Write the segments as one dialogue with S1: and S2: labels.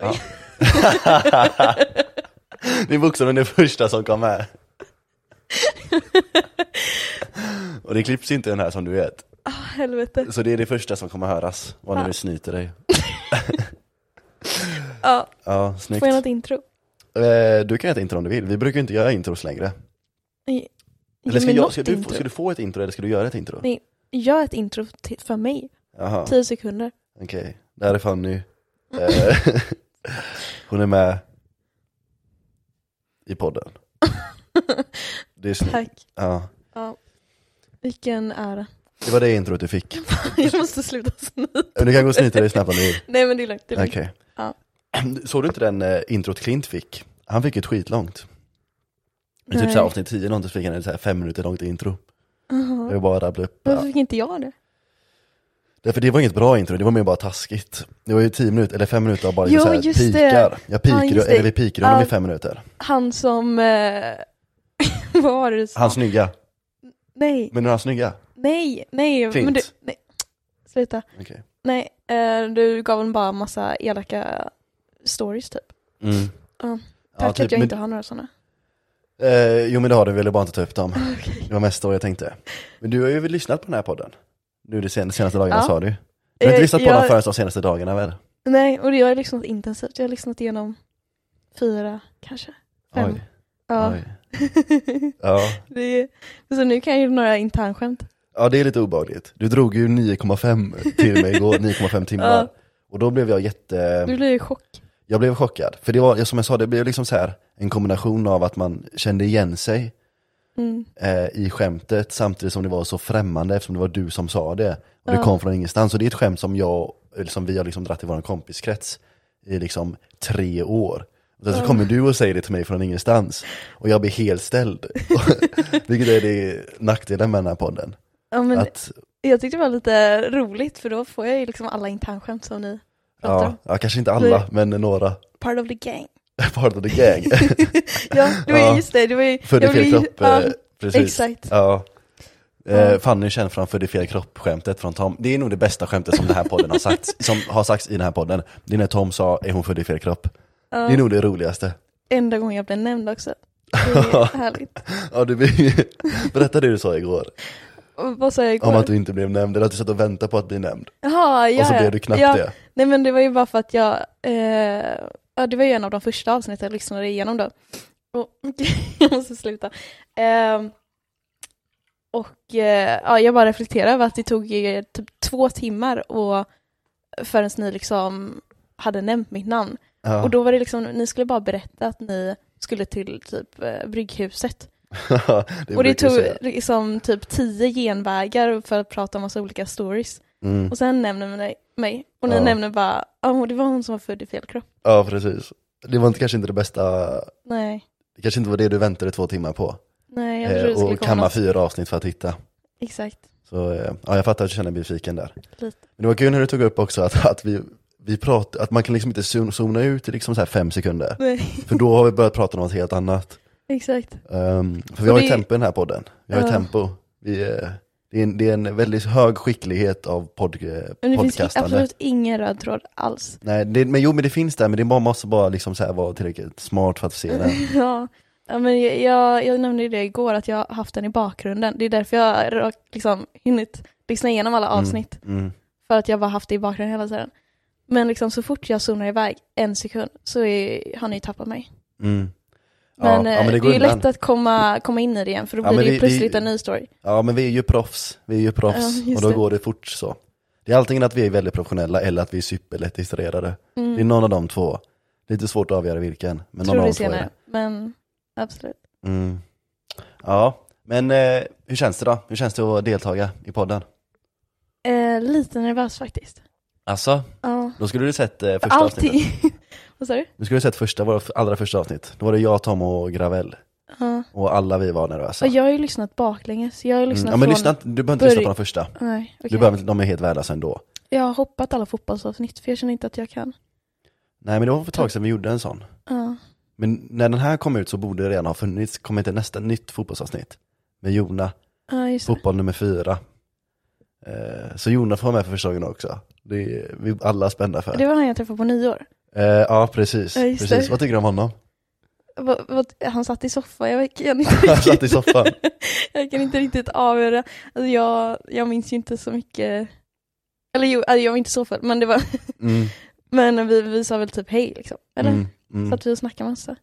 S1: Ja. det är bokstavligen det första som kom med. Och det klipps inte i den här som du vet.
S2: Ah, Helvete.
S1: Så det är det första som kommer höras, vad när
S2: Ja.
S1: vi snyter dig.
S2: Ja,
S1: Ja, snyggt.
S2: får jag något intro?
S1: Eh, Du kan göra ett intro om du vill, vi brukar ju inte göra intros längre. Eller ska,
S2: Men
S1: jag,
S2: något
S1: ska, du,
S2: intro.
S1: ska du få ett intro eller ska du göra ett intro?
S2: Nej. Typ. Gör ett intro till, för mig.
S1: Jaha,
S2: Tio sekunder.
S1: okej. Det här är Fanny. Eh, Hon är med i podden. Det är snyggt.
S2: Tack.
S1: Ja.
S2: Ja. Vilken ära.
S1: Det var det introt du fick.
S2: jag måste sluta snyta.
S1: Men Du kan gå och snyta dig snabbt om du vill.
S2: Nej men det är lugnt. Det är
S1: Okej.
S2: lugnt. Ja.
S1: Såg du inte den eh, introt Klint fick? Han fick ett skitlångt. I typ
S2: Nej.
S1: så här avsnitt 10 någonting så fick han ett så här fem minuter långt intro.
S2: Aha.
S1: Jag bara rabblade upp.
S2: Varför
S1: Ja.
S2: fick inte jag det?
S1: Därför det var inget bra intro, det var mer bara taskigt. Det var ju 10 minuter, eller fem minuter av bara
S2: Jo,
S1: så här,
S2: just det.
S1: pikar. Jag pikar,
S2: Ja, just det.
S1: eller vi pikar honom
S2: Ja.
S1: i fem minuter.
S2: Han som... Eh... vad var det du sa?
S1: Han snygga.
S2: Nej,
S1: Men nu är han snygga.
S2: nej, nej. Men
S1: Klint.
S2: du... nej. Sluta.
S1: Okej.
S2: Nej, eh, du gav en bara massa elaka stories typ.
S1: Mm.
S2: Ja.
S1: Ja,
S2: Tack
S1: typ,
S2: att jag
S1: men-
S2: inte har några sådana.
S1: Eh, jo men det har du, ville bara inte ta upp dem.
S2: Okej.
S1: Det var mest då jag tänkte. Men du har ju väl lyssnat på den här podden? Nu de sen- senaste dagarna
S2: Ja.
S1: sa du. Du har inte
S2: Eh,
S1: lyssnat på
S2: jag-
S1: den förrän de senaste dagarna väl?
S2: Nej, och jag har lyssnat intensivt. Jag har lyssnat igenom fyra kanske. Fem.
S1: Oj,
S2: Ja.
S1: oj. Ja.
S2: det är... Så nu kan jag ju några internskämt.
S1: ja, det är lite obehagligt. Du drog ju 9,5 till mig igår, 9,5 timmar.
S2: Ja.
S1: Och då blev jag jätte...
S2: Du blir ju i chock.
S1: Jag blev chockad. För det var, som jag sa, det blev liksom så här en kombination av att man kände igen sig
S2: Mm.
S1: eh, i skämtet samtidigt som det var så främmande eftersom det var du som sa det. Och det
S2: Ja.
S1: kom från ingenstans. Och det är ett skämt som, jag, eller som vi har liksom dratt i vår kompiskrets i liksom tre år. Och sen så
S2: Ja.
S1: kommer du och säger det till mig från ingenstans. Och jag blir helt ställd. Vilket är det nackdelen med den här podden.
S2: Ja, men
S1: Att,
S2: Jag tyckte det var lite roligt för då får jag ju liksom alla internskämt som ni pratar
S1: ja,
S2: om.
S1: ja, kanske inte alla, men några.
S2: Part of the gang.
S1: Part of the gang.
S2: Ja, det var
S1: Ja.
S2: ju just det. det var ju,
S1: Född i
S2: jag
S1: fel
S2: blev ju-
S1: kropp. eh,
S2: ja,
S1: precis.
S2: Exakt.
S1: Ja. Eh,
S2: Ja.
S1: Fanny är känd från Född i fel kropp-skämtet från Tom. Det är nog det bästa skämtet som, den här podden har, sagts, som har sagts i den här podden. Det är när Tom sa, är hon född i fel kropp?
S2: Ja,
S1: Det är nog det roligaste.
S2: Enda gången jag blev nämnd också. Det är härligt.
S1: Ja, du, berätta det du sa igår,
S2: Och vad sa jag igår?
S1: om att du inte blev nämnd, eller att du satt och väntade på att bli nämnd.
S2: Jaha, ja,
S1: och så
S2: ja.
S1: blev du knappt
S2: ja.
S1: det.
S2: Nej men det var ju bara för att jag, eh, ja det var ju en av de första avsnitten jag lyssnade igenom då. Och, jag måste sluta. Ehm, och eh, ja, jag bara reflekterar över att det tog ju typ två timmar och förrän ni liksom hade nämnt mitt namn.
S1: Ja.
S2: Och då var det liksom, ni skulle bara berätta att ni skulle till typ eh, Brygghuset.
S1: det
S2: och det
S1: brukar jag
S2: tog
S1: säga.
S2: liksom typ tio genvägar för att prata om massa olika stories.
S1: Mm.
S2: Och sen nämner man dig- mig, och ni
S1: Ja.
S2: nämner bara, ja hon- det var hon som var född i fel kropp.
S1: Ja, precis. Det var inte, kanske inte det bästa,
S2: Nej,
S1: det kanske inte var det du väntade två timmar på.
S2: nej jag
S1: Eh,
S2: trodde det skulle
S1: och
S2: komma
S1: kamma
S2: något.
S1: fyra avsnitt för att hitta.
S2: Exakt,
S1: Så eh, ja, jag fattar att du känner besviken där.
S2: lite.
S1: Men det var kul när du tog upp också att, att, vi, vi prat, att man kan liksom inte zon- zona ut i liksom så här fem sekunder.
S2: Nej,
S1: För då har vi börjat prata om något helt annat.
S2: exakt.
S1: Ehm, för vi
S2: Och
S1: har ju
S2: det-
S1: tempo i den här podden. Vi har ju
S2: Ja.
S1: tempo. Vi, eh, det, är en, det är en väldigt hög skicklighet av pod, eh,
S2: Men det finns i-
S1: podcastande.
S2: absolut ingen röd tråd alls.
S1: Nej, det, men jo men det finns där, men det är bara, måste bara liksom så här vara tillräckligt smart för att se Mm, den.
S2: Ja. Ja, men jag, jag, jag nämnde ju det igår, att jag har haft den i bakgrunden. Det är därför jag har rak- liksom hunnit lyssna igenom alla
S1: Mm.
S2: avsnitt,
S1: Mm.
S2: för att jag bara haft det i bakgrunden hela tiden. Men liksom så fort jag zonar iväg en sekund så är, har ni tappat mig.
S1: Mm.
S2: Men,
S1: ja,
S2: eh,
S1: ja, men det
S2: det,
S1: går
S2: är ju
S1: undan.
S2: lätt att komma, komma in i det igen, för då
S1: Ja,
S2: blir
S1: men
S2: det
S1: vi-
S2: ju plötsligt
S1: vi-
S2: en ny story.
S1: Ja men vi är ju proffs, vi är ju proffs
S2: Ja, just
S1: och då
S2: det.
S1: går det fort så. Det är antingen att vi är väldigt professionella eller att vi är superlätt distraherade.
S2: Mm.
S1: Det är någon av de två. Lite svårt att avgöra vilken, men någon
S2: tror
S1: av de
S2: det
S1: två är det.
S2: senare, men absolut.
S1: Mm. Ja, men eh, hur känns det då? Hur känns det att deltaga i podden?
S2: Eh, lite nervös faktiskt.
S1: Alltså,
S2: Ja.
S1: då skulle du sett eh, första
S2: Allting.
S1: avsnittet.
S2: Vad sa du?
S1: Du skulle sett första, våra allra första avsnitt. Då var det jag, Tom och Gravel.
S2: Ja.
S1: Och alla vi var nervösa.
S2: Och jag har ju lyssnat baklänges. Jag har ju lyssnat
S1: Mm. Ja men
S2: från...
S1: lyssna, inte- du behöver inte lyssna
S2: börj-
S1: på de första.
S2: Nej, okej.
S1: Du behöver, inte- de är helt värdelösa ändå.
S2: Jag har hoppat alla fotbollsavsnitt för jag känner inte att jag kan.
S1: Nej men det var för ett tag sedan vi gjorde en sån.
S2: Ja.
S1: Men när den här kom ut så borde det redan ha funnits, kommer inte nästa nytt fotbollsavsnitt? Med Jona,
S2: Ja, just det.
S1: fotboll nummer fyra. Eh, så Jona får vara med för första gången också. Det är vi alla spända för.
S2: Det var han jag träffade på nyår.
S1: Eh, ja, precis.
S2: Ja, just det.
S1: precis. Vad tycker du om honom?
S2: Vad- vad- Han satt i soffan, jag kan inte
S1: Han satt i soffan.
S2: Jag kan inte riktigt avgöra. Alltså jag, jag minns ju inte så mycket. Eller jo, alltså jag var inte så full, men det var...
S1: Mm,
S2: Men vi, vi sa väl typ hej liksom. Eller?
S1: mm, mm.
S2: Satt vi och snackade massa.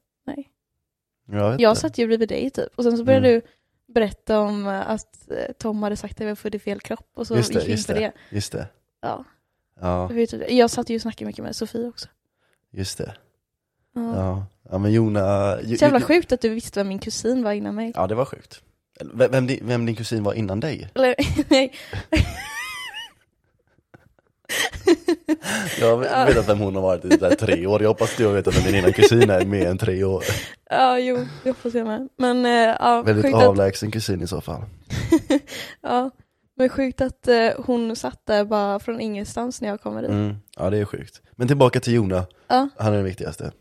S1: Jag vet
S2: Jag
S1: inte.
S2: satt ju bredvid dig typ. Och sen så började
S1: Mm.
S2: du berätta om eh, att eh, Tom hade sagt att jag var född i fel kropp. Och så
S1: Just det,
S2: gick vi in
S1: just
S2: på det.
S1: Just det.
S2: Ja.
S1: Ja,
S2: det var ju typ det. Jag satt ju och snackade mycket med Sofie också.
S1: just det.
S2: Ja.
S1: Ja, ja men Jona... Ju-
S2: Så jävla
S1: ju-
S2: sjukt att du visste vem min kusin var innan mig.
S1: Ja, det var sjukt. Eller, Vem, vem, din, vem din kusin var innan dig?
S2: Eller nej.
S1: Jag vet att vem hon har varit i typ så här tre år. Jag hoppas du har vetat vem din ena kusin är mer än tre år.
S2: ja, jo, det hoppas jag med. Men eh, ja,
S1: Väldigt
S2: sjukt att
S1: avlägsen kusin i så fall.
S2: Ja, men sjukt att eh, hon satt där bara från ingenstans när jag kommer dit.
S1: Mm. Ja, det är sjukt. Men tillbaka till Jona.
S2: Ja.
S1: Han är den viktigaste.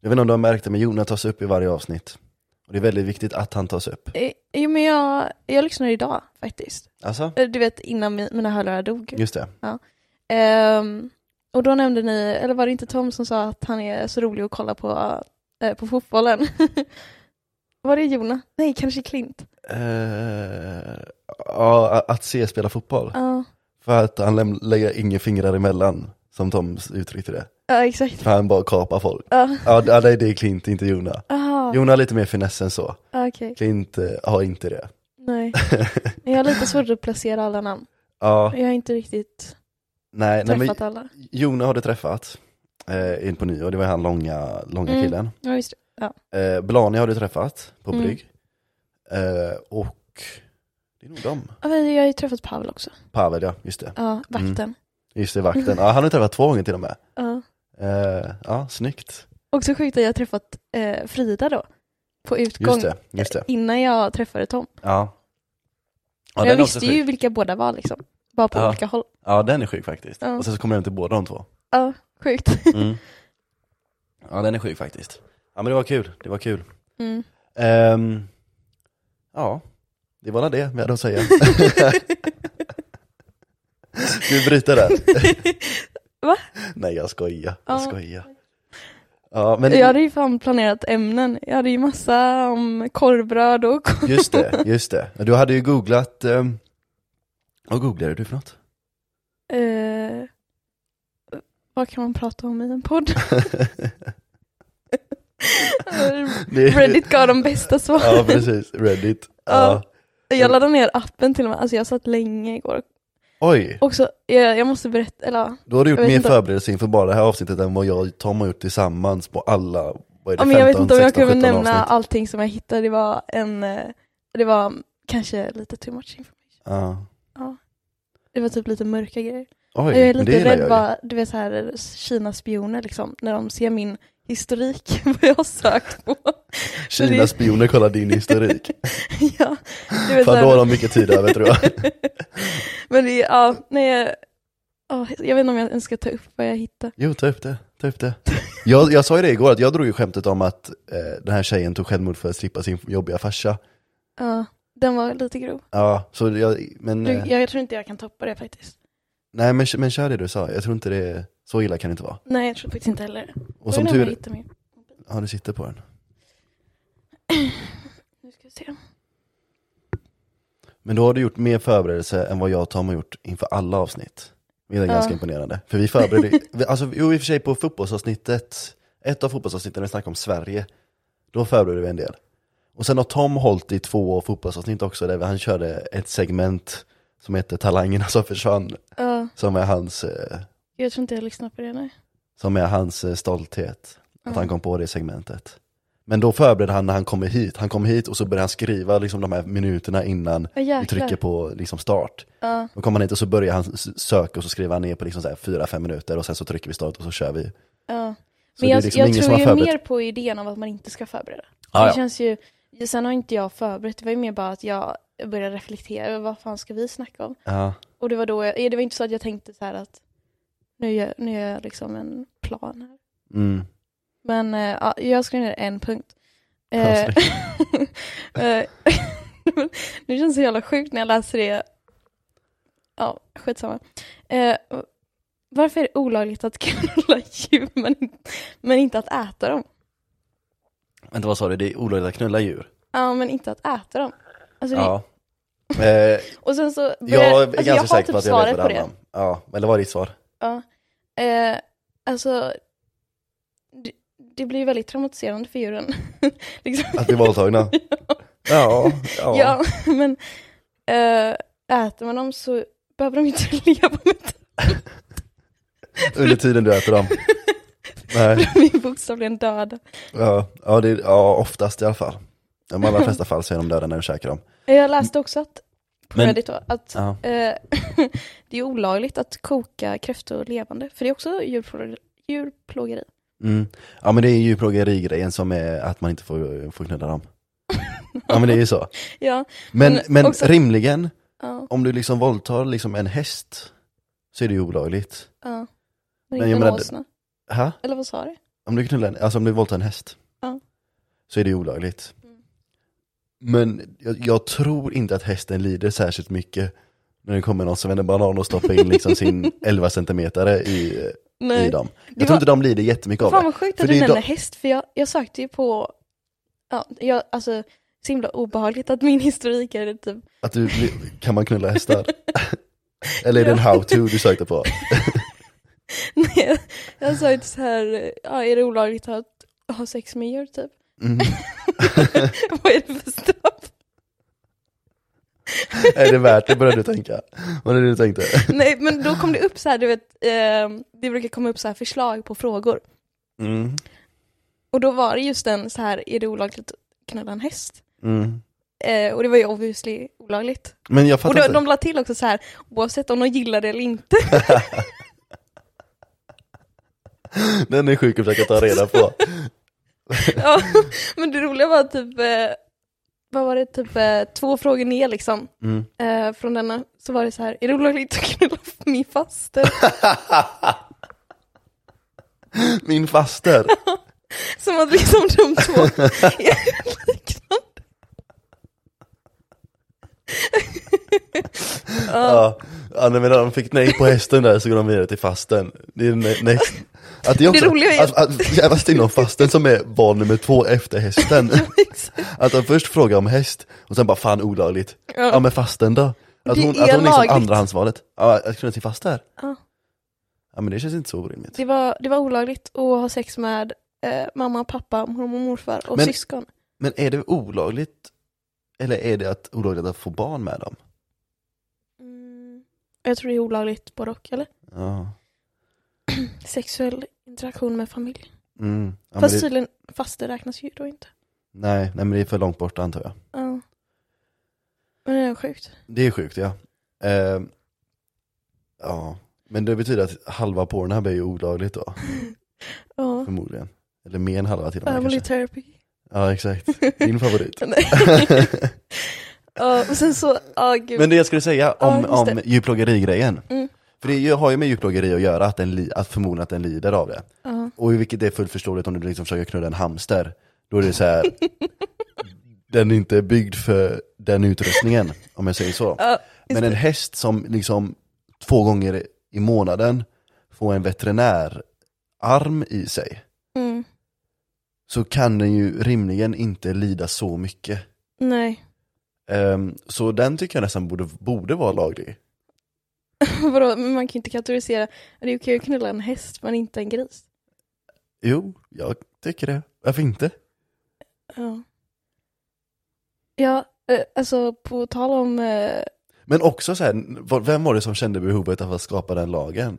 S1: Jag vet inte om du har märkt det, men Jona tas upp i varje avsnitt. Och det är väldigt viktigt att han tas upp.
S2: Eh, Jo men jag, jag lyssnade idag faktiskt.
S1: Alltså?
S2: Eh, Du vet innan mi- mina hörlurar dog.
S1: Just det.
S2: Ehm, och då nämnde ni, eller var det inte Tom som sa att han är så rolig att kolla på, eh, på fotbollen? var det Jona? Nej, kanske Klint.
S1: Eh, ja, att se spela fotboll.
S2: Ja,
S1: För att han läm- lägger inga fingrar emellan, som Tom uttryckte det.
S2: ja exakt.
S1: För han bara kapar folk.
S2: Ja,
S1: Ja, det- ja, det det är Clint, inte Jona.
S2: aha,
S1: Jona har lite mer finess än så.
S2: ja, okej.
S1: Clint eh, har inte det.
S2: Nej. Jag har lite svårt att placera alla namn.
S1: ja,
S2: Jag har inte riktigt
S1: nej, nej men
S2: träffat alla.
S1: Jona har du träffat. Eh, in på nyår, det var han långa, långa
S2: Mm.
S1: killen.
S2: Ja, just det.
S1: Eh, Blani har du träffat på
S2: Mm.
S1: Brygg. Eh, och det är nog dem.
S2: Ja, men Jag har ju träffat Pavel också.
S1: Pavel ja, just det.
S2: Ja, vakten.
S1: Just det, vakten. Ja, han har du träffat två gånger till och med.
S2: Ja.
S1: Eh, ja, snyggt.
S2: Och så sjukt att jag har träffat eh, Frida då. På utgång.
S1: Just det, just det.
S2: Innan jag träffade Tom.
S1: Ja. Ja,
S2: Men
S1: den
S2: jag
S1: är också
S2: visste ju
S1: sjuk.
S2: vilka båda var liksom. Bara på
S1: Ja.
S2: olika håll.
S1: Ja, den är sjuk faktiskt.
S2: Ja.
S1: Och sen så kommer jag hem till båda de två.
S2: Ja, sjukt.
S1: Mm. ja, den är sjuk faktiskt. Ja, men det var kul. Det var kul.
S2: Mm.
S1: Ehm, ja, det var väl det vi hade att säga. Ska vi bryta där?
S2: Va?
S1: Nej, jag skojar. Jag
S2: Ja.
S1: skojar. Ja, men
S2: Jag hade ju fan planerat ämnen. Jag hade ju massa om korvbröd och...
S1: just det, just det. Du hade ju googlat, ehm, vad googlade du för något?
S2: Eh, vad kan man prata om i en podd?
S1: Det-
S2: Reddit gav de bästa svaren.
S1: Ja, precis. Reddit. Ja.
S2: jag laddade ner appen till och med. Alltså jag satt länge igår.
S1: Oj,
S2: Också, jag, jag måste berätta, eller ja.
S1: då har du gjort
S2: Jag vet
S1: mer
S2: inte.
S1: förberedelse inför bara det här avsnittet än vad jag och Tom har gjort tillsammans på alla, vad är det,
S2: Ja,
S1: 15,
S2: men jag vet inte om jag
S1: 16,
S2: kunde
S1: 17
S2: nämna
S1: avsnitt.
S2: allting som jag hittade. Det var en, eh, det var kanske lite too much information.
S1: Ja.
S2: Det var typ lite mörka grejer.
S1: Oj,
S2: jag är
S1: men det
S2: lite
S1: gillar
S2: rädd
S1: jag ju.
S2: vad, du vet så här Kinas spioner liksom, när de ser min historik, vad jag har sökt på.
S1: Kinas spioner kollar din historik.
S2: ja, du vet så
S1: Fan då har
S2: här,
S1: de mycket tid över tror jag.
S2: men det, ja, nej, jag- ja, jag vet inte om jag ens ska ta upp vad jag hittade.
S1: Jo, ta upp det. Ta upp det. Jag, jag sa ju det igår, att jag drog ju skämtet om att eh, den här tjejen tog självmord för att slippa sin jobbiga farsa.
S2: Ja, den var lite grov.
S1: Ja, så jag, men,
S2: Du,
S1: eh,
S2: jag tror inte jag kan toppa det faktiskt.
S1: nej, men, men kör det du sa, jag tror inte det, så illa kan det inte vara.
S2: Nej, jag tror faktiskt inte heller det.
S1: Och som
S2: Oj, nej, men jag
S1: tur
S2: hittar min.
S1: ja du sitter på den.
S2: Nu ska vi se.
S1: Men då har du gjort mer förberedelse än vad jag och Tom har gjort inför alla avsnitt. Det är
S2: Ja.
S1: ganska imponerande. För vi förberedde, vi- alltså, jo i och för sig på fotbollsavsnittet, ett av fotbollsavsnitten när vi snackade om Sverige, då förberedde vi en del. Och sen har Tom hållit i två fotbollsavsnitt också, där han körde ett segment som heter Talangerna som försvann,
S2: Ja,
S1: som är hans, eh,
S2: jag tror inte jag lyssnar på det nu.
S1: som är hans eh, stolthet, att
S2: Ja.
S1: han kom på det segmentet. Men då förberedde han när han kommer hit, han kom hit och så började han skriva liksom, de här minuterna innan
S2: Ja,
S1: vi
S2: jäklar.
S1: trycker på liksom, start.
S2: Ja,
S1: Då kommer han hit och så börjar han s- söka och så skriver han ner på liksom så här 4-5 minuter och sen så trycker vi start och så kör vi. Så det
S2: ja. Men
S1: är
S2: jag,
S1: liksom
S2: jag
S1: ingen som
S2: tror
S1: har
S2: ju
S1: förberett-
S2: mer på idén om att man inte ska förbereda.
S1: Ja,
S2: det
S1: ja.
S2: känns ju, sen har inte jag förberett, det var ju mer bara att jag började reflektera över vad fan ska vi snacka om?
S1: Ja,
S2: Och det var då, jag, det var inte så att jag tänkte så här att nu gör, nu gör jag liksom en plan här.
S1: mm.
S2: Men eh, ja, jag skrev ner en punkt.
S1: Ja,
S2: Eh, eh, nu känns det så jävla sjukt när jag läser det. Ja, skitsamma. Eh, Varför är det olagligt att knulla djur men, men inte att äta dem?
S1: Vänta vad sa du, det är olagligt att knulla djur?
S2: Ja, men inte att äta dem. Alltså, det,
S1: Ja. Eh,
S2: Och sen så börjar,
S1: jag är
S2: alltså,
S1: ganska
S2: jag har
S1: säker
S2: typ
S1: på att jag vet
S2: svaret
S1: vad
S2: på
S1: det
S2: det.
S1: handlar om. Ja, eller vad är ditt svar?
S2: Ja. Eh, alltså, det, det blir väldigt traumatiserande för djuren. liksom.
S1: Att bli våldtagna? ja, ja.
S2: Ja, men eh, äter man dem så behöver de inte leva med det.
S1: Under tiden du äter dem. Nej,
S2: De är bokstavligen döda.
S1: ja, ja, det, är- ja oftast i alla fall. I de allra flesta fall så är de döda när du käkar dem.
S2: Eh, Jag läste också att på
S1: Men-
S2: Reddit då, att
S1: Ja.
S2: eh, det är olagligt att koka kräftor levande, för det är också djurplågeri. djurplågeri.
S1: Mm. Ja men det är ju plågerigrejen som är att man inte får, får knulla dem. Ja men det är ju så.
S2: Ja,
S1: Men,
S2: Men
S1: men
S2: också-
S1: rimligen,
S2: ja,
S1: om du liksom våldtar liksom en häst så är det ju olagligt.
S2: ja. Men
S1: Men
S2: inte
S1: jag
S2: en
S1: menar-
S2: åsna.
S1: Ha?
S2: Eller vad sa du?
S1: Om du knullar en, alltså om du våldtar en häst.
S2: Ja.
S1: Så är det ju olagligt.
S2: Mm.
S1: Men jag, jag tror inte att hästen lider särskilt mycket när det kommer någon som vänder banan och stoppar in liksom sin 11 centimetare i, i
S2: Nej.
S1: dem. Jag
S2: Det
S1: tror
S2: var-
S1: inte de lider jättemycket av
S2: Fan
S1: det.
S2: vad sjukt
S1: För
S2: att du
S1: det är
S2: nämner
S1: de-
S2: häst, för jag, jag sökte ju på, ja, jag, alltså så himla obehagligt att min historik är typ,
S1: Att du, kan man knulla hästar? Eller är det en
S2: Ja.
S1: how-to du sökte på?
S2: nej, jag sökte så här, ja är det olagligt att ha sex med djur typ?
S1: Mm.
S2: Vad är det för straff?
S1: Är det värt det började du tänka. Vad är det du tänkte?
S2: Nej men då kom det upp så här, du vet, eh, det brukar komma upp så här förslag på frågor.
S1: Mm.
S2: Och då var det just den så här, är det olagligt att knulla en häst?
S1: Mm.
S2: Eh, och det var ju obviously olagligt.
S1: Men jag
S2: Och
S1: fattar
S2: då,
S1: inte.
S2: de la till också så här, oavsett om de gillar det eller inte.
S1: Den är sjuk att försöka ta reda på.
S2: Ja, men det roliga var typ, eh, vad var det, typ eh, två frågor ner liksom.
S1: Mm.
S2: Eh, från denna så var det så här, är det olagligt att knulla min faster?
S1: Min faster.
S2: Som att liksom de två är liknande. ja,
S1: Ja. ja, nej, men när de fick nej på hästen där så går de vidare till fasten. Det är ne- next. Att det är också,
S2: roliga är-
S1: att, att, jävla synd om fasten som är val nummer två efter hästen.
S2: exakt.
S1: Att de först frågar om häst och sen bara fan olagligt.
S2: Ja.
S1: Ja men fasten då? Att hon,
S2: Det är
S1: att hon liksom
S2: lagligt.
S1: andrahandsvalet. Ja, att kunna till faster.
S2: Ja.
S1: Ja men det känns inte så orimligt.
S2: det, var, det var olagligt att ha sex med eh, mamma, pappa, mormor, morfar och
S1: Men-
S2: syskon.
S1: Men är det olagligt? Eller är det att olagligt att få barn med dem?
S2: Mm, jag tror det är olagligt både och, eller?
S1: Ja.
S2: Sexuell interaktion med familj.
S1: Mm. Ja, men
S2: Fast
S1: det,
S2: tydligen, fast det räknas ju då inte.
S1: nej, nej men det är för långt borta antar jag.
S2: Ja. Men det är sjukt.
S1: Det är sjukt ja. Ehm, ja, men det betyder att halva Pornhub är ju olagligt då,
S2: Ja.
S1: förmodligen. Eller mer än halva till och med
S2: Family
S1: kanske.
S2: therapy.
S1: Ja exakt, din favorit.
S2: Nej. ja, och sen så, ja gud.
S1: men det jag skulle säga om,
S2: Ja, just det.
S1: om djurplågerigrejen,
S2: Mm.
S1: för det är ju- har ju med djurplågeri att göra, att, den li, att förmodligen att den lider av det.
S2: ja.
S1: Och i vilket är fullt förståeligt om du liksom försöker knulla en hamster, då är det så här. den är inte byggd för den utrustningen, om jag säger så.
S2: Ja, just
S1: Men en häst som liksom två gånger i månaden får en veterinärarm i sig,
S2: Mm.
S1: så kan den ju rimligen inte lida så mycket.
S2: Nej.
S1: Ehm, så den tycker jag nästan borde, borde vara laglig.
S2: Vadå, men man kan ju inte kategorisera. Det är okej att knulla en häst men inte en gris.
S1: Jo, jag tycker det. Varför inte?
S2: Ja. Ja, eh, alltså på tal om, eh,
S1: Men också så här, var- vem var det som kände behovet av att skapa den lagen?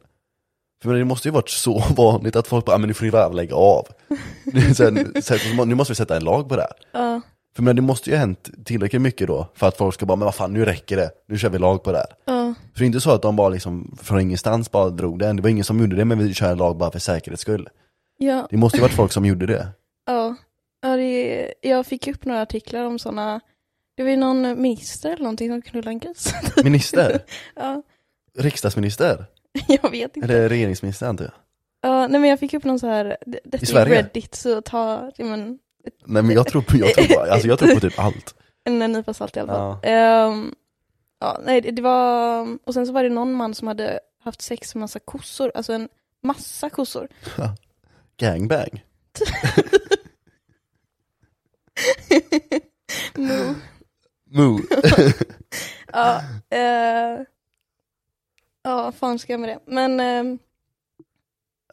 S1: För men det måste ju varit så vanligt att folk bara, "Ah, men nu får ni väl lägga av. Det är så här, så här, nu måste vi sätta en lag på det här.
S2: ja,
S1: För men det måste ju ha hänt tillräckligt mycket då för att folk ska bara, men vad fan nu räcker det, nu kör vi lag på det här.
S2: ja,
S1: För det är inte så att de bara liksom från ingenstans bara drog den, det var ingen som gjorde det men vi kör en lag bara för säkerhets skull.
S2: ja,
S1: Det måste ju varit folk som gjorde det.
S2: ja. ja det, jag fick upp några artiklar om sådana, det var ju någon minister eller någonting som knullade en gris.
S1: Minister?
S2: ja,
S1: Riksdagsminister?
S2: jag vet inte.
S1: Eller regeringsminister antar jag?
S2: Ja, nej men jag fick upp någon så här, det- detta är
S1: Sverige?
S2: Reddit så ta ja, men,
S1: Nej men jag tror på, jag tror på, alltså, jag tror på typ allt.
S2: en nypa salt i alla fall. Ehm, ja, nej, det, det var, och sen så var det någon man som hade haft sex med massa kossor, alltså en massa kossor.
S1: Gangbang.
S2: Mo.
S1: Moo.
S2: Ja, eh, ja, fan ska jag med det. Men ehm,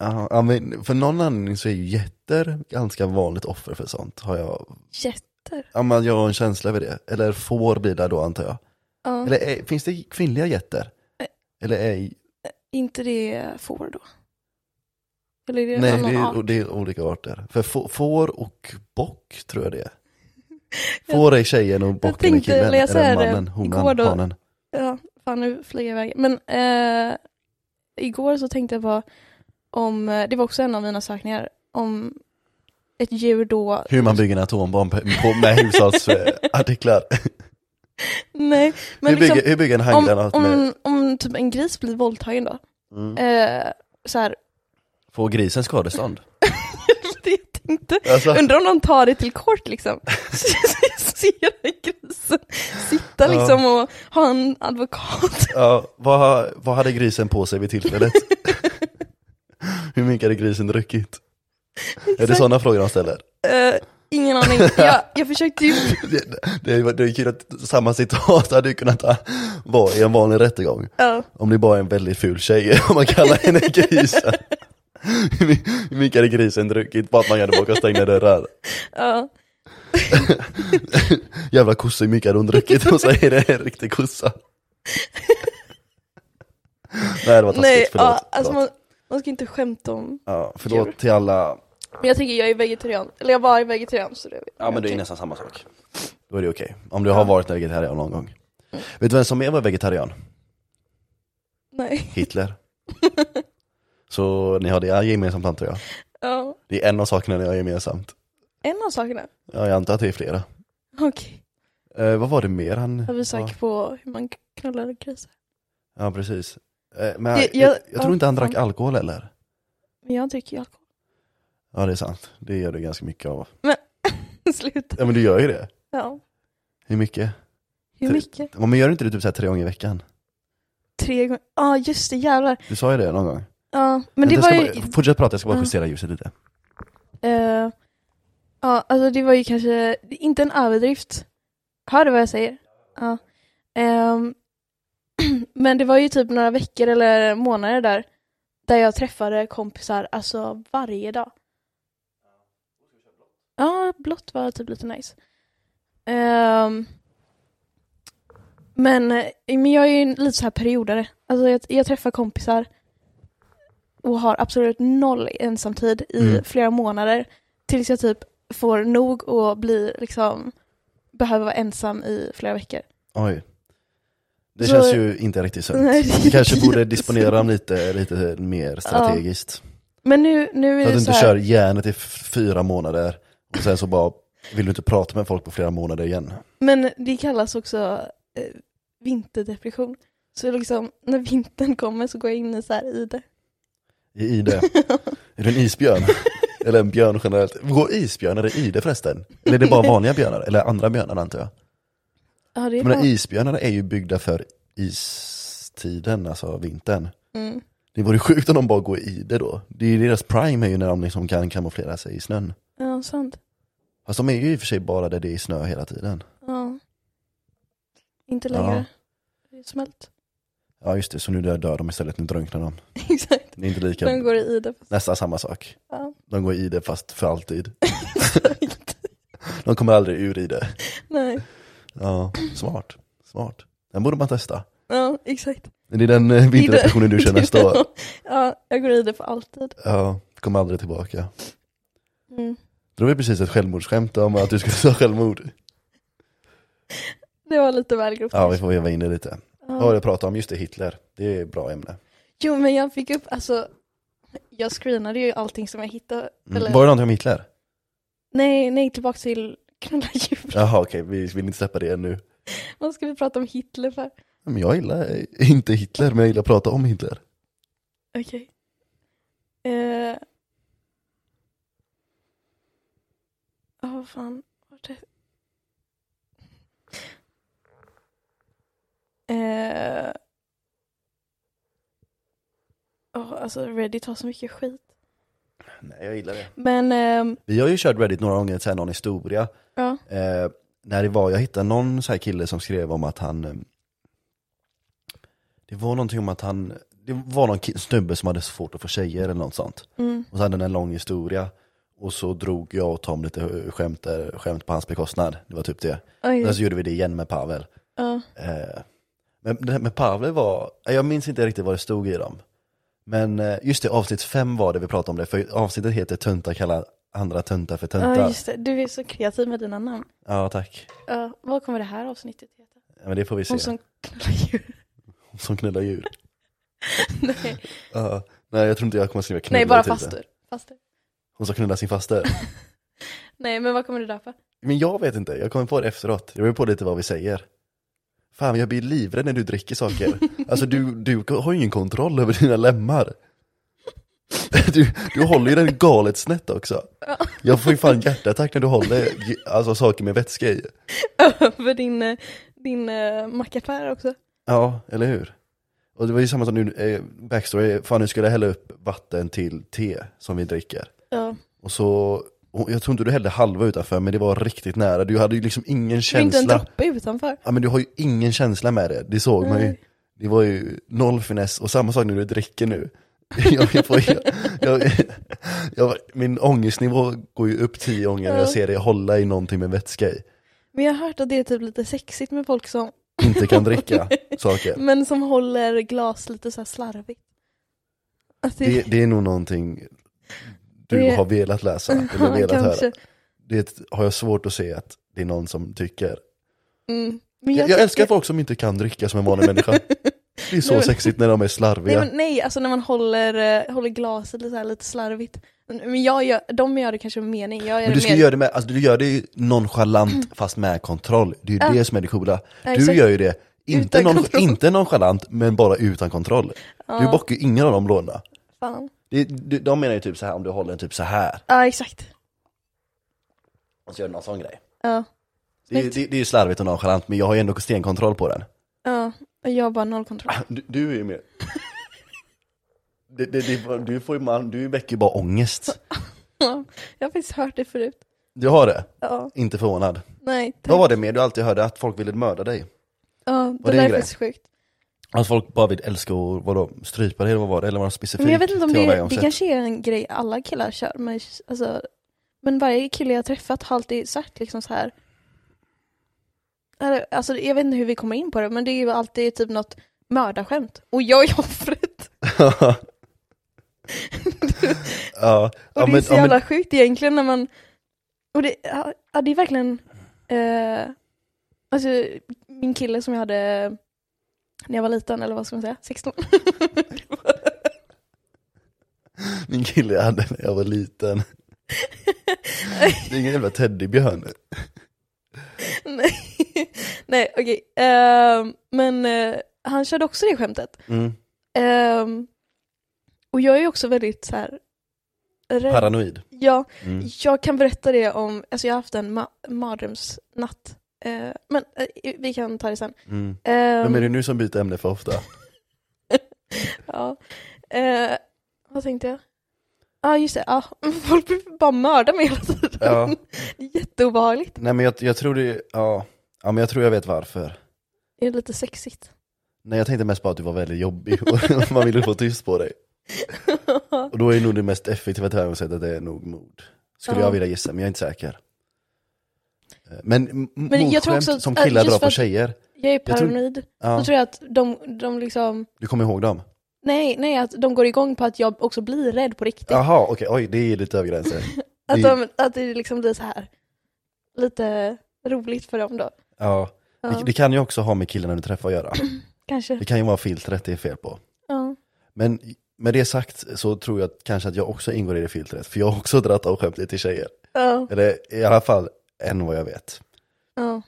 S1: Ja, ja, men för någon anledning så är ju getter ganska vanligt offer för sånt, har jag.
S2: jätter.
S1: Ja, men jag har en känsla över det. Eller får blir det då antar jag.
S2: Ja,
S1: Eller är, finns det kvinnliga getter?
S2: Nej.
S1: Eller ej?
S2: inte det får då? Eller är det en
S1: Nej, det
S2: annan
S1: är,
S2: art?
S1: det är olika arter. För få- får och bock tror jag det är. Får är tjejen och bock är
S2: tänkte
S1: killen.
S2: läsa
S1: Eller
S2: det
S1: mannen,
S2: igår
S1: honan,
S2: då.
S1: hanen.
S2: Ja, fan nu flyger jag iväg. Men eh, igår så tänkte jag på om, eh, det var också en av mina sökningar, om ett djur då...
S1: Hur man bygger en atombomb på, på- med hushållsartiklar.
S2: Nej, men
S1: hur, bygger,
S2: liksom
S1: hur bygger en
S2: om,
S1: handgranat med...
S2: om, om typ en gris blir våldtagen då,
S1: Mm.
S2: eh, så här,
S1: Får grisen skadestånd?
S2: det jag tänkte,
S1: Alltså,
S2: undrar om de tar det till kort liksom. Så jag Ser grisen sitta
S1: Ja.
S2: liksom och ha en advokat.
S1: ja, vad, vad hade grisen på sig vid tillfället? hur mycket hade grisen druckit? Är det
S2: Exakt.
S1: sådana frågor de ställer?
S2: Eh, ingen aning, jag, jag försökte ju
S1: Det, det, är- det är kul att samma citat hade ju kunnat ha- vara i en vanlig rättegång.
S2: ja.
S1: Om det bara är en väldigt ful tjej, om man kallar henne grisen. Hur my- Hur mycket hade grisen druckit? Bara att man hade bakom stängda dörrar.
S2: ja.
S1: Jävla kossa, hur mycket hade hon druckit? Hon säger det är en riktig kossa. Nej det var taskigt,
S2: Nej,
S1: förlåt.
S2: ja, alltså
S1: förlåt.
S2: man, man ska inte skämta om.
S1: Ja, förlåt till alla,
S2: Men jag tänker jag är vegetarian, eller jag var är vegetarian så det är
S1: ja men det är
S2: okej.
S1: nästan samma sak. Då är det okej, om du har varit en vegetarian någon gång. Vet du vem som är var vegetarian?
S2: Nej,
S1: Hitler. Så ni har det gemensamt antar jag.
S2: ja.
S1: Det är en av sakerna ni har gemensamt.
S2: En av sakerna.
S1: Ja, jag antar att det är flera.
S2: Okej,
S1: Eh, vad var det mer han...
S2: har vi
S1: var-
S2: sagt på hur man knullar grisar?
S1: Ja, precis. Eh, men
S2: Det-
S1: jag, jag,
S2: jag-
S1: tror
S2: ja,
S1: inte han drack
S2: fan.
S1: alkohol eller?
S2: Men jag dricker ju alkohol.
S1: Ja, det är sant. Det gör du ganska mycket av.
S2: Sluta.
S1: Ja, men du gör ju det.
S2: Ja.
S1: Hur mycket?
S2: Hur
S1: Tre-
S2: mycket?
S1: Ja, men gör du inte det typ så här tre gånger i veckan?
S2: Tre gånger? Ja, ah, just det, jävlar.
S1: Du sa ju det någon gång.
S2: Ja, men det
S1: jag
S2: var
S1: ska
S2: ju...
S1: bara, fortsätt prata, jag ska bara
S2: Ja.
S1: justera ljuset lite.
S2: eh, ja, alltså det var ju kanske det är inte en överdrift. Hör du vad jag säger? Ja. Ehm, men det var ju typ några veckor eller månader där, där jag träffade kompisar alltså varje dag. Ja, blått var typ lite nice. Ehm, men, eh, men jag är ju en- lite så här periodare. Alltså jag, jag träffar kompisar och har absolut noll ensamtid i
S1: Mm.
S2: flera månader tills jag typ får nog och blir liksom behöver vara ensam i flera veckor.
S1: Oj. Det
S2: Så-
S1: känns ju inte riktigt sunt.
S2: Nej, det är
S1: Du kanske borde
S2: jättesunt.
S1: disponera dem lite, lite mer strategiskt.
S2: Men nu, nu
S1: Så att
S2: är det
S1: du
S2: så
S1: inte
S2: här,
S1: kör järnet i f- fyra månader och sen så bara vill du inte prata med folk på flera månader igen.
S2: men det kallas också eh, vinterdepression. Så liksom, när vintern kommer så går jag in i, så här, i det.
S1: I ide. Är du en isbjörn? Eller en björn generellt? Går isbjörnar i ide förresten? Eller är det bara vanliga björnar? Eller andra björnar antar jag?
S2: Ja, det är
S1: Jag menar
S2: fan-
S1: isbjörnarna är ju byggda för istiden, alltså vintern.
S2: mm.
S1: Det vore sjukt om de bara går i det då. Det är ju deras prime är ju när de liksom kan kamouflera sig i snön.
S2: Ja, sant.
S1: Fast de är ju i och för sig bara där det är snö hela tiden.
S2: Ja. Inte
S1: Ja.
S2: längre. Det är smält.
S1: Ja just det, så nu dör dör de istället, nu drunknar de.
S2: Exakt.
S1: Det är inte lika,
S2: De går i det.
S1: nästan samma sak.
S2: Ja.
S1: De går i det fast för alltid.
S2: Exakt.
S1: De kommer aldrig ur i det.
S2: Nej.
S1: Ja, smart. Smart. Den borde man testa.
S2: Ja, exakt.
S1: Det är den eh, vinterdepressionen du kör nästa år.
S2: Ja, jag går i det för alltid.
S1: Ja, kommer aldrig tillbaka.
S2: Mm.
S1: Det var precis ett självmordsskämt om att du skulle ta självmord.
S2: Det var lite väl grovt.
S1: Ja, vi får veva in det lite.
S2: Ja.
S1: Vad har du pratat om? Just det, Hitler. Det är ett bra ämne.
S2: Jo, men jag fick upp, alltså, jag screenade ju allting som jag hittade.
S1: Mm.
S2: Eller,
S1: Var det någonting om Hitler?
S2: Nej, nej, tillbaka till knulla djur.
S1: Jaha, okej, vi vill inte släppa det ännu.
S2: Vad ska vi prata om Hitler för?
S1: Men jag gillar eh, inte Hitler, men jag gillar att prata om Hitler.
S2: Okej. Eh. Ja, vad fan. Vart är... Eh. alltså Reddit har så mycket skit.
S1: Nej, jag gillar det.
S2: Men, ehm,
S1: Vi har ju kört Reddit några gånger, så här, någon historia.
S2: ja.
S1: Eh, när det var, jag hittade någon så här kille som skrev om att han eh, Det var någonting om att han Det var någon ki- snubbe som hade svårt att få tjejer eller något sånt
S2: Mm.
S1: Och så hade den en lång historia Och så drog jag och Tom lite eh, skämt, där- skämt på hans bekostnad Det var typ det
S2: Oj,
S1: Sen så gjorde vi det igen med Pavel
S2: ja.
S1: eh, Men det här med Pavel var eh, Jag minns inte riktigt vad det stod i dem Men eh, just det, avsnitt fem var det vi pratade om det För avsnittet heter Töntar kallar andra töntar för töntar
S2: ja, just det. Du är så kreativ med dina namn.
S1: Ja, tack
S2: Ja, vad kommer det här avsnittet heta?
S1: Ja, Men det får vi se
S2: Hon som knullar djur.
S1: Som knullar djur.
S2: Nej.
S1: Ja. nej jag tror inte jag kommer skriva knulla
S2: Nej, bara
S1: i titeln.
S2: fastur. fastur.
S1: Hon ska knulla sin faster.
S2: Nej, men vad kommer du döpa?
S1: Men jag vet inte, jag kommer på det efteråt. Jag kommer på lite vad vi säger. Fan jag blir livrädd när du dricker saker. Alltså du, du har ju ingen kontroll över dina lemmar. Du, du håller ju den galet snett också.
S2: Ja.
S1: Jag får ju fan hjärtattack när du håller ju- alltså, saker med vätska i.
S2: Över din, eh, din uh, mackaffär också.
S1: Ja, eller hur? Och det var ju samma som nu, eh, backstory, fan nu skulle jag hälla upp vatten till te som vi dricker.
S2: Ja.
S1: Och så, och jag tror inte du hällde halva utanför men det var riktigt nära, du hade ju liksom ingen
S2: Det är inte en
S1: känsla.
S2: droppe utanför.
S1: Ja men du har ju ingen känsla med det, det såg man ju.
S2: Nej.
S1: Det var ju noll finess och samma sak när du dricker nu. Jag, jag får, jag, jag, jag, min ångestnivå går ju upp tio gånger när jag
S2: Ja.
S1: ser dig hålla i någonting med vätska i.
S2: Men jag har hört att det är typ lite sexigt med folk som,
S1: Inte kan dricka saker.
S2: men som håller glas lite så här slarvigt. Att det,
S1: Det, det är nog någonting du
S2: Det-
S1: har velat läsa, eller
S2: Ja,
S1: velat höra.
S2: kanske.
S1: Det har jag svårt att se att det är någon som tycker.
S2: Mm. Men
S1: Jag, jag älskar folk som inte kan dricka som en vanlig människa. Det är så
S2: Nej, men-
S1: sexigt när de är
S2: Nej,
S1: slarviga.
S2: men, nej, alltså när man håller, eh, håller glaset lite, så här, lite slarvigt. Men jag gör, de gör det kanske med mening. Jag gör
S1: men du
S2: det
S1: ska
S2: mer, Mm.
S1: ju göra det med, alltså du gör det ju nonchalant fast med kontroll. Det är ju
S2: Ja.
S1: det som är det coola.
S2: Ja,
S1: Du
S2: exakt.
S1: gör ju det, inte,
S2: Utan
S1: non,
S2: kontroll.
S1: inte nonchalant men bara utan kontroll. Du
S2: ja,
S1: bockar ju ingen av de lådorna.
S2: fan.
S1: Det- du- De menar ju typ så här om du håller den typ så här
S2: Ja, exakt.
S1: och så gör du någon sån grej.
S2: Ja,
S1: Det, är-
S2: Snyggt.
S1: det, det är ju slarvigt och nonchalant men jag har ju ändå stenkontroll på den.
S2: ja. Och Jag har bara noll kontroll.
S1: Du, du är ju mer... Det, det, det, du, får ju, man, du väcker ju bara ångest.
S2: jag har faktiskt hört det förut.
S1: Du har det,
S2: Ja,
S1: inte förvånad.
S2: nej.
S1: Vad
S2: tack.
S1: var det mer du alltid hörde? Att folk ville mörda dig?
S2: Ja,
S1: det
S2: det
S1: en
S2: där är
S1: grej?
S2: faktiskt sjukt.
S1: Att Alltså, folk bara vill älska och vadå, strypa dig eller vad var det? Eller var det specifikt
S2: Men jag vet inte om det, det
S1: tillvägagångssätt?
S2: kanske är en grej alla killar kör. Men, alltså, men varje kille jag träffat har alltid sagt liksom så här. Eller, Alltså, jag vet inte hur vi kommer in på det, men det är ju alltid typ något mördarskämt. Och jag är offret.
S1: ja, ja,
S2: Och det är
S1: men,
S2: så
S1: ja,
S2: jävla
S1: men,
S2: sjukt egentligen när man... Och det, ja, ja, det är verkligen... Eh, alltså, min kille som jag hade när jag var liten, eller vad ska man säga, 16.
S1: min kille jag hade när jag var liten. det är ingen jävla teddybjörn.
S2: Nej, Nej okej. Ehm, men eh, han körde också det skämtet.
S1: Mm,
S2: Ehm, och jag är ju också väldigt så här... rädd.
S1: paranoid.
S2: Ja,
S1: Mm.
S2: jag kan berätta det om... Alltså jag har haft en ma- mardrömsnatt. Eh, men eh, vi kan ta det sen.
S1: Mm.
S2: Ehm,
S1: Vem är det nu som byter ämne för ofta?
S2: Ja. Eh, vad tänkte jag? Ja ah, just det, ah, folk blir bara mörda mig hela tiden.
S1: Ja.
S2: Det är Jätteobehagligt.
S1: Nej men jag, jag tror det, ja. ja men jag tror jag vet varför.
S2: Det är lite sexigt.
S1: Nej jag tänkte mest på att du var väldigt jobbig och man ville få tyst på dig. Och då är nog det mest effektiva tillvägagångssättet det är nog mord. Skulle
S2: Ja.
S1: jag vilja gissa, men jag är inte säker. Eh, Men, m-
S2: jag tror
S1: mordskämt
S2: också att-
S1: som
S2: att
S1: killar
S2: just
S1: drar på
S2: för att-
S1: tjejer,
S2: jag är
S1: tror-
S2: paranoid.
S1: ja,
S2: Då tror jag att de, de liksom,
S1: du kommer ihåg dem?
S2: nej, nej, att de går igång på att jag också blir rädd på riktigt.
S1: Jaha, okej, oj det är lite över gränsen.
S2: att,
S1: det-
S2: de, att det liksom blir så här lite roligt för dem då.
S1: Ja.
S2: Ja,
S1: Det, det kan ju också ha med killarna du träffar att göra.
S2: kanske.
S1: Det kan ju vara filtret det är fel på.
S2: Ja.
S1: Men med det sagt så tror jag att, kanske att jag också ingår i det filtret, för jag har också dragit av skämt till tjejer.
S2: Ja,
S1: Eller i alla fall, än vad jag vet.
S2: ja.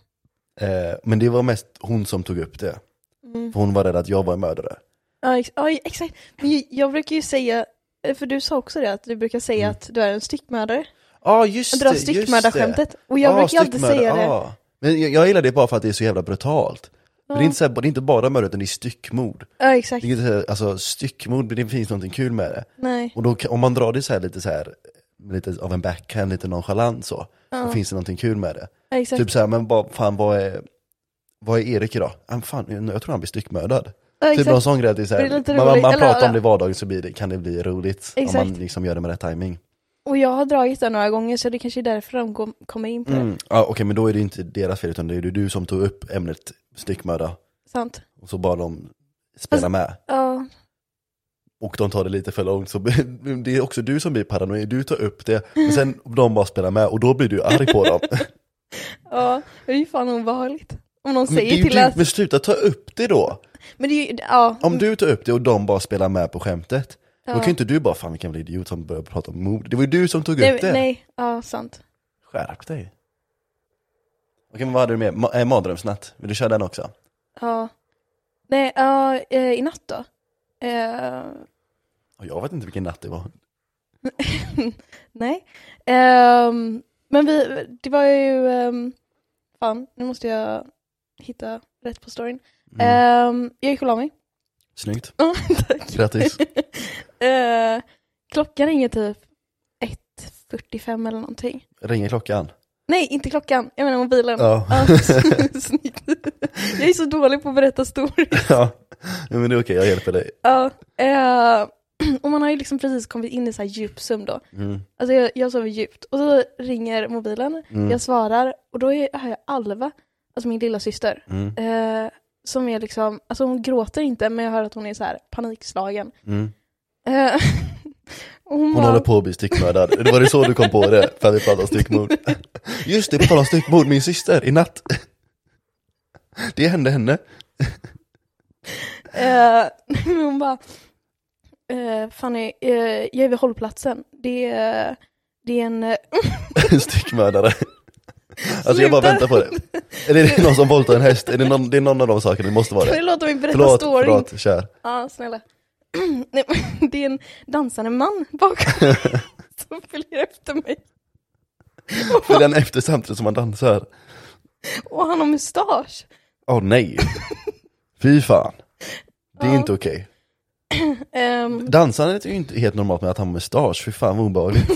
S1: Eh, men det var mest hon som tog upp det,
S2: Mm.
S1: för hon var rädd att jag var en mördare.
S2: Ja, ex- ja, exakt. Men ju- jag brukar ju säga, eh, för du sa också det, att du brukar säga att du är en styckmördare.
S1: Ja just
S2: Jag drar
S1: det, Mm. just det.
S2: styckmördarskämtet. Och jag
S1: Ah,
S2: brukar ju alltid
S1: styckmördare,
S2: säga det.
S1: ah. Men jag, jag gillar det bara för att det är så jävla brutalt. Men det är inte, så här, det är inte bara mördare utan det är styckmord.
S2: Ja,
S1: Det
S2: exakt.
S1: är inte så här, alltså styckmord, det finns någonting kul med det.
S2: Nej.
S1: Och då, kan- om man drar det så här lite så här, lite av en backhand, lite nonchalant så,
S2: Ja,
S1: då finns det någonting kul med det.
S2: ja, exakt.
S1: Typ så här, men vad fan vad är, vad är Erik idag? Ah, fan, jag tror han blir styckmördad.
S2: ja,
S1: Typ
S2: exakt.
S1: någon sån grej, att det är så
S2: Det är
S1: här,
S2: lite
S1: man, man
S2: roligt, eller-
S1: pratar om det i vardagen så blir det, kan det bli roligt.
S2: Exakt.
S1: Om man liksom gör det med rätt timing.
S2: Och jag har dragit det några gånger så det kanske är därför de kom- kommer in på det.
S1: Mm. Ja, Okej men då är det inte deras fel utan det är ju du som tog upp ämnet styckmörda
S2: Sant.
S1: och så bad de spela med.
S2: Ja,
S1: Och de tar det lite för långt så det är också du som blir paranoid, du tar upp det men sen de bara spelar med och då blir du arg på dem.
S2: ja. det är ju fan obehagligt. Om någon
S1: Men, det är
S2: säger
S1: ju
S2: till
S1: du,
S2: att...
S1: men sluta ta upp det då!
S2: Men det är ju, ja.
S1: Om du tar upp det och de bara spelar med på skämtet, då
S2: Mm.
S1: kan
S2: ja.
S1: ju inte du bara 'fan vilken jävla idiot som börjar prata om mord' Det var ju du som tog
S2: nej,
S1: upp det!
S2: nej, ja sant.
S1: Skärp dig! Okej men vad hade du mer? Ma- eh, mardrömsnatt, vill du köra den också?
S2: Ja. Nej, ja, eh, i natt då. Eh,
S1: Och Jag vet inte vilken natt det var.
S2: nej. Ehm, men vi, det var ju, ehm, fan, nu måste jag hitta rätt på storyn.
S1: Mm.
S2: Ehm, jag gick och la mig.
S1: Snyggt,
S2: Ja, tack.
S1: grattis!
S2: Eh, klockan ringer typ 1.45 eller någonting.
S1: Ringer klockan?
S2: Nej, inte klockan, jag menar mobilen.
S1: Ja.
S2: Ja, snyggt. Jag är så dålig på att berätta stories.
S1: ja. Men det är okej, jag hjälper dig.
S2: Ja, eh, och man har ju liksom precis kommit in i så här djup sömn då.
S1: Mm.
S2: Alltså jag, jag sover djupt. Och så ringer mobilen,
S1: Mm.
S2: jag svarar och då är, hör jag Alva, alltså min lilla syster.
S1: Mm.
S2: Eh, som är liksom, alltså hon gråter inte men jag hör att hon är så här panikslagen.
S1: Mm.
S2: Eh, och hon
S1: Hon
S2: bara-
S1: håller på att bli styckmördad, det var det så du kom på det? För att vi pratade om styckmord. Just det, på tal om styckmord, min syster i natt. Det hände henne.
S2: Eh, men hon bara, eh, Fanny, eh, jag är vid hållplatsen. Det är, det är en... eh,
S1: En styckmördare. Alltså jag bara
S2: Sluta.
S1: väntar på det. Är det någon som våldtar en häst? Är det, någon, det är någon av de sakerna, det måste vara
S2: Kan du
S1: det.
S2: låta mig berätta
S1: Förlåt,
S2: storyn?
S1: förlåt, kör.
S2: Ja, snälla. Nej, men det är en dansande man bakom som följer efter mig.
S1: För den efter samtidigt som man dansar.
S2: Och han har mustasch.
S1: Åh nej. Fy fan. Det är
S2: Ja.
S1: inte okej.
S2: Ehm,
S1: Dansandet är ju inte helt normalt med att han har mustasch, fy fan vad obehagligt.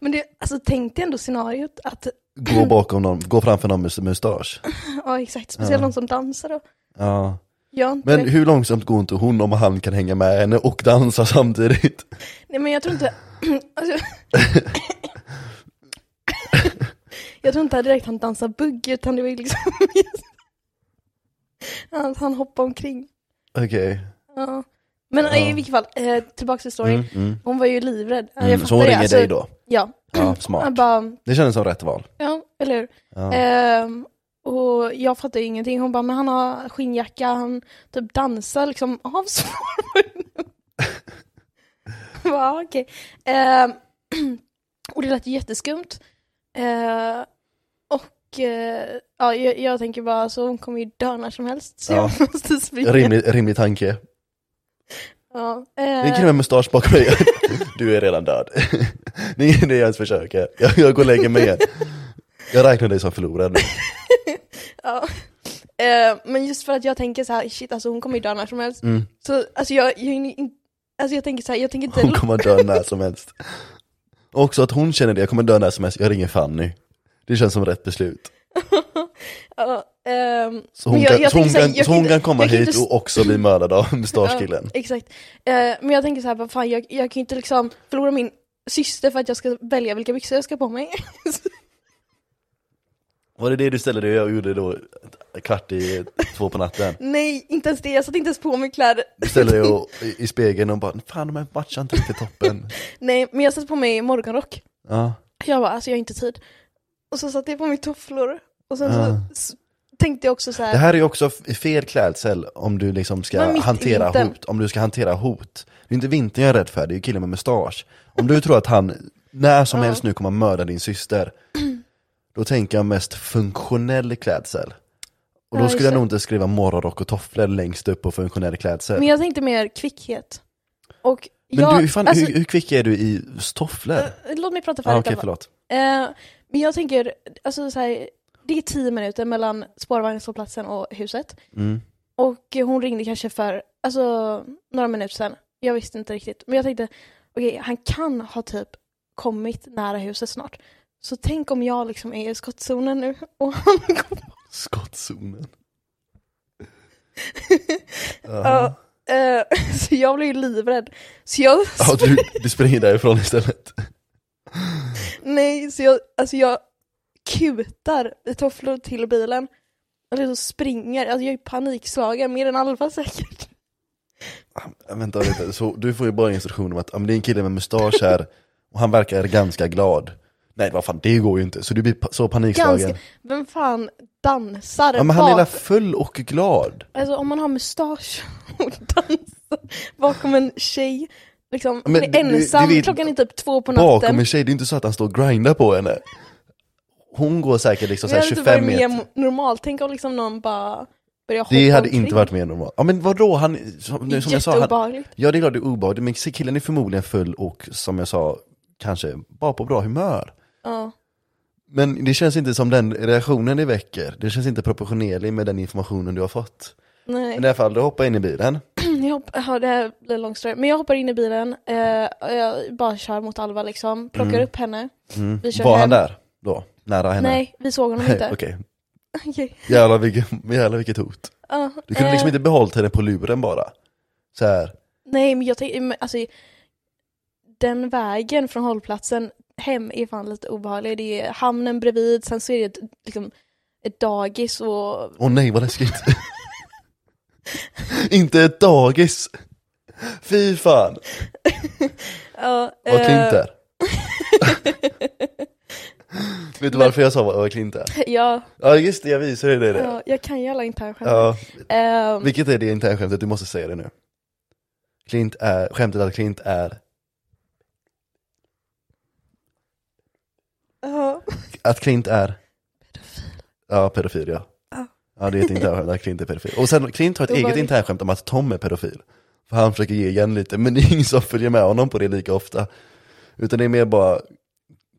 S2: men det, alltså tänk dig ändå scenariot att,
S1: Gå bakom någon, gå framför någon med mustasch.
S2: ja exakt, speciellt någon som dansar då.
S1: Ja.
S2: Jag inte
S1: Men
S2: det.
S1: hur långsamt går inte hon om han kan hänga med henne och dansa samtidigt?
S2: Nej men jag tror inte, alltså, jag tror inte direkt han dansar bugg utan det var ju liksom han, han hoppar omkring.
S1: Okej.
S2: Ja. Men i
S1: Ja.
S2: vilket fall, eh, tillbaka till storyn.
S1: Mm, mm,
S2: Hon var ju livrädd. Ja,
S1: mm.
S2: jag
S1: Så hon
S2: fattar det,
S1: ringer
S2: alltså,
S1: dig då?
S2: Ja,
S1: Ja,
S2: han
S1: smart.
S2: bara,
S1: Det kändes som rätt val.
S2: ja eller hur.
S1: Ja.
S2: Ehm, och jag fattar ju ingenting. Hon bara, men han har skinnjacka, han typ dansar liksom av svarvaren. Jag bara, "Ah, okej. Ehm, och det lät ju jätteskumt. Ehm, och eh, ja, jag, jag tänker bara, så hon kommer ju dö när som helst. Så
S1: Ja.
S2: jag måste springa.
S1: Rimlig, rimlig tanke.
S2: Ja,
S1: Det är en
S2: ehm,
S1: kille med mustasch bakom mig. Du är redan död. Det är ingen idé jag ens försöker. Jag, jag går och lägger mig igen. Jag räknar dig som förlorad nu.
S2: ja. Ehm, men just för att jag tänker så här, shit alltså hon kommer ju dö när som helst.
S1: Mm.
S2: Så alltså jag, jag, hinner in- alltså, jag tänker så här, jag tänker inte...
S1: Hon kommer att dö när som helst. Och också att hon känner det, jag kommer dö när som helst, jag ringer Fanny. Det känns som rätt beslut.
S2: Ja, ehm,
S1: Så hon,
S2: men jag-
S1: kan,
S2: jag
S1: så hon,
S2: tänker så här,
S1: kan,
S2: jag
S1: så hon
S2: inte-
S1: kan komma
S2: jag kan
S1: hit
S2: inte-
S1: och också bli mördad av mustaschkillen.
S2: Ja, exakt. Eh, men jag tänker så här, vad fan, jag, jag kan ju inte liksom förlora min syster för att jag ska välja vilka byxor jag ska ha på mig.
S1: Var det det du ställde dig och gjorde då kvart i två på natten?
S2: Nej, inte ens det. Jag satte inte ens på mig kläder.
S1: Du ställde dig och, i, i spegeln och bara, fan de här matchar inte riktigt toppen.
S2: Nej, men jag satte på mig morgonrock.
S1: Ja,
S2: Jag bara, alltså jag har inte tid. Och så satte jag på mig tofflor. Och sen
S1: Ah.
S2: så s- tänkte jag också så
S1: det
S2: här,
S1: här är ju också f- fel klädsel om du liksom
S2: Men
S1: ska
S2: mitt i
S1: hantera
S2: vintern.
S1: hot. Om du ska hantera hot. Det är inte vintern jag är rädd för, det är ju killen med mustasch. Om du tror att han när som
S2: Ja.
S1: helst nu kommer mörda din syster, då tänker jag mest funktionell klädsel. Och
S2: Ja,
S1: då
S2: just
S1: skulle jag
S2: det.
S1: nog inte skriva morgonrock och tofflor längst upp på funktionell klädsel.
S2: men
S1: Men,
S2: jag tänkte mer kvickhet. Och jag,
S1: du, fan,
S2: alltså,
S1: hur, hur kvick är du i tofflor?
S2: eh, låt mig prata
S1: Ah,
S2: färdigt
S1: Okej,
S2: i alla fall.
S1: förlåt.
S2: Eh, men jag tänker, alltså så här, det är tio minuter mellan spårvagnshållplatsen och huset.
S1: Mm.
S2: Och hon ringde kanske för alltså, några minuter sedan. Jag visste inte riktigt. Men jag tänkte, okej, han kan ha typ kommit nära huset snart. Så tänk om jag liksom är i skottzonen nu och han kommer.
S1: Skottzonen.
S2: Ja. Eh, så jag blev ju livrädd. Så jag,
S1: Ja, du, du springer därifrån istället.
S2: nej, så jag, alltså jag kutar i tofflor till bilen. Eller så springer, alltså jag är panikslagen, mer än Alva säkert.
S1: Ja, Eh, Vänta lite, så du får ju bara instruktioner om att ja, men det är en kille med mustasch här och han verkar ganska glad. Nej vad fan, det går ju inte. Så du blir pa- så panikslagen.
S2: Ganska, vem fan dansar
S1: Ja men han är
S2: bak-
S1: la full och glad.
S2: Alltså om man har mustasch och dansar bakom en tjej, liksom,
S1: Men
S2: är
S1: du- du
S2: ensam,
S1: vet-
S2: klockan är typ två på natten.
S1: Bakom en tjej, det är inte så att han står och grindar på henne. Hon går säkert liksom
S2: Det hade
S1: såhär
S2: inte
S1: 25
S2: varit
S1: meter.
S2: mer normalt, tänk om liksom någon bara börjar hoppa
S1: Det hade
S2: omkring.
S1: inte varit mer normalt. Ja men vadå, han, som, nu, som jag sa, han,
S2: Jätteobehagligt.
S1: ja det är klart det är obehagligt, men killen är förmodligen full och som jag sa, kanske bara på bra humör.
S2: Ja.
S1: Men det känns inte som den reaktionen det väcker, det känns inte proportionerlig med den informationen du har fått.
S2: Nej, Mm,
S1: Men i alla fall, du hoppar in i bilen.
S2: jag hopp- ja, det här blir en lång story. Men jag hoppar in i bilen, eh, och jag bara kör mot Alva liksom, plockar
S1: Mm.
S2: upp henne.
S1: Mm.
S2: Vi kör
S1: Var han
S2: hem.
S1: där då? Nära henne?
S2: Nej, vi såg honom inte.
S1: Okej,
S2: Okej.
S1: jävlar, vilket, jävlar vilket hot.
S2: Ja,
S1: Du kunde
S2: eh,
S1: liksom inte behållit henne på luren bara. Så här.
S2: Nej men jag tänker, men alltså den vägen från hållplatsen hem är fan lite obehaglig. Det är hamnen bredvid, sen så är det ett, liksom, ett dagis och
S1: åh nej vad läskigt. inte ett dagis. Fy fan,
S2: ja,
S1: vad
S2: eh,
S1: klint det är. Vet du varför jag sa vad vad klint det är?
S2: ja,
S1: Ja just det, jag visade dig det.
S2: ja, jag kan ju alla internskämt.
S1: Ja,
S2: Ehm,
S1: vilket är det internskämtet? Du måste säga det nu. Klint är, skämtet att klint är,
S2: ja.
S1: att klint är Ja, pedofil ja.
S2: Ja.
S1: Ja, det är ett internskämt att Klint är pedofil. Och sen Klint har ett
S2: Då var
S1: eget
S2: det-
S1: internskämt om att Tom är pedofil. För han försöker ge igen lite, men det är ingen som följer med honom på det lika ofta. Utan det är mer bara,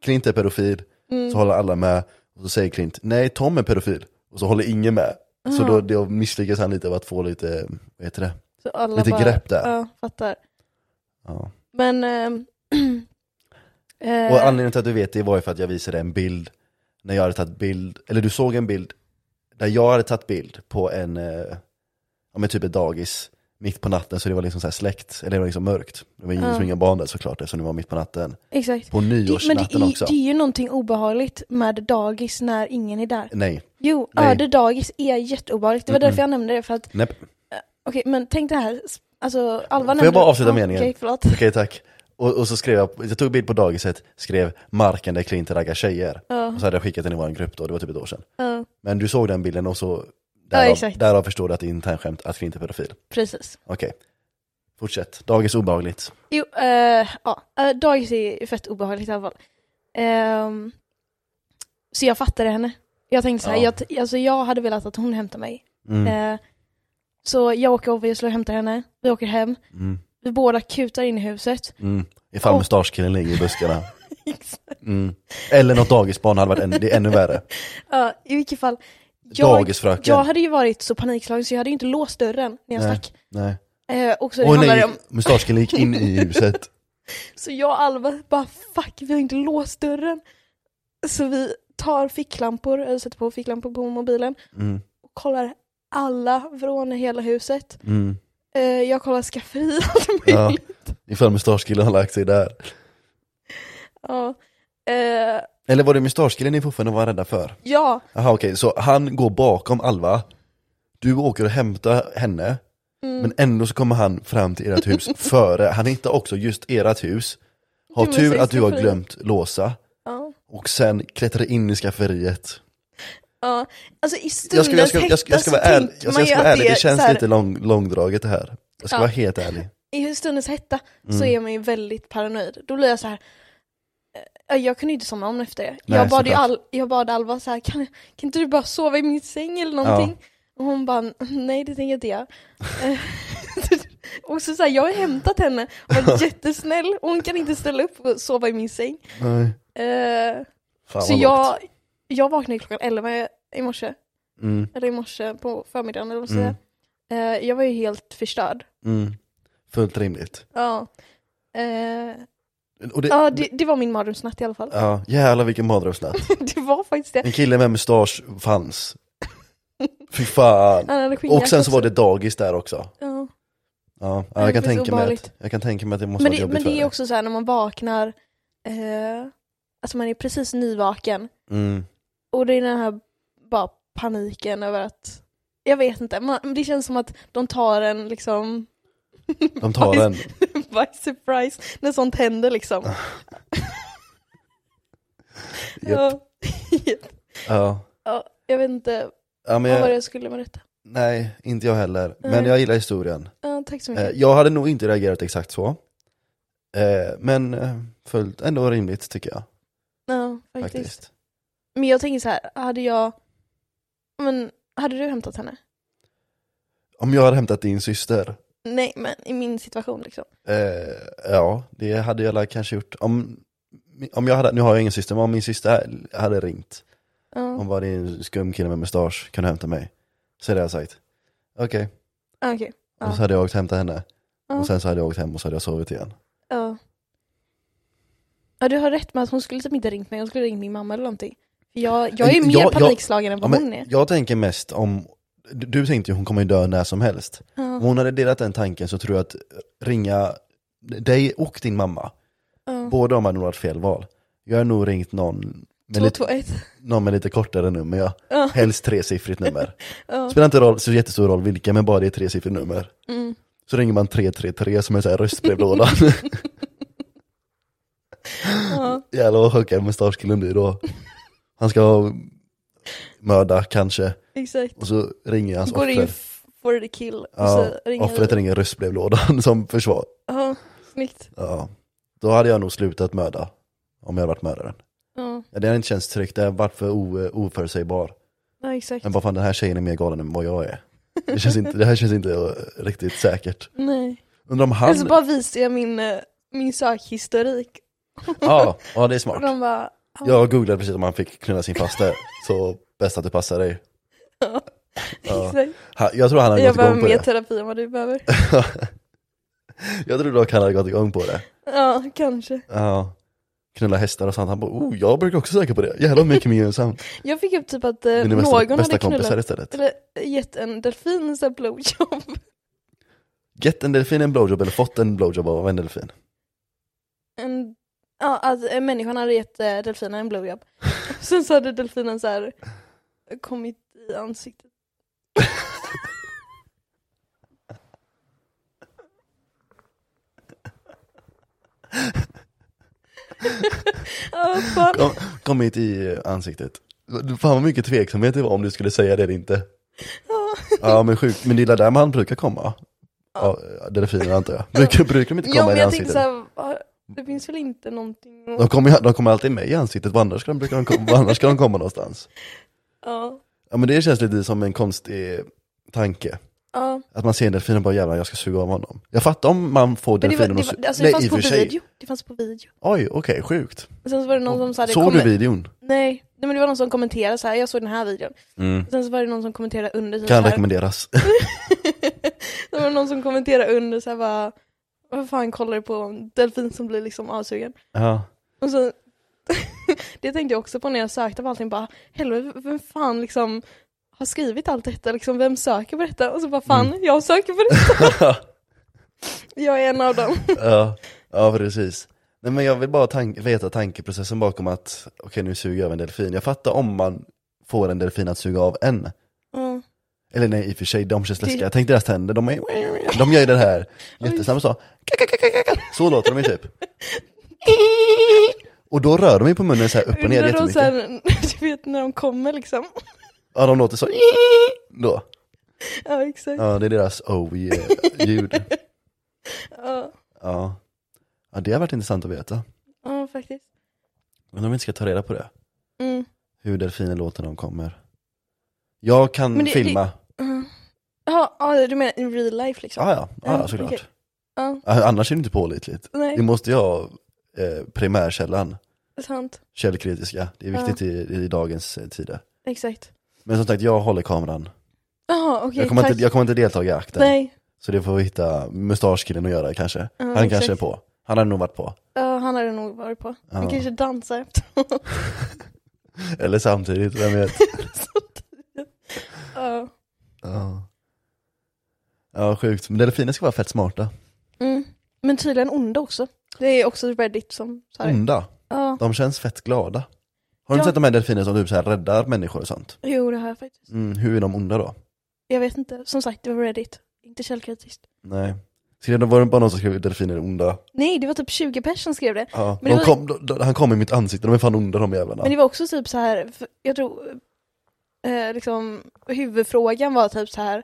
S1: Klint är pedofil,
S2: Mm.
S1: så håller alla med. Och så säger Klint, nej Tom är pedofil. Och så håller ingen med.
S2: Mm.
S1: Så då, då misslyckas han lite av att få lite, vad heter det?
S2: Så alla
S1: Lite
S2: bara,
S1: grepp där.
S2: Ja, fattar.
S1: Ja.
S2: Men... ehm, eh,
S1: Och anledningen till att du vet det var ju för att jag visade en bild, när jag hade tagit bild, eller du såg en bild, där jag hade tagit bild på en, eh, ja men typ ett dagis, mitt på natten, så det var liksom så här släckt, eller det var liksom mörkt. Det var
S2: Ja.
S1: liksom inga barn där såklart, eftersom det var mitt på natten.
S2: exakt.
S1: På
S2: Det, men det
S1: nyårsnatten
S2: är,
S1: också.
S2: det är ju någonting obehagligt med dagis när ingen är där.
S1: Nej,
S2: Jo,
S1: Nej.
S2: öde dagis är jätteobehagligt. Det var
S1: Mm-mm.
S2: därför jag nämnde det, för att Eh,
S1: näpp.
S2: Okej, men tänk det här. Alltså, Alva
S1: Får jag bara avsluta meningen?
S2: Okej, förlåt.
S1: Okej tack. Och, och så skrev jag, jag tog bild på dagiset, skrev marken där Klint raggar tjejer.
S2: Ja,
S1: Och så hade jag skickat den i vår grupp då, det var typ ett år sedan.
S2: ja,
S1: Men du såg den bilden och så, därav,
S2: exakt.
S1: därav förstår du att det är internskämt, att Klint är pedofil.
S2: precis.
S1: Okej. Fortsätt. Dagis obehagligt.
S2: Jo, eh, ja, eh, dagis är fett obehagligt i alla fall. Ehm, så jag fattade henne. Jag tänkte så här,
S1: Ja.
S2: jag, t- alltså, jag hade velat att hon hämtade mig.
S1: Mm.
S2: Eh, så jag åker över och hämtar henne. Vi åker hem.
S1: Mm.
S2: Vi båda kutar in i huset.
S1: Mm. Ifall
S2: Och-
S1: mustaschkillen ligger i buskarna. Mm. Eller något dagisbarn hade varit ännu, det är ännu värre.
S2: Ja, I vilket fall, jag,
S1: Dagisfröken.
S2: jag hade ju varit så panikslagen så jag hade ju inte låst dörren när jag
S1: Nej.
S2: stack.
S1: Nej.
S2: Eh, och så
S1: Åh
S2: handlade det
S1: nej,
S2: om
S1: mustaschkillen gick in i huset.
S2: Så jag och Alva bara fuck, vi har inte låst dörren. Så vi tar ficklampor, eller sätter på ficklampor på mobilen
S1: Mm.
S2: och kollar alla vrån i hela huset.
S1: Mm.
S2: Eh, jag kollar skafferi allt
S1: Ja.
S2: möjligt.
S1: Ifall mustaschkillen har lagt sig där.
S2: Ja. Eh,
S1: Eller var det mustaschkillen ni fortfarande var rädda för?
S2: ja.
S1: Jaha okej, så han går bakom Alva. Du åker och hämtar henne.
S2: Mm.
S1: Men ändå så kommer han fram till ert hus före. Han hittar också just ert hus. Har
S2: Du är
S1: tur
S2: så
S1: att du har
S2: skafferi.
S1: glömt låsa.
S2: ja.
S1: Och sen klättrar in i skafferiet.
S2: ja. Alltså i stundens
S1: Jag ska, jag ska, jag ska, jag ska vara
S2: hetta
S1: ärlig,
S2: så tänker
S1: jag ska,
S2: man
S1: jag
S2: ju
S1: ska vara
S2: att
S1: ärlig.
S2: är
S1: det känns
S2: så här,
S1: lite lång, långdraget det här. Jag ska
S2: Ja.
S1: vara helt ärlig.
S2: I stundens hetta så
S1: Mm.
S2: är man ju väldigt paranoid. Då blir jag så här. eh, Jag kunde ju inte somna om efter det.
S1: Nej,
S2: jag, bad ju
S1: såklart.
S2: all, jag bad Alva så här, kan, kan inte du bara sova i min säng eller någonting? Och hon bara, nej det tänker inte jag. Eh, och så, så här, jag har hämtat henne och varit jättesnäll och hon kan inte ställa upp och sova i min säng.
S1: Nej.
S2: Eh,
S1: Fan,
S2: så
S1: vad lågt.
S2: jag, jag vaknade klockan 11, i morse,
S1: Mm,
S2: eller i morse på förmiddagen eller vad
S1: Mm.
S2: mm. eh, Jag var ju helt förstörd.
S1: mm. Fullt rimligt.
S2: Ja. Eh,
S1: Och det,
S2: ja, det, det var min mardrömsnatt i alla fall.
S1: ja, Mm. jävlar vilken mardrömsnatt.
S2: det var faktiskt det.
S1: En kille med mustasch fanns. Fy fan.
S2: Han hade skinnjacka
S1: Och sen så
S2: också.
S1: var det dagis där också.
S2: Ja.
S1: Ja,
S2: det
S1: ja jag, kan
S2: känns
S1: tänka mig att,
S2: obehagligt.
S1: jag kan tänka mig att det måste
S2: Men,
S1: vara
S2: det,
S1: jobbigt
S2: men
S1: för
S2: det
S1: dig.
S2: är också så här när man vaknar, eh, alltså man är precis nyvaken
S1: Mm.
S2: och det är den här bara paniken över att, jag vet inte, man, det känns som att de tar en liksom
S1: De tar den.
S2: by surprise när sånt händer liksom.
S1: Japp.
S2: Ja, Japp.
S1: Ja.
S2: ja, jag vet inte
S1: Ja, men
S2: vad var det
S1: jag,
S2: jag skulle med detta.
S1: nej, inte jag heller. Men
S2: Nej.
S1: jag gillar historien.
S2: Ja, tack så
S1: Eh,
S2: mycket.
S1: Jag hade nog inte reagerat exakt så. Eh, Men eh, fullt ändå rimligt tycker jag.
S2: Ja, faktiskt.
S1: Faktiskt.
S2: Men jag tänker så här, hade jag, men hade du hämtat henne?
S1: Om jag hade hämtat din syster,
S2: Nej, men i min situation liksom.
S1: eh, ja det hade jag väl kanske gjort. Om, om jag hade, nu har jag ingen syster, men om min syster hade ringt
S2: Ja.
S1: Hon bara, det är en skum kille med mustasch, kan du hämta mig? Så hade jag sagt, okej.
S2: Ah, Okej.
S1: Och
S2: Ja.
S1: så hade jag åkt och hämtat henne.
S2: Ja.
S1: Och sen så hade jag åkt hem och så hade jag sovit igen.
S2: Ja. ja, du har rätt med att hon skulle typ inte ringt mig, hon skulle ringt min mamma eller någonting. För Jag, jag är
S1: Jag-
S2: mer
S1: jag-
S2: panikslagen än
S1: Ja,
S2: vad hon
S1: men
S2: är.
S1: jag tänker mest om, du, du tänkte ju hon kommer ju dö när som helst. Om
S2: Ja,
S1: hon hade delat den tanken så tror jag att ringa dig och din mamma,
S2: ja.
S1: båda de hade nog varit fel val. Jag har nog ringt någon med, lite,
S2: 221.
S1: någon med lite kortare nummer, ja.
S2: Ja,
S1: helst tresiffrigt nummer.
S2: ja.
S1: Spelar inte roll, så jättestor roll vilka, men bara det är tresiffrigt nummer.
S2: Mm.
S1: Så ringer man 333 som är så här röstbrevlådan.
S2: ja.
S1: Jävlar vad chockad mustaschkillen blir då. Han ska mörda kanske,
S2: Exakt.
S1: och så ringer hans
S2: Går det ju
S1: Alltså, offer.
S2: f- for the kill. Och
S1: Ja,
S2: så ringer
S1: offret
S2: vi.
S1: ringer röstbrevlådan som försvar.
S2: Ja, snyggt.
S1: Ja. Då hade jag nog slutat mörda, om jag hade varit mördaren.
S2: Ja,
S1: Ja, det hade inte känts tryggt, det hade varit för o- eh, oförutsägbar.
S2: ja exakt.
S1: Men vad fan, den här tjejen är mer galen än vad jag är. Det, känns inte, det här känns inte eh, riktigt säkert.
S2: Nej.
S1: Undrar om han...
S2: Eller så Alltså, bara visar jag min, eh, min sökhistorik.
S1: ja, ja, det är
S2: Och
S1: smart.
S2: de bara,
S1: Jag googlade precis om han fick knulla sin faster, så bäst att det passar dig.
S2: ja.
S1: Ja.
S2: Exakt.
S1: Han- Jag tror han hade
S2: Jag
S1: gått igång
S2: behöver
S1: på
S2: mer
S1: det.
S2: terapi än vad du behöver.
S1: jag tror dock han hade gått igång på det.
S2: Ja, kanske.
S1: Ja. Knulla hästar och sånt, han bara oh, jag brukar också söka på det. Jävlar vad mycket gemensamt.
S2: Jag fick upp typ att eh,
S1: Mina
S2: någon
S1: bästa, bästa
S2: hade knullat
S1: kompisar istället.
S2: Eller eh, gett en delfin en sån här blowjob.
S1: Gett en delfin en blowjob eller fått en blowjob av en delfin.
S2: En, ja, alltså, eh, människan hade gett eh, delfinen en blowjob. Sen så hade delfinen så här eh, kommit i ansiktet. Ja, fan.
S1: Kom, kom hit i ansiktet. Fan vad mycket tveksamhet det var om du skulle säga det eller inte.
S2: Ja.
S1: Ja men sjukt, men det är där man brukar komma. Ja, delfiner antar jag. Brukar, brukar de inte
S2: Jo
S1: komma
S2: men
S1: i
S2: jag tänkte
S1: ansiktet?
S2: såhär, va- det finns väl inte någonting
S1: De
S2: att...
S1: kommer, ju- de kommer alltid med i ansiktet, var annars ska de, brukar de, komma, var annars ska de komma någonstans?
S2: Ja,
S1: Ja men det känns lite som en konstig tanke.
S2: ja.
S1: Att man ser en delfin och bara jävlar jag ska suga av honom. Jag fattar om man får
S2: Men det, var, det,
S1: delfinen att
S2: var,
S1: suga.
S2: alltså, det fanns
S1: i och
S2: på
S1: för sig.
S2: video. Det fanns på video.
S1: Oj, okej, sjukt.
S2: Och sen så var det någon som så hade
S1: Såg
S2: kommen-
S1: du videon?
S2: Nej, nej, men det var någon som kommenterade så här. jag såg den här videon. Sen så var det någon som kommenterade under typ
S1: Kan
S2: så här.
S1: rekommenderas.
S2: det var någon som kommenterade under så här bara, vad fan kollar du på en delfin som blir liksom avsugen?
S1: ja.
S2: Och så, det tänkte jag också på när jag sökte på allting, bara helvete vem fan liksom har skrivit allt detta, liksom vem söker på detta? Och så bara fan,
S1: Mm.
S2: jag söker på det. Jag är en av dem.
S1: ja. ja, precis. Nej men jag vill bara tan- veta tankeprocessen bakom att, okej nu suger jag av en delfin. Jag fattar om man får en delfin att suga av en.
S2: Mm.
S1: Eller nej i och för sig, de känns
S2: Det-
S1: läskiga. Tänk deras tänder, de, är, de gör ju den här jättesnabba så. Så låter de ju typ. Och då rör de ju på munnen så här upp och ner
S2: Undrar då
S1: jättemycket.
S2: sen, du vet när de kommer liksom.
S1: Ja, de låter så. Då.
S2: Ja exakt.
S1: Ja, det är deras oh oh-ljud.
S2: Ja,
S1: Ja. ja, det har varit intressant att veta.
S2: ja faktiskt.
S1: Men om vi inte ska ta reda på det.
S2: Mm.
S1: Hur delfiner låter när de kommer. Jag kan
S2: Men det-
S1: filma.
S2: Ja, ja du menar in real life liksom?
S1: Ah, ja, ah, ja,
S2: Ja,
S1: såklart.
S2: okej. Ja,
S1: Ah, Annars är det inte pålitligt. Det
S2: nej,
S1: måste ju ha eh, primärkällan,
S2: sant.
S1: källkritiska. Det är viktigt i, i dagens eh, tider.
S2: Exakt.
S1: Men som sagt, jag håller kameran.
S2: Jaha, okej.
S1: jag, kommer
S2: tack.
S1: inte, jag kommer inte delta i akten.
S2: Nej,
S1: Så det får vi hitta mustaschkillen att göra kanske.
S2: Ja,
S1: han
S2: exakt.
S1: kanske är på. Han hade nog varit på.
S2: ja, han hade nog varit på. Han
S1: Ja.
S2: kanske dansar efteråt.
S1: Eller samtidigt, vem vet.
S2: Ja.
S1: ja. ja, sjukt. Men delfiner ska vara fett smarta.
S2: Mm. Men tydligen onda också. Det är också Reddit som sa det.
S1: Onda.
S2: Ja,
S1: De känns fett glada. Har du inte
S2: Ja.
S1: sett de här delfinerna som typ så här räddar människor och sånt?
S2: jo det har jag faktiskt.
S1: Mm, hur är de onda då?
S2: Jag vet inte, som sagt det var Reddit. Inte källkritiskt.
S1: Nej. Ska det vara bara någon som skrev delfiner är onda?
S2: Nej, det var typ 20 personer som skrev det.
S1: Ja.
S2: Men
S1: de
S2: det
S1: kom, de, de, han kom i mitt ansikte, de är fan onda de jävlarna.
S2: Men det var också typ så här, för jag tror, eh, liksom huvudfrågan var typ så här,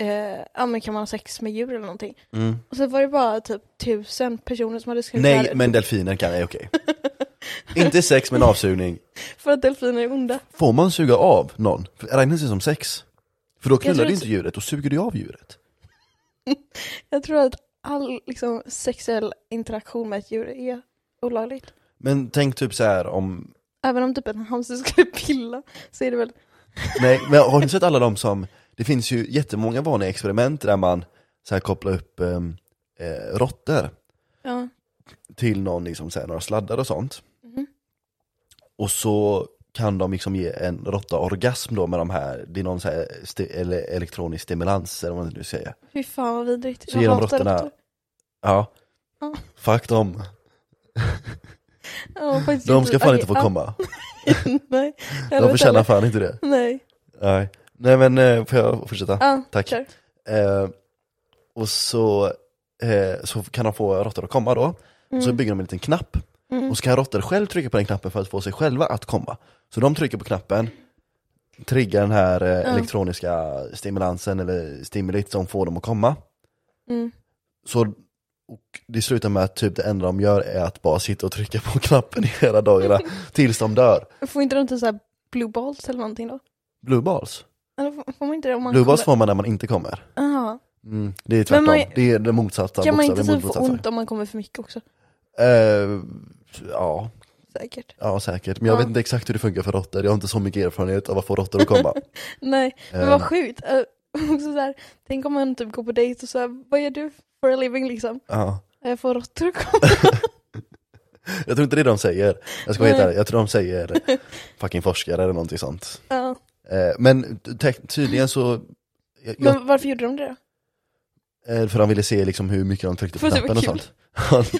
S2: eh, ja men kan man ha sex med djur eller någonting?
S1: Mm.
S2: Och så var det bara typ tusen personer som hade skrivit
S1: Nej,
S2: så här,
S1: men delfiner kan, är okej. inte sex men avsugning.
S2: för att delfiner är onda.
S1: Får man suga av någon? För Räknas det som sex? För då knullar
S2: tror
S1: du
S2: inte-
S1: inte djuret, då suger du av djuret.
S2: Jag tror att all liksom, sexuell interaktion med ett djur är olagligt.
S1: Men tänk typ så här om,
S2: Även om typ en hamster skulle pilla så är det väl,
S1: nej men har ni sett alla de som, det finns ju jättemånga vanliga experiment där man så här kopplar upp um, eh, råttor
S2: ja.
S1: till någon, liksom, så här, några sladdar och sånt.
S2: Mhm.
S1: Och så kan de liksom ge en råtta orgasm då med de här, det är någon så här sti- eller elektronisk stimulans eller vad man nu säger.
S2: Fy fan vad vidrigt.
S1: Så ger de
S2: hatar
S1: råttorna,
S2: råttor.
S1: ja,
S2: Ja.
S1: fuck dem.
S2: Ja, faktiskt
S1: De ska fan inte få
S2: Okej,
S1: komma.
S2: ja, Nej,
S1: De förtjänar fan inte det.
S2: Nej.
S1: Nej, Nej men eh, får jag fortsätta?
S2: Ja,
S1: Tack.
S2: kör.
S1: Eh, och så, eh, så kan de få råttor att komma då. Och så
S2: Mm.
S1: bygger de en liten knapp.
S2: Mm.
S1: Och så kan råttor själv trycka på den knappen för att få sig själva att komma. Så de trycker på knappen, triggar den här eh, elektroniska stimulansen eller stimulit som får dem att komma.
S2: Mm.
S1: Så och det slutar med att typ det enda de gör är att bara sitta och trycka på knappen i hela dagarna tills de dör.
S2: Får inte de inte så här blue balls eller någonting då?
S1: Blue balls.
S2: Eller får- får man inte det om man
S1: Blue balls får man när man inte kommer.
S2: kommer... Aha.
S1: Mm, det är tvärtom,
S2: man-
S1: det är det motsatta.
S2: Kan man inte
S1: bokstavligen
S2: typ få
S1: motsatsen.
S2: ont om man kommer för mycket också?
S1: Eh, ja,
S2: Säkert.
S1: ja, säkert. Men jag
S2: Ja.
S1: vet inte exakt hur det funkar för råttor, jag har inte så mycket erfarenhet av att få råttor att komma.
S2: Nej, men
S1: Eh,
S2: vad sjukt. Eh, Också så här, tänk om man typ går på dejt och så här, vad gör du for a living liksom?
S1: ja.
S2: Jag får råttor och komma.
S1: Jag tror inte det är de säger, jag ska vara helt
S2: Nej.
S1: ärlig, jag tror de säger fucking forskare eller någonting sånt.
S2: Ja.
S1: Eh, men te- tydligen så, jag, jag,
S2: Men varför gjorde de det då?
S1: eh, för de ville se liksom hur mycket de tryckte på
S2: För att det var
S1: knappen och
S2: kul.
S1: sånt. Ja,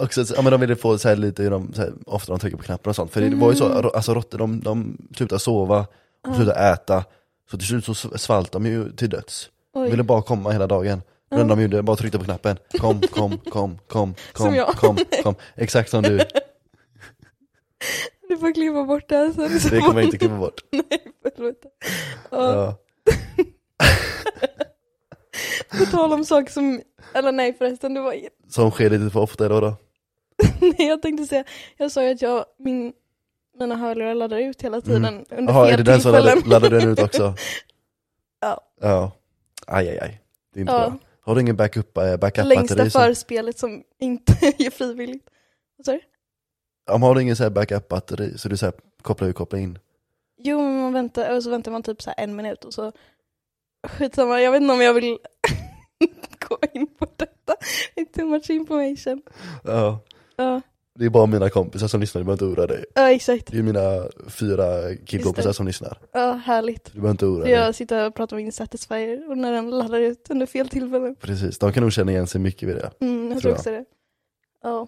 S1: det- också, så- ja, men de ville få så här lite hur de, så här, ofta de trycker på knappen och sånt. För det var ju så,
S2: Mm.
S1: alltså råttor de, de slutar sova, de
S2: Ja.
S1: slutar äta, så till slut så svalt de ju till döds.
S2: Oj.
S1: ville bara komma hela dagen. Det enda de gjorde bara tryckte på knappen. Kom, kom, kom, kom,
S2: Som
S1: kom,
S2: jag.
S1: kom, kom. Exakt som du.
S2: Du får klippa bort det här sen.
S1: Det kommer jag inte klippa bort.
S2: Nej, förlåt. Ja,
S1: Ja.
S2: på tal om saker som, eller nej förresten, det var
S1: Som sker lite för ofta idag då.
S2: Nej, jag tänkte säga, jag sa ju att jag, min, mina hörlurar laddar ut hela tiden under
S1: Mm. Jaha, är
S2: fel
S1: det den som
S2: tillfällen.
S1: laddar, laddar den ut också?
S2: Ja.
S1: Ja. Aj, aj, aj. Det är inte
S2: Ja.
S1: bra. Har du ingen backup, eh,
S2: Längsta
S1: backup-batteri? Som,
S2: förspelet som inte är frivilligt. Vad sa du?
S1: om har du ingen så här backup-batteri så du så här kopplar ur, kopplar in?
S2: Jo, men man väntar, och så väntar man typ så här en minut och så, skitsamma, jag vet inte om jag vill gå in på detta. It's too much information.
S1: Ja.
S2: Ja,
S1: Det är bara mina kompisar som lyssnar, du behöver inte oroa dig.
S2: ja exakt.
S1: Det är mina fyra killkompisar som lyssnar.
S2: Ja, härligt.
S1: Du behöver inte oroa
S2: Så
S1: dig.
S2: jag sitter och pratar med min Satisfyer och när den laddar ut under fel tillfällen.
S1: Precis, de kan nog känna igen sig mycket vid det.
S2: Mm,
S1: Tror
S2: jag tror
S1: jag.
S2: också det. Ja.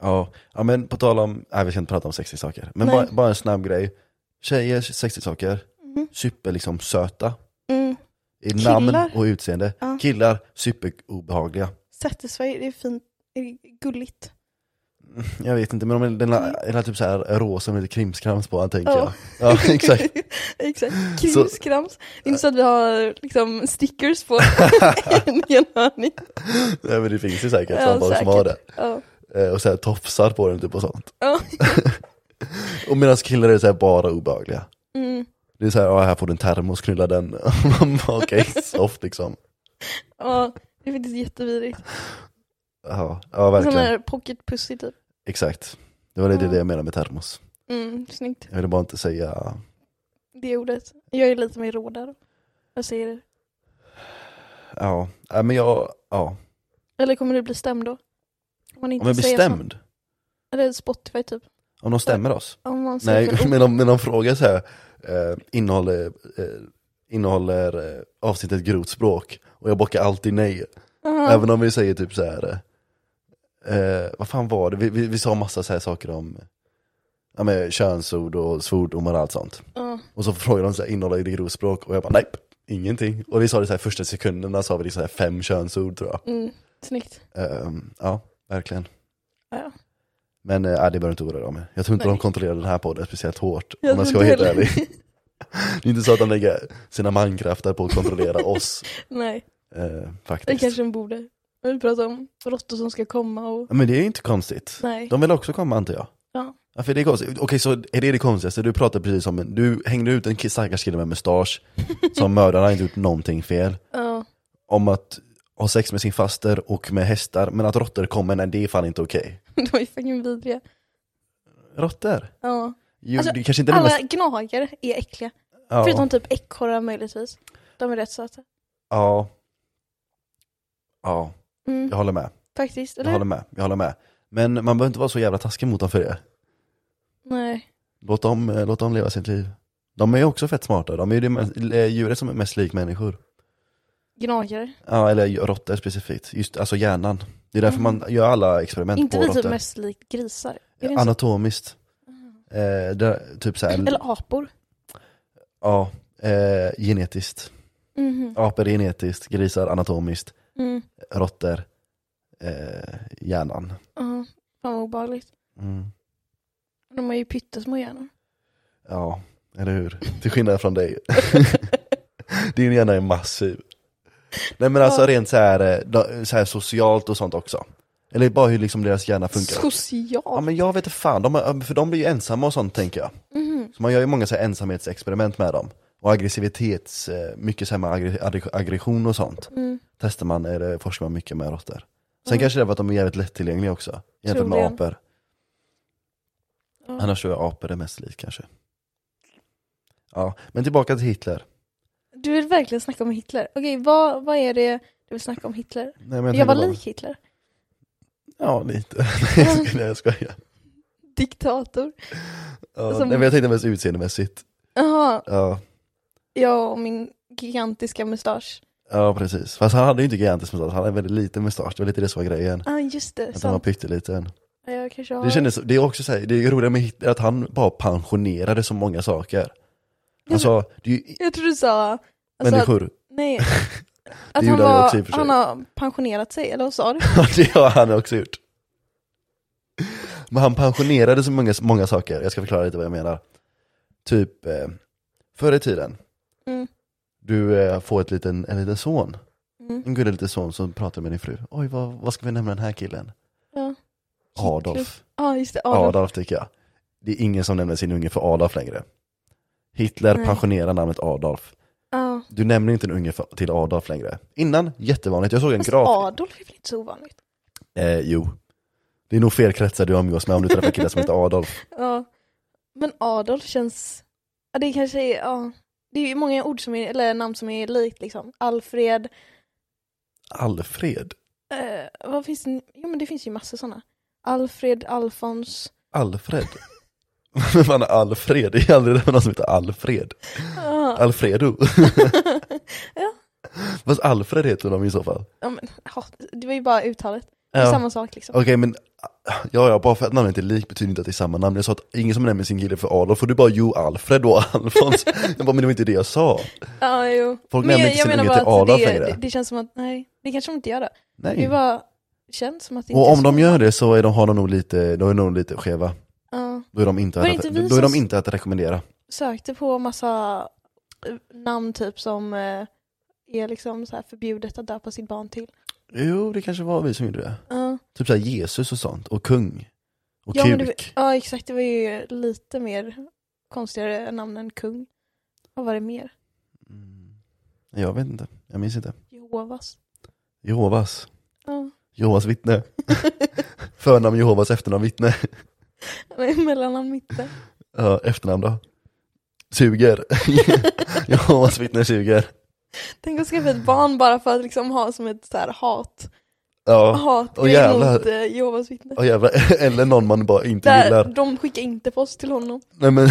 S1: Ja, ja men på tal om, nej vi ska inte prata om sexy saker. Men
S2: Nej.
S1: bara, bara en snabb grej. Tjejers sexy saker,
S2: Mhm.
S1: super liksom söta.
S2: Mm.
S1: I
S2: Killar?
S1: namn och utseende.
S2: Ja.
S1: Killar, super obehagliga.
S2: Satisfyer, det är fint, det är gulligt.
S1: Jag vet inte, men de är, den
S2: Mm.
S1: är, den är typ så här rosa med lite krimskrams på han tänker
S2: Ja.
S1: jag. Ja, exakt.
S2: Exakt.
S1: Så-
S2: Krimskrams. Det är inte så att vi har liksom stickers på en enhörning.
S1: Nej, men det finns ju säkert
S2: Ja,
S1: ja, folk som
S2: säkert.
S1: har det.
S2: Ja.
S1: Eh, Och så här tofsar på den typ och sånt.
S2: Ja.
S1: och medan killar är så här bara obehagliga.
S2: Mm.
S1: Det är så här, ja, här får du en termos, knulla den. Okej, soft liksom.
S2: ja, det är faktiskt jättevidrigt.
S1: Ja, ja
S2: Sån
S1: verkligen.
S2: här pocket pussy typ.
S1: Exakt. Det var lite
S2: Ja.
S1: det jag menade med termos.
S2: Mm, snyggt.
S1: Jag ville bara inte säga
S2: det ordet. Jag är lite mer rå där. Jag säger det.
S1: Ja, ja men jag, ja.
S2: Eller kommer du bli stämd då? Om man
S1: Om jag blir
S2: säger sånt.
S1: stämd?
S2: Eller Spotify typ.
S1: Om de stämmer oss?
S2: Om man säger
S1: Nej,
S2: fel ord.
S1: men om, men om frågar så här, eh, innehåller, eh, innehåller eh, avsnittet grovt språk? Och jag bockar alltid nej.
S2: Aha.
S1: Även om vi säger typ så här. Eh, vad fan var det? Vi, vi, vi sa massa så här saker om ja, men, könsord och svordomar och allt sånt.
S2: Ja.
S1: Och så frågade de så här, innehåller det grovt språk? Och jag bara nej, ingenting. Och vi sa det så här första sekunderna sa vi liksom så här fem könsord tror jag.
S2: Mm, snyggt.
S1: Eh, ja, verkligen.
S2: Ja.
S1: Men eh, nej, det behöver du inte oroa dig om. Jag tror inte
S2: Nej.
S1: de kontrollerar den här podden speciellt hårt.
S2: Jag
S1: om jag ska vara
S2: tror
S1: helt
S2: inte
S1: ärlig.
S2: heller-
S1: Det är inte så att de lägger sina mankrafter på att kontrollera oss.
S2: Nej,
S1: Eh,
S2: det
S1: faktiskt.
S2: kanske de borde. Jag vill prata om råttor som ska komma och...
S1: Men det är inte konstigt.
S2: Nej.
S1: De vill också komma antar jag.
S2: Ja.
S1: Ja, för det är konstigt. Okej, så är det det konstigaste? Du pratar precis som en, du hängde ut en ki- stackars kille med mustasch som mördaren har inte gjort någonting fel.
S2: Ja.
S1: Om att ha sex med sin faster och med hästar, men att råttor kommer, nej det är fan inte okej.
S2: De är fucking vidriga.
S1: Råttor?
S2: Ja.
S1: Jo,
S2: Alltså,
S1: det kanske inte är det
S2: Alla
S1: mest...
S2: gnagare är äckliga.
S1: Ja,
S2: Förutom typ ekorrar möjligtvis. De är rätt söta.
S1: ja. Ja,
S2: Mm,
S1: jag håller med.
S2: Faktiskt,
S1: Jag
S2: eller
S1: håller med. Jag håller med. Men man behöver inte vara så jävla taskig mot dem för det.
S2: Nej.
S1: Låt dem, eh, låt dem leva sitt liv. De är ju också fett smarta. De är ju det mest- eh, djuret som är mest lik människor.
S2: Gnagare.
S1: Ja, eller råttor specifikt. Just, alltså hjärnan. Det är därför
S2: Mm.
S1: man gör alla experiment
S2: inte
S1: på
S2: vi typ
S1: råttor.
S2: mest likt grisar? Är det inte så? Ah.
S1: Anatomiskt. Eh, där, typ så här,
S2: Eller apor?
S1: ja, eh, genetiskt.
S2: Mhm.
S1: Apor är genetiskt, grisar anatomiskt,
S2: Mm.
S1: råttor eh, hjärnan.
S2: Ja, fan vad obehagligt.
S1: Mm.
S2: De har ju pyttesmå hjärnor.
S1: Ja, eller hur? Till skillnad från dig. Din hjärna är massiv. Nej men alltså
S2: Ja.
S1: rent så här, eh, da- så här socialt och sånt också. Eller bara hur liksom deras hjärna funkar.
S2: Socialt.
S1: Ja men jag vet inte fan, de, har- för de blir ju ensamma och sånt tänker jag.
S2: Mhm.
S1: Så man gör ju många så här ensamhetsexperiment med dem. Och aggressivitets, eh, mycket så här med aggre- aggre- aggression och sånt.
S2: Mm.
S1: Testar man, eller forskar man mycket med råttor. Sen
S2: Mm.
S1: kanske det är för att de är jävligt lättillgängliga också. Jämfört med
S2: Troligen. Mm.
S1: apor.
S2: Ja.
S1: Annars tror jag apor är mest lik kanske. Ja, men tillbaka till Hitler.
S2: Du vill verkligen snacka om Hitler. Okej, vad, vad är det du vill snacka om Hitler?
S1: Nej, men
S2: Jag,
S1: tänkte
S2: var
S1: bara-
S2: lik Hitler.
S1: Ja, lite. Nej, jag skojar, jag skojar.
S2: Diktator.
S1: Ja,
S2: Som-
S1: nej, men jag tänkte mest utseendemässigt.
S2: Jaha,
S1: Ja,
S2: jag och min gigantiska mustasch.
S1: ja, precis. Fast han hade ju inte gigantisk mustasch, han hade en väldigt liten mustasch. Det var lite det som var grejen.
S2: Ja, ah, just det.
S1: Att han var
S2: Sant.
S1: pytteliten.
S2: Ja, Jag kanske har...
S1: Det kändes, det är också så här, det är roliga med Hitler att han bara pensionerade så många saker. Han
S2: men-
S1: sa, det är ju i-
S2: Jag tror du sa... Alltså, att,
S1: alltså- människor,
S2: nej. Att han,
S1: gjorde han ju också i och
S2: var,
S1: för sig.
S2: han har pensionerat sig, eller vad sa du?
S1: Ja, det har han också gjort. Men han pensionerade så många, många saker, jag ska förklara lite vad jag menar. Typ, eh, förr i tiden,
S2: Mm.
S1: du eh, får ett liten, en liten son,
S2: Mm.
S1: en gullig liten son som pratar med din fru. Oj, vad, vad ska vi nämna den här killen?
S2: Ja.
S1: Adolf.
S2: Ja, just det. Adolf.
S1: Adolf. tycker jag. Det är ingen som nämner sin unge för Adolf längre. Hitler
S2: Nej.
S1: pensionerar namnet Adolf.
S2: Ja.
S1: Du nämner inte en unge för, till Adolf längre. Innan, jättevanligt. Jag såg en
S2: Fast
S1: graf.
S2: Adolf är väl inte så ovanligt?
S1: Eh, jo. Det är nog fel kretsar du umgås med om du träffar killar som heter Adolf.
S2: Ja. Men Adolf känns... Ja, det kanske är... Ja. Det är ju många ord som är, eller namn som är likt liksom. Alfred.
S1: Alfred?
S2: Eh, vad finns det? Jo men det finns ju massor sådana. Alfred, Alfons.
S1: Alfred? Vem fan är Alfred? Det är aldrig någon som heter Alfred.
S2: Ja.
S1: Alfredo?
S2: Ja.
S1: Fast Alfred heter de i så fall.
S2: ja, men, ja, det var ju bara uttalet. Det är
S1: Ja.
S2: samma sak liksom.
S1: Okej men, ja, ja bara för att namnet inte är lik betyder inte att det är samma namn. Jag sa att ingen som nämner sin kille för Adolf och du bara jo Alfred och Alfons. jag bara men det var inte det jag sa.
S2: Ja, jo.
S1: Folk nämner inte sin unge till Adolf
S2: det,
S1: längre.
S2: det, det känns som att, nej, det kanske de inte gör det. Det
S1: Nej.
S2: bara känns som att det
S1: Och
S2: inte är
S1: om de
S2: så.
S1: gör det så är de, har de nog lite, då är de nog lite skeva.
S2: Ja.
S1: Då är de inte,
S2: Var
S1: att,
S2: det inte vi
S1: då är de
S2: som-
S1: inte att rekommendera.
S2: sökte på massa eh, namn typ som eh, är liksom så här förbjudet att döpa sitt barn till.
S1: Jo, det kanske var vi som gjorde det.
S2: Ja.
S1: Typ såhär Jesus och sånt, och kung. Och
S2: Ja, men det-
S1: kuk.
S2: Ja exakt, det var ju lite mer konstigare namn än kung. Vad var det mer?
S1: Mm. Jag vet inte, jag minns inte.
S2: Jehovas.
S1: Jehovas.
S2: Ja.
S1: Jehovas vittne. Förnamn Jehovas, efternamn vittne.
S2: Nej, Mellannamn mitten.
S1: Ja, efternamn då? suger. Jehovas vittnen suger.
S2: Tänk att skaffa ett barn bara för att liksom ha som ett så här hat,
S1: Ja,
S2: hat
S1: Åh, jävlar.
S2: mot eh, Jehovas vittnen.
S1: och jävla, eller någon man bara inte
S2: Där,
S1: gillar.
S2: de skickar inte post till honom.
S1: Nej men...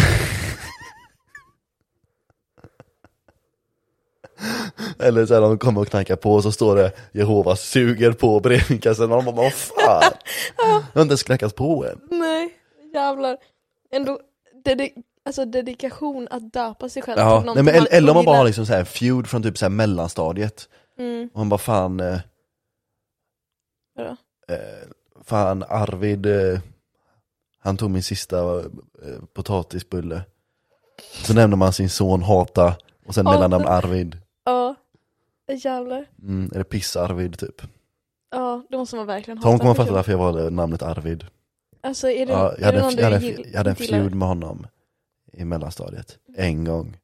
S1: Eller så här, de kommer och knackar på och så står det Jehova suger på brevinkastet och man bara "Vad fan, jag har inte ens knackat på än.
S2: Nej, jävlar. Ändå, dedi- alltså dedikation att döpa sig själv
S1: Ja,
S2: till
S1: nej,
S2: någonting
S1: men, eller, eller om man bara har
S2: ogillar.
S1: liksom så här en feud från typ så här mellanstadiet
S2: Mm,
S1: och man bara fan, eh,
S2: vadå?
S1: eh, fan Arvid, eh, han tog min sista eh, potatisbulle. Så nämner man sin son Hata och sen
S2: Hata.
S1: mellannamn Arvid.
S2: Ja, jävlar.
S1: Mm, eller Piss-Arvid typ.
S2: Ja, det måste man verkligen
S1: Tom
S2: hata
S1: kommer fatta
S2: personen.
S1: varför jag valde namnet Arvid.
S2: Alltså är det,
S1: Ja, jag,
S2: är det
S1: hade, en-
S2: någon
S1: jag, hade,
S2: du
S1: en-
S2: gill-
S1: jag hade en
S2: gillar?
S1: feud med honom i mellanstadiet, en gång.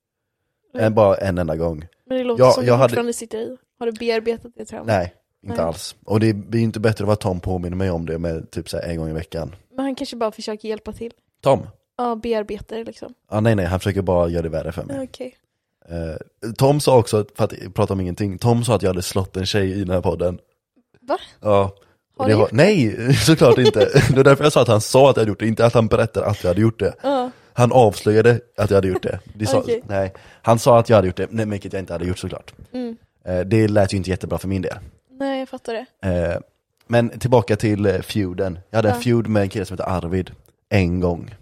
S2: Mm.
S1: En, bara en enda gång.
S2: Men det låter
S1: Ja,
S2: som
S1: jag
S2: du
S1: hade-
S2: fortfarande sitter i. Har du bearbetat det traumat?
S1: Nej, inte
S2: Nej.
S1: alls. Och det blir ju inte bättre av att Tom påminner mig om det med typ så här en gång i veckan.
S2: Men han kanske bara försöker hjälpa till.
S1: Tom?
S2: Ja, bearbeta det liksom.
S1: Ah, nej nej, han försöker bara göra det värre för mig.
S2: Okej.
S1: Eh, Tom sa också, för att prata om ingenting, Tom sa att jag hade slått en tjej i den här podden.
S2: Va?
S1: Ja. Och
S2: Har
S1: det
S2: du
S1: har, nej, såklart inte. Det var därför jag sa att han sa att jag hade gjort det, inte att han berättade att jag hade gjort det.
S2: Ja,
S1: Han avslöjade att jag hade gjort det. det sa,
S2: Okej.
S1: nej, han sa att jag hade gjort det, nej, vilket jag inte hade gjort såklart.
S2: mm.
S1: Eh, det lät ju inte jättebra för min del.
S2: Nej, jag fattar det.
S1: Eh, men tillbaka till eh, feuden. Jag hade en
S2: Ja.
S1: feud med en kille som hette Arvid, en gång.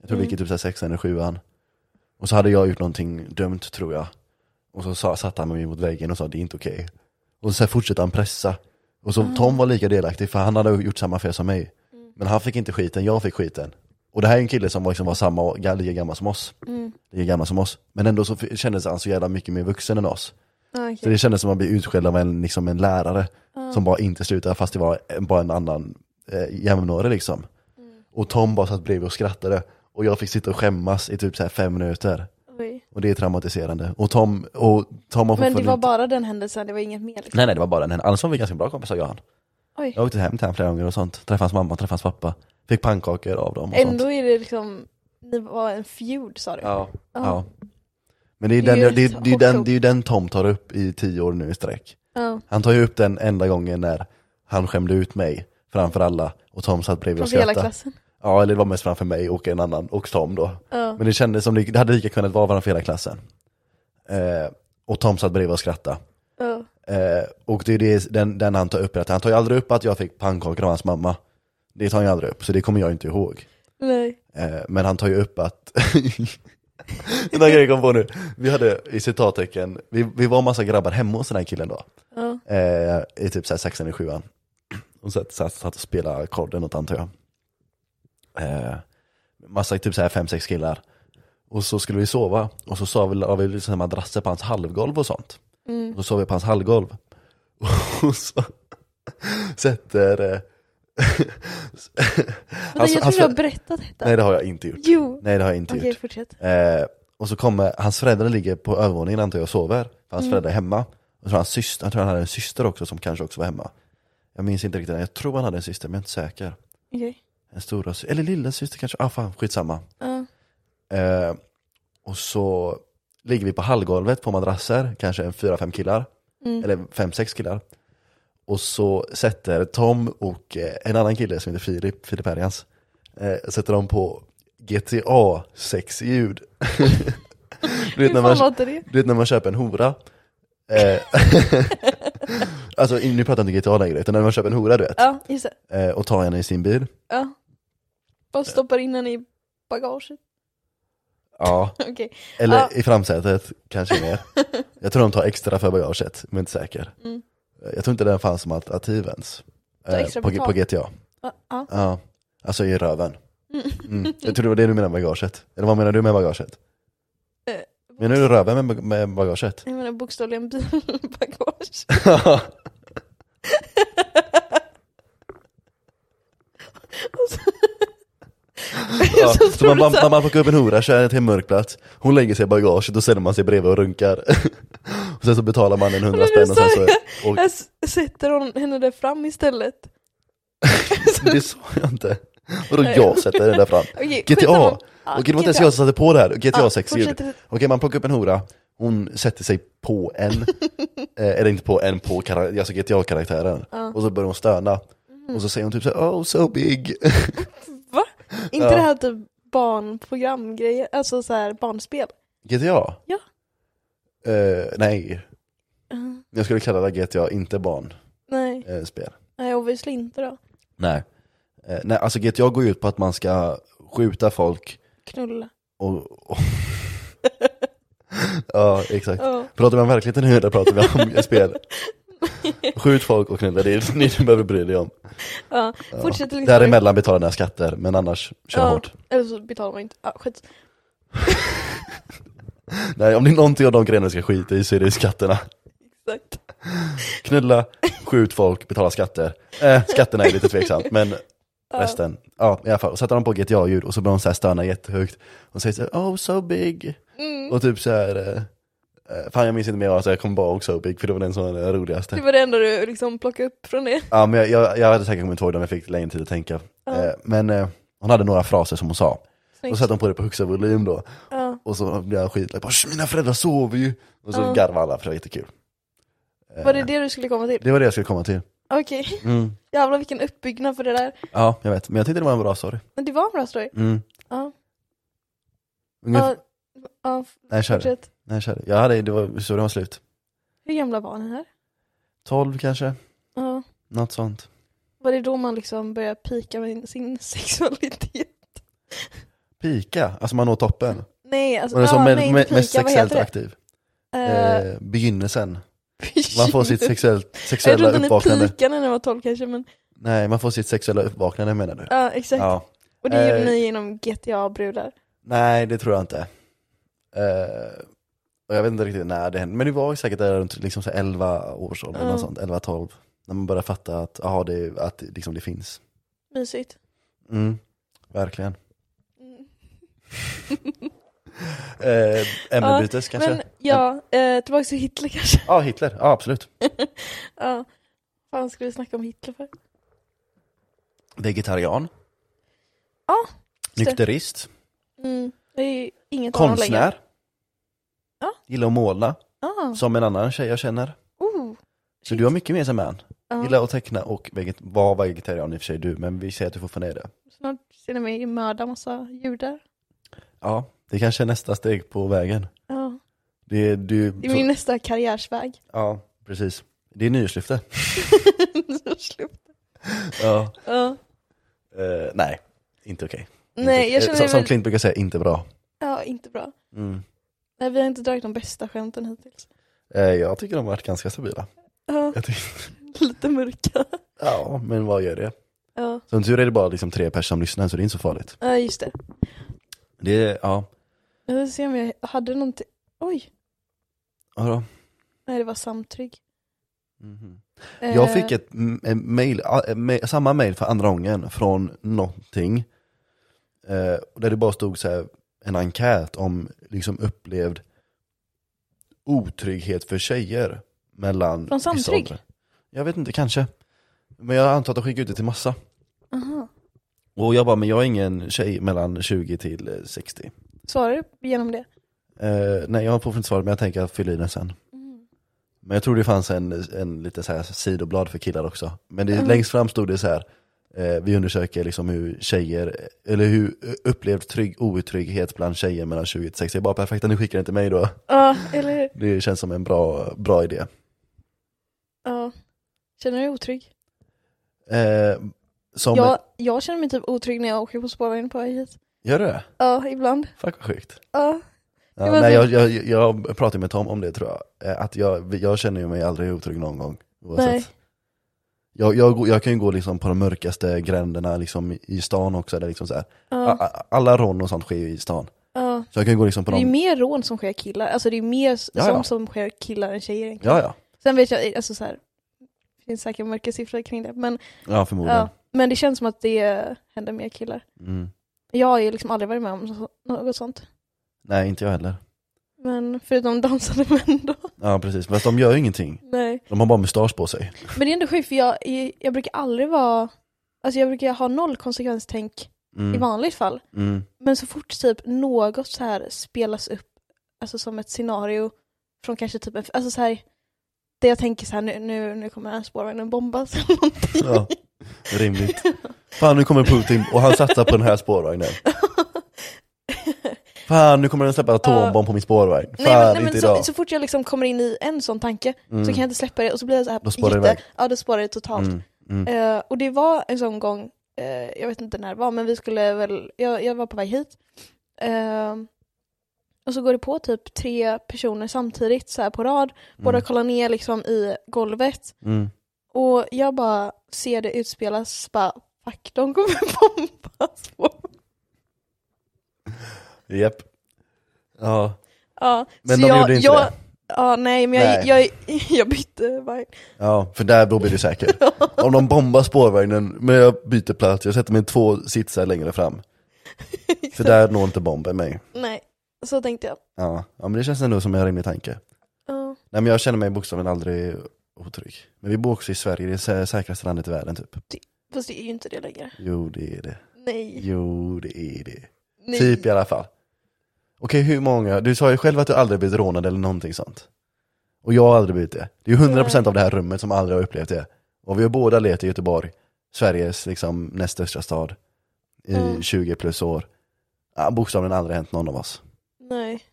S1: Jag tror vi
S2: Mm.
S1: gick i typ så här sexan eller sjuan. Och så hade jag gjort någonting dumt tror jag. Och så sa, satte han mig mot väggen och sa det är inte okej. Och sen fortsatte han pressa. Och så
S2: Ah.
S1: Tom var lika delaktig för han hade gjort samma fel som mig.
S2: Mm.
S1: Men han fick inte skiten, jag fick skiten. Och det här är en kille som var, liksom var samma, lika gammal som oss.
S2: Mm.
S1: Lika gammal som oss. Men ändå så f- kändes han så jävla mycket mer vuxen än oss.
S2: Ah,
S1: Så det kändes som att man blev utskälld av en, liksom en lärare som bara inte slutade fast det var en- bara en annan eh, jämnårig liksom.
S2: Mm.
S1: Och Tom bara satt bredvid och skrattade och jag fick sitta och skämmas i typ så här fem minuter.
S2: Oj.
S1: Och det är traumatiserande. Och Tom, och Tom har
S2: Men det
S1: fortfarande
S2: var
S1: inte-
S2: bara den händelsen, det var inget mer liksom.
S1: Nej nej det var bara den här. Annars var vi ganska bra kompisar jag och han.
S2: Oj.
S1: Jag åkte hem till honom flera gånger och sånt. Träffade hans mamma, träffade hans pappa. Fick pannkakor av dem och sånt.
S2: Ändå är det liksom, ni var en feud sa du?
S1: Ja.
S2: Ja.
S1: ja. Men det är ju
S2: Det är
S1: den,
S2: ju
S1: det, är-
S2: ett
S1: det, är den,
S2: hårt
S1: det är ju den Tom tar upp i tio år nu i sträck.
S2: Ja.
S1: Han tar ju upp den enda gången när han skämde ut mig framför alla och Tom satt bredvid och
S2: Framför hela
S1: skrattade.
S2: klassen?
S1: Ja, eller det var mest framför mig och en annan och Tom då.
S2: Ja.
S1: Men det kändes som det, det hade lika kunnat vara framför hela klassen. Eh, och Tom satt bredvid och skrattade.
S2: ja.
S1: Eh, och det är det, den, den han tar upp, att han tar ju aldrig upp att jag fick pannkakor av hans mamma. Det tar han ju aldrig upp, så det kommer jag inte ihåg.
S2: Nej.
S1: Eh, men han tar ju upp att... den här grejen jag kom på nu. Vi hade i citattecken, vi, vi var en massa grabbar hemma hos den här killen då
S2: Ja.
S1: eh, i typ såhär sexan eller sjuan. Och så satt, satt och spelade ackord eller något antar jag. Eh, massa typ såhär fem, sex killar. Och så skulle vi sova och så sa vi, la vi liksom madrasser på hans halvgolv och sånt.
S2: Mm.
S1: Och så sov vi på hans halvgolv. Och så sätter... Eh,
S2: Vänta,
S1: Alltså,
S2: jag tror
S1: hans
S2: du har
S1: förä-
S2: berättat detta.
S1: nej det har jag inte gjort.
S2: Jo.
S1: Nej det har jag inte
S2: Okej,
S1: gjort.
S2: fortsätt.
S1: Eh, och så kommer, hans föräldrar ligger på övervåningen antar jag och sover, för hans föräldrar är hemma. Och så har hans syster, jag tror han hade en syster också som kanske också var hemma. Jag minns inte riktigt, jag tror han hade en syster men jag är inte säker.
S2: Okej.
S1: En stora sy- eller lilla syster kanske, ah fan skitsamma.
S2: Ja.
S1: Eh, och så ligger vi på hallgolvet på madrasser, kanske en fyra, fem killar.
S2: Mm.
S1: Eller fem, sex killar. Och så sätter Tom och eh, en annan kille som heter Filip, Filip Herjans, eh, sätter de på GTA 6-ljud. du, vet
S2: Hur
S1: när
S2: fan
S1: man,
S2: låter det?
S1: du vet när man köper en hora? Eh, alltså nu pratar jag inte GTA längre, utan när man köper en hora du vet,
S2: Ja, just det.
S1: eh, och tar henne i sin bil.
S2: Ja. Bara stoppar in den i bagaget.
S1: Ja.
S2: Okej.
S1: Eller
S2: Ja.
S1: i framsätet, kanske mer. Jag tror de tar extra för bagaget, men inte säker.
S2: Mm.
S1: Jag tror inte den fanns som alternativ ens.
S2: Ta
S1: Eh,
S2: extra
S1: På, på
S2: betalt.
S1: GTA.
S2: Ja, ja.
S1: Ja. Alltså i röven. Mm. Jag tror det var det du menade med bagaget. Eller vad menar du med bagaget?
S2: Eh,
S1: Menar du röven med, med bagaget?
S2: Jag menar bokstavligen bilbagage.
S1: Ja,
S2: Så
S1: så man,
S2: tror
S1: man,
S2: du så här-
S1: man plockar upp en hora, kör henne till en mörk plats, hon lägger sig i bagaget och ställer man sig bredvid och runkar. och sen så betalar man en hundra
S2: Men
S1: spänn
S2: du
S1: och sen så...
S2: sa
S1: Och,
S2: Jag "Äh, s- sätter hon henne där fram istället.
S1: det sa jag inte. Vadå
S2: Nej.
S1: jag sätter den där fram?
S2: Okej,
S1: GTA,
S2: skitsamma. Ja,
S1: Okej, det var inte ens
S2: GTA.
S1: jag som satte på det här. GTA
S2: Ja,
S1: 6 ljud.
S2: fortsätt.
S1: Okej, man plockar upp en hora, hon sätter sig på en, eh, eller inte på en, på kara- alltså GTA-karaktären.
S2: Ja.
S1: Och så börjar hon stöna. Och så säger hon typ så här, oh so big.
S2: Inte
S1: Ja.
S2: det här typ barnprogramgrejer, alltså så här barnspel.
S1: GTA?
S2: Ja.
S1: Eh, nej,
S2: Mm.
S1: jag skulle kalla det GTA inte barnspel.
S2: Nej,
S1: Eh, spel.
S2: nej obviously inte då.
S1: nej. Eh, nej, alltså GTA går ju ut på att man ska skjuta folk
S2: Knulla.
S1: och... och ja, exakt.
S2: Ja.
S1: Pratar vi om verkligheten nu eller pratar vi om spel? Skjut folk och knulla, det är det ni behöver bry dig om.
S2: Ja. Fortsätt liksom.
S1: Däremellan betalar ni skatter, men annars kör
S2: Ja.
S1: hårt.
S2: Eller så betalar man inte. Ja, skit.
S1: Nej, om det är någonting av de grejerna du ska skita i så är det skatterna.
S2: Exakt.
S1: Knulla, skjut folk, betala skatter. Eh, skatterna är lite tveksamt, men resten. Ja, i alla fall. Och sätter de på GTA-ljud och så börjar de så här stöna jättehögt. Och säger så här, oh so big.
S2: Mm.
S1: Och typ så här, eh, eh, fan jag minns inte mer, alltså, jag kommer bara ihåg so big för det var den som var den roligaste.
S2: Det var det enda du liksom plockade upp från det.
S1: Ja, men jag, jag, jag hade säkert kommit ihåg det om jag fick längre tid att tänka.
S2: Ja.
S1: Eh, men eh, hon hade några fraser som hon sa. Och
S2: Snyggt.
S1: så satte hon på det på högsta volym då.
S2: Ja.
S1: Och så blev jag skitlack, bara, "Sh, mina föräldrar sover ju. Och så
S2: Ja.
S1: garvade alla för det var jättekul.
S2: Var
S1: Eh.
S2: det det du skulle komma till?
S1: Det var det jag skulle komma till.
S2: Okej.
S1: Mm.
S2: Jävlar vilken uppbyggnad för det där.
S1: Ja, jag vet. Men jag tyckte det var en bra story.
S2: Men det var en bra story.
S1: Mm.
S2: Ja.
S1: Ungefär...
S2: Ja, ja,
S1: Nej, kör.
S2: fortsätt.
S1: Nej, kör. Jag hade, det var så det var slut.
S2: Hur gamla var ni här?
S1: 12 kanske,
S2: Ja.
S1: något sånt.
S2: Var det då man liksom började pika med sin sexualitet?
S1: Pika, alltså man når toppen.
S2: Nej, alltså,
S1: Man är
S2: ja,
S1: som med,
S2: nej,
S1: med,
S2: inte
S1: mest
S2: pika, vad heter
S1: sexuellt
S2: det?
S1: aktiv.
S2: Eh,
S1: Eh, begynnelsen. Man får sitt sexuellt,
S2: Jag
S1: sexuella
S2: trodde ni
S1: uppvaknande.
S2: pikade när ni var 12 kanske, men
S1: Nej, man får sitt sexuella uppvaknande menar du?
S2: ja exakt.
S1: Ja.
S2: Och det
S1: eh,
S2: gjorde ni genom GTA-brudar.
S1: Nej, det tror jag inte. Eh, och jag vet inte riktigt när det hände, men det var ju säkert där runt liksom så här 11 års ålder,
S2: Ja.
S1: något sånt, 11-12. När man börjar fatta att, aha, det, att det liksom det finns.
S2: Mysigt.
S1: Mm, verkligen.
S2: Mm.
S1: Eh, ämnebytes kanske?
S2: Men ja, eh, tillbaka till Hitler kanske.
S1: Ja, Hitler. Ja, absolut.
S2: ja. Fan skulle vi snacka om Hitler för?
S1: Vegetarian.
S2: Ja, just det.
S1: Nykterist.
S2: Mm. Det är ju inget av dem längre.
S1: Konstnär.
S2: Ja.
S1: Gillar att måla,
S2: Ah.
S1: som en annan tjej jag känner.
S2: Oh.
S1: Så du har mycket mer som man.
S2: Ja.
S1: Gillar att teckna och veget- vara vegetarian i och för sig du, men vi säger att du fortfarande är det.
S2: Snart ser ni mig mörda massa judar.
S1: Ja, det kanske är nästa steg på vägen.
S2: Ja.
S1: Det är, du,
S2: Det är min nästa karriärsväg.
S1: Ja, precis. Det är nyårslyfte.
S2: Så slut.
S1: Ja.
S2: ja.
S1: Eh, nej, inte okej. Inte
S2: Nej,
S1: okej.
S2: jag
S1: Eh,
S2: känner
S1: som,
S2: mig
S1: som
S2: väl...
S1: Clint brukar säga, inte bra.
S2: Ja, inte bra.
S1: Mm.
S2: Nej, vi har inte dragit de bästa skämten hittills.
S1: Eh, jag tycker de har varit ganska stabila.
S2: Ja,
S1: Jag tycker,
S2: lite mörka.
S1: ja, men vad gör det?
S2: Ja,
S1: Som tur är det bara liksom tre personer som lyssnar, så det är inte så farligt.
S2: ja just det.
S1: Det är, ja,
S2: Jag ska se om jag hade någonting. Oj,
S1: vadå?
S2: nej det var samtrygg.
S1: Mhm.
S2: Eh,
S1: Jag fick ett m- eh, mail, ah, eh, ma- samma mail för andra gången från någonting. Eh, där det bara stod så här, en enkät om liksom upplevd otrygghet för tjejer. Mellan
S2: Från
S1: vissa
S2: Samtrygg?
S1: åldrar. Jag vet inte, kanske. Men jag antar att de skickade ut det till massa.
S2: Aha.
S1: Och jag bara, men jag är ingen tjej mellan 20 till eh, 60.
S2: Svarade du genom det?
S1: Eh, nej jag har fortfarande inte svarat men jag tänker fylla i den sen.
S2: Mm.
S1: Men jag tror det fanns en, en lite så här sidoblad för killar också. Men det,
S2: Mm.
S1: längst fram stod det så här, eh, vi undersöker liksom hur tjejer, eller hur eh, upplevd trygg, outrygghet bland tjejer mellan 20 till 60. Jag bara perfekt, nu skickar den till mig då.
S2: Ja, eller hur?
S1: Det känns som en bra, bra idé.
S2: Ja. Känner du dig otrygg?
S1: Eh, som
S2: Jag, jag känner mig typ otrygg när jag åker på spårvagn på väg hit.
S1: Gör du det?
S2: Ja, ibland.
S1: Fuck vad sjukt.
S2: Ja.
S1: Ja,
S2: Det var
S1: nej, jag,
S2: så-
S1: jag, jag pratade med Tom om det tror jag. Eh, Att jag, jag känner ju mig aldrig otrygg någon gång. Oavsett.
S2: Nej.
S1: Jag, jag, går- jag kan ju gå liksom på de mörkaste gränderna liksom i stan också. Där liksom så här,
S2: Ja.
S1: A- a- Alla rån och sånt sker ju i stan.
S2: ja.
S1: Så jag kan gå liksom på
S2: Det är ju
S1: dem.
S2: mer rån som sker killar, alltså det är ju mer s-
S1: Ja, ja.
S2: sånt som sker killar än tjejer egentligen.
S1: Ja, ja.
S2: Sen vet jag, alltså så här, det finns säkert mörka siffror kring det, men,
S1: Oh, Ja, förmodligen.
S2: ja, men det känns som att det händer mer killar.
S1: Mm.
S2: Jag har ju liksom aldrig varit med om så- något sånt.
S1: Nej, inte jag heller.
S2: Men förutom dansande män då.
S1: Ja, precis. Fast de gör ju ingenting.
S2: Nej.
S1: De har bara mustasch på sig.
S2: Men det är ändå sjukt för jag, jag brukar aldrig vara, alltså jag brukar ha noll konsekvenstänk
S1: Mm.
S2: i vanligt fall.
S1: Mm.
S2: Men så fort typ något så här spelas upp, alltså som ett scenario från kanske typ en, alltså så här, det jag tänker så här nu, nu, nu kommer den här spårvagnen bombas eller någonting.
S1: Ja, rimligt. Fan nu kommer Putin och han satsar på den här spårvagnen. Fan nu kommer den släppa atombomb på min spårvagn. Fan
S2: nej men, nej, men
S1: inte
S2: så,
S1: idag.
S2: så fort jag liksom kommer in i en sån tanke
S1: Mm.
S2: så kan jag inte släppa det och så blir jag så här
S1: Då spårar det
S2: jätte-
S1: iväg.
S2: Ja då spårar det totalt.
S1: Mm, mm.
S2: Eh, och det var en sån gång, eh, jag vet inte när det var, men vi skulle väl, jag, jag var på väg hit. Eh, och så går det på typ tre personer samtidigt så här på rad, båda kollar ner liksom i golvet.
S1: Mm.
S2: Och jag bara ser det utspelas, bara fuck de kommer bomba.
S1: Japp. Ja,
S2: Ja,
S1: men
S2: så
S1: de
S2: jag,
S1: gjorde inte
S2: jag,
S1: det.
S2: Ja, nej men jag, jag, jag bytte vagn.
S1: Ja, för där då blir du säker. Om de bombar spårvagnen, men jag byter plats, jag sätter mig två sitsar längre fram. För där når inte bomben mig.
S2: Nej, så tänkte jag.
S1: Ja. ja, men det känns ändå som en rimlig tanke.
S2: Ja.
S1: Nej men jag känner mig bokstavligen aldrig otrygg. Men vi bor också i Sverige, det är sä- säkraste landet i världen typ.
S2: Fast det är ju inte det längre.
S1: Jo det är det.
S2: Nej.
S1: Jo det är det.
S2: nej.
S1: Typ i alla fall. Okej hur många, du sa ju själv att du aldrig blivit rånad eller någonting sånt. Och jag har aldrig blivit det. Det är ju 100% av det här rummet som aldrig har upplevt det. Och vi har båda levt i Göteborg, Sveriges liksom näst största stad, i
S2: Mm.
S1: 20 plus år. Ja, bokstavligen aldrig hänt någon av oss.
S2: Nej.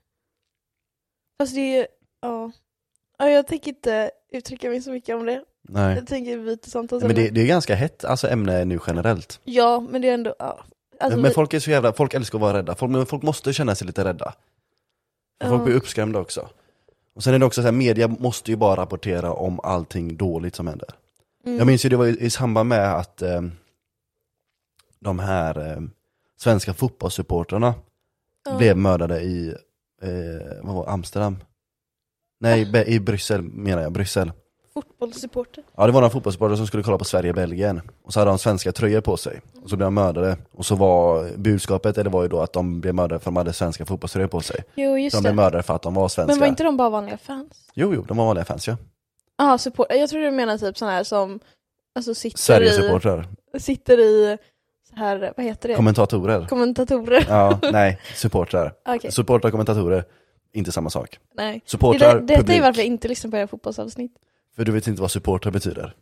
S2: Fast det är ju, ja. ja. Jag tänker inte uttrycka mig så mycket om det.
S1: Nej.
S2: Jag tänker vi byter samtal
S1: Men det,
S2: senare.
S1: det är ganska hett, alltså ämne nu generellt.
S2: Ja, men det är ändå, ja. Alltså,
S1: men
S2: vi-
S1: folk är så jävla, folk älskar att vara rädda, folk, men folk måste känna sig lite rädda. För Folk
S2: Ja.
S1: blir uppskrämda också. Och sen är det också så här, media måste ju bara rapportera om allting dåligt som händer.
S2: mm,
S1: Jag minns ju det var i, i samband med att eh, de här eh, svenska fotbollssupportrarna
S2: ja.
S1: blev mördade i, eh, vad var det, Amsterdam? Nej, Be- i Bryssel menar jag, Bryssel.
S2: Fotbollssupporter.
S1: Ja det var några fotbollsspelare som skulle kolla på Sverige-Belgien, och så hade de svenska tröjor på sig, och så blev de mördade. Och så var budskapet, eller var ju då att de blev mördade för att de hade svenska fotbollströjor på sig.
S2: Jo,
S1: Så de
S2: just
S1: blev
S2: det.
S1: mördade för att de var svenska.
S2: Men var inte de bara vanliga fans?
S1: Jo, jo, de var vanliga fans ja.
S2: Ja, support. Jag tror du menar typ sådana här som alltså sitter
S1: Sverige-supportrar,
S2: i, sitter i så här, vad heter det?
S1: kommentatorer.
S2: Kommentatorer.
S1: Ja, nej, supportrar.
S2: Okej,
S1: Supportrar och kommentatorer, inte samma sak.
S2: nej. Det,
S1: Supportrar,
S2: det, detta är
S1: publik.
S2: varför jag inte lyssnar på era fotbollsavsnitt.
S1: För du vet inte vad supportrar betyder.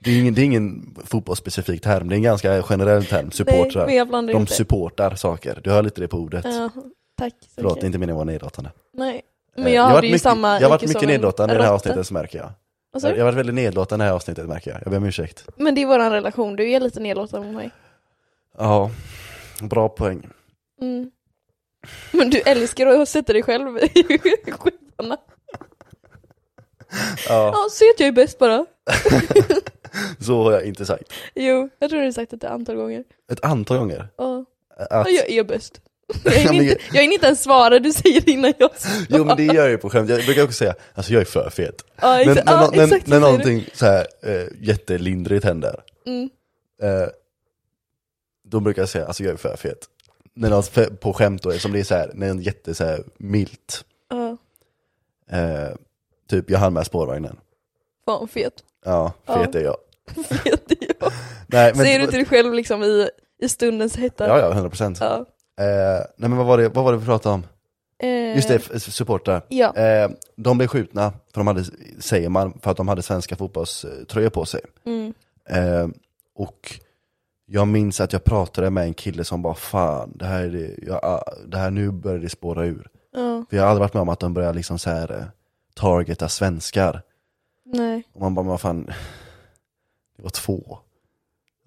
S1: Det är ingen, det är ingen fotbollsspecifik term, det är en ganska generell term, supportrar.
S2: Nej, men jag blandar
S1: de
S2: inte.
S1: supportar saker, du hör lite det på ordet.
S2: Ja, tack. så
S1: Förlåt,
S2: mycket.
S1: det är inte meningen att vara nedlåtande.
S2: Nej,
S1: Eh,
S2: men jag
S1: varit
S2: hade ju
S1: mycket,
S2: samma
S1: Jag har varit
S2: IQ som
S1: mycket
S2: en
S1: nedlåtande i det här
S2: råtta.
S1: avsnittet så märker jag.
S2: Vad sa
S1: Jag
S2: du?
S1: jag har varit väldigt nedlåtande i det här avsnittet märker jag. Jag ber om ursäkt.
S2: Men det är vår relation, du är lite nedlåtande mot mig.
S1: Ja, bra poäng.
S2: Mm. Men du älskar att sätta dig själv i skitarna.
S1: Ja,
S2: Ja, se att jag är bäst bara.
S1: så har jag inte sagt.
S2: Jo, jag tror du har sagt det ett antal gånger.
S1: Ett antal gånger.
S2: Ja,
S1: Att,
S2: ja, jag är bäst. Jag hinner
S1: men-
S2: inte, jag hinner inte ens svara, du säger det innan jag svarar.
S1: jo men det gör jag ju på skämt. Jag brukar också säga, alltså jag är för fet.
S2: Ja,
S1: Men
S2: exa-
S1: när,
S2: ja,
S1: när,
S2: exakt så
S1: när
S2: säger du.
S1: någonting så här, eh, jättelindrigt händer,
S2: Mm.
S1: eh, då brukar jag säga, alltså jag är för fet. När någon fe- på skämt då, som det är så här, när en jätte så här, milt,
S2: Ja,
S1: eh, typ jag hann med spårvagnen.
S2: fan fet.
S1: Ja, fet
S2: Ja.
S1: är jag.
S2: Fet är jag.
S1: Nej,
S2: Säger du till dig själv liksom i, i stundens hetta?
S1: Ja, ja, 100 procent.
S2: Ja.
S1: Eh, nej men vad var, det, vad var det vi pratade om?
S2: Eh,
S1: Just det, f- supportrar.
S2: Ja,
S1: Eh, de blev skjutna, för de hade, säger man, för att de hade svenska fotbollströjor på sig.
S2: mm.
S1: Eh, och jag minns att jag pratade med en kille som bara fan, det här, är det, jag, ah, det här nu börjar det spåra ur.
S2: ja,
S1: För jag har aldrig varit med om att de börjar liksom så här, eh, targeta svenskar.
S2: nej.
S1: Och man bara, men vad fan, det var två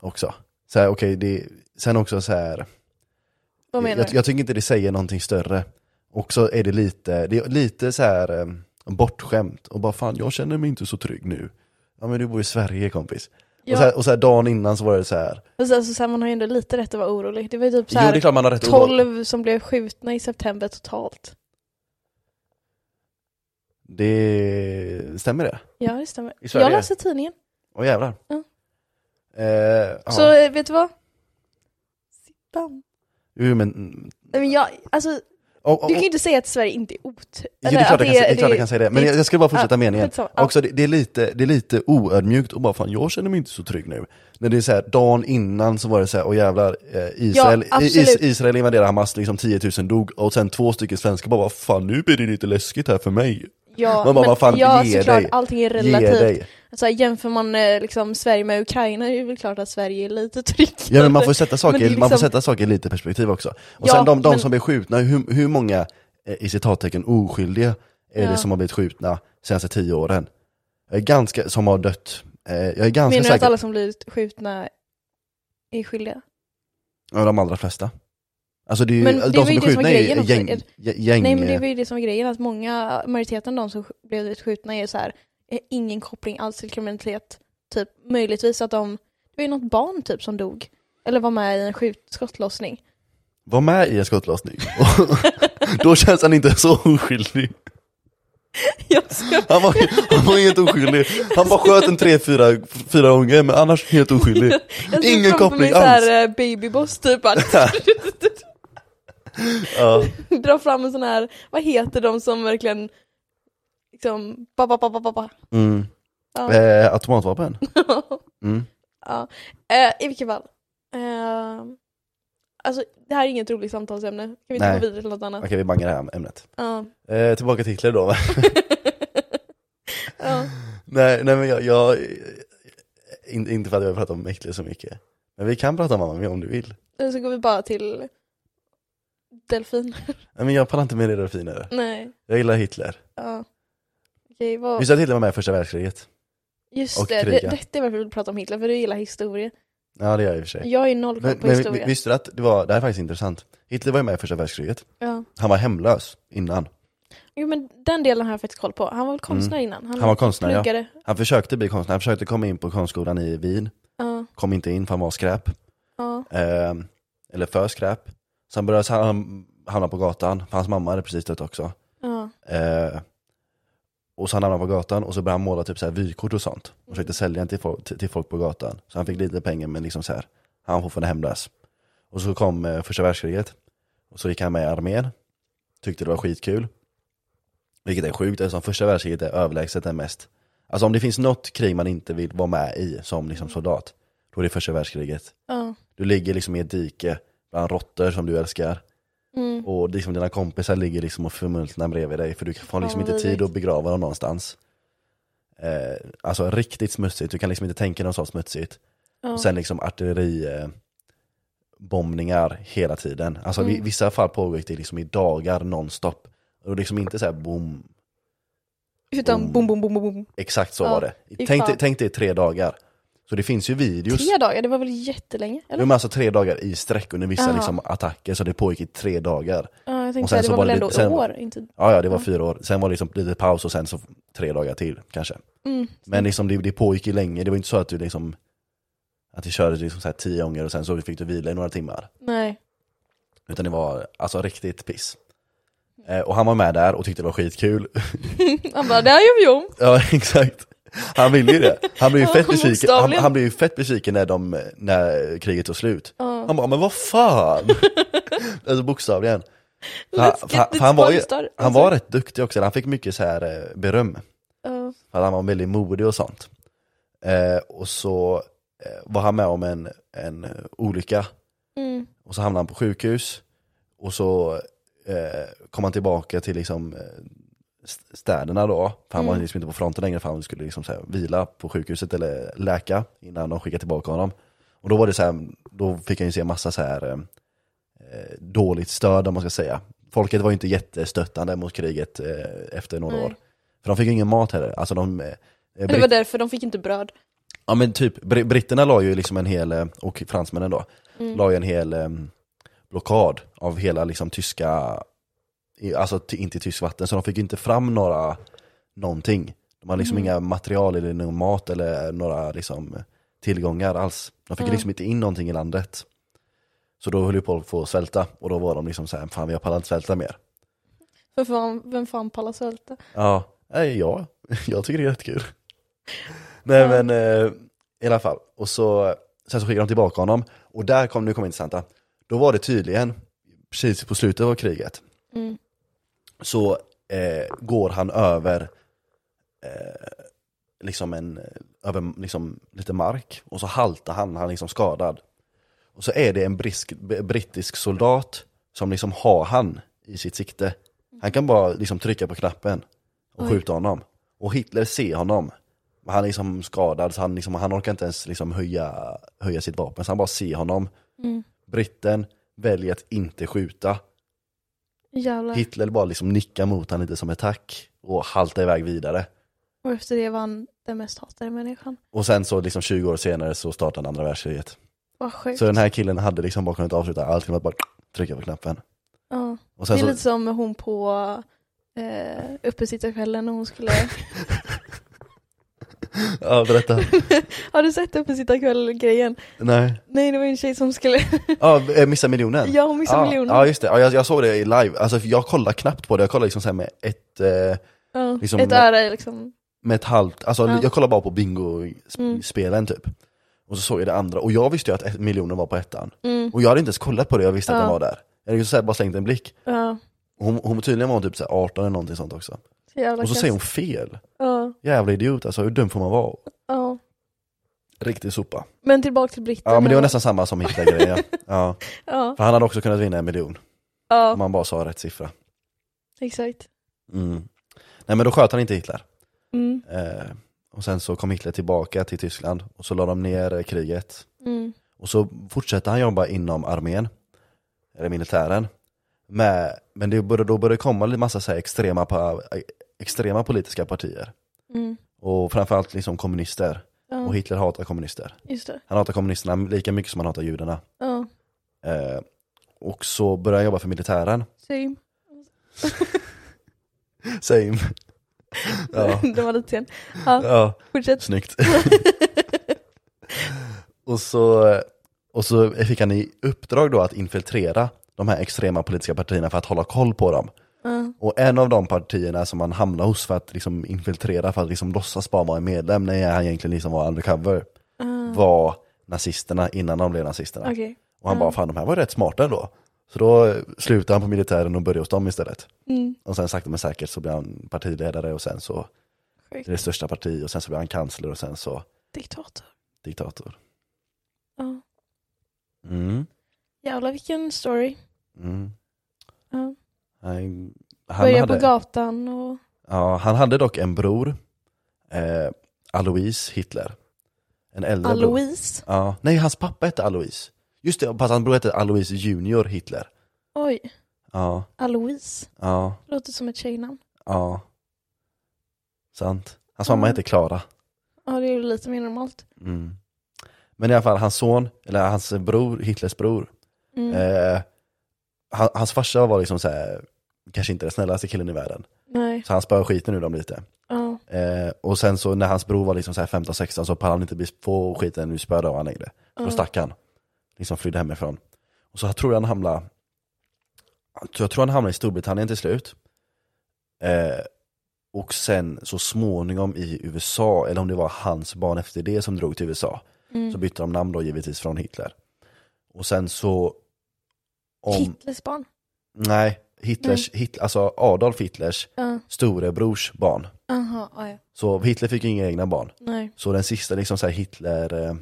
S1: också. Så här, okej, det, sen också så här,
S2: Vad menar
S1: jag,
S2: du?
S1: jag tycker inte det säger någonting större. Och så är det lite, det är lite så här eh, bortskämt och bara fan jag känner mig inte så trygg nu. Ja men du bor i Sverige kompis.
S2: Ja.
S1: Och, så här, och så här dagen innan så var det så här.
S2: Fast alltså, så här, man har ju ändå lite rätt att vara orolig. Det var ju typ så
S1: jo det är
S2: här,
S1: klart man har rätt att vara-
S2: 12 som blev skjutna i september totalt.
S1: Det stämmer det?
S2: Ja, det stämmer.
S1: I Sverige?
S2: Jag läste tidningen.
S1: Åh jävlar.
S2: Ja.
S1: Eh, ja.
S2: Så eh, vet du vad? Sittan.
S1: Jo men, mm.
S2: Nej men jag, alltså,
S1: Och, och,
S2: Du kan ju
S1: och,
S2: inte säga att Sverige inte är otur.
S1: Ja, det är klart jag kan säga- det är klart jag kan säga det, men jag- jag skulle bara fortsätta meningen.
S2: skitsamma. Ja.
S1: Också, det, det, är lite, det är lite oödmjukt och bara fan, jag känner mig inte så trygg nu. När det är så här, dagen innan så var det så här, åh jävlar, eh, Israel,
S2: Ja,
S1: i-
S2: absolut.
S1: is, Israel invaderade Hamas, liksom 10 000 dog, och sen två stycken svenskar bara, vad fan nu blir det lite läskigt här för mig.
S2: Ja,
S1: Man bara,
S2: men
S1: vad fan,
S2: ja
S1: ge
S2: såklart,
S1: dig.
S2: allting är
S1: Ge
S2: relativt.
S1: dig.
S2: Så här, jämför man eh, liksom, Sverige med Ukraina är det väl klart att Sverige är lite tryggt.
S1: Ja men man får sätta saker,
S2: Men det är
S1: man får
S2: liksom-
S1: sätta saker i lite perspektiv också. Och
S2: Ja,
S1: sen de, de
S2: men-
S1: som blir skjutna, hur, hur många eh, i citattecken oskyldiga är det
S2: Ja.
S1: som har blivit skjutna senaste tio åren? Jag är ganska, som har dött. Eh, Jag är ganska
S2: Menar du att
S1: säker,
S2: alla som blivit skjutna är skyldiga?
S1: ja, de allra flesta. Alltså det är ju,
S2: Men det
S1: de
S2: var
S1: som
S2: ju
S1: är
S2: det som var
S1: skjutna är
S2: grejen
S1: ju
S2: också.
S1: gäng,
S2: Är-
S1: gä- gäng
S2: Nej men det
S1: eh,
S2: var ju det som var grejen, att många, majoriteten av de som sk- blivit skjutna är så här, eh, ingen koppling alls till kriminalitet. Typ möjligtvis att de, det var ju något barn typ som dog. Eller var med i en skjut, skottlossning.
S1: var med i en skottlossning. Och Då känns han inte så oskyldig.
S2: Jag ska...
S1: Han var, han var helt oskyldig. Han bara sköt en tre, fyra, fyra gånger, men annars helt oskyldig.
S2: Jag ser
S1: Ingen
S2: framför
S1: koppling
S2: mig så här, eh, babyboss typ. att-
S1: Ja.
S2: Dra fram en sån här, vad heter de som verkligen liksom, ba, ba, ba, ba, ba, ba.
S1: Mm.
S2: Ja.
S1: Eh, automatvapen. Mm.
S2: ja. eh, I vilket fall. Eh, alltså det här är inget roligt samtalsämne. Kan vi inte
S1: Nej.
S2: gå vidare till något annat?
S1: Okej, vi bangar det här ämnet.
S2: Ja.
S1: Eh, tillbaka till Hitler då. va?
S2: ja.
S1: nej, nej, men jag... jag in, inte för att jag vill prata om Hitler så mycket. Men vi kan prata om honom om du vill.
S2: Eller Eh, så går vi bara till delfin.
S1: Nej, men jag pallar inte med det delfiner.
S2: Nej.
S1: Jag gillar Hitler.
S2: Ja. Okej, vad...
S1: Visst att Hitler var med i första världskriget? och
S2: Just det, det,
S1: kriga.
S2: detta är varför vi vill prata om Hitler, för du gillar historia.
S1: Ja, det gör jag i och för sig.
S2: Jag är noll koll
S1: Eh. Men,
S2: på
S1: men vi-
S2: historia.
S1: visste du att det var, det här är faktiskt intressant. Hitler var ju med i första världskriget.
S2: Ja.
S1: Han var hemlös innan.
S2: Jo men den delen har jag faktiskt koll på. Han var väl konstnär innan?
S1: Mm. Han var konstnär, ja.
S2: pluggade.
S1: Han försökte bli konstnär, han försökte komma in på konstskolan i Wien.
S2: Ja.
S1: Kom inte in för han var skräp.
S2: ja.
S1: Eh, eller för skräp. Sen började han hamna på gatan, för hans mamma hade precis dött också.
S2: ja.
S1: Eh, och så han hamnade på gatan och så började han måla typ så här vykort och sånt. Och försökte sälja den till folk, till, till folk på gatan. Så han fick lite pengar men liksom så här, han var fortfarande hemlös. Och så kom eh, första världskriget. Och så gick han med i armén. Tyckte det var skitkul. Vilket är sjukt eftersom första världskriget är överlägset den mest. Alltså om det finns något krig man inte vill vara med i som liksom soldat, då är det första världskriget.
S2: ja.
S1: Du ligger liksom i ett dike bland råttor som du älskar.
S2: Mm.
S1: Och liksom dina kompisar ligger liksom och förmultnar bredvid dig för du får
S2: Fan,
S1: liksom
S2: vad
S1: inte tid
S2: vidrigt.
S1: att begrava dem någonstans. Eh, alltså riktigt smutsigt, du kan liksom inte tänka dig något sånt smutsigt.
S2: Ja.
S1: Och sen liksom artilleribombningar eh, bombningar hela tiden. Alltså i
S2: Mm.
S1: vissa fall pågick det liksom i dagar nonstop. Och liksom inte så här boom, Mm.
S2: Utan bom, bom, bom, bom, bom.
S1: exakt så
S2: Ja,
S1: var det.
S2: fy
S1: Tänk dig,
S2: fan.
S1: tänk dig tre dagar. Så det finns ju videos.
S2: Tre dagar, det var väl jättelänge? Eller?
S1: Jo, men alltså tre dagar i sträck under vissa
S2: Jaha.
S1: liksom, attacker, så det pågick i tre dagar.
S2: Ja, jag
S1: och
S2: tänkte
S1: sen
S2: säga, det
S1: så
S2: var
S1: var
S2: väl
S1: det
S2: ändå
S1: lite- sen-
S2: år? Inte...
S1: Ja, ja det var
S2: Ja.
S1: fyra år. Sen var det liksom lite paus och sen så tre dagar till kanske.
S2: Mm.
S1: Men liksom det, det pågick ju länge, det var inte så att du liksom att du körde liksom så här tio gånger och sen så fick du vila i några timmar.
S2: Nej.
S1: Utan det var alltså riktigt piss. Eh, och han var med där och tyckte det var skitkul.
S2: Han bara, det här gör vi om.
S1: ja, exakt. Han ville ju det. Han blev ju
S2: Ja,
S1: fett besviken, han,
S2: bokstavligen.
S1: han blev ju fett besviken när, de, när kriget tog slut.
S2: Ja.
S1: Han bara, men vad fan! alltså bokstavligen. För han,
S2: Let's
S1: för han,
S2: get
S1: för
S2: this
S1: han, var,
S2: party
S1: ju,
S2: started. Alltså,
S1: han var rätt duktig också, han fick mycket så här eh, beröm.
S2: Ja.
S1: För att han var väldigt modig och sånt. Eh, och så eh, var han med om en, en eh, olycka
S2: Mm.
S1: och så hamnade han på sjukhus. Och så eh, kom han tillbaka till liksom, eh, st- städerna då, för han var
S2: Mm.
S1: liksom inte på fronten längre för han skulle liksom, så här, vila på sjukhuset eller läka innan de skickade tillbaka honom. Och då var det så här, då fick han ju se massa så här eh, eh, dåligt stöd om man ska säga. Folket var ju inte jättestöttande mot kriget eh, efter några
S2: Nej.
S1: år. För de fick ju ingen mat heller. Alltså de, eh, eh,
S2: Det
S1: britt-
S2: var därför de fick inte bröd.
S1: Ja men typ, br- britterna la ju liksom en hel, eh, och fransmännen då,
S2: Mm.
S1: la ju en hel eh, blockad av hela liksom tyska, i- alltså ty- in till tyskt vatten, så de fick ju inte fram några, någonting. De hade liksom
S2: Mm.
S1: inga material eller någon mat eller några liksom tillgångar alls. De fick ju
S2: Mm.
S1: liksom inte in någonting i landet. Så då höll ju folk på att svälta och då var de liksom såhär, fan vi har pallat inte svälta mer.
S2: För fan, vem fan pallar svälta?
S1: Ja, nej, ja. jag tycker det är jättekul. Nej men eh, i alla fall, och så, sen så skickade de tillbaka honom och där kom, nu kommer det intressanta, då var det tydligen precis på slutet av kriget
S2: Mm.
S1: så eh, går han över eh, liksom en, eh, över liksom lite mark och så haltar han, han är liksom skadad. Och så är det en brisk, b- brittisk soldat som liksom har han i sitt sikte. Han kan bara liksom trycka på knappen och
S2: Oj.
S1: skjuta honom. Och Hitler ser honom. Men han är liksom skadad så han, liksom, han orkar inte ens liksom höja, höja sitt vapen, så han bara ser honom.
S2: Mm.
S1: Britten väljer att inte skjuta.
S2: Jävlar.
S1: Hitler bara liksom nickar mot honom lite som ett tack och haltar iväg vidare.
S2: Och efter det var han den mest hatade människan.
S1: Och sen så liksom 20 år senare så startade andra världskriget.
S2: Vad sjukt.
S1: Så den här killen hade liksom bara kunnat avsluta allt genom att bara trycka på knappen.
S2: ja.
S1: Och
S2: Det
S1: sen
S2: är
S1: så,
S2: lite som hon på eh, uppesittarkvällen när hon skulle...
S1: ja berätta.
S2: Har du sett uppesittarkväll-grejen?
S1: Nej.
S2: Nej, det var ju en tjej som skulle...
S1: Ja, eh, missa miljonen.
S2: ja, hon missade
S1: ja,
S2: miljonen.
S1: Ja just det, ja, jag, jag såg det i live. Alltså jag kollar knappt på det, jag kollar liksom så här med ett, eh,
S2: Ja,
S1: liksom-
S2: ett öra liksom.
S1: med ett halvt, alltså
S2: Ja. Mm.
S1: jag kollar bara på bingospelen typ. Och så såg jag det andra, och jag visste ju att ett, miljonen var på ettan.
S2: Mm,
S1: Och jag hade inte ens kollat på det, jag visste att
S2: Ja.
S1: den var där. Jag hade ju så här bara slängt en blick.
S2: ja,
S1: Hon, hon tydligen var hon typ så här 18 eller någonting sånt också.
S2: så jävla
S1: Och så
S2: kass.
S1: säger hon fel.
S2: Ja,
S1: Jävla idiot alltså, hur dum får man vara?
S2: ja.
S1: Riktig sopa.
S2: Men tillbaka till Britten.
S1: Ja men det var
S2: här.
S1: nästan samma som Hitler-grejen. ja. ja.
S2: Ja,
S1: För han hade också kunnat vinna en miljon
S2: ja,
S1: om han bara sa rätt siffra.
S2: exakt.
S1: Mm. Nej men då sköt han inte Hitler.
S2: Mm,
S1: Eh, och sen så kom Hitler tillbaka till Tyskland och så la de ner eh, kriget.
S2: mm,
S1: Och så fortsatte han jobba inom armén, eller militären. Med, men det började, då började det komma en massa så här extrema, pa, extrema politiska partier.
S2: mm.
S1: Och framförallt liksom kommunister. Och
S2: Ja,
S1: Hitler hatar kommunister.
S2: just det.
S1: Han hatar kommunisterna lika mycket som han hatar judarna.
S2: Ja,
S1: Eh, och så började han jobba för militären.
S2: same.
S1: Same. ja,
S2: Den var lite sen. Ja,
S1: ja,
S2: fortsätt.
S1: snyggt. och, så, och så fick han i uppdrag då att infiltrera de här extrema politiska partierna för att hålla koll på dem.
S2: Ja,
S1: Och en av de partierna som han hamnade hos för att liksom infiltrera, för att liksom låtsas bara vara en medlem när han egentligen liksom var undercover,
S2: ja.
S1: var nazisterna innan de blev nazisterna.
S2: Okej.
S1: Och han bara, fan de här var rätt smarta ändå. Så då slutade han på militären och började hos dem istället.
S2: Mm,
S1: Och sen sakta men säkert så blev han partiledare och sen så
S2: sjukt.
S1: till det största parti och sen så blev han kansler och sen så
S2: Diktator.
S1: diktator.
S2: Ja.
S1: Mm.
S2: Jävlar vilken story.
S1: Mm.
S2: Ja.
S1: Han, han,
S2: Börja på
S1: hade,
S2: gatan och...
S1: ja, han hade dock en bror, eh, Alois Hitler. En äldre bror.
S2: Aloise.
S1: Ja. Nej, hans pappa hette Alois. Just det, fast hans bror hette Alois Junior Hitler.
S2: Oj,
S1: Ja,
S2: Aloise.
S1: ja,
S2: Låter som ett tjejnamn.
S1: ja. Sant. Hans mamma
S2: Ja.
S1: hette Klara.
S2: Ja, det är ju lite mer normalt.
S1: Mm. Men i alla fall, hans son, eller hans bror, Hitlers bror,
S2: Mm.
S1: Eh, han, hans farsa var liksom så här, kanske inte den snällaste killen i världen.
S2: Nej,
S1: Så han spöade skiten ur dem lite.
S2: ja.
S1: Eh, och sen så när hans bror var liksom så här 15-16 så pallade han inte bli- få skiten ur spöade av han längre. Så då
S2: Ja.
S1: stack han. Liksom flydde hemifrån. Och så jag tror han hamnade, jag tror han hamnade i Storbritannien till slut. Eh, och sen så småningom i USA, eller om det var hans barn efter det som drog till USA,
S2: Mm.
S1: så bytte de namn då givetvis från Hitler. Och sen så... Om,
S2: Hitlers barn.
S1: nej, Hitlers, Hit, alltså Adolf Hitlers
S2: Ja.
S1: storebrors barn.
S2: Aha, ja, ja.
S1: Så Hitler fick ju inga egna barn.
S2: Nej,
S1: Så den sista liksom så här Hitler-generna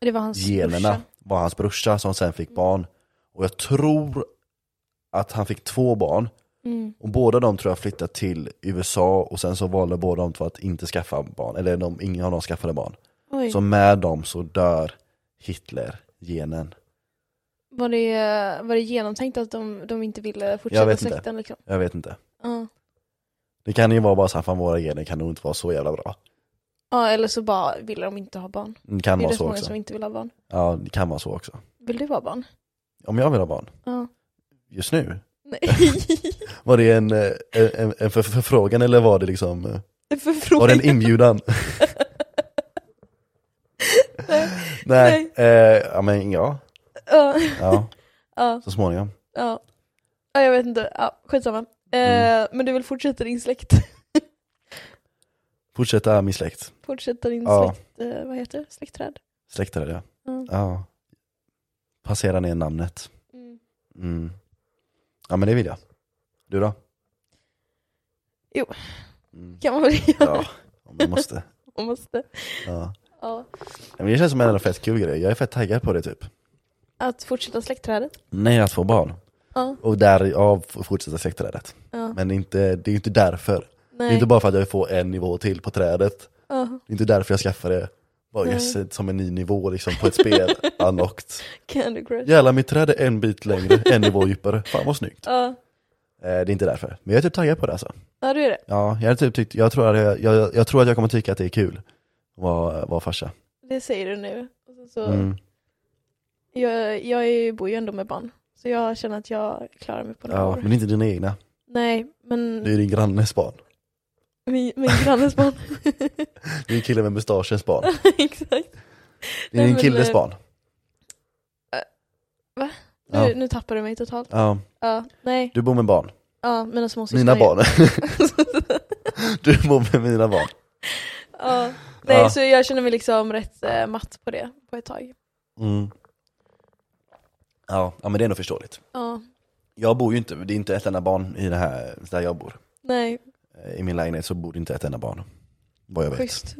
S2: det var hans brorsa.
S1: var hans brorsa som sen fick barn. Och jag tror att han fick två barn.
S2: Mm.
S1: Och båda de tror jag flyttade till USA och sen så valde båda de två att inte skaffa barn. Eller de, ingen av dem skaffade barn.
S2: Oj,
S1: Så med dem så dör Hitler-genen.
S2: var, det, var det genomtänkt att de, de inte ville
S1: Jag
S2: fortsätta
S1: vet inte.
S2: släkten? Liksom?
S1: Jag vet inte.
S2: Ja.
S1: Det kan ju vara bara så här, fan våra gener kan nog inte vara så jävla bra.
S2: ja, eller så bara ville de inte ha barn.
S1: Det kan
S2: Det är
S1: vara
S2: rätt
S1: så
S2: många
S1: också.
S2: som inte vill ha barn.
S1: Ja, det kan vara så också.
S2: Vill du ha barn?
S1: Om jag vill ha barn,
S2: Ja.
S1: just nu,
S2: Nej.
S1: var det en, eh, en, en för- förfrågan eller var det liksom, eh,
S2: Förfrågan.
S1: var det en inbjudan?
S2: Nej.
S1: Nej, eh, ja men ja,
S2: Ja.
S1: ja,
S2: ja.
S1: så småningom.
S2: Ja. ja, jag vet inte. Ja, skitsamma. Eh,
S1: Mm.
S2: Men du vill fortsätta din släkt?
S1: Fortsätta min släkt,
S2: Fortsätta din
S1: Ja.
S2: släkt... Eh, vad heter det? Släktträd?
S1: släktare ja.
S2: Ja.
S1: ja. Passera ner namnet.
S2: Mm.
S1: Mm. Ja men det vill jag. Du då?
S2: Jo.
S1: Mm.
S2: Kan man väl göra
S1: Ja, om jag måste.
S2: om man måste.
S1: Ja.
S2: Ja.
S1: Men det känns som en jävla fett kul grej, jag är fett taggad på det typ.
S2: Att fortsätta släktträdet.
S1: Nej, att få barn.
S2: Ja.
S1: Och därav fortsätta släktträdet.
S2: Ja.
S1: Men inte, det är ju inte därför. Det är
S2: Nej.
S1: inte bara för att jag får en nivå till på trädet.
S2: Ja.
S1: Det är inte därför jag skaffar det. Bara
S2: Nej.
S1: yes, som en ny nivå liksom på ett spel, unlocked.
S2: Candy Crush.
S1: Jävlar, mitt träd är en bit längre, en nivå djupare. Fan vad snyggt.
S2: Ja.
S1: Eh, det är inte därför. Men jag är typ taggad på det alltså.
S2: ja, du är det.
S1: Ja, jag, är typ tyckt, jag, tror, att jag, jag, jag tror att jag kommer tycka att det är kul att vara, vara farsa.
S2: Det säger du nu. Och så- Så,
S1: Mm.
S2: jag, jag är ju- bor ju ändå med barn. Så jag känner att jag klarar mig på några
S1: Ja,
S2: år.
S1: men inte dina egna.
S2: Nej, men
S1: Det är din grannes barn.
S2: min, min grannes barn.
S1: Det är en kille med mustaschens barn.
S2: Exakt.
S1: Det är
S2: Nej,
S1: din
S2: men,
S1: killes
S2: eh,
S1: barn.
S2: Nu,
S1: Ja.
S2: nu tappar du mig totalt.
S1: Ja,
S2: Ja, nej.
S1: du bor med barn.
S2: Ja, mina småsyskon.
S1: Mina
S2: är-
S1: barn. du bor med mina barn.
S2: ja. Nej,
S1: Ja.
S2: så jag känner mig liksom rätt eh, matt på det på ett tag.
S1: Mm. Ja, ja, men det är nog förståeligt.
S2: Ja,
S1: Jag bor ju inte, det är inte ett enda barn i det här, där jag bor.
S2: nej,
S1: Eh, I min lägenhet så bor det inte ett enda barn. Vad jag vet.
S2: schysst.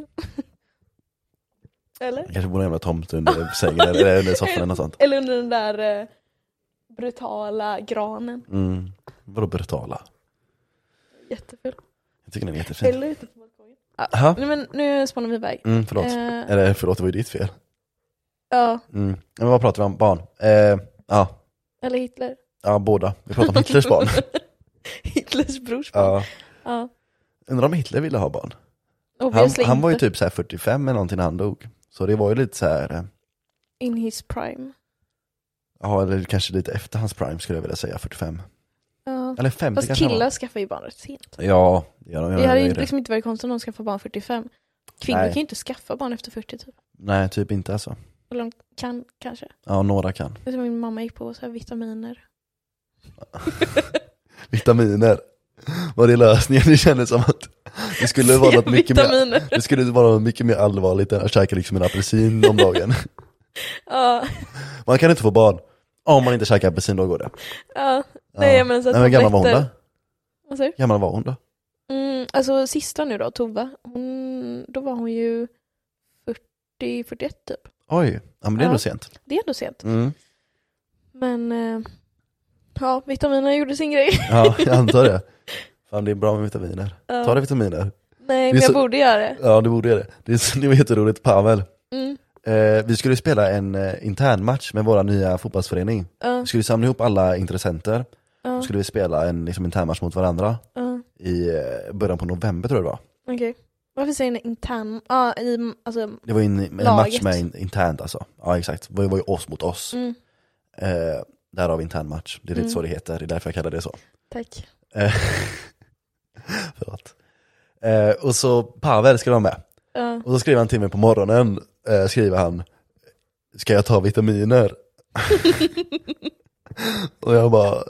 S2: eller?
S1: Jag kanske bor en jävla tomt under sängen eller eller under soffan eller något sånt.
S2: Eller under den där eh, brutala granen.
S1: Mm. Vadå brutala?
S2: Jätteful.
S1: Jag tycker den är jättefin.
S2: Eller ute på balkongen.
S1: Aha.
S2: Nej, men nu spånar vi iväg.
S1: Mm, förlåt.
S2: Eh,
S1: Eller förlåt, det var ju ditt fel.
S2: ja,
S1: Mm. Ja, Men vad pratar vi om? Barn? Eh, ja.
S2: eller Hitler.
S1: ja, båda. Vi pratar om Hitlers barn.
S2: Hitlers brors barn.
S1: Ja.
S2: Ja.
S1: Undrar om Hitler ville ha barn? Han,
S2: Obviously
S1: han var ju
S2: inte.
S1: typ så här 45 eller någonting när han dog. Så det var ju lite så här, eh,
S2: In his prime.
S1: ja eller kanske lite efter hans prime skulle jag vilja säga, 45.
S2: Ja.
S1: Eller 50
S2: Fast
S1: kanske han var.
S2: killar skaffar ju barn rätt sent.
S1: Ja, det gör de.
S2: Det
S1: gör
S2: hade
S1: de
S2: ju
S1: ju det.
S2: liksom inte varit konstigt om de skaffade barn 45. Kvinnor
S1: Nej.
S2: kan ju inte skaffa barn efter 40 typ.
S1: Nej, typ inte alltså.
S2: Eller de kan kanske.
S1: Ja, några kan.
S2: Jag tror min mamma gick på så här vitaminer.
S1: Vitaminer. Var det lösningen? Det kändes som att det skulle vara något mycket mer
S2: vitaminer.
S1: Det skulle vara något mycket mer allvarligt än att käka liksom en apelsin om dagen.
S2: Ja,
S1: Man kan inte få barn. Om man inte käkar apelsin då går det.
S2: ja. Nej,
S1: Ja.
S2: jag menar så att
S1: Nej, men gammal var hon då?
S2: tabletter- Vad säger du?
S1: Gammal var hon då?
S2: Mm, alltså sista nu då, Tova, hon, då var hon ju 40-41 typ.
S1: Oj, ja, men det är
S2: Ja.
S1: nog sent.
S2: Det är ändå sent.
S1: Mm.
S2: Men eh, ja, vitaminerna gjorde sin grej.
S1: Ja, jag antar det. Fan det är bra med vitaminer.
S2: Ja.
S1: Ta dig vitaminer.
S2: Nej,
S1: är
S2: men jag
S1: så-
S2: borde göra det.
S1: Ja, du borde göra det. Det, är, så- det var jätteroligt, Pavel.
S2: Mm,
S1: Eh, vi skulle spela en eh, internmatch med våra nya fotbollsförening.
S2: ja,
S1: Vi skulle samla ihop alla intressenter.
S2: ja,
S1: Då skulle vi spela en liksom, internmatch mot varandra
S2: ja.
S1: i eh, början på november tror jag det var.
S2: Okej. Varför säger ni intern? Ja, i, alltså,
S1: Det var ju en, en match
S2: Laget.
S1: med in, internt alltså. Ja exakt, det var ju oss mot oss.
S2: mm,
S1: Eh, därav intern match, det är lite
S2: Mm.
S1: så det heter, det är därför jag kallar det så.
S2: tack.
S1: Eh, Förlåt. Eh, och så Pavel skulle vara med.
S2: Ja,
S1: Och så skriver han till mig på morgonen, eh, skriver han Ska jag ta vitaminer? och jag bara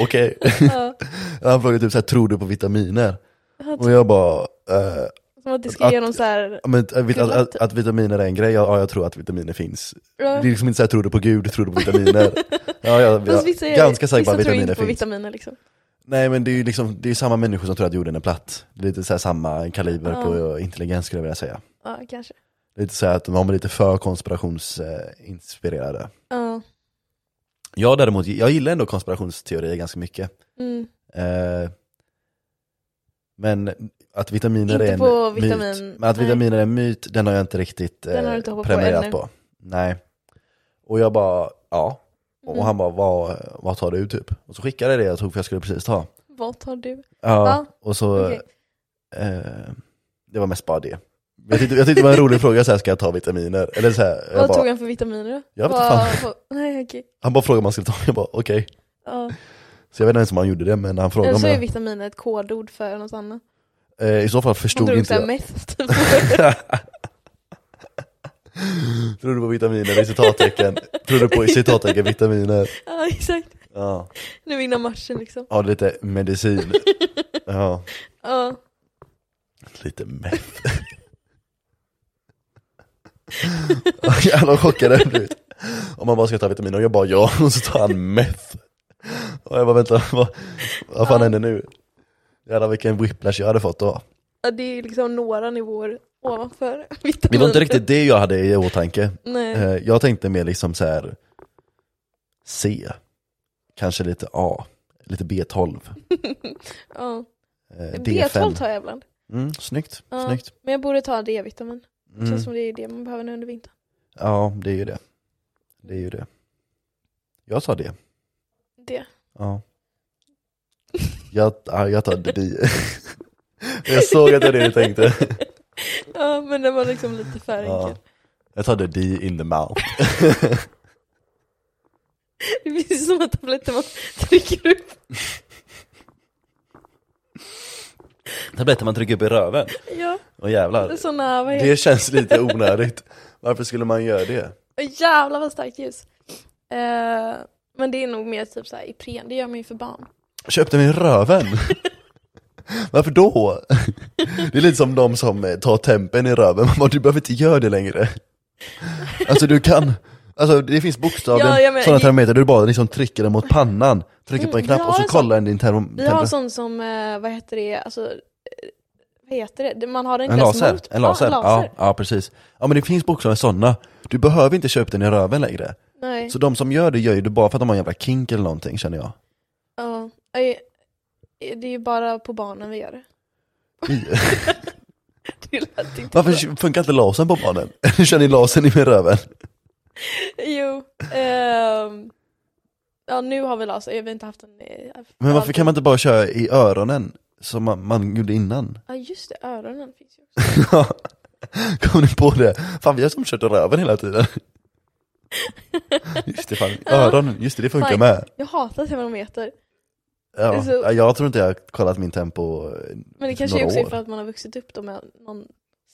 S1: okej.
S2: ja.
S1: Han frågade typ såhär, tror du på vitaminer?
S2: Ja,
S1: Och jag bara, eh,
S2: Som att det ska ge
S1: Att-
S2: dem så här...
S1: men, att, att, att, att vitaminer är en grej, ja, ja jag tror att vitaminer finns.
S2: Ja.
S1: Det är liksom inte såhär, tror du på gud, tror du på vitaminer? Ja, jag,
S2: Fast
S1: jag,
S2: vissa är-
S1: ganska säker på
S2: vissa
S1: att
S2: tror
S1: vitaminer
S2: inte på
S1: finns.
S2: vitaminer liksom.
S1: Nej men det är ju liksom, det är samma människor som tror att jorden är platt. Det är lite så här samma kaliber
S2: Ja.
S1: på intelligens skulle jag vilja säga.
S2: Ja, kanske.
S1: Lite så här att de är lite för konspirationsinspirerade.
S2: Ja.
S1: Jag däremot, jag gillar ändå konspirationsteorier ganska mycket.
S2: Mm.
S1: Eh, men att vitaminer
S2: Inte
S1: är en
S2: på
S1: myt,
S2: vitamin-
S1: men att
S2: nej.
S1: vitaminer är en myt, den har jag inte riktigt
S2: Den har
S1: eh,
S2: du inte hoppat på
S1: prenumererat på,
S2: ännu.
S1: Nej. Och jag bara, ja. Och
S2: Mm.
S1: han bara, vad, vad tar du typ? Och så skickade jag det jag tog för jag skulle precis ta.
S2: Mm. Vad tar du?
S1: Ja,
S2: Ja,
S1: och så
S2: okej.
S1: eh, Det var mest bara det. Jag tyckte, jag tyckte det var en rolig fråga, så här, ska jag ta vitaminer? Eller så här, jag
S2: Vad
S1: bara,
S2: tog han för vitaminer då?
S1: Jag vet inte
S2: Vad- vad- Nej, okej.
S1: han bara frågade om man skulle ta, jag bara okej.
S2: Ja.
S1: Så jag vet inte ens om han gjorde det, men han frågade
S2: Eller
S1: om
S2: så är
S1: jag,
S2: vitaminer ett kodord för något annat.
S1: eh, I så fall
S2: Han
S1: förstod
S2: drog
S1: inte
S2: såhär
S1: jag.
S2: mest. typ.
S1: Tror du på vitaminer i citattecken? Tror du på i citattecken vitaminer?
S2: ja, exakt.
S1: Ja,
S2: Nu innan matchen liksom.
S1: ja lite medicin. Ja,
S2: Ja.
S1: lite meth. Jävlar vad chockad jag blev. Om man bara ska ta vitaminer, och jag bara ja, och så tar han meth. Och jag bara vänta, vad, vad fan händer nu? Jävlar vilken whiplash jag hade fått då.
S2: Ja, det är liksom några nivåer ovanför
S1: Det var inte riktigt det jag hade i åtanke.
S2: Nej.
S1: Eh, Jag tänkte mer liksom så här C, kanske lite A, lite B12.
S2: Ja.
S1: eh,
S2: B12 tar jag ibland.
S1: Mm, snyggt,
S2: Ja.
S1: snyggt.
S2: Men jag borde ta D-vitamin.
S1: Mm.
S2: Känns som det är det man behöver nu under vintern.
S1: Ja, det är ju det. Det är ju det. Jag tar det.
S2: Det.
S1: Ja. Jag, ja, jag tar det. jag såg att det är det du tänkte.
S2: Ja, men det var liksom lite för
S1: Ja.
S2: enkelt.
S1: Jag tar det in the mouth.
S2: Det finns sådana tabletter man trycker upp.
S1: Tabletter man trycker upp i röven.
S2: Ja,
S1: Och jävlar.
S2: sådana, vad heter
S1: Det känns lite onödigt. Varför skulle man göra det?
S2: Åh, Jävlar vad starkt ljus. Eh, men det är nog mer typ såhär Ipren, det gör man ju för barn.
S1: Köpte mig röven? Varför då? Det är lite som de som eh, tar tempen i röven, man bara, du behöver inte göra det längre. Alltså du kan, alltså det finns bokstavligen
S2: Ja, jag menar-
S1: sådana termometrar där du bara liksom trycker den mot pannan, trycker på en
S2: Mm,
S1: knapp
S2: vi
S1: och
S2: har
S1: så
S2: en
S1: kollar den din termo-
S2: Vi har en
S1: temper.
S2: sån som, eh, vad heter det, alltså, eh, vad heter det? det? Man har den
S1: En
S2: klass
S1: laser,
S2: mot-
S1: en laser,
S2: Ja, en laser.
S1: Ja, ja precis. Ja men det finns bokstavligen sådana, du behöver inte köpa den i röven längre.
S2: Nej.
S1: Så de som gör det gör ju det bara för att de har en jävla kink eller någonting känner jag.
S2: Ja. Ej, Det är ju bara på barnen vi gör det. det lät inte bra.
S1: Varför funkar inte lasern på barnen? Kör ni lasern i min röven?
S2: Jo. ehm, ja, nu har vi laser, vi har inte haft en... eh,
S1: Men varför kan man inte bara köra i öronen som man, man gjorde innan?
S2: Ja just det, öronen finns ju också.
S1: Kom ni på det? Fan vi har som kört i röven hela tiden. Just det, fan. öronen, just det, det funkar
S2: Fan.
S1: med.
S2: Jag hatar termometer.
S1: Ja.
S2: Så-
S1: Ja, Jag tror inte jag har kollat min tempo.
S2: Men det
S1: För
S2: kanske
S1: några
S2: också är
S1: år.
S2: för att man har vuxit upp då med att någon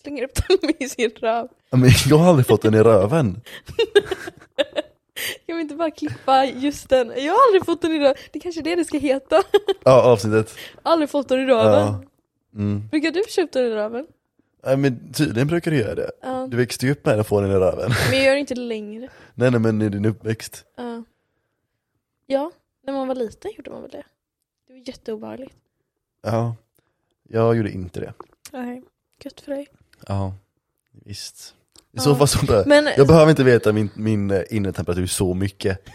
S2: slänger upp den i sin röv.
S1: Ja, Men jag har aldrig fått den i röven.
S2: Kan vi inte bara klippa just den? Jag har aldrig fått den i röven. Det är kanske är det det ska heta.
S1: Ja, avsnittet.
S2: Aldrig fått den i röven.
S1: Ja. Mm.
S2: Brukar du köpa den i röven?
S1: Nej, men tydligen brukar du göra det.
S2: Ja.
S1: Du växte ju upp med att få den i röven.
S2: Men jag gör det inte längre.
S1: Nej, nej, men i din uppväxt.
S2: Ja. ja, när man var liten gjorde man väl det. Det var jätteobehagligt.
S1: Ja, jag gjorde inte det.
S2: Nej. Gött för
S1: Eh,
S2: dig.
S1: Ja, visst. I
S2: Ja.
S1: så fall så bör...
S2: Men
S1: Jag behöver inte veta min, min eh, inre temperatur så mycket.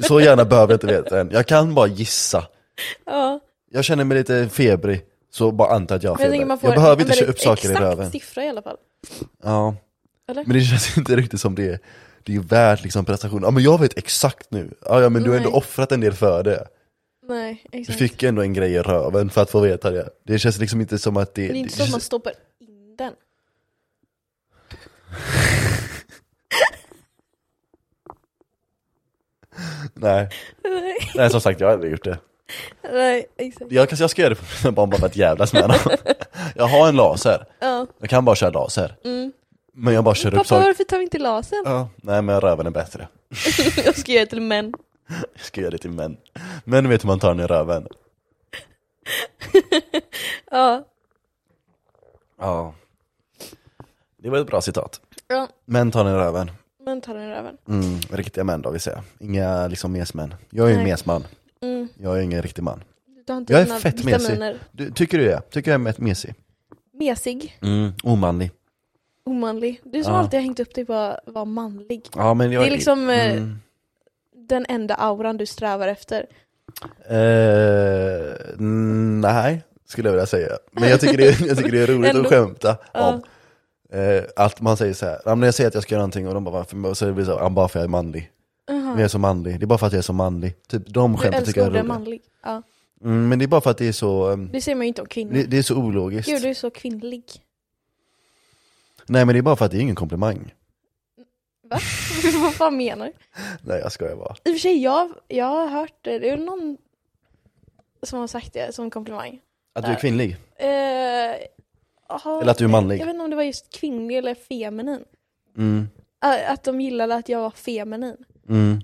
S1: Så gärna behöver jag inte veta än. Jag kan bara gissa.
S2: ja,
S1: Jag känner mig lite febrig, så bara anta att jag har
S2: men jag
S1: feber.
S2: tänker man
S1: Jag,
S2: får
S1: behöver inte
S2: en
S1: köra upp
S2: väldigt
S1: saker i röven.
S2: Exakt siffra i alla fall.
S1: Ja.
S2: Eller?
S1: Men det känns inte riktigt som det. Det är ju värt liksom prestation. Ja men jag vet exakt nu. Ja, ja men du har ändå
S2: Nej.
S1: offrat en del för det.
S2: Nej,
S1: Du
S2: exakt.
S1: fick ändå en grej i röven för att få veta det. Det känns liksom inte som att det...
S2: Men det är inte så att man stoppar in den.
S1: Nej.
S2: Nej,
S1: Nej som sagt jag har aldrig gjort det.
S2: nej exakt.
S1: Jag kanske jag ska göra det på mina barn bara för att jävlas med dem. Jag har en laser.
S2: Ja.
S1: Jag kan bara köra laser.
S2: Mm.
S1: Men jag bara kör upp
S2: Pappa
S1: saker.
S2: varför tar vi inte lasern?
S1: Ja, nej men röven är bättre.
S2: jag ska göra det till män.
S1: Jag ska göra det till män. Män vet hur man tar den i röven.
S2: Ja.
S1: Ja. Det var ett bra citat.
S2: ja.
S1: Män tar den i röven.
S2: Män tar den i röven.
S1: Mm, riktiga män då vill säga. Inga liksom mesmän. Jag är ju en
S2: Nej.
S1: mesman.
S2: Mm.
S1: Jag är ingen riktig man.
S2: Du tar inte
S1: Jag är
S2: dina
S1: fett mesig.
S2: vitaminer. Mesig.
S1: Du, tycker du det? Tycker jag är met- mesig?
S2: mesig,
S1: Mm, omanlig.
S2: omanlig. Du som
S1: Ja.
S2: alltid har hängt upp dig på att vara manlig.
S1: Ja men jag
S2: Det är liksom, eh,
S1: Mm.
S2: Den enda auran du strävar efter.
S1: Eh, mm, nej, skulle jag vilja säga. Men jag tycker det är, jag tycker det är roligt
S2: Ändå.
S1: att skämta
S2: Ja.
S1: om. Eh, att man säger så här, ja, men när jag säger att jag ska göra någonting och de bara varför? Och så är det så här, "Ja, bara för att jag är manlig.
S2: Aha.
S1: Men jag är så manlig, det är bara för att jag är så manlig. Typ de
S2: Du
S1: skämten tycker
S2: älskar
S1: jag är
S2: ordet
S1: roliga.
S2: manlig. Ja.
S1: Mm, men det är bara för att det är så, ehm,
S2: Det säger man ju inte om kvinnor.
S1: det, det är så ologiskt.
S2: Gud, du är så kvinnlig.
S1: Nej men det är bara för att det är ingen komplimang.
S2: Va? Vad fan menar du?
S1: Nej jag skojar bara.
S2: I och för sig, jag, jag har hört det. Det är någon som har sagt det som komplimang.
S1: Att du är kvinnlig?
S2: Eh, aha.
S1: Eller att du är manlig?
S2: Jag vet inte om det var just kvinnlig eller feminin.
S1: Mm,
S2: Ä- Att de gillade att jag var feminin.
S1: mm,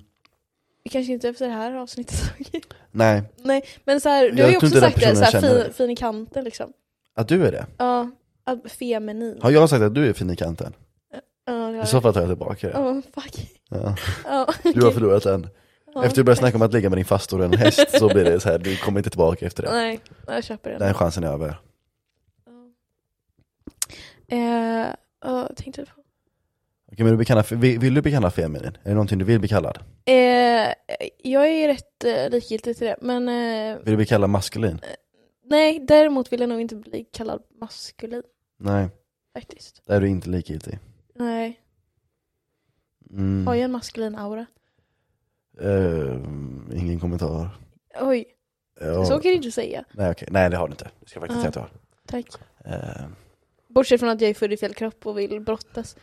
S2: Vi kanske inte efter det här avsnittet.
S1: nej.
S2: Nej, men så här, du
S1: Jag
S2: har ju
S1: tror
S2: också
S1: inte den
S2: sagt det, så
S1: personen
S2: här,
S1: känner
S2: fin,
S1: det.
S2: fin i kanten liksom.
S1: Att du är det?
S2: Ja, att- feminin.
S1: Har jag sagt att du är fin i kanten?
S2: Ja, det har
S1: I
S2: jag.
S1: så fall tar jag tillbaka det.
S2: Ja, fuck.
S1: Ja.
S2: Ja,
S1: Du har
S2: okej.
S1: förlorat en.
S2: Ja.
S1: Efter du börjar snacka om att ligga med din faster och en häst så blir det så här, du kommer inte tillbaka efter det.
S2: Nej, jag köper den.
S1: Den chansen är över.
S2: Eh, vad tänkte jag på?
S1: Okej, men du blir kallad, vill, vill du bli kallad feminin? Är det någonting du vill bli kallad?
S2: Eh, jag är rätt eh, likgiltig till det, men eh,
S1: Vill du bli kallad maskulin?
S2: nej, däremot vill jag nog inte bli kallad maskulin
S1: Nej,
S2: faktiskt.
S1: där är du inte likgiltig.
S2: Nej,
S1: Mm.
S2: har jag en maskulin aura?
S1: Eh, ingen kommentar.
S2: Oj,
S1: Ja.
S2: så kan du inte säga.
S1: Nej, okej. Nej, det har du inte. Det ska jag faktiskt
S2: Ja.
S1: säga att
S2: Tack.
S1: du har. Eh,
S2: Bortsett från att jag är född i fel kropp och vill brottas.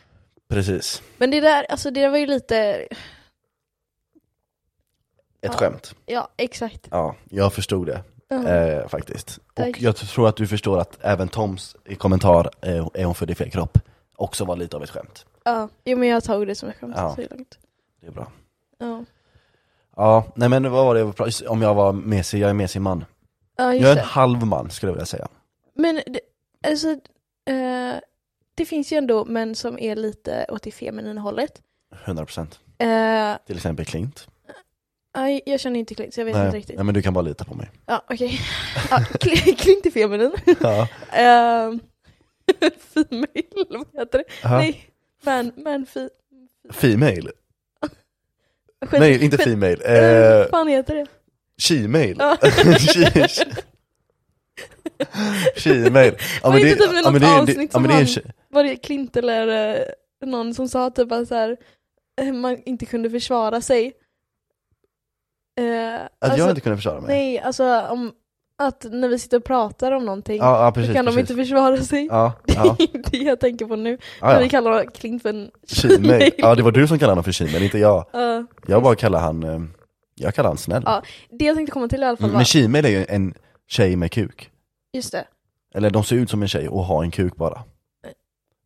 S1: precis.
S2: Men det där, alltså det där var ju lite,
S1: Ett
S2: Ja.
S1: skämt.
S2: ja exakt.
S1: Ja, jag förstod det
S2: Ja.
S1: eh, faktiskt. Och
S2: Tack.
S1: jag tror att du förstår att även Toms kommentar, eh, är hon född i fel kropp, också var lite av ett skämt.
S2: Ja, jo, men jag tog det som ett skämt
S1: Ja.
S2: så långt.
S1: Det är bra.
S2: Ja,
S1: Ja, nej men vad var det jag var- just om jag var mesig, jag är mesig man.
S2: ja just
S1: Jag är en
S2: det.
S1: halv man skulle jag vilja säga.
S2: Men det, alltså, eh, det finns ju ändå män som är lite åt det feminina hållet.
S1: 100%.
S2: Eh,
S1: Till exempel Klint.
S2: aj, jag känner inte Clint så jag vet inte
S1: Nej,
S2: riktigt.
S1: nej men du kan bara lita på mig.
S2: Ja, okej. Ja, Cl- Clint är feminin.
S1: Ja.
S2: Uh, female, vad heter det?
S1: Aha.
S2: Nej, man, man, fi,
S1: Female?
S2: skit.
S1: Nej, inte
S2: skit.
S1: female.
S2: Eh,
S1: Eh,
S2: Vad fan heter det?
S1: she-male.
S2: Ja.
S1: She-male. Ja
S2: Var
S1: men
S2: det
S1: det
S2: inte typ i
S1: ja, men
S2: något
S1: det är det-
S2: avsnitt
S1: ja, men
S2: som
S1: det är en
S2: han-
S1: tjej.
S2: Var det Clint eller eh, någon som sa typ att så här, eh, man inte kunde försvara sig? Eh,
S1: Att
S2: alltså-
S1: jag inte kunde försvara mig?
S2: Nej, alltså om, att när vi sitter och pratar om någonting
S1: Ja, ja
S2: då
S1: precis.
S2: kan de
S1: precis.
S2: inte försvara sig.
S1: Ja, ja.
S2: Det är det jag tänker på nu.
S1: ja,
S2: När vi
S1: ja.
S2: kallar Klint för en
S1: She-male. Ja det var du som kallade honom för she-male, inte jag.
S2: Ja,
S1: Jag bara kallar han, eh, jag kallar han snäll.
S2: Ja, det jag tänkte komma till i alla fall
S1: Mm,
S2: var,
S1: Men she-male är ju en tjej med kuk.
S2: just det,
S1: Eller de ser ut som en tjej och har en kuk bara.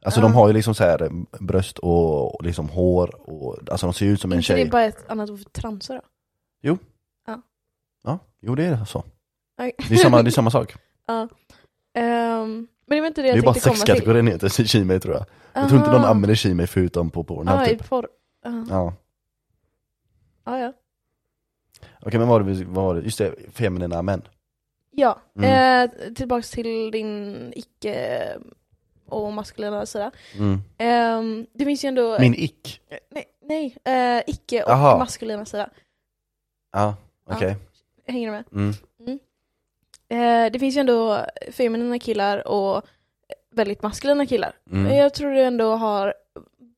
S1: Alltså
S2: Ja.
S1: de har ju liksom så här eh, bröst och och liksom hår och alltså de ser ut som en
S2: inte det
S1: tjej.
S2: är bara ett annat ord för transa då?
S1: Ja, jo det är så.
S2: Okej.
S1: Det är samma, det är samma sak.
S2: Ehm, men det var inte
S1: Det
S2: det jag
S1: är bara
S2: tänkte komma till.
S1: sexkategorin heter shimei tror jag. Jag tror inte någon använder shimei förutom på porn.
S2: ah,
S1: typ.
S2: typ. porr. Ah,
S1: Ja.
S2: ah, ja.
S1: Okej men vad var det, vi- vad var det, just det, feminina män.
S2: Ja,
S1: Mm.
S2: eh, tillbaks till din icke och maskulina sida.
S1: Mm.
S2: Ehm, det finns ju ändå...
S1: Min ick.
S2: Nej, nej eh, icke och
S1: Aha.
S2: maskulina sida.
S1: Ja, okej.
S2: Hänger du med?
S1: Mm.
S2: Eh, det finns ju ändå feminina killar och väldigt maskulina killar. Men
S1: Mm.
S2: Jag tror du ändå har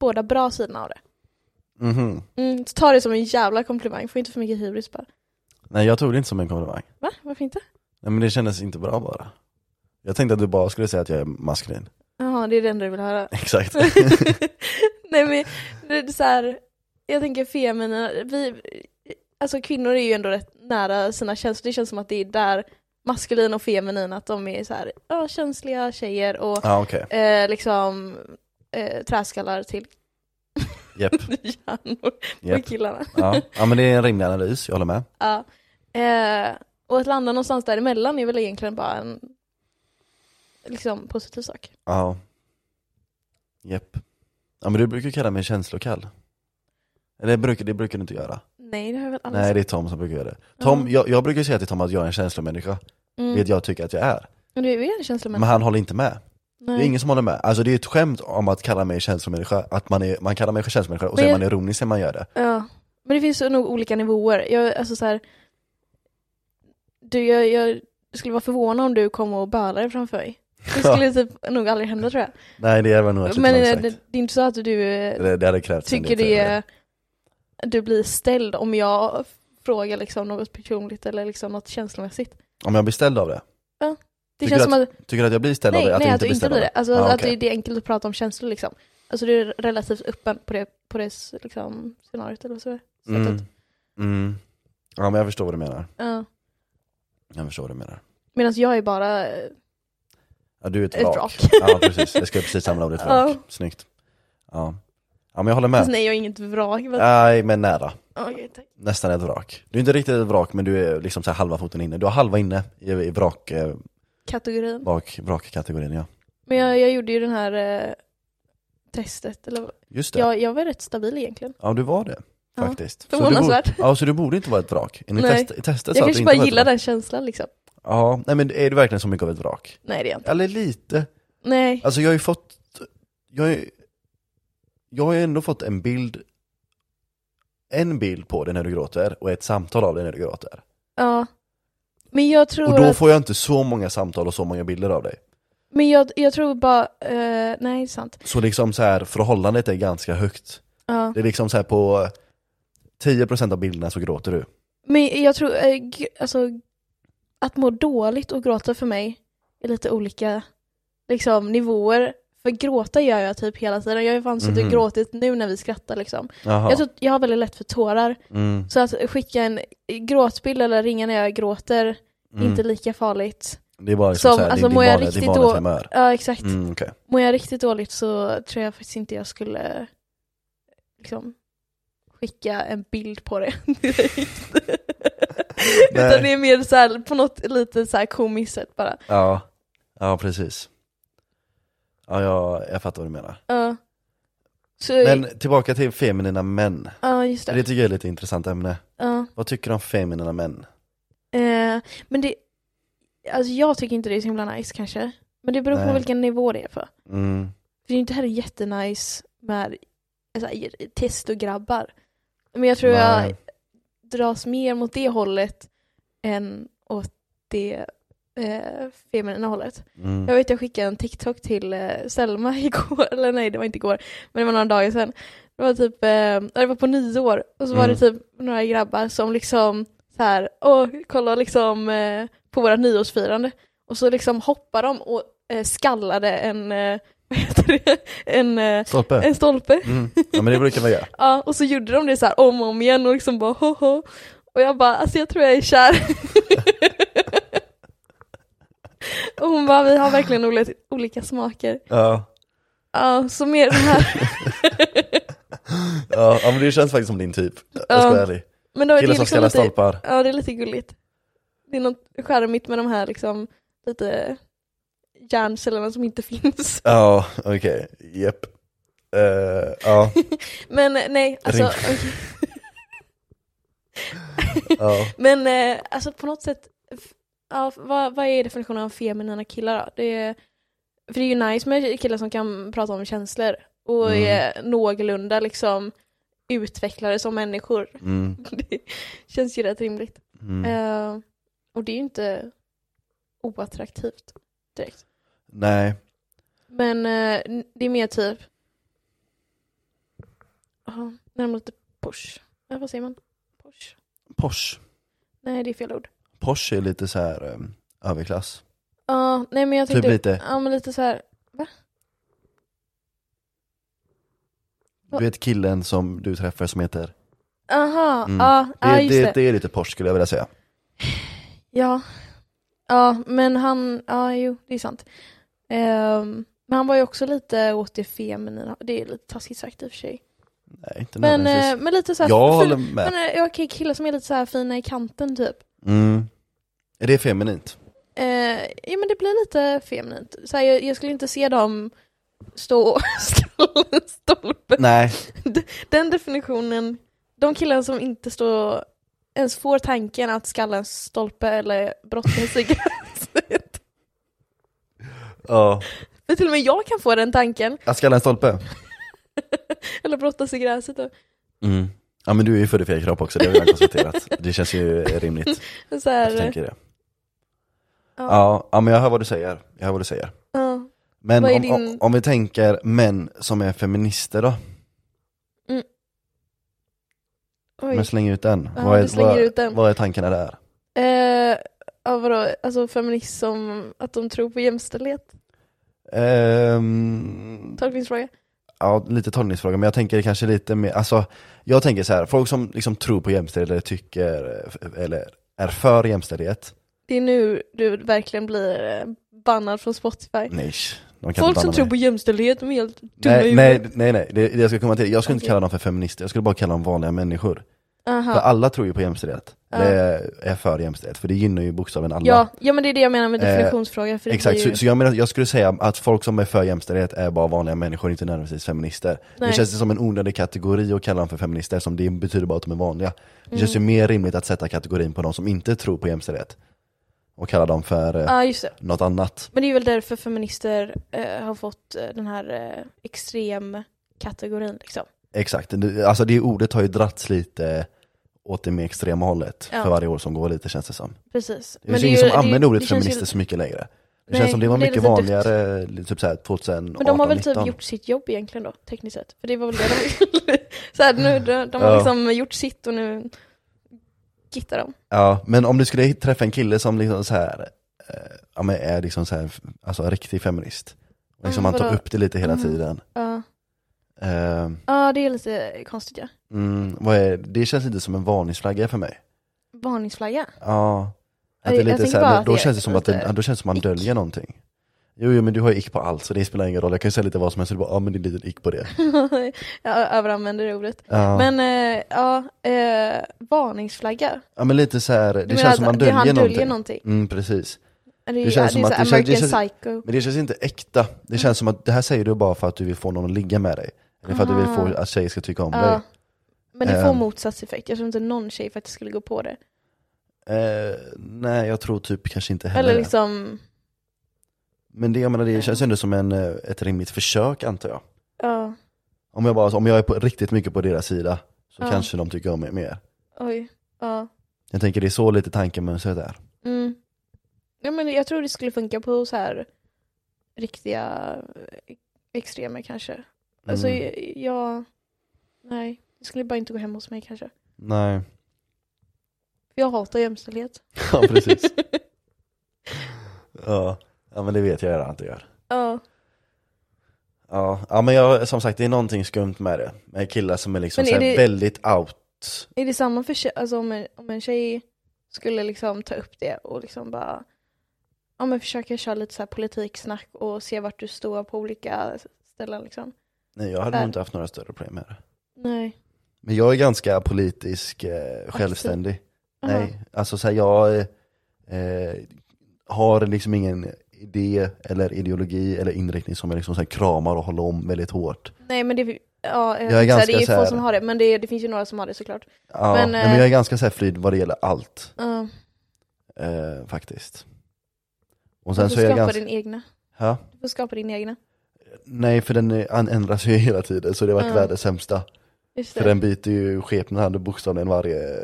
S2: båda bra sidorna av det.
S1: Mhm.
S2: Mm, så ta det som en jävla komplimang, få inte för mycket hybris bara.
S1: Nej jag tog det inte som en komplimang.
S2: Va? Varför inte?
S1: Nej men det kändes inte bra bara. Jag tänkte att du bara skulle säga att jag är maskulin.
S2: Jaha, det är det enda du vill höra.
S1: Exakt.
S2: Nej men, det är så här, jag tänker feminina, vi, alltså kvinnor är ju ändå rätt nära sina känslor, det känns som att det är där maskulin och feminin, att de är så här, ja, känsliga tjejer och
S1: Ja okej,
S2: eh, liksom eh, träskallar till
S1: Japp.
S2: hjärnor
S1: Japp.
S2: på killarna.
S1: Ja. ja men det är en rimlig analys, jag håller med.
S2: Ja. Eh, och att landa någonstans däremellan är väl egentligen bara en liksom, positiv sak.
S1: Ja. Japp. Ja men du brukar kalla mig känslokall. Eller Det brukar, det brukar du inte göra.
S2: Nej, det har jag väl aldrig
S1: Nej
S2: sagt.
S1: det är Tom som brukar göra det. Tom,
S2: Alltså- Ja.
S1: jag, jag brukar säga till Tom att jag är en känslomänniska,
S2: Mm.
S1: vilket jag tycker att jag är.
S2: Men Du är en känslomänniska.
S1: Men han håller inte med. Det
S2: Nej.
S1: är ingen som håller med. Alltså det är ett skämt om att kalla mig känslomänniska, att man, är, man kallar mig för känslomänniska och så
S2: Men
S1: är
S2: jag-
S1: man ironisk när man gör det.
S2: Ja. Men det finns nog olika nivåer. Jag, alltså, så här, du, jag, jag skulle vara förvånad om du kom och bölade framför mig. Det skulle typ nog aldrig hända tror jag.
S1: Nej det är väl nog att
S2: Men
S1: det,
S2: eh, det, det är inte så att du eh,
S1: det, det hade krävts en
S2: tycker
S1: liten-
S2: det är, du blir ställd om jag frågar liksom något personligt eller liksom något känslomässigt.
S1: Om jag blir ställd av det?
S2: Det
S1: Tycker
S2: känns
S1: du
S2: som att,
S1: Tycker du att jag blir ställd
S2: nej,
S1: av det? Att
S2: nej
S1: jag
S2: att du inte
S1: ställd av
S2: blir det. Alltså
S1: Ah,
S2: att
S1: okej.
S2: det, det är enkelt att prata om känslor liksom. Alltså du är relativt öppen på det, på det s- liksom, scenariot eller så. så
S1: Mm.
S2: att,
S1: Mm. Ja men jag förstår vad du menar.
S2: ja.
S1: Jag förstår vad du menar.
S2: Medan jag är bara, eh,
S1: Ja, du är ett
S2: Ett
S1: vrak.
S2: vrak.
S1: ja, precis. Jag ska precis samla ordet vrak.
S2: Ja.
S1: Snyggt. Ja. ja, men jag håller
S2: fast
S1: med.
S2: Alltså, nej jag är inget vrak. Men,
S1: Nej, men nära.
S2: Okej, tack.
S1: Nästan ett vrak. Du är inte riktigt ett vrak, men du är liksom så här halva foten inne. Du har halva inne i, i vrak, eh,
S2: Kategorin.
S1: vrak, vrakkategorin, ja.
S2: Men jag, jag gjorde ju den här eh, testet. Eller, vad-
S1: Just det. Ja,
S2: jag, jag var rätt stabil egentligen.
S1: du var det.
S2: Ja.
S1: faktiskt. Så du, borde,
S2: Förvånansvärt.
S1: ja, så du borde inte vara ett vrak. Enligt
S2: Nej.
S1: test, testet
S2: Jag
S1: sa att du
S2: kanske
S1: inte
S2: bara
S1: var ett
S2: gillar
S1: vrak.
S2: den känslan liksom.
S1: Ja, nej men är du verkligen så mycket av ett vrak?
S2: Nej det är jag inte.
S1: Eller lite.
S2: Nej.
S1: Alltså jag har ju fått, jag har, ju- jag har ju ändå fått en bild, en bild på dig när du gråter och ett samtal av dig när du gråter.
S2: Ja. Men jag tror
S1: Och då
S2: att,
S1: får jag inte så många samtal och så många bilder av dig.
S2: men jag, jag tror bara, eh, nej det är sant.
S1: Så liksom så här, förhållandet är ganska högt.
S2: Ja.
S1: Det är liksom så här på 10% av bilderna så gråter du.
S2: Men jag tror, eh, gr- alltså att må dåligt och gråta för mig är lite olika liksom nivåer. För gråta gör jag typ hela tiden. Jag har ju fan suttit
S1: Mhm.
S2: och gråtit nu när vi skrattar liksom.
S1: Jaha.
S2: Jag, tror, jag har väldigt lätt för tårar.
S1: mm,
S2: Så att skicka en gråtbild eller ringa när jag gråter,
S1: mm.
S2: inte lika farligt.
S1: Det är bara liksom
S2: Som-
S1: så här,
S2: alltså,
S1: din,
S2: mår
S1: din,
S2: jag
S1: vardag, din
S2: riktigt
S1: vardags
S2: då-
S1: humör.
S2: Ja exakt.
S1: Mm, okej.
S2: Mår jag riktigt dåligt så tror jag faktiskt inte jag skulle liksom, skicka en bild på det direkt. Utan det är mer så här, på något lite så här komiskt sätt bara.
S1: Ja, ja precis. Ja, jag, jag fattar vad du menar.
S2: Ja. så,
S1: Men tillbaka till feminina män.
S2: ja, just
S1: Det
S2: det.
S1: tycker jag är lite intressant ämne.
S2: Ja.
S1: Vad tycker du om feminina män?
S2: Eh, men det, alltså jag tycker inte det är så himla nice kanske. Men det beror på
S1: Nej.
S2: vilken nivå det är på.
S1: Mm.
S2: För det är inte heller jättenice med alltså, testograbbar. Men jag tror jag
S1: Nej.
S2: dras mer mot det hållet än åt det eh, feminina hållet.
S1: Mm.
S2: Jag vet jag skickade en TikTok till eh, Selma igår, eller nej det var inte igår, men det var några dagar sedan. Det var typ, eh, ja, det var på nyår och så var det
S1: Mm.
S2: typ några grabbar som liksom så här, åh kolla liksom eh, på våra nyårsfirande. Och så liksom hoppade de och eh, skallade en, eh, vad heter det, en, eh,
S1: Stolpe?
S2: en stolpe.
S1: Mm. Ja men det brukar man göra.
S2: Ja, och så gjorde de det så här om och om igen och liksom bara hoho. Och jag bara, alltså jag tror jag är kär. och hon bara, vi har verkligen oli- olika smaker.
S1: Ja.
S2: Ja, så mer det här.
S1: Ja, ja men det känns faktiskt som din typ. Jag ska
S2: Ja.
S1: vara ärlig.
S2: Men då är det
S1: Killar som
S2: liksom
S1: skallar
S2: lite,
S1: stolpar.
S2: ja det är lite gulligt. Det är något charmigt med de här liksom lite hjärncellerna som inte finns.
S1: Ja, okej. Japp. Eh, Ja,
S2: Men eh, nej, alltså.
S1: Ring.
S2: okej.
S1: ja.
S2: Men eh, alltså på något sätt, f- ja, vad, vad är definitionen av feminina killar då? Det är, för det är ju nice med killar som kan prata om känslor och
S1: Mm.
S2: är någorlunda liksom utvecklade som människor.
S1: Mm.
S2: Det känns ju rätt rimligt.
S1: Mm.
S2: Eh, och det är ju inte oattraktivt direkt.
S1: Nej.
S2: Men eh, n- det är mer typ, ja, närmare lite push. Ja, vad säger man? Push?
S1: Porsche.
S2: Nej, det är fel ord.
S1: Porsche är lite så här eh, överklass.
S2: Ja, nej men jag
S1: Typ
S2: tänkte...
S1: lite.
S2: Ja men lite så här.
S1: Du vet killen som du träffar som heter?
S2: aha,
S1: Mm.
S2: ja,
S1: Det,
S2: ja just
S1: det,
S2: det.
S1: det. är lite Porsche skulle jag vilja säga.
S2: Ja. ja, men han, ja jo det är sant. Ehm, men han var ju också lite åt det feminina, det är lite taskigt sagt i och för sig.
S1: Nej, inte
S2: Men, eh,
S1: nödvändigtvis.
S2: men lite så här,
S1: jag
S2: fina,
S1: håller med.
S2: men eh, okej killar som är lite så här fina i kanten typ.
S1: Mm. Är det feminint?
S2: Eh, ja men det blir lite feminint. Så här, jag, jag skulle inte se dem stå och skalla en stolpe.
S1: Nej.
S2: Den definitionen, de killar som inte står ens får tanken att skalla en stolpe eller brotta en cigarett.
S1: Ja.
S2: För till och med jag kan få den tanken,
S1: Jag skallar en stolpe.
S2: eller brottas i gräset. då.
S1: Mm. Ja men du är ju född i fel kropp också, det har vi redan konstaterat. Det känns ju rimligt
S2: Så
S1: att du
S2: här,
S1: tänker det.
S2: ja,
S1: Ja, ja men jag hör vad du säger. Jag hör vad du säger.
S2: ja.
S1: Men
S2: Vad är
S1: om,
S2: din-
S1: om, om vi tänker män som är feminister då?
S2: Oj.
S1: Men släng ut den.
S2: Ja,
S1: vad,
S2: du
S1: är,
S2: slänger
S1: vad,
S2: ut den.
S1: vad är tankarna där?
S2: Eh, ja, vadå, alltså feminist som att de tror på jämställdhet?
S1: Ehm,
S2: Tolkningsfråga?
S1: ja, lite tolkningsfråga, men jag tänker kanske lite mer, alltså jag tänker så här, folk som liksom tror på jämställdhet eller tycker, eh, eller är för jämställdhet,
S2: Det är nu du verkligen blir eh, bannad från Spotify.
S1: nej, de kan
S2: Folk
S1: inte
S2: som
S1: banna
S2: tror
S1: mig.
S2: på jämställdhet, de är helt dumma i
S1: Nej, nej,
S2: huvudet.
S1: nej, nej, det, det jag ska komma till, jag skulle inte
S2: Okej.
S1: kalla dem för feminister, jag skulle bara kalla dem vanliga människor. För
S2: Aha,
S1: alla tror ju på jämställdhet. det är för jämställt, för det gynnar ju bokstaven alla.
S2: Ja, ja men det är det jag menar med
S1: Eh,
S2: definitionsfråga. För det
S1: Exakt,
S2: blir ju...
S1: så, så jag menar, jag skulle säga att folk som är för jämställdhet är bara vanliga människor, inte nödvändigtvis feminister.
S2: Nej.
S1: Det känns som en onödig kategori att kalla dem för feminister, som det betyder bara att de är vanliga. Det
S2: Mm.
S1: känns ju mer rimligt att sätta kategorin på de som inte tror på jämställdhet. Och kalla dem för eh,
S2: Ja, just det.
S1: något annat.
S2: Men det är väl därför feminister eh, har fått eh, den här eh, extremkategorin liksom.
S1: Exakt, Det- alltså det ordet har ju dratts lite åt det mer extrema hållet
S2: Ja.
S1: för varje år som går lite känns det som.
S2: Precis.
S1: Det finns ju ingen som använder ordet
S2: känns ju-
S1: feminister så mycket längre. Det
S2: Nej,
S1: känns som det var
S2: det är
S1: mycket
S2: lite dött.
S1: vanligare lite typ såhär 2018-19.
S2: Men de har väl typ gjort sitt jobb egentligen då, tekniskt sett. För det var väl det de ville. så här, nu, de, de har
S1: Ja.
S2: liksom gjort sitt och nu gittar de.
S1: Ja, men om du skulle träffa en kille som liksom så här, eh, ja, men är liksom så här, alltså en riktig feminist. Och Liksom
S2: Mm,
S1: han tar
S2: vadå?
S1: upp det lite hela
S2: Mm.
S1: tiden.
S2: Ja,
S1: Eh,
S2: Ja, det är lite konstigt ja.
S1: mm, vad är, det känns lite som en varningsflagga för mig.
S2: Varningsflagga.
S1: Ja. Att
S2: Jag-
S1: det är
S2: jag
S1: lite
S2: tänker
S1: så
S2: bara
S1: här,
S2: att
S1: då,
S2: det är
S1: känns det som att det,
S2: lite
S1: ja, då känns det som att
S2: ick.
S1: man döljer någonting. Jo, jo, men du har ju ick på allt så det spelar ingen roll. Jag kan ju säga lite vad som helst och du bara, ja men det är lite ick på det.
S2: jag överanvänder det ordet.
S1: Ja, men,
S2: Men eh, ja, eh, varningsflagga.
S1: ja, men lite så här, det
S2: Du menar
S1: känns som
S2: att
S1: man döljer,
S2: han döljer
S1: någonting.
S2: någonting.
S1: Mm, precis.
S2: Det, det
S1: känns
S2: känns
S1: som
S2: det är
S1: att
S2: så här
S1: det känns- det
S2: American
S1: känns-
S2: Psycho.
S1: Men det känns inte äkta. Det känns som att det här säger du bara för att du vill få någon att ligga med dig. Eller för att du vill
S2: Aha.
S1: få att tjejer ska tycka om dig.
S2: Ja. Men det får
S1: Ehm.
S2: motsatseffekt. Jag tror inte någon tjej faktiskt skulle gå på det.
S1: Eh, nej, jag tror typ kanske inte heller
S2: Eller
S1: det.
S2: liksom,
S1: Men det, jag menar, det känns ändå som en, eh, ett rimligt försök antar jag.
S2: ja,
S1: Om jag, bara, om jag är på, riktigt mycket på deras sida så
S2: Ja.
S1: kanske de tycker om mig mer.
S2: oj, ja.
S1: Jag tänker det är så lite tankemönstret är.
S2: Mm. ja men jag tror det skulle funka på så här riktiga eh, extremer kanske. Alltså
S1: Mm.
S2: jag, jag, nej, det skulle bara inte gå hem hos mig kanske.
S1: Nej,
S2: För jag hatar jämställdhet.
S1: ja precis. ja. ja, men det vet jag redan att det gör.
S2: Ja,
S1: Ja, ja men jag, som sagt det är någonting skumt med det. Med killar som är liksom
S2: Men är
S1: så här
S2: det-
S1: väldigt out.
S2: är det samma för tje- alltså om en, om en tjej skulle liksom ta upp det och liksom bara Ja men försöka köra lite så här politiksnack och se vart du står på olika ställen liksom.
S1: Nej, jag hade
S2: Där.
S1: nog inte haft några större problem med det.
S2: Nej.
S1: Men jag är ganska politisk eh, självständig.
S2: Aha.
S1: Nej, alltså så här, jag eh, har liksom ingen idé eller ideologi eller inriktning som jag liksom så här kramar och håller om väldigt hårt.
S2: Nej men det, ja, jag
S1: är
S2: är
S1: ganska
S2: det är ju
S1: så här-
S2: få som har det, men det, det finns ju några som har det såklart.
S1: Ja,
S2: Men,
S1: men,
S2: eh,
S1: men jag är ganska så här frid vad det gäller allt
S2: Ja.
S1: eh, faktiskt. Och
S2: Du
S1: sen
S2: får
S1: så är jag
S2: skapa
S1: ganska...
S2: din egna.
S1: Ja?
S2: Du får skapa din egna.
S1: Nej, för den eh, an- ändras ju hela tiden så det har varit
S2: Mm.
S1: världens sämsta.
S2: Just
S1: För
S2: det,
S1: den byter ju skepnad bokstavligen varje,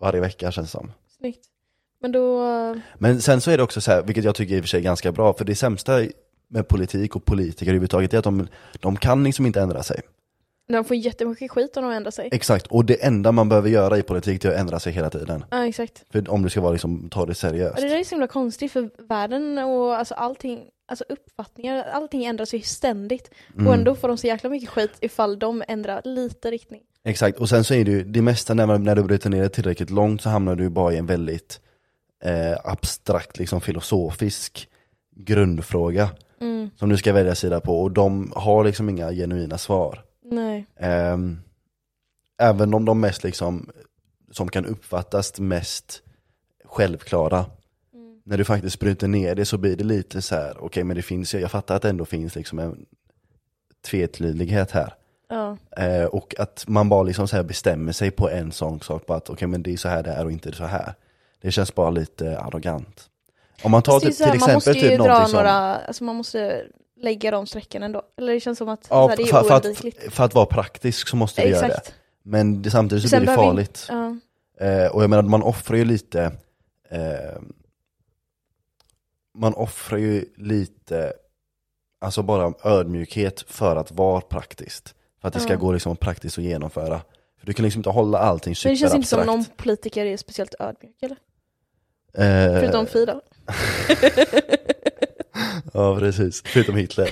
S1: varje vecka känns det som.
S2: snyggt. Men då, eh,
S1: Men sen så är det också så här, vilket jag tycker i och för sig är ganska bra, för det sämsta med politik och politiker överhuvudtaget är att de, de kan liksom inte ändra sig.
S2: de får jättemycket skit om de ändrar sig.
S1: Exakt, och det enda man behöver göra i politik det är att ändra sig hela tiden.
S2: Ja exakt.
S1: För om du ska vara liksom, ta det
S2: Och
S1: seriöst.
S2: det där är så himla konstigt för världen och alltså allting, alltså uppfattningar, allting ändras ju ständigt.
S1: Mm.
S2: Och ändå får de så jäkla mycket skit ifall de ändrar lite riktning.
S1: Exakt, och sen så är det ju, det mesta när, man, när du bryter ner det tillräckligt långt så hamnar du ju bara i en väldigt eh, abstrakt, liksom filosofisk grundfråga
S2: Mm,
S1: som du ska välja sida på och de har liksom inga genuina svar.
S2: nej.
S1: Ehm, även om de mest liksom, som kan uppfattas mest självklara.
S2: Mm.
S1: När du faktiskt bryter ner det så blir det lite så här, okej men det finns, ju- jag fattar att det ändå finns liksom en tvetydighet här.
S2: Ja,
S1: Eh, och att man bara liksom så här bestämmer sig på en sån sak, bara att okej men det är så här det är och inte så här. Det känns bara lite arrogant. Om man tar
S2: Fast det är
S1: typ,
S2: så här,
S1: till
S2: man
S1: exempel
S2: måste ju
S1: typ
S2: dra
S1: någonting som...
S2: några, alltså man måste lägga de strecken ändå. Eller det känns som att
S1: Ja,
S2: så här, det är
S1: för, för,
S2: oundvikligt.
S1: att, för att vara praktisk så måste vi göra det.
S2: Exakt.
S1: Men det, samtidigt så
S2: Sen
S1: blir det
S2: behöver vi-
S1: farligt.
S2: Ja.
S1: Eh, och jag menar, man offrar ju lite eh, Man offrar ju lite Alltså bara ödmjukhet för att vara praktiskt För att det ska
S2: Ja.
S1: gå liksom praktiskt att genomföra För du kan liksom inte hålla allting
S2: Men det känns inte som
S1: superabstrakt
S2: någon politiker är speciellt ödmjuk eller?
S1: eh,
S2: Förutom Fi då.
S1: Ja precis, förutom Hitler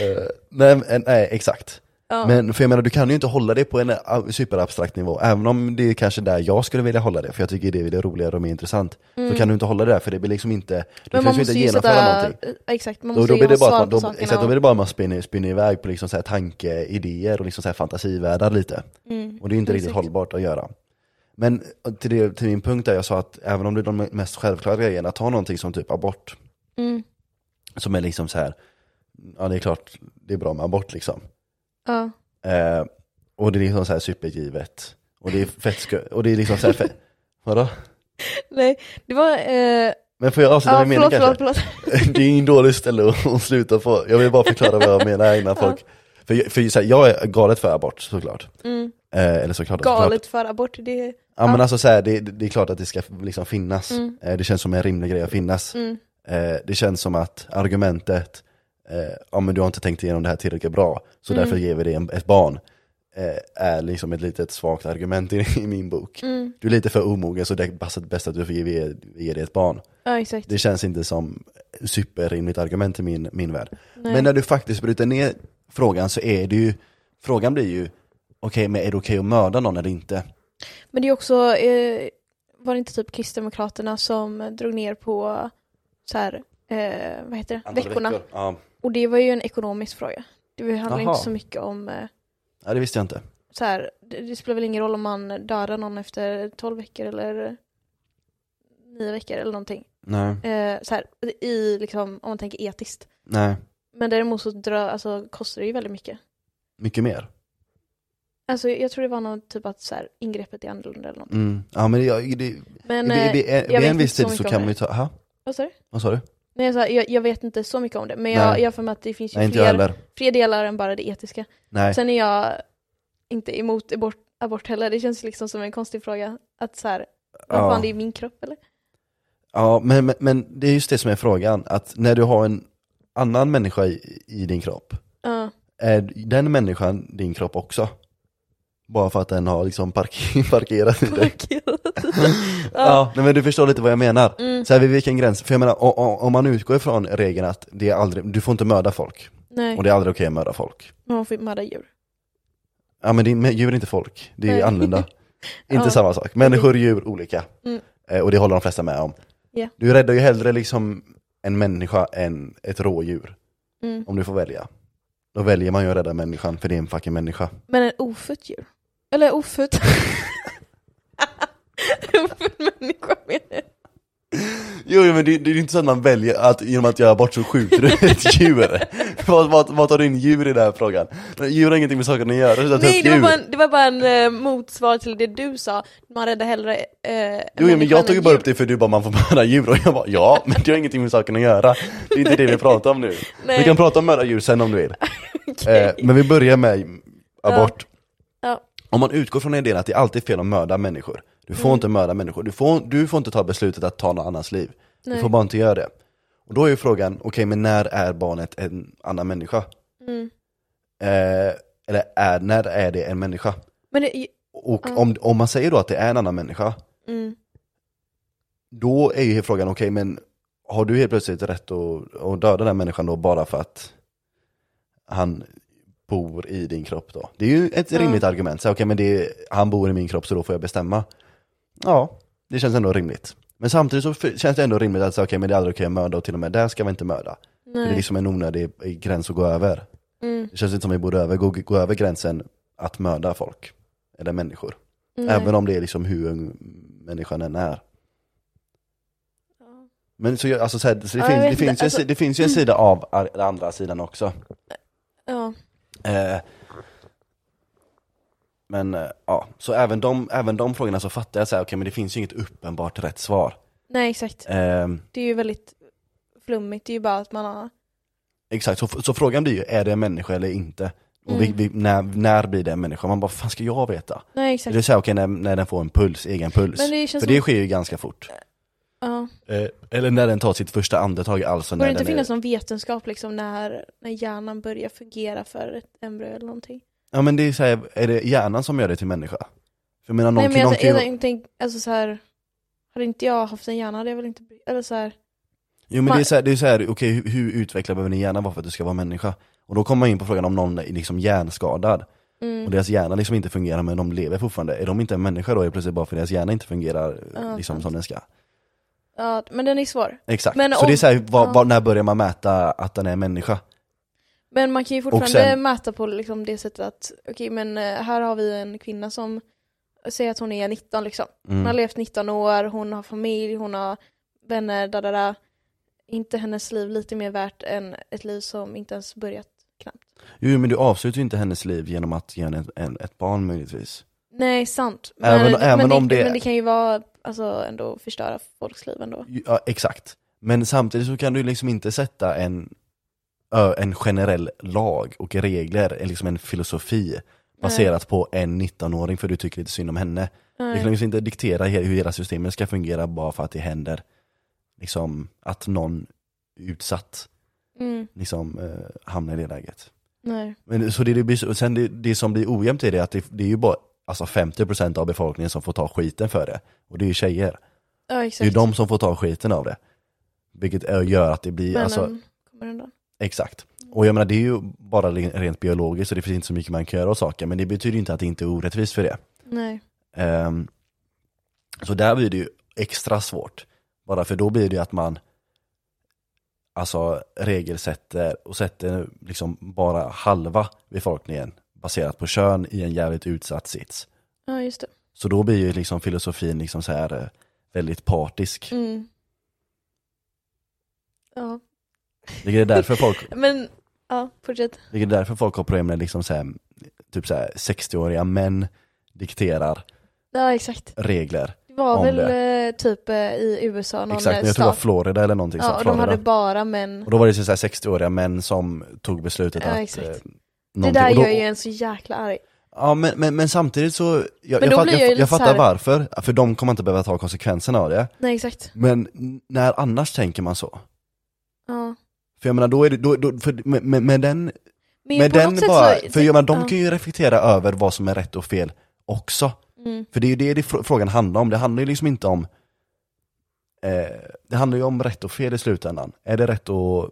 S1: eh, nej, men- nej, exakt
S2: Ja.
S1: Men för jag menar, du kan ju inte hålla det på en eh, superabstrakt nivå, även om det är kanske där jag skulle vilja hålla det, för jag tycker det är det roligare och mer intressant. Så kan du inte hålla det där, för det blir liksom inte, du
S2: Mm.
S1: kan
S2: Men man
S1: ju inte
S2: måste ju
S1: genomföra
S2: sätta,
S1: någonting.
S2: exakt, man
S1: Då,
S2: måste
S1: då,
S2: ju
S1: blir
S2: ha
S1: det bara
S2: svar
S1: att
S2: på
S1: man,
S2: sakerna.
S1: de, exakt, då blir det bara att man spinner, spinner iväg på liksom så här tankeidéer och liksom så här fantasivärldar lite.
S2: Mm.
S1: Och det är ju inte
S2: Mm,
S1: riktigt
S2: exakt.
S1: hållbart att göra. Men till, det, till min punkt där jag sa att även om det är de mest självklara grejerna, ta någonting som typ abort,
S2: Mm.
S1: som är liksom så här, ja det är klart det är bra med abort liksom.
S2: Ja.
S1: Eh, och det är liksom så här supergivet. Och det är fett skö- och det är liksom så här fe- Vadå?
S2: Nej, det var... Eh,
S1: Men får jag avsluta
S2: ja,
S1: med meningen
S2: förlåt,
S1: kanske?
S2: förlåt, förlåt.
S1: Det är ingen dålig ställe att- att sluta på. Jag vill bara förklara vad jag menar innan folk... För, jag- för så här, jag är galet för abort såklart.
S2: Mm.
S1: Eh, eller såklart. Såklart.
S2: Galet för abort, det...
S1: Ja men alltså så här, det, det är klart att det ska liksom finnas.
S2: Mm.
S1: Eh, det känns som en rimlig grej att finnas.
S2: Mm.
S1: Eh, det känns som att argumentet, eh, ja men du har inte tänkt igenom det här tillräckligt bra, så
S2: Mm.
S1: därför ger vi dig en, ett barn. Eh, är liksom ett litet svagt argument i, i min bok.
S2: Mm.
S1: Du är lite för omogen så det är bäst- bäst att du får ge, ge, ge dig ett barn.
S2: Ja, exakt.
S1: Det känns inte som superrimligt argument i min, min värld.
S2: Nej.
S1: Men när du faktiskt bryter ner frågan så är det ju, frågan blir ju, okej men är det okej att mörda någon eller inte?
S2: Men det är också, eh, var det inte typ Kristdemokraterna som drog ner på så här, eh, vad heter det,
S1: Antal
S2: veckorna?
S1: veckor. Ja.
S2: Och det var ju en ekonomisk fråga. Det handlar
S1: Jaha.
S2: inte så mycket om, eh,
S1: ja, det visste jag inte.
S2: så här, det, det spelar väl ingen roll om man dödar någon efter 12 veckor eller nio veckor eller någonting.
S1: Nej.
S2: Eh, så här, i, liksom, om man tänker etiskt.
S1: Nej,
S2: Men däremot så dra, alltså, kostar det ju väldigt mycket.
S1: mycket mer.
S2: Alltså jag tror det var någon typ att så här, ingreppet är annorlunda eller något.
S1: Mm. Ja men det, ja, det, det,
S2: Men,
S1: det,
S2: eh,
S1: det, vid
S2: jag vet
S1: en viss
S2: inte
S1: tid
S2: så
S1: så
S2: mycket om
S1: kan
S2: det.
S1: man ju ta, aha,
S2: vad sa du?
S1: vad sa du?
S2: Nej, jag, sa, jag, jag vet inte så mycket om det, men jag,
S1: Nej.
S2: jag har för mig att det finns ju
S1: Nej inte jag
S2: fler,
S1: heller.
S2: fler delar än bara det etiska.
S1: Nej.
S2: Sen är jag inte emot abort, abort heller, det känns ju liksom som en konstig fråga. Att så här, vad
S1: Ja.
S2: fan det är min kropp eller?
S1: Ja, men, men, men det är just det som är frågan, att när du har en annan människa i, i din kropp,
S2: Ja,
S1: är den människan din kropp också? Bara för att den har liksom park- parkerat i dig. Ja, nej, men du förstår lite vad jag menar.
S2: Mm.
S1: Så här, vid vilken gräns? För jag menar, o- o- om man utgår ifrån regeln att det är aldrig, du får inte mörda folk,
S2: Nej,
S1: och det är aldrig okej att mörda folk.
S2: men man får ju mörda djur.
S1: Ja men det är, men djur är inte folk, det är ju
S2: Nej.
S1: annorlunda. Inte
S2: Ja.
S1: samma sak. Människor och djur, olika.
S2: Mm.
S1: Eh, och det håller de flesta med om.
S2: Ja.
S1: Du räddar ju hellre liksom en människa än ett rådjur,
S2: Mm.
S1: om du får välja. Då väljer man ju att rädda människan, för det är en fucking människa.
S2: Men en ofött djur? Eller ofött? ofött människa menar jag.
S1: Jo, jo, men det, det är ju inte så att man väljer att genom att göra bort så skjuter du ett djur. vad, vad, vad tar du in djur i den här frågan? Djur har ingenting med saken att göra, så att
S2: Nej,
S1: Nej,
S2: det
S1: djur.
S2: var, bara en, det var bara en eh, motsvar till det du sa. Man räddar hellre eh, en
S1: Jo, jo, men
S2: människa än
S1: jag tog ju
S2: ett
S1: bara
S2: djur.
S1: upp det för du bara man får mörda djur och jag bara ja, men det har ingenting med saken att göra. Det är inte det vi pratar om nu.
S2: Nej.
S1: Vi kan prata om mörda djur sen om du vill.
S2: Okej.
S1: Eh, men vi börjar med abort.
S2: Ja.
S1: Om man utgår från idén att det alltid är fel att mörda människor. Du
S2: Mm.
S1: får inte mörda människor. Du får, du får inte ta beslutet att ta någon annans liv.
S2: Nej.
S1: Du får bara inte göra det. Och då är ju frågan, okej men när är barnet en annan människa?
S2: Mm.
S1: Eh, eller är, när är det en människa?
S2: Men det,
S1: Och
S2: Ja.
S1: om, om man säger då att det är en annan människa,
S2: mm,
S1: då är ju frågan, okej men har du helt plötsligt rätt att, att döda den här människan då bara för att han bor i din kropp då? Det är ju ett
S2: Ja.
S1: rimligt argument, så här, okej men det är, han bor i min kropp så då får jag bestämma. Ja, det känns ändå rimligt. Men samtidigt så f- känns det ändå rimligt att säga okej men det är aldrig okej att mörda och till och med där ska vi inte mörda. För Det är
S2: nej.
S1: liksom en onödig gräns att gå över.
S2: Mm,
S1: Det känns inte som vi borde över, gå, gå över gränsen att mörda folk, eller människor.
S2: nej.
S1: Även om det är liksom hur ung människan än är.
S2: Ja. Men,
S1: Men så, jag- alltså, så här, så det,
S2: Ja, jag
S1: finns,
S2: vet
S1: det,
S2: inte,
S1: finns ju, en
S2: alltså-
S1: si- det finns ju en sida av ar- den andra sidan också.
S2: ja.
S1: Eh, men eh, ja, så även de, även de frågorna så fattar jag så här, okej men det finns ju inget uppenbart rätt svar.
S2: Nej, exakt.
S1: Eh,
S2: Det är ju väldigt flummigt. Det är ju bara att man har...
S1: exakt, så, så frågan blir ju, är det en människa eller inte? Och
S2: Mm.
S1: vi, vi, när, när blir det en människa? Man bara, fan ska jag veta?
S2: Nej,
S1: Det
S2: exakt.
S1: är så här, okej när, när den får en puls, egen puls.
S2: Men det känns
S1: För det
S2: som...
S1: sker ju ganska fort.
S2: Ja.
S1: Eh, eller när den tar sitt första andetag, alltså
S2: Borde
S1: när
S2: det inte
S1: den är...
S2: finnas någon vetenskap liksom när, när hjärnan börjar fungera för ett embryo eller någonting?
S1: Ja men det är så här, är det hjärnan som gör det till människa? För jag menar, någon,
S2: Nej, men
S1: någon
S2: alltså,
S1: kan ju-
S2: jag tänker, alltså så här... Hade inte jag haft en hjärna hade jag väl inte... bry- Eller så här...
S1: Jo men
S2: Man-
S1: det är såhär, så här, okej hur, hur utvecklad behöver din hjärna vara för att du ska vara människa? Och då kommer man in på frågan om någon är liksom hjärnskadad
S2: Mm.
S1: och deras hjärna liksom inte fungerar men de lever fortfarande, är de inte en människa då är det plötsligt bara för deras hjärna inte fungerar
S2: Ja,
S1: liksom
S2: sant.
S1: som den ska?
S2: Ja, men den är svår.
S1: Exakt,
S2: Men
S1: så
S2: om-
S1: det är såhär, var,
S2: ja.
S1: var, när börjar man mäta att den är en människa?
S2: Men man kan ju fortfarande
S1: sen-
S2: mäta på liksom det sättet att, okej men eh, här har vi en kvinna som säg att hon är 19 liksom. Hon har
S1: Mm.
S2: levt 19 år, hon har familj, hon har vänner, da, da, da. Inte hennes liv lite mer värt än ett liv som inte ens börjat knappt.
S1: Jo men du avslutar ju inte hennes liv genom att ge henne ett, en, ett barn möjligtvis.
S2: Nej, sant.
S1: Även-
S2: men,
S1: även
S2: men,
S1: om det-
S2: men det kan ju vara, alltså ändå förstöra folks liv ändå.
S1: Ja, exakt. Men samtidigt så kan du liksom inte sätta en, ö, en generell lag och regler, eller liksom en filosofi baserat på en 19-åring för du tycker lite synd om henne.
S2: Nej.
S1: Du kan liksom inte diktera he- hur hela systemet ska fungera bara för att det händer liksom att någon utsatt
S2: Mm,
S1: liksom, eh, hamnar i det läget.
S2: nej.
S1: Men, så det, det, blir, så- och sen det, det som blir ojämnt är det att det, det är ju bara alltså 50% av befolkningen som får ta skiten för det. Och det är ju tjejer. Det
S2: Ja,
S1: är ju
S2: exakt.
S1: de som får ta skiten av det. Vilket eh, gör att det blir,
S2: Männen
S1: alltså,
S2: ehm, kommer undan.
S1: exakt. Och jag menar det är ju bara re- rent biologiskt så det finns inte så mycket man kan göra åt saker. Men det betyder ju inte att det inte är orättvist för det.
S2: Nej.
S1: Ehm, så där blir det ju extra svårt. Bara för då blir det ju att man alltså regelsätter och sätter liksom bara halva befolkningen baserat på kön i en jävligt utsatt sits.
S2: Ja, just det.
S1: Så då blir ju liksom filosofin liksom så här eh, väldigt partisk.
S2: Mm. Ja,
S1: Det är därför folk,
S2: men ja, fortsätt.
S1: det är därför folk har problem när liksom så här, typ så här 60-åriga män dikterar
S2: Ja, exakt.
S1: regler.
S2: Det var
S1: Om
S2: väl eh, typ eh, i USA någon
S1: Exakt,
S2: eh,
S1: men jag tror det var
S2: stat.
S1: Florida eller någonting. så
S2: Ja, och de
S1: Florida.
S2: hade bara män.
S1: Och då var det så här 60-åriga män som tog beslutet
S2: Ja,
S1: att...
S2: exakt.
S1: eh,
S2: Det
S1: någonting-
S2: där
S1: och då,
S2: gör ju en så jäkla arg.
S1: Ja men, men, men samtidigt så, jag, jag,
S2: Men då
S1: fatt,
S2: blir
S1: jag,
S2: jag ju
S1: jag,
S2: lite så
S1: fattar
S2: här-
S1: varför, för de kommer inte behöva ta konsekvenserna av det.
S2: Nej, exakt.
S1: Men n- när annars tänker man så?
S2: Ja.
S1: För jag menar, då är det, då, då, för, med, med, med den,
S2: Men
S1: med
S2: på
S1: den
S2: något sätt
S1: bara,
S2: så...
S1: för jag menar, de
S2: ja.
S1: kan ju reflektera över vad som är rätt och fel också.
S2: Mm.
S1: För det är ju det, det fr- frågan handlar om, det handlar ju liksom inte om eh, Det handlar ju om rätt och fel i slutändan. Är det rätt att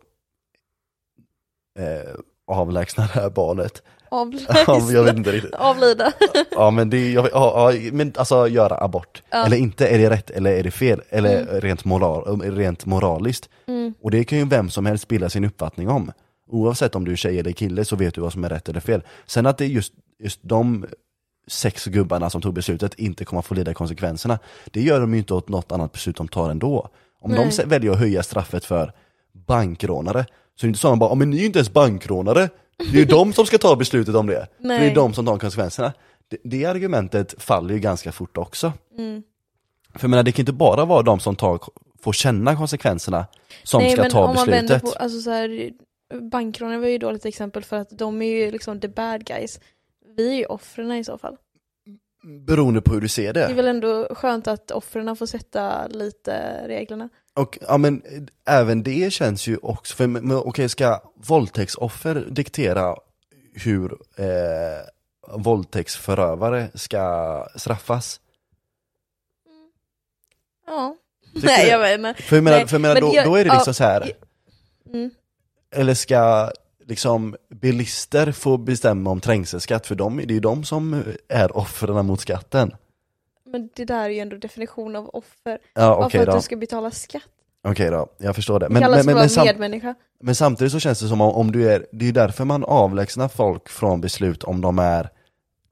S1: eh, avlägsna det här barnet? Ja, men jag vet
S2: Avlida.
S1: inte riktigt.
S2: Avlida.
S1: Ja men det är, jag, ja, ja, men alltså göra abort.
S2: Ja.
S1: Eller inte, är det rätt eller är det fel? Eller
S2: Mm.
S1: rent, moral, rent moraliskt.
S2: Mm.
S1: Och det kan ju vem som helst bilda sin uppfattning om. Oavsett om du är tjej eller kille så vet du vad som är rätt eller fel. Sen att det är just, just de sex gubbarna som tog beslutet inte kommer att få lida konsekvenserna, det gör de ju inte åt något annat beslut de tar ändå. Om
S2: Nej.
S1: de se- väljer att höja straffet för bankrånare, så är det inte så att man bara, "Ja, men ni är ju inte ens bankrånare, det är ju de som ska ta beslutet om det. För Det är
S2: Nej.
S1: ju de som tar konsekvenserna. Det, det argumentet faller ju ganska fort också.
S2: Mm.
S1: För jag menar, det kan inte bara vara de som tar, får känna konsekvenserna som
S2: Nej,
S1: ska
S2: men
S1: ta
S2: om man vänder
S1: beslutet.
S2: på, alltså så här, bankrånen var ju dåligt exempel för att de är ju liksom the bad guys. Vi är ju offren i så fall.
S1: Beroende på hur du ser
S2: Det är
S1: det.
S2: väl ändå skönt att offren får sätta lite reglerna.
S1: Och ja, men, eh, även det känns ju också, för men, men, okej, ska våldtäktsoffer diktera hur eh, våldtäktsförövare ska straffas?
S2: Ja.
S1: Tycker
S2: Nej,
S1: du?
S2: jag menar.
S1: För jag menar,
S2: Nej,
S1: för jag menar
S2: men
S1: då,
S2: jag-
S1: då är det
S2: ja,
S1: liksom så här,
S2: Mm.
S1: eller ska liksom bilister få bestämma om trängselskatt? För de, det är ju de som är offren mot skatten.
S2: Men det där är ju ändå definition av offer.
S1: Ja
S2: Bara
S1: okej
S2: för att
S1: då,
S2: du ska betala skatt.
S1: okej då, jag förstår det.
S2: Det kallas för att
S1: sam-
S2: vara medmänniska.
S1: Men samtidigt så känns det som om, om du är, det är ju därför man avlägsnar folk från beslut om de är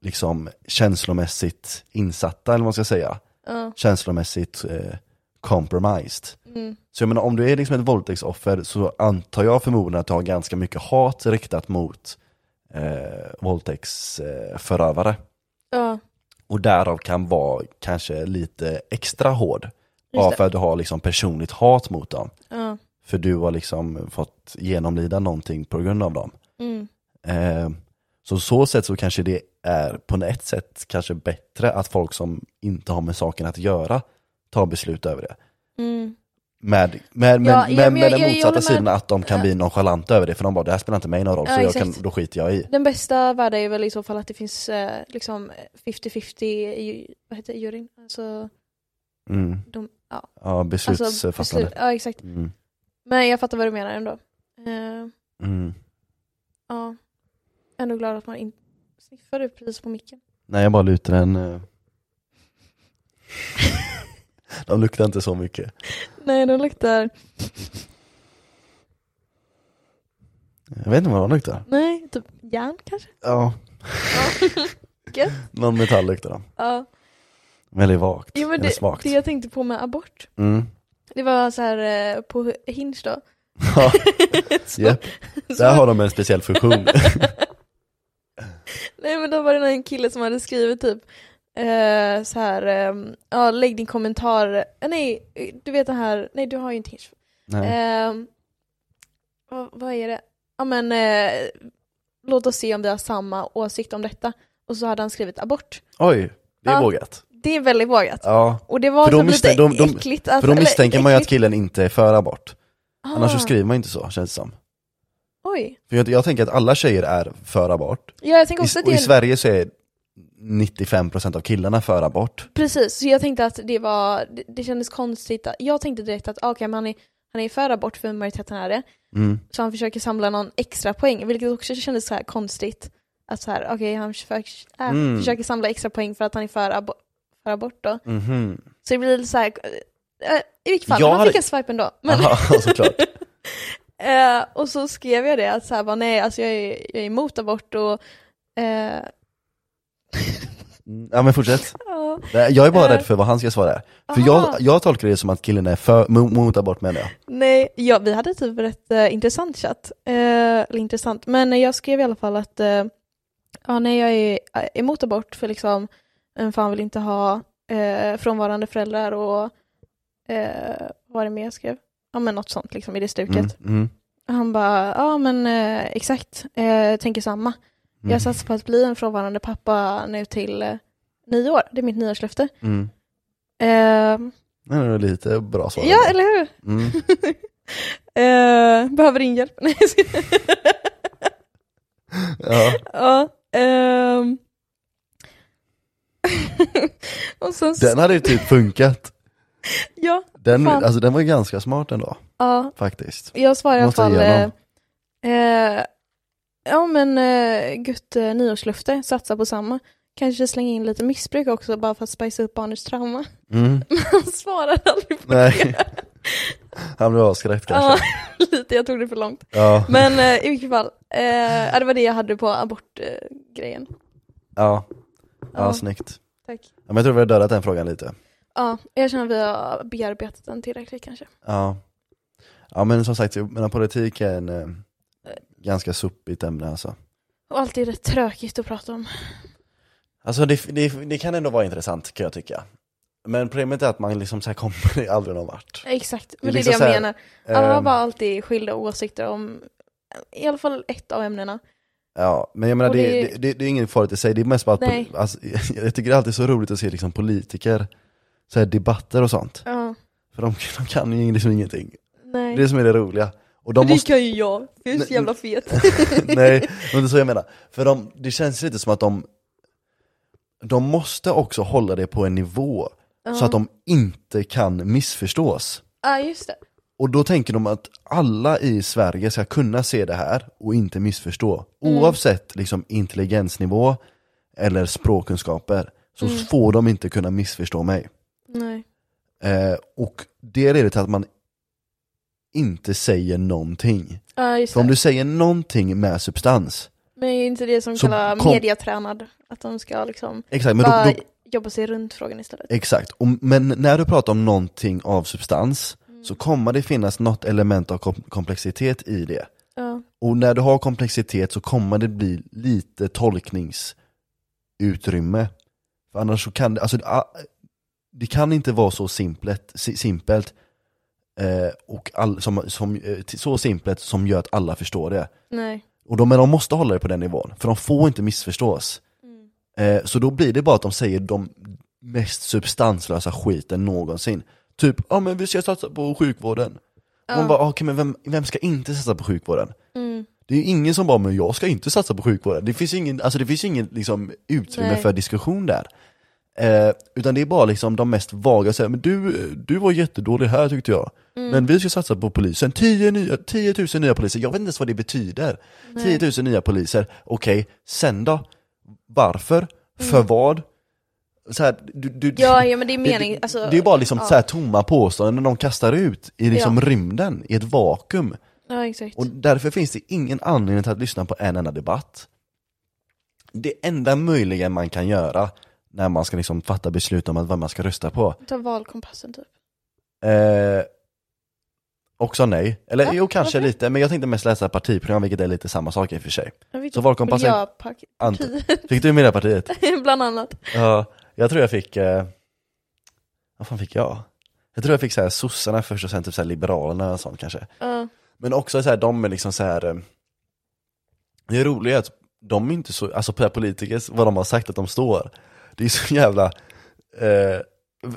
S1: liksom känslomässigt insatta eller vad man ska säga.
S2: Ja.
S1: Känslomässigt eh, compromised.
S2: Mm.
S1: Så jag menar om du är liksom ett våldtäktsoffer så antar jag förmodligen att du har ganska mycket hat riktat mot eh, våldtäktsförövare. Eh, förövare.
S2: Ja.
S1: och därav kan vara kanske lite extra hård. Bara
S2: Just det.
S1: för att du har liksom personligt hat mot dem.
S2: Ja.
S1: För du har liksom fått genomlida någonting på grund av dem.
S2: Mm.
S1: Eh, Så så sätt så kanske det är på ett sätt kanske bättre att folk som inte har med saken att göra tar beslut över det.
S2: Mm.
S1: Med, med, med,
S2: ja,
S1: med,
S2: men
S1: med
S2: jag-
S1: den
S2: jag- jag
S1: motsatta
S2: håller med.
S1: sidan att de kan
S2: Ja.
S1: bli nonchalanta över det för de bara det här spelar inte mig någon roll
S2: Ja,
S1: så jag
S2: exakt.
S1: kan, då skiter jag i.
S2: Den bästa världen är väl i så fall att det finns eh, liksom 50-50 i, vad heter det, juryn? Alltså,
S1: Mm.
S2: de, ja.
S1: Ja,
S2: alltså
S1: beslutsfattande.
S2: Ja, exakt.
S1: Mm.
S2: Men jag fattar vad du menar ändå. Eh,
S1: Mm.
S2: ja. Ändå glad att man inte sniffade precis på micken.
S1: Nej jag bara lutar den. eh. De luktar inte så mycket.
S2: Nej, den luktar...
S1: Jag vet inte vad de luktar.
S2: Nej, typ järn kanske?
S1: Ja,
S2: Ja. Gött.
S1: någon metall luktar de.
S2: Ja.
S1: Väldigt vagt.
S2: Jo, men
S1: Eller
S2: det,
S1: svagt.
S2: det jag tänkte på med abort,
S1: Mm.
S2: det var så här eh, på Hinge då.
S1: Ja,
S2: så,
S1: japp.
S2: så-
S1: Där har de en speciell funktion.
S2: Nej men då var det en kille som hade skrivit typ eh, så här, ehm, ja lägg din kommentar, eh, nej du vet den här, nej du har ju inte Hinge.
S1: Nej.
S2: Ehm, vad, vad är det? Ja men eh, låt oss se om vi har samma åsikt om detta. Och så hade han skrivit abort.
S1: Oj, det är
S2: ja.
S1: vågat.
S2: Det är väldigt vågat.
S1: Ja,
S2: Och det var
S1: För då
S2: typ lite
S1: misstän- de- de-
S2: äckligt.
S1: för
S2: Att,
S1: då
S2: Alltså, eller
S1: misstänker man ju att
S2: äckligt.
S1: killen inte är för abort. Annars så
S2: Ah,
S1: skriver man inte så, känns det som.
S2: Oj.
S1: För jag, jag tänker att alla tjejer är för abort.
S2: Ja jag tänker också
S1: I,
S2: att
S1: och
S2: det
S1: i
S2: är,
S1: Sverige så är 95% av killarna för abort.
S2: precis, så jag tänkte att det var, det, det kändes konstigt. att- Jag tänkte direkt att ah, okej men han är, han är för abort för majoriteten är det.
S1: Mm.
S2: Så han försöker samla någon extra poäng, vilket också kändes så här konstigt. Att så här, okej, han försöker, äh,
S1: Mm.
S2: försöker samla extra poäng för att han är för, abo- för abort då.
S1: Mhm.
S2: Så det blir lite så här, eh, i vilket fall,
S1: Jag
S2: han
S1: hade-
S2: fick en swipe ändå. Men,
S1: Aha, såklart.
S2: eh, och så skrev jag det, att så här, bara, nej, alltså jag är, jag är emot abort och eh,
S1: Mm, Ja men fortsätt.
S2: ja,
S1: Nej, Jag är bara
S2: Eh.
S1: rädd för vad han ska svara. För
S2: Aha.
S1: jag, jag tolkar det som att killen är för, mo- mot abort menar jag.
S2: nej, ja, vi hade typ rätt eh, intressant chatt. Eh, eller intressant, men jag skrev i alla fall att eh, ja, nej, jag är eh, emot abort för liksom, vem fan vill inte ha eh, frånvarande föräldrar och eh, vad var det mer jag skrev? Ja men något sånt liksom i det stuket.
S1: Mm, mm, mm.
S2: Och Han bara, ja men eh, exakt, eh, jag tänker samma.
S1: mm.
S2: Jag satsar på att bli en frånvarande pappa nu till eh, nio år, det är mitt nyårslöfte.
S1: Mm.
S2: Eh,
S1: Det är lite bra svar.
S2: ja, eller hur?
S1: Mm.
S2: Eh, behöver din hjälp? Nej, jag skojar.
S1: Ja.
S2: ja, ehm. Och sen, så-
S1: Den hade ju typ funkat.
S2: ja,
S1: Den,
S2: Fan.
S1: alltså, den var ju ganska smart ändå,
S2: ja,
S1: faktiskt.
S2: jag svarar i alla
S1: Måste
S2: fall,
S1: igenom.
S2: eh, eh, ja men uh, gött eh, nyårslöfte, satsa på samma. Kanske slänga in lite missbruk också bara för att spicea upp barnets trauma.
S1: Mm.
S2: Han svarade aldrig på
S1: Nej.
S2: det.
S1: Han blev avskräckt
S2: Ja,
S1: kanske.
S2: lite, jag tog det för långt.
S1: Ja. Ja.
S2: Men eh, i vilket fall, eh, ja, det var det jag hade på abortgrejen. Eh, grejen.
S1: Ja.
S2: Ja.
S1: snyggt.
S2: Tack.
S1: Ja, men jag tror vi har dödat den frågan lite.
S2: Ja, jag känner att vi har bearbetat den tillräckligt kanske.
S1: Ja. Ja men som sagt, jag menar, politik är en eh, ganska sopigt ämne alltså.
S2: Och alltid rätt tråkigt att prata om.
S1: Alltså det, det, det kan ändå vara intressant kan jag tycka. Men problemet är att man liksom så här kommer aldrig någon vart.
S2: Exakt,
S1: Det
S2: men
S1: är
S2: det är
S1: liksom
S2: det jag
S1: så här,
S2: menar. Alla har
S1: Ehm,
S2: bara alltid skilda åsikter om i alla fall ett av ämnena.
S1: Ja, men jag menar
S2: Och
S1: det,
S2: det-
S1: det, det, det är ingen farligt i sig, det är mest bara att,
S2: Nej.
S1: pol- alltså, jag tycker det är alltid så roligt att se liksom politiker, så här debatter och sånt.
S2: Ja,
S1: För de, de kan ju liksom ingenting. Det
S2: nej.
S1: är det som är det roliga. Och de
S2: det
S1: måste,
S2: kan ju jag, för jag är så
S1: Nej.
S2: jävla fet.
S1: nej, men det är så jag menar. För de, det känns lite som att de, de måste också hålla det på en nivå så att de inte kan missförstås.
S2: Ja, just det.
S1: Och då tänker de att alla i Sverige ska kunna se det här och inte missförstå. Oavsett liksom, intelligensnivå eller språkkunskaper så får de inte kunna missförstå mig.
S2: Nej.
S1: Eh, och det leder till att man inte säger någonting.
S2: Ja, just
S1: För om
S2: det.
S1: du säger någonting med substans,
S2: Men är inte det som
S1: Så
S2: kallas
S1: kom-
S2: mediatränad? Att de ska liksom
S1: exakt, men då,
S2: bara
S1: då,
S2: jobba sig runt frågan istället.
S1: exakt. Och, men när du pratar om någonting av substans så kommer det finnas något element av kom- komplexitet i det.
S2: Ja,
S1: Och när du har komplexitet så kommer det bli lite tolkningsutrymme. För annars så kan det, alltså det- ah, det kan inte vara så simpelt, si- simpelt eh, och all, som, som, eh, t- så simpelt som gör att alla förstår det.
S2: nej.
S1: Och de, men de måste hålla det på den nivån, för de får inte missförstås.
S2: Mm.
S1: Eh, så då blir det bara att de säger de mest substanslösa skiten någonsin. Typ, ja men vi ska satsa på sjukvården. Och man
S2: Ja.
S1: bara, ah, okej men vem, vem ska inte satsa på sjukvården?
S2: Mm.
S1: Det är ju ingen som bara, men jag ska inte satsa på sjukvården. Det finns ju ingen, alltså det finns ju ingen liksom, utrymme
S2: Nej.
S1: för diskussion där. Eh, utan det är bara liksom de mest vaga, säger, men du, du var jättedålig här tyckte jag.
S2: Mm.
S1: Men vi ska satsa på polisen, 10, nya, 10 000 nya poliser, jag vet inte ens vad det betyder. 10 000 nya poliser, okej, sen då? Varför? För vad? Så här, du, du,
S2: Mm. Ja, ja, men det är
S1: det-
S2: mening,
S1: det-
S2: alltså,
S1: det är bara liksom
S2: ja.
S1: så här tomma påståenden de kastar ut i liksom
S2: Ja.
S1: rymden, i ett vakuum.
S2: Ja, exakt.
S1: Och därför finns det ingen anledning till att lyssna på en enda debatt. Det enda möjliga man kan göra, när man ska liksom fatta beslut om att vad man ska rösta på.
S2: Ta valkompassen typ.
S1: Eh, också nej. Eller
S2: Va?
S1: jo, kanske
S2: Varför?
S1: lite, men jag tänkte mest läsa partiprogram, vilket är lite samma sak i och för sig.
S2: Jag vet
S1: Så
S2: inte,
S1: valkompassen-
S2: Miljöparti,
S1: Ant- fick du Miljöpartiet?
S2: bland annat.
S1: Ja, jag tror jag fick, eh, vad fan fick jag? Jag tror jag fick så här sossarna först och sen typ så här liberalerna eller sånt kanske.
S2: Ja.
S1: Men också så här, de är liksom så här. eh, Det roliga är att de är inte så, alltså per politiker, vad de har sagt att de står. Det är så jävla, eh,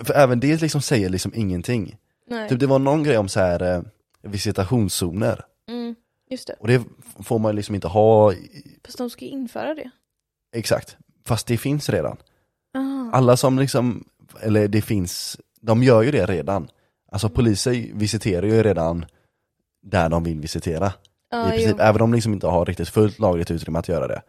S1: för även det liksom säger liksom ingenting.
S2: nej.
S1: Typ det var någon grej om så här eh, visitationszoner.
S2: Mm. Just det,
S1: Och det f- får man liksom inte ha i-
S2: fast de ska ju införa det.
S1: exakt. Fast det finns redan.
S2: Ah.
S1: Alla som liksom, eller det finns, de gör ju det redan. Alltså poliser visiterar ju redan där de vill visitera.
S2: Ja,
S1: I princip,
S2: jo.
S1: även om de liksom inte har riktigt fullt lagligt utrymme att göra det.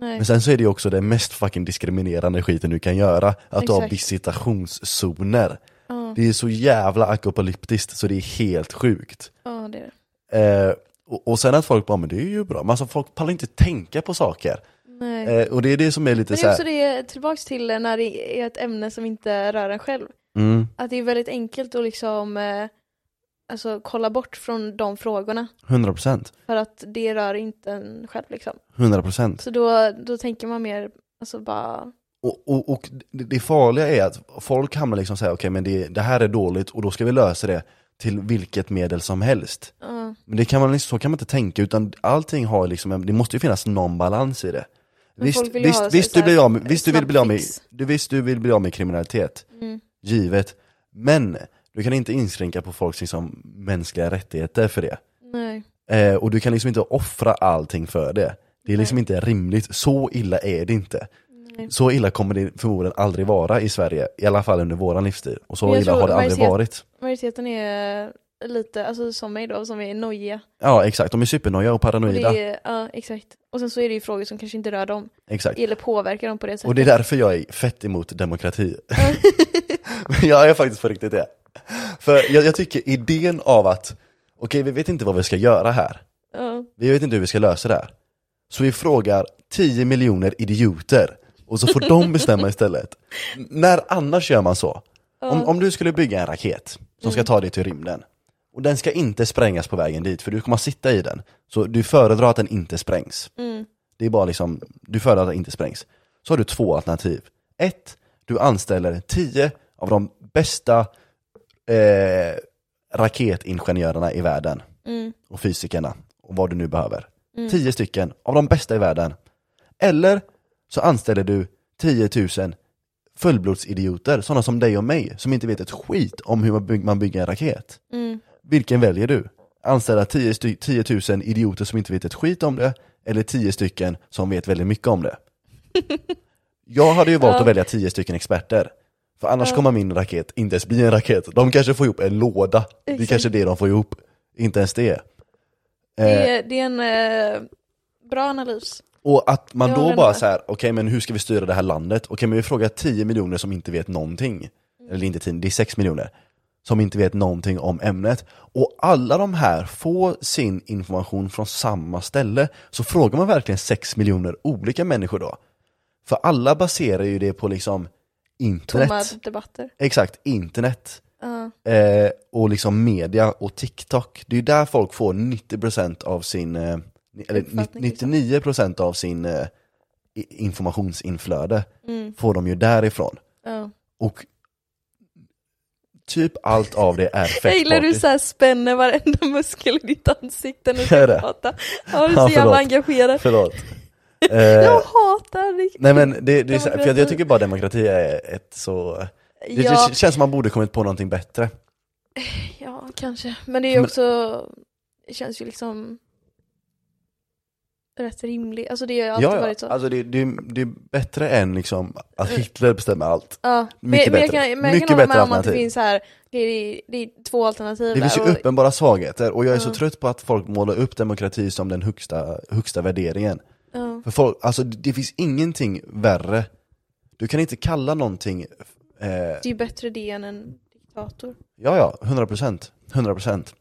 S2: Nej.
S1: Men sen så är det ju också det mest fucking diskriminerande skiten du kan göra, att du ha
S2: Exakt.
S1: visitationszoner.
S2: Ja,
S1: Det är så jävla apokalyptiskt så det är helt sjukt.
S2: ja, det är det.
S1: Eh, och, och sen att folk bara, men det är ju bra, men alltså folk pallar inte tänka på saker.
S2: Nej.
S1: Eh, och det är det som är lite
S2: Men
S1: så
S2: det är också
S1: här.
S2: det, tillbaks till när det är ett ämne som inte rör en själv.
S1: Mm,
S2: Att det är väldigt enkelt att liksom eh, alltså, kolla bort från de frågorna.
S1: 100%.
S2: För att det rör inte en själv liksom.
S1: 100%.
S2: Så då, då tänker man mer, alltså bara,
S1: Och, och, och det det farliga är att folk hamnar liksom säga okej men det, det här är dåligt och då ska vi lösa det till vilket medel som helst.
S2: ja,
S1: Men det kan man, liksom- så kan man inte tänka utan allting har liksom, en- det måste ju finnas någon balans i det.
S2: Men
S1: Visst,
S2: folk vill ju
S1: visst,
S2: ha
S1: visst,
S2: så
S1: du
S2: här
S1: blir av med, visst, du vill bli av med,
S2: snabbfix.
S1: du, visst du vill bli av med kriminalitet,
S2: mm,
S1: givet. Men du kan inte inskränka på folks liksom, mänskliga rättigheter för det.
S2: nej.
S1: Eh, och du kan liksom inte offra allting för det. Det är liksom
S2: Nej.
S1: inte rimligt, så illa är det inte.
S2: nej.
S1: Så illa kommer det förmodligen aldrig vara i Sverige, i alla fall under våran livstid. Och så
S2: Men jag
S1: illa
S2: tror
S1: har det aldrig
S2: majoritet-
S1: varit.
S2: Majoriteten är lite, alltså som mig då, som är nojiga.
S1: Ja exakt, de är supernoja och
S2: Och
S1: paranoida.
S2: det är, ja, exakt. Och sen så är det ju frågor som kanske inte rör dem,
S1: Exakt.
S2: eller påverkar dem på det sättet.
S1: Och det är därför jag är fett emot demokrati. Men jag är faktiskt på riktigt det. För jag, jag tycker idén av att, okej vi vet inte vad vi ska göra här.
S2: Ja,
S1: Vi vet inte hur vi ska lösa det här. Så vi frågar 10 miljoner idioter och så får de bestämma istället. N- När annars gör man så? Om, om du skulle bygga en raket som ska ta dig till rymden och den ska inte sprängas på vägen dit för du kommer att sitta i den. Så du föredrar att den inte sprängs.
S2: mm,
S1: Det är bara liksom, du föredrar att den inte sprängs. Så har du två alternativ. Ett, du anställer 10 av de bästa eh, raketingenjörerna i världen
S2: mm,
S1: och fysikerna och vad du nu behöver.
S2: Mm.
S1: 10 stycken av de bästa i världen. Eller så anställer du 10 000 fullblodsidioter, sådana som dig och mig, som inte vet ett skit om hur man, byg- man bygger en raket.
S2: mm.
S1: Vilken väljer du? Anställa 10, sty- 10 000 idioter som inte vet ett skit om det, eller 10 stycken som vet väldigt mycket om det? Jag hade ju valt
S2: Ja.
S1: att välja 10 stycken experter, för annars
S2: Ja.
S1: kommer min raket inte ens bli en raket. De kanske får ihop en låda, det är
S2: Exakt.
S1: kanske det de får ihop, inte ens det. Eh,
S2: Det, är, det är en eh, bra analys.
S1: och att man
S2: Jag
S1: då
S2: håller
S1: bara
S2: med.
S1: så här, okej men hur ska vi styra det här landet? Okej men vi frågar 10 miljoner som inte vet någonting. Eller inte 10, det är 6 miljoner. Som inte vet någonting om ämnet. Och alla de här får sin information från samma ställe. Så frågar man verkligen 6 miljoner olika människor då? För alla baserar ju det på liksom internet.
S2: Tomma debatter.
S1: Exakt, internet.
S2: Ja,
S1: Eh, och liksom media och TikTok. Det är ju där folk får 90% av sin, eh, ni- eller
S2: Uppfattning, liksom.
S1: 99% av sin eh, i- informationsinflöde
S2: mm,
S1: får de ju därifrån.
S2: ja.
S1: Och typ allt av det är fett
S2: Jag gillar hur du
S1: porkigt.
S2: såhär spänner varenda muskel i ditt ansikte när du
S1: Gör det?
S2: ska prata. Ja, du är
S1: Ja,
S2: så jävla
S1: förlåt.
S2: engagerad.
S1: Förlåt. Eh,
S2: Jag hatar dig.
S1: Nej men det, det är så, här- för jag, jag
S2: Demokrati.
S1: tycker bara demokrati är ett så... Det,
S2: Ja,
S1: det känns som man borde kommit på någonting bättre.
S2: ja, kanske. Men det är ju
S1: Men-
S2: också, det känns ju liksom rätt rimligt. Alltså det har ju alltid varit så. Mm.
S1: Alltså det, det, det är bättre än liksom att Hitler bestämmer allt.
S2: Ja,
S1: Mycket
S2: men, men jag
S1: bättre.
S2: kan, men jag
S1: Mycket
S2: kan hålla
S1: bättre
S2: med om att det
S1: alternativ.
S2: finns så här, det är, det är två alternativ
S1: Det finns ju
S2: där. och-
S1: uppenbara svagheter och jag är så
S2: Ja.
S1: trött på att folk målar upp demokrati som den högsta, högsta värderingen.
S2: ja,
S1: För folk, alltså det det finns ingenting värre. Du kan inte kalla någonting, eh, ja
S2: det är ju bättre det än en diktator.
S1: ja, 100%, 100%.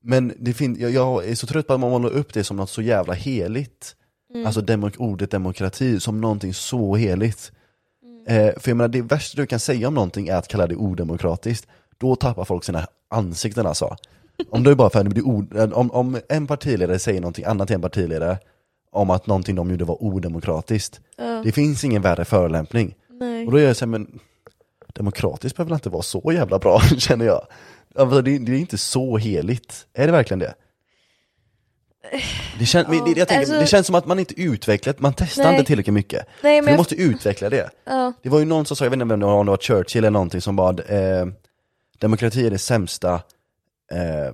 S1: Men det fin- jag, jag är så trött på att man målar upp det som något så jävla heligt.
S2: Mm.
S1: Alltså demok- ordet demokrati som någonting så heligt.
S2: Mm.
S1: Eh, för jag menar, det värsta du kan säga om någonting är att kalla det odemokratiskt. Då tappar folk sina ansikten alltså. Om du bara för att det blir od- eh, om, om en partiledare säger någonting annat till en partiledare om att någonting de gjorde var odemokratiskt.
S2: Ja,
S1: Det finns ingen värre förolämpning.
S2: nej.
S1: Och då är jag såhär, men demokratiskt behöver väl inte vara så jävla bra, känner jag. Alltså, det, det är inte så heligt. Är det verkligen det? Det, kän, men det, jag tänker,
S2: alltså-
S1: det känns som att man inte utvecklat, man testar
S2: Nej.
S1: inte tillräckligt mycket.
S2: nej,
S1: Men
S2: men
S1: du
S2: jag,
S1: måste utveckla det.
S2: ja,
S1: Det var ju någon som sa, jag vet inte vem det var, om det var Churchill eller någonting, som bad eh, demokrati är det sämsta, eh,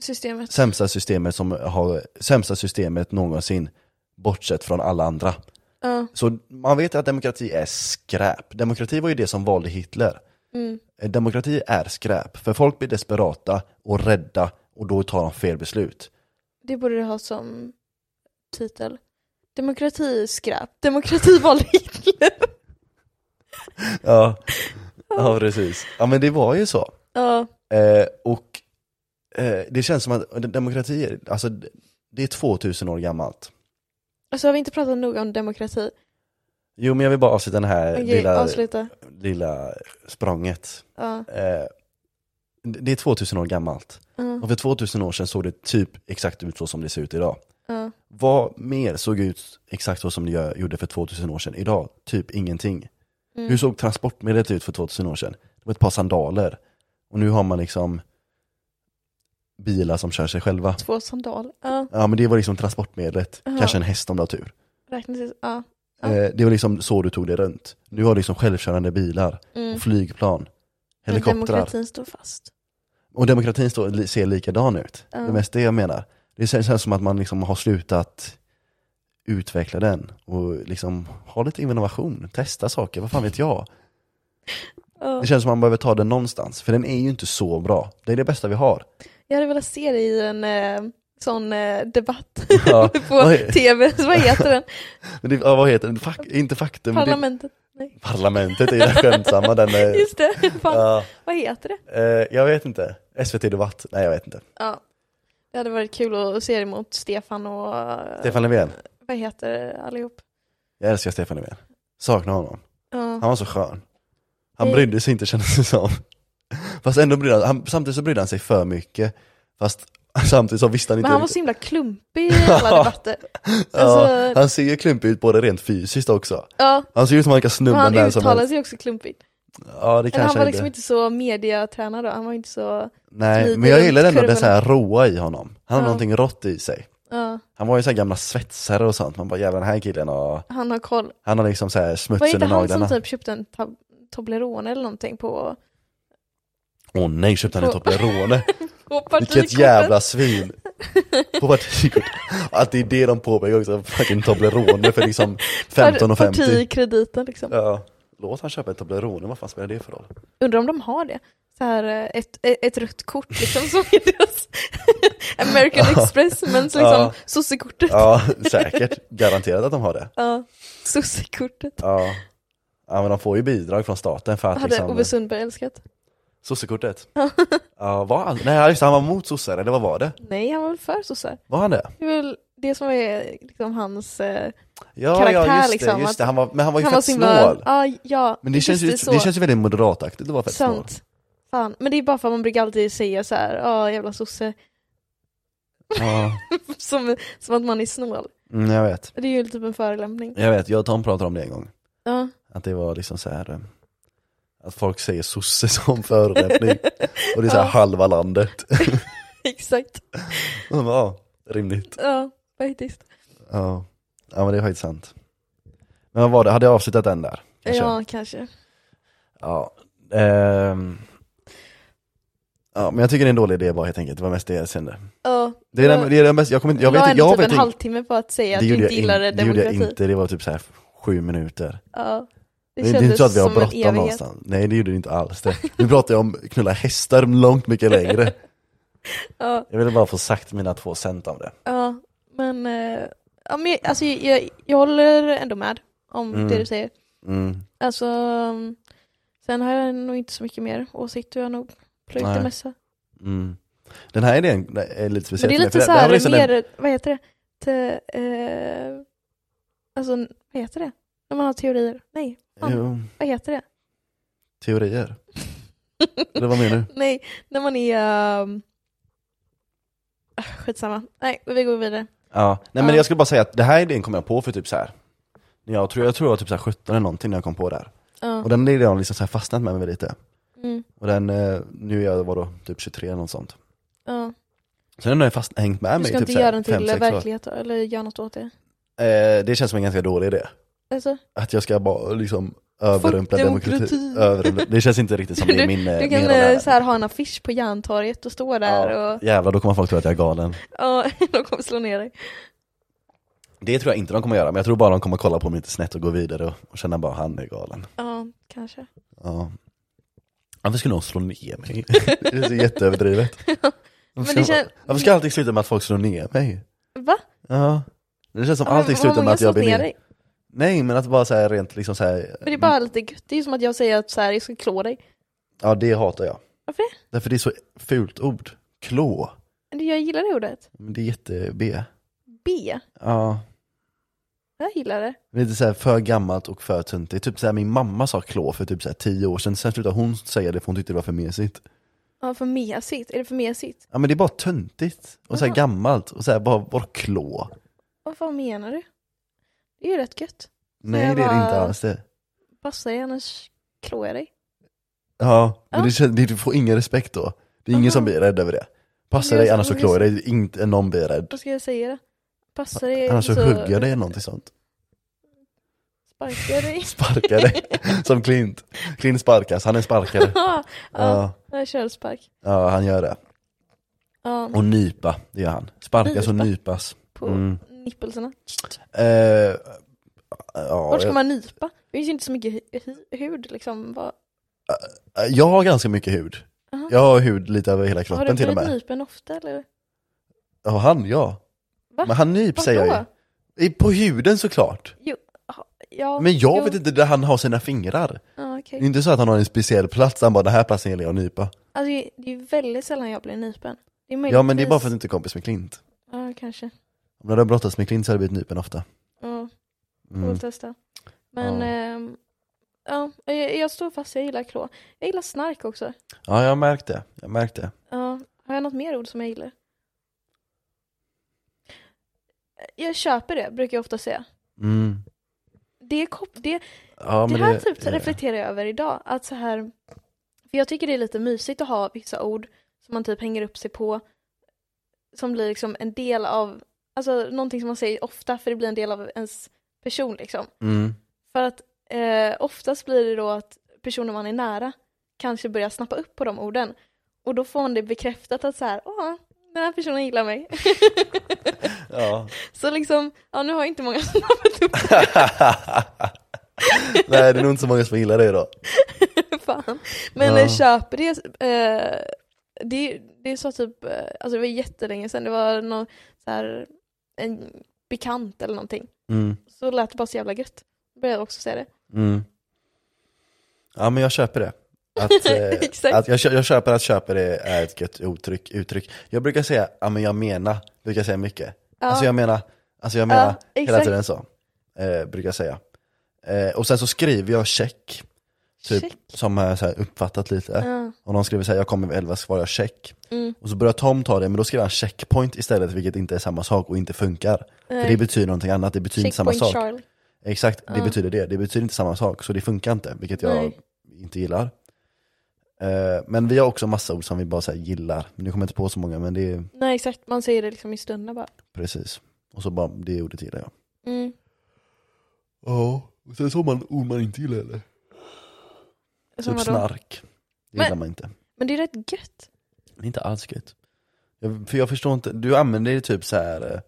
S2: systemet.
S1: sämsta systemet som har, sämsta systemet någonsin, bortsett från alla andra.
S2: Ja,
S1: Så man vet att demokrati är skräp. Demokrati var ju det som valde Hitler.
S2: mm,
S1: Eh, Demokrati är skräp, för folk blir desperata och rädda och då tar de fel beslut.
S2: det borde du ha som titel. Demokrati skräp. Demokrati valde Hitler.
S1: Ja, ja precis. Ja men det var ju så.
S2: Ja,
S1: Eh, och eh, det känns som att demokrati, alltså det är 2000 år gammalt.
S2: alltså har vi inte pratat nog om demokrati?
S1: Jo men jag vill bara avsluta den här
S2: Okej,
S1: Eh, lilla,
S2: avsluta.
S1: lilla språnget.
S2: Ja,
S1: Eh, det är 2000 år gammalt.
S2: ja,
S1: Och för 2000 år sedan såg det typ exakt ut så som det ser ut idag.
S2: ja.
S1: Vad mer såg ut exakt så som det gör- gjorde för 2000 år sedan idag? Typ ingenting.
S2: Mm.
S1: Hur såg transportmedlet ut för 2000 år sedan? Det var ett par sandaler. Och nu har man liksom bilar som kör sig själva.
S2: Två sandaler. Ja,
S1: Ja men det var liksom transportmedlet,
S2: Jaha.
S1: kanske en häst om du har tur.
S2: räknas det? Ja. Ja.
S1: Eh, det var liksom så du tog dig runt. Nu har du liksom självkörande bilar,
S2: Mm.
S1: och flygplan,
S2: Men
S1: helikoptrar.
S2: demokratin står fast.
S1: Och demokratin står, li- ser likadan ut.
S2: Ja.
S1: Det är mest det jag menar. Det kän- känns som att man liksom har slutat utveckla den och liksom ha lite innovation, testa saker, vad fan vet jag?
S2: Ja.
S1: Det känns som att man behöver ta den någonstans, för den är ju inte så bra. Det är det bästa vi har.
S2: Jag hade velat se dig i en eh, sån eh, debatt
S1: Ja.
S2: på
S1: Oj.
S2: tv. Så vad heter den?
S1: Men det, ja, vad heter den? Fak, inte faktum, men
S2: Parlamentet?
S1: Det, parlamentet är ju den skämtsamma den. eh,
S2: Just det. Fan,
S1: ja,
S2: Vad heter det?
S1: eh, jag vet inte. SVT Debatt? Nej jag vet inte.
S2: Ja. Det hade varit kul att se dig mot Stefan och eh,
S1: Stefan Löfven.
S2: vad heter allihop?
S1: Jag älskar Stefan Löfven. Saknar honom.
S2: Ja.
S1: Han var så skön. Han
S2: Det-
S1: brydde sig inte kändes det som. Fast ändå brydde han, han samtidigt så brydde han sig för mycket. Fast samtidigt så visste han inte
S2: Men han var så himla klumpig i alla debatter.
S1: ja,
S2: alltså-
S1: Han ser ju klumpig ut både rent fysiskt också.
S2: Ja.
S1: Han ser ut som han kan
S2: Men
S1: snubbla
S2: han
S1: när som
S2: uttalade
S1: helst.
S2: sig också klumpigt.
S1: Ja det
S2: Eller han
S1: kanske
S2: var
S1: han
S2: liksom inte så mediatränad då. Han var inte så...
S1: Nej
S2: lite
S1: men jag gillar
S2: runt
S1: ändå det så
S2: kurvorna.
S1: här råa i honom. Han har
S2: Ja.
S1: någonting rått i sig.
S2: Ja.
S1: Han var ju så här gamla svetsare och sånt. Man bara jävlar den här killen och
S2: Han har koll.
S1: han har liksom så här
S2: Var
S1: smuts
S2: inte
S1: under
S2: han
S1: naglarna.
S2: som
S1: Åh
S2: typ köpte en tab- Toblerone eller någonting på,
S1: nej köpte han en
S2: typ- På-
S1: Toblerone?
S2: på
S1: Vilket
S2: partikortet?
S1: jävla svin! På partikort. Att det är det de påpekar också, fucking Toblerone för liksom 15 och 50.
S2: Partikrediten liksom.
S1: Ja. Låt han köpa en Toblerone, vad fan spelar det för roll?
S2: Undrar om de har det? Så här, eh, ett, ett rött kort liksom som är deras American Express men så liksom
S1: Ja.
S2: sossekortet. Ja.
S1: Ja, säkert. Garanterat att de har det.
S2: sossekortet.
S1: Ja. Ja men de får ju bidrag från staten för att
S2: Hade Ove
S1: liksom...
S2: Sundberg älskat?
S1: Sossekortet? Ja, var han? Nej just det, han var mot sossar, eller vad var det?
S2: Nej, han var väl för sossar?
S1: Var han det?
S2: Det är väl det som är liksom hans... eh,
S1: Ja,
S2: Karaktär,
S1: ja just
S2: liksom,
S1: det, just det. Han var, men han var ju
S2: han var
S1: fett
S2: så himla...
S1: snål.
S2: Ja, ja,
S1: Men det känns, ju,
S2: just
S1: det känns ju väldigt moderataktigt att vara fett snål.
S2: Sant. Fan. Men det är bara för att man brukar alltid säga så här, ja jävla sosse,
S1: Ja,
S2: som, som att man är snål.
S1: mm, jag vet.
S2: Det är ju typ en förolämpning.
S1: Jag vet, jag och Tom pratade om det en gång.
S2: Ja.
S1: Att det var liksom så här eh, att folk säger sosse som förolämpning och det är så här
S2: Ja.
S1: halva landet.
S2: Exakt.
S1: Och man bara, Ja, rimligt.
S2: Ja, faktiskt.
S1: Ja. ja, men det är faktiskt sant. Men vad var det, hade jag avslutat den där? Kanske?
S2: Ja, kanske.
S1: Ja. Ehm. ja, men jag tycker det är en dålig idé bara helt enkelt, det var mest det jag kände.
S2: Ja.
S1: Det är
S2: Ja.
S1: den, det är den bästa, jag kommer inte, jag
S2: la
S1: vet inte,
S2: ändå
S1: jag
S2: typ
S1: vet
S2: en
S1: inte.
S2: halvtimme på att säga
S1: Det
S2: att du
S1: gjorde jag
S2: inte
S1: inte,
S2: gillade
S1: det gjorde jag
S2: demokrati.
S1: inte, det var typ så här sju minuter.
S2: Ja.
S1: Det,
S2: Det,
S1: det är
S2: kändes
S1: inte så att vi har
S2: som en
S1: bråttom
S2: evighet.
S1: någonstans. Nej det gjorde det inte alls det. Nu pratar jag om knulla hästar långt mycket längre.
S2: Ja,
S1: Jag ville bara få sagt mina två cent om det.
S2: ja. Men, eh, ja, men jag- alltså, jag, jag håller ändå med om
S1: Mm.
S2: det du säger.
S1: Mm.
S2: Alltså, mm, sen har jag nog inte så mycket mer åsikter. Jag har nog plöjt
S1: Nej.
S2: det mesta.
S1: Mm. Den här idén är lite
S2: Men
S1: speciell.
S2: det är
S1: för mig, för
S2: lite så
S1: det- det här
S2: här
S1: var liksom
S2: mer,
S1: den-
S2: vad heter det? Te, eh, alltså, vad heter det? När man har teorier? Nej, fan?
S1: Jo,
S2: Vad heter det?
S1: teorier. Eller vad menar du?
S2: Nej, när man är... ehm, ah, Skitsamma. Nej, vi går vidare.
S1: Ja, nej men
S2: Ja.
S1: jag skulle bara säga att det här idén kom jag på för typ så här. Jag tror jag, tror jag var typ så här 17 eller någonting när jag kom på det här.
S2: Ja.
S1: Och den idén har liksom så här fastnat med mig lite.
S2: Mm.
S1: Och den, eh, nu är jag vadå, typ 23 eller något sånt.
S2: Ja.
S1: Så den har ju fast hängt med
S2: Du
S1: mig
S2: ska
S1: typ
S2: inte
S1: så här
S2: göra den till
S1: fem, sex år.
S2: verklighet då, eller göra något åt det?
S1: Eh, det känns som en ganska dålig idé.
S2: Alltså,
S1: Att jag ska bara liksom överrumpla
S2: Fuck
S1: demokrati.
S2: demokratin.
S1: Överrumpla. Det känns inte riktigt som det är min, eh,
S2: du
S1: min
S2: kan
S1: roll här.
S2: eh, så här, ha en affisch på Järntorget och stå där
S1: Ja.
S2: och
S1: Jävlar, då kommer folk tro att jag är galen.
S2: ja, de kommer slå ner dig.
S1: Det tror jag inte de kommer göra, men jag tror bara de kommer kolla på mig lite snett och gå vidare och, och känna bara han är galen.
S2: Ja, kanske.
S1: Ja. Varför skulle någon slå ner mig? Det är så jätteöverdrivet. Varför
S2: det
S1: ska-
S2: kän-
S1: Varför ska allting sluta med att folk slår ner mig?
S2: Va?
S1: Ja. Det känns som
S2: Ja, men
S1: allting
S2: har
S1: slutar
S2: många
S1: med att jag
S2: slått
S1: blir
S2: ner
S1: ner.
S2: dig?
S1: Nej, men att bara så här rent liksom så här.
S2: Men det är bara lite gött, det är ju som att jag säger att så här, jag ska klå dig.
S1: Ja, det hatar jag.
S2: Varför det?
S1: Därför det är så fult ord. Klå.
S2: Men Jag gillar det ordet.
S1: Men det är jätte-B.
S2: B.
S1: Ja.
S2: Jag gillar det.
S1: Det är lite så här för gammalt och för töntigt. Typ så här, min mamma sa klå för typ så här tio år sedan, sen slutade hon säga det för hon tyckte det var för mesigt.
S2: Ja, för mesigt. Är det för mesigt?
S1: Ja men det är bara töntigt och så här
S2: Jaha.
S1: gammalt och så här bara, bara klå.
S2: Vad fan menar du? Det är ju rätt gött.
S1: Nej
S2: jag
S1: det är det
S2: bara-
S1: inte alls det.
S2: Passa dig annars klår jag dig.
S1: Ja, men
S2: Ja.
S1: Det, känns- det, du får ingen respekt då. Det är ingen
S2: Jaha.
S1: som blir rädd över det. Passa
S2: Men det är
S1: dig
S2: så-
S1: annars så
S2: men det är
S1: klår jag dig, inte någon blir rädd.
S2: Vad ska jag säga då? Passa dig
S1: Annars så hugger jag dig eller någonting sånt.
S2: Sparkar jag dig.
S1: Sparkar dig. Som Clint. Clint sparkas, han är sparkare.
S2: ja,
S1: Ja,
S2: jag kör spark.
S1: ja han gör det.
S2: Ja,
S1: Och nypa, det gör han. Sparkas och
S2: Nypa.
S1: nypas.
S2: på
S1: Mm.
S2: nippelserna.
S1: Eh, ja,
S2: Vart ska man nypa? Det finns ju inte så mycket hu- hu- hud liksom. Vad-
S1: jag, eh, jag har ganska mycket hud.
S2: Aha.
S1: Jag har hud lite över hela
S2: Har
S1: kroppen
S2: du
S1: till och
S2: blivit
S1: med.
S2: nypen ofta eller?
S1: Ja, han ja.
S2: Va?
S1: Men han nyps
S2: Vart
S1: säger
S2: då?
S1: jag ju. I- På huden såklart.
S2: Ja,
S1: Men jag
S2: jo.
S1: vet inte där han har sina fingrar.
S2: Ja,
S1: Det
S2: okej.
S1: är inte så att han har en speciell plats, han bara den här platsen gillar jag att nypa.
S2: Alltså det det är ju väldigt sällan jag blir nypen. Det är
S1: Ja men det är bara för att du
S2: möjligtvis-
S1: inte är kompis med Klint.
S2: Ja, kanske.
S1: Om du hade brottats med Klint så hade du blivit nypen ofta.
S2: Ja, får
S1: Mm.
S2: väl testa. Men
S1: Ja.
S2: ehm, ja, jag, jag står fast, jag gillar klå. Jag gillar snark också.
S1: Ja, jag märkte. Jag märkte.
S2: Ja, har jag något mer ord som jag gillar? Jag köper det, brukar jag ofta säga.
S1: Mm.
S2: Det, är kop- det,
S1: Ja,
S2: det
S1: men
S2: här typ
S1: eh,
S2: reflekterar jag över idag. Att så här, för jag tycker det är lite mysigt att ha vissa ord som man typ hänger upp sig på. Som blir liksom en del av, alltså någonting som man säger ofta för det blir en del av ens person liksom.
S1: Mm.
S2: För att eh, oftast blir det då att personer man är nära kanske börjar snappa upp på de orden. Och då får man det bekräftat att så här, åh, den här personen gillar mig.
S1: Ja.
S2: så liksom, ja nu har jag inte många snappat upp
S1: Nej, det är nog inte så många som gillar det då.
S2: Fan. Men
S1: Ja.
S2: ja. köper det, eh, det, det är så typ, eh, alltså det var jättelänge sedan, det var någon så här, en bekant eller någonting.
S1: Mm.
S2: Så lät det bara så jävla gött. Började jag också säga det.
S1: Mm. Ja men jag köper det. Att, eh,
S2: Exakt.
S1: att jag, kö- jag köper att köper det är ett gött uttryck. uttryck. Jag brukar säga, ja men jag menar, brukar jag säga mycket.
S2: Ja,
S1: Alltså jag menar, alltså jag menar
S2: Ja,
S1: hela
S2: exakt.
S1: tiden så. Eh, brukar jag säga. Eh, och sen så skriver jag check, typ,
S2: check.
S1: som jag så här uppfattat lite.
S2: Ja,
S1: Om någon skriver så här, jag kommer vid 11, så svarar jag check.
S2: mm,
S1: Och så börjar Tom ta det, men då skriver han checkpoint istället, vilket inte är samma sak och inte funkar. För det
S2: eh,
S1: betyder någonting annat, det betyder inte samma
S2: checkpoint
S1: sak.
S2: Charlie.
S1: Exakt, det
S2: Ja.
S1: betyder det. Det betyder inte samma sak, så det funkar inte, vilket jag
S2: Nej.
S1: inte gillar. Eh, men vi har också massa ord som vi bara så här gillar. Men nu kommer jag inte på så många, men det är
S2: Nej exakt, man säger det liksom i stunden bara.
S1: precis. Och så bara, det ordet gillar jag.
S2: Mm.
S1: Ja, och sen så har man ord man inte gillar eller? typ
S2: Som vadå?
S1: snark. Det
S2: Men-
S1: gillar man inte.
S2: Men det är rätt gött.
S1: Det är inte alls gött. Jag, för jag förstår inte, du använder det typ så här eh,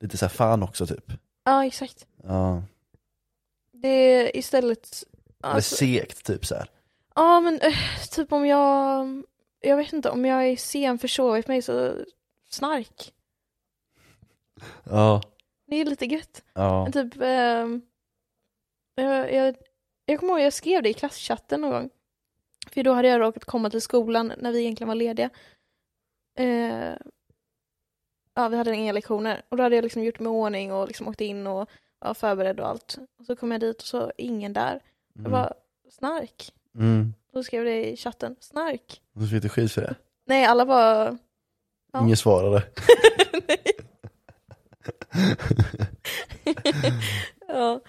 S1: lite så här fan också typ.
S2: Ja exakt.
S1: Ja,
S2: Det är istället...
S1: eller
S2: Alltså,
S1: segt typ så här.
S2: Ja men eh, typ om jag, jag vet inte om jag är sen försovit mig så snark.
S1: Ja,
S2: Det är lite gött.
S1: ja.
S2: Men typ, ehm, jag, jag, jag kommer ihåg jag skrev det i klasschatten någon gång. För då hade jag råkat komma till skolan när vi egentligen var lediga. Eh, ja, vi hade inga lektioner. Och då hade jag liksom gjort mig i ordning och liksom åkt in och ja, förberedd och allt. Och så kom jag dit och så ingen där. Jag
S1: Mm.
S2: bara, snark.
S1: Mm.
S2: Då skrev det i chatten, snark.
S1: Och så fick du skit för det.
S2: Nej, alla bara, Ja.
S1: Ingen svarade.
S2: nej. ja.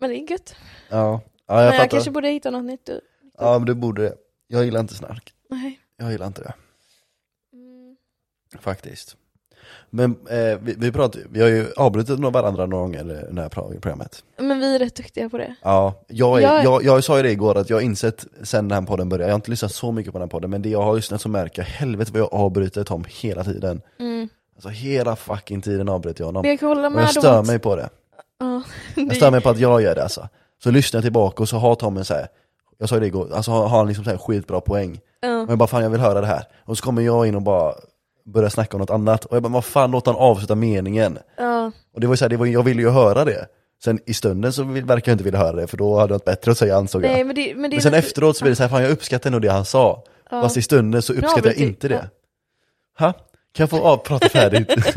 S2: Men det är gött.
S1: Ja, ja jag
S2: Men
S1: fattar.
S2: jag kanske borde hitta något nytt. Du.
S1: Ja men du borde det. Jag gillar inte snark.
S2: Nej.
S1: Jag gillar inte det.
S2: Mm.
S1: Faktiskt. Men eh, vi, vi, pratar, vi har ju avbrutit några- varandra några gånger i det här pro- programmet.
S2: Men vi är rätt duktiga på det.
S1: Ja, jag, är,
S2: Jag-
S1: jag... Jag, sa ju det igår att jag har insett sen den här podden började, jag har inte lyssnat så mycket på den här podden, men det jag har lyssnat så märker jag helvete vad jag avbryter Tom hela tiden.
S2: Mm.
S1: Alltså hela fucking tiden avbryter jag honom.
S2: Men jag kan hålla
S1: Och
S2: med
S1: jag
S2: om
S1: stör
S2: att-
S1: mig på det.
S2: Ja,
S1: Jag stör mig på att jag gör det alltså. Så lyssnar jag tillbaka och så har Tom en så här. jag sa ju det igår, alltså har har han liksom så här skitbra poäng.
S2: Ja.
S1: Och jag bara fan jag vill höra det här. Och så kommer jag in och bara börjar snacka om något annat. Och jag bara vad fan låt han avsluta meningen.
S2: Ja.
S1: Och det var ju så här, det var, jag ville ju höra det. Sen i stunden så vill, verkar jag inte vilja höra det för då hade jag något bättre att säga ansåg jag.
S2: Nej, men det, men det är
S1: Men sen
S2: lite-
S1: efteråt så blir det så här, fan jag uppskattar nog det han sa.
S2: Ja. typ,
S1: Fast i stunden så uppskattar jag
S2: avbryter-
S1: inte det. Ha? Kan jag få av, prata färdigt?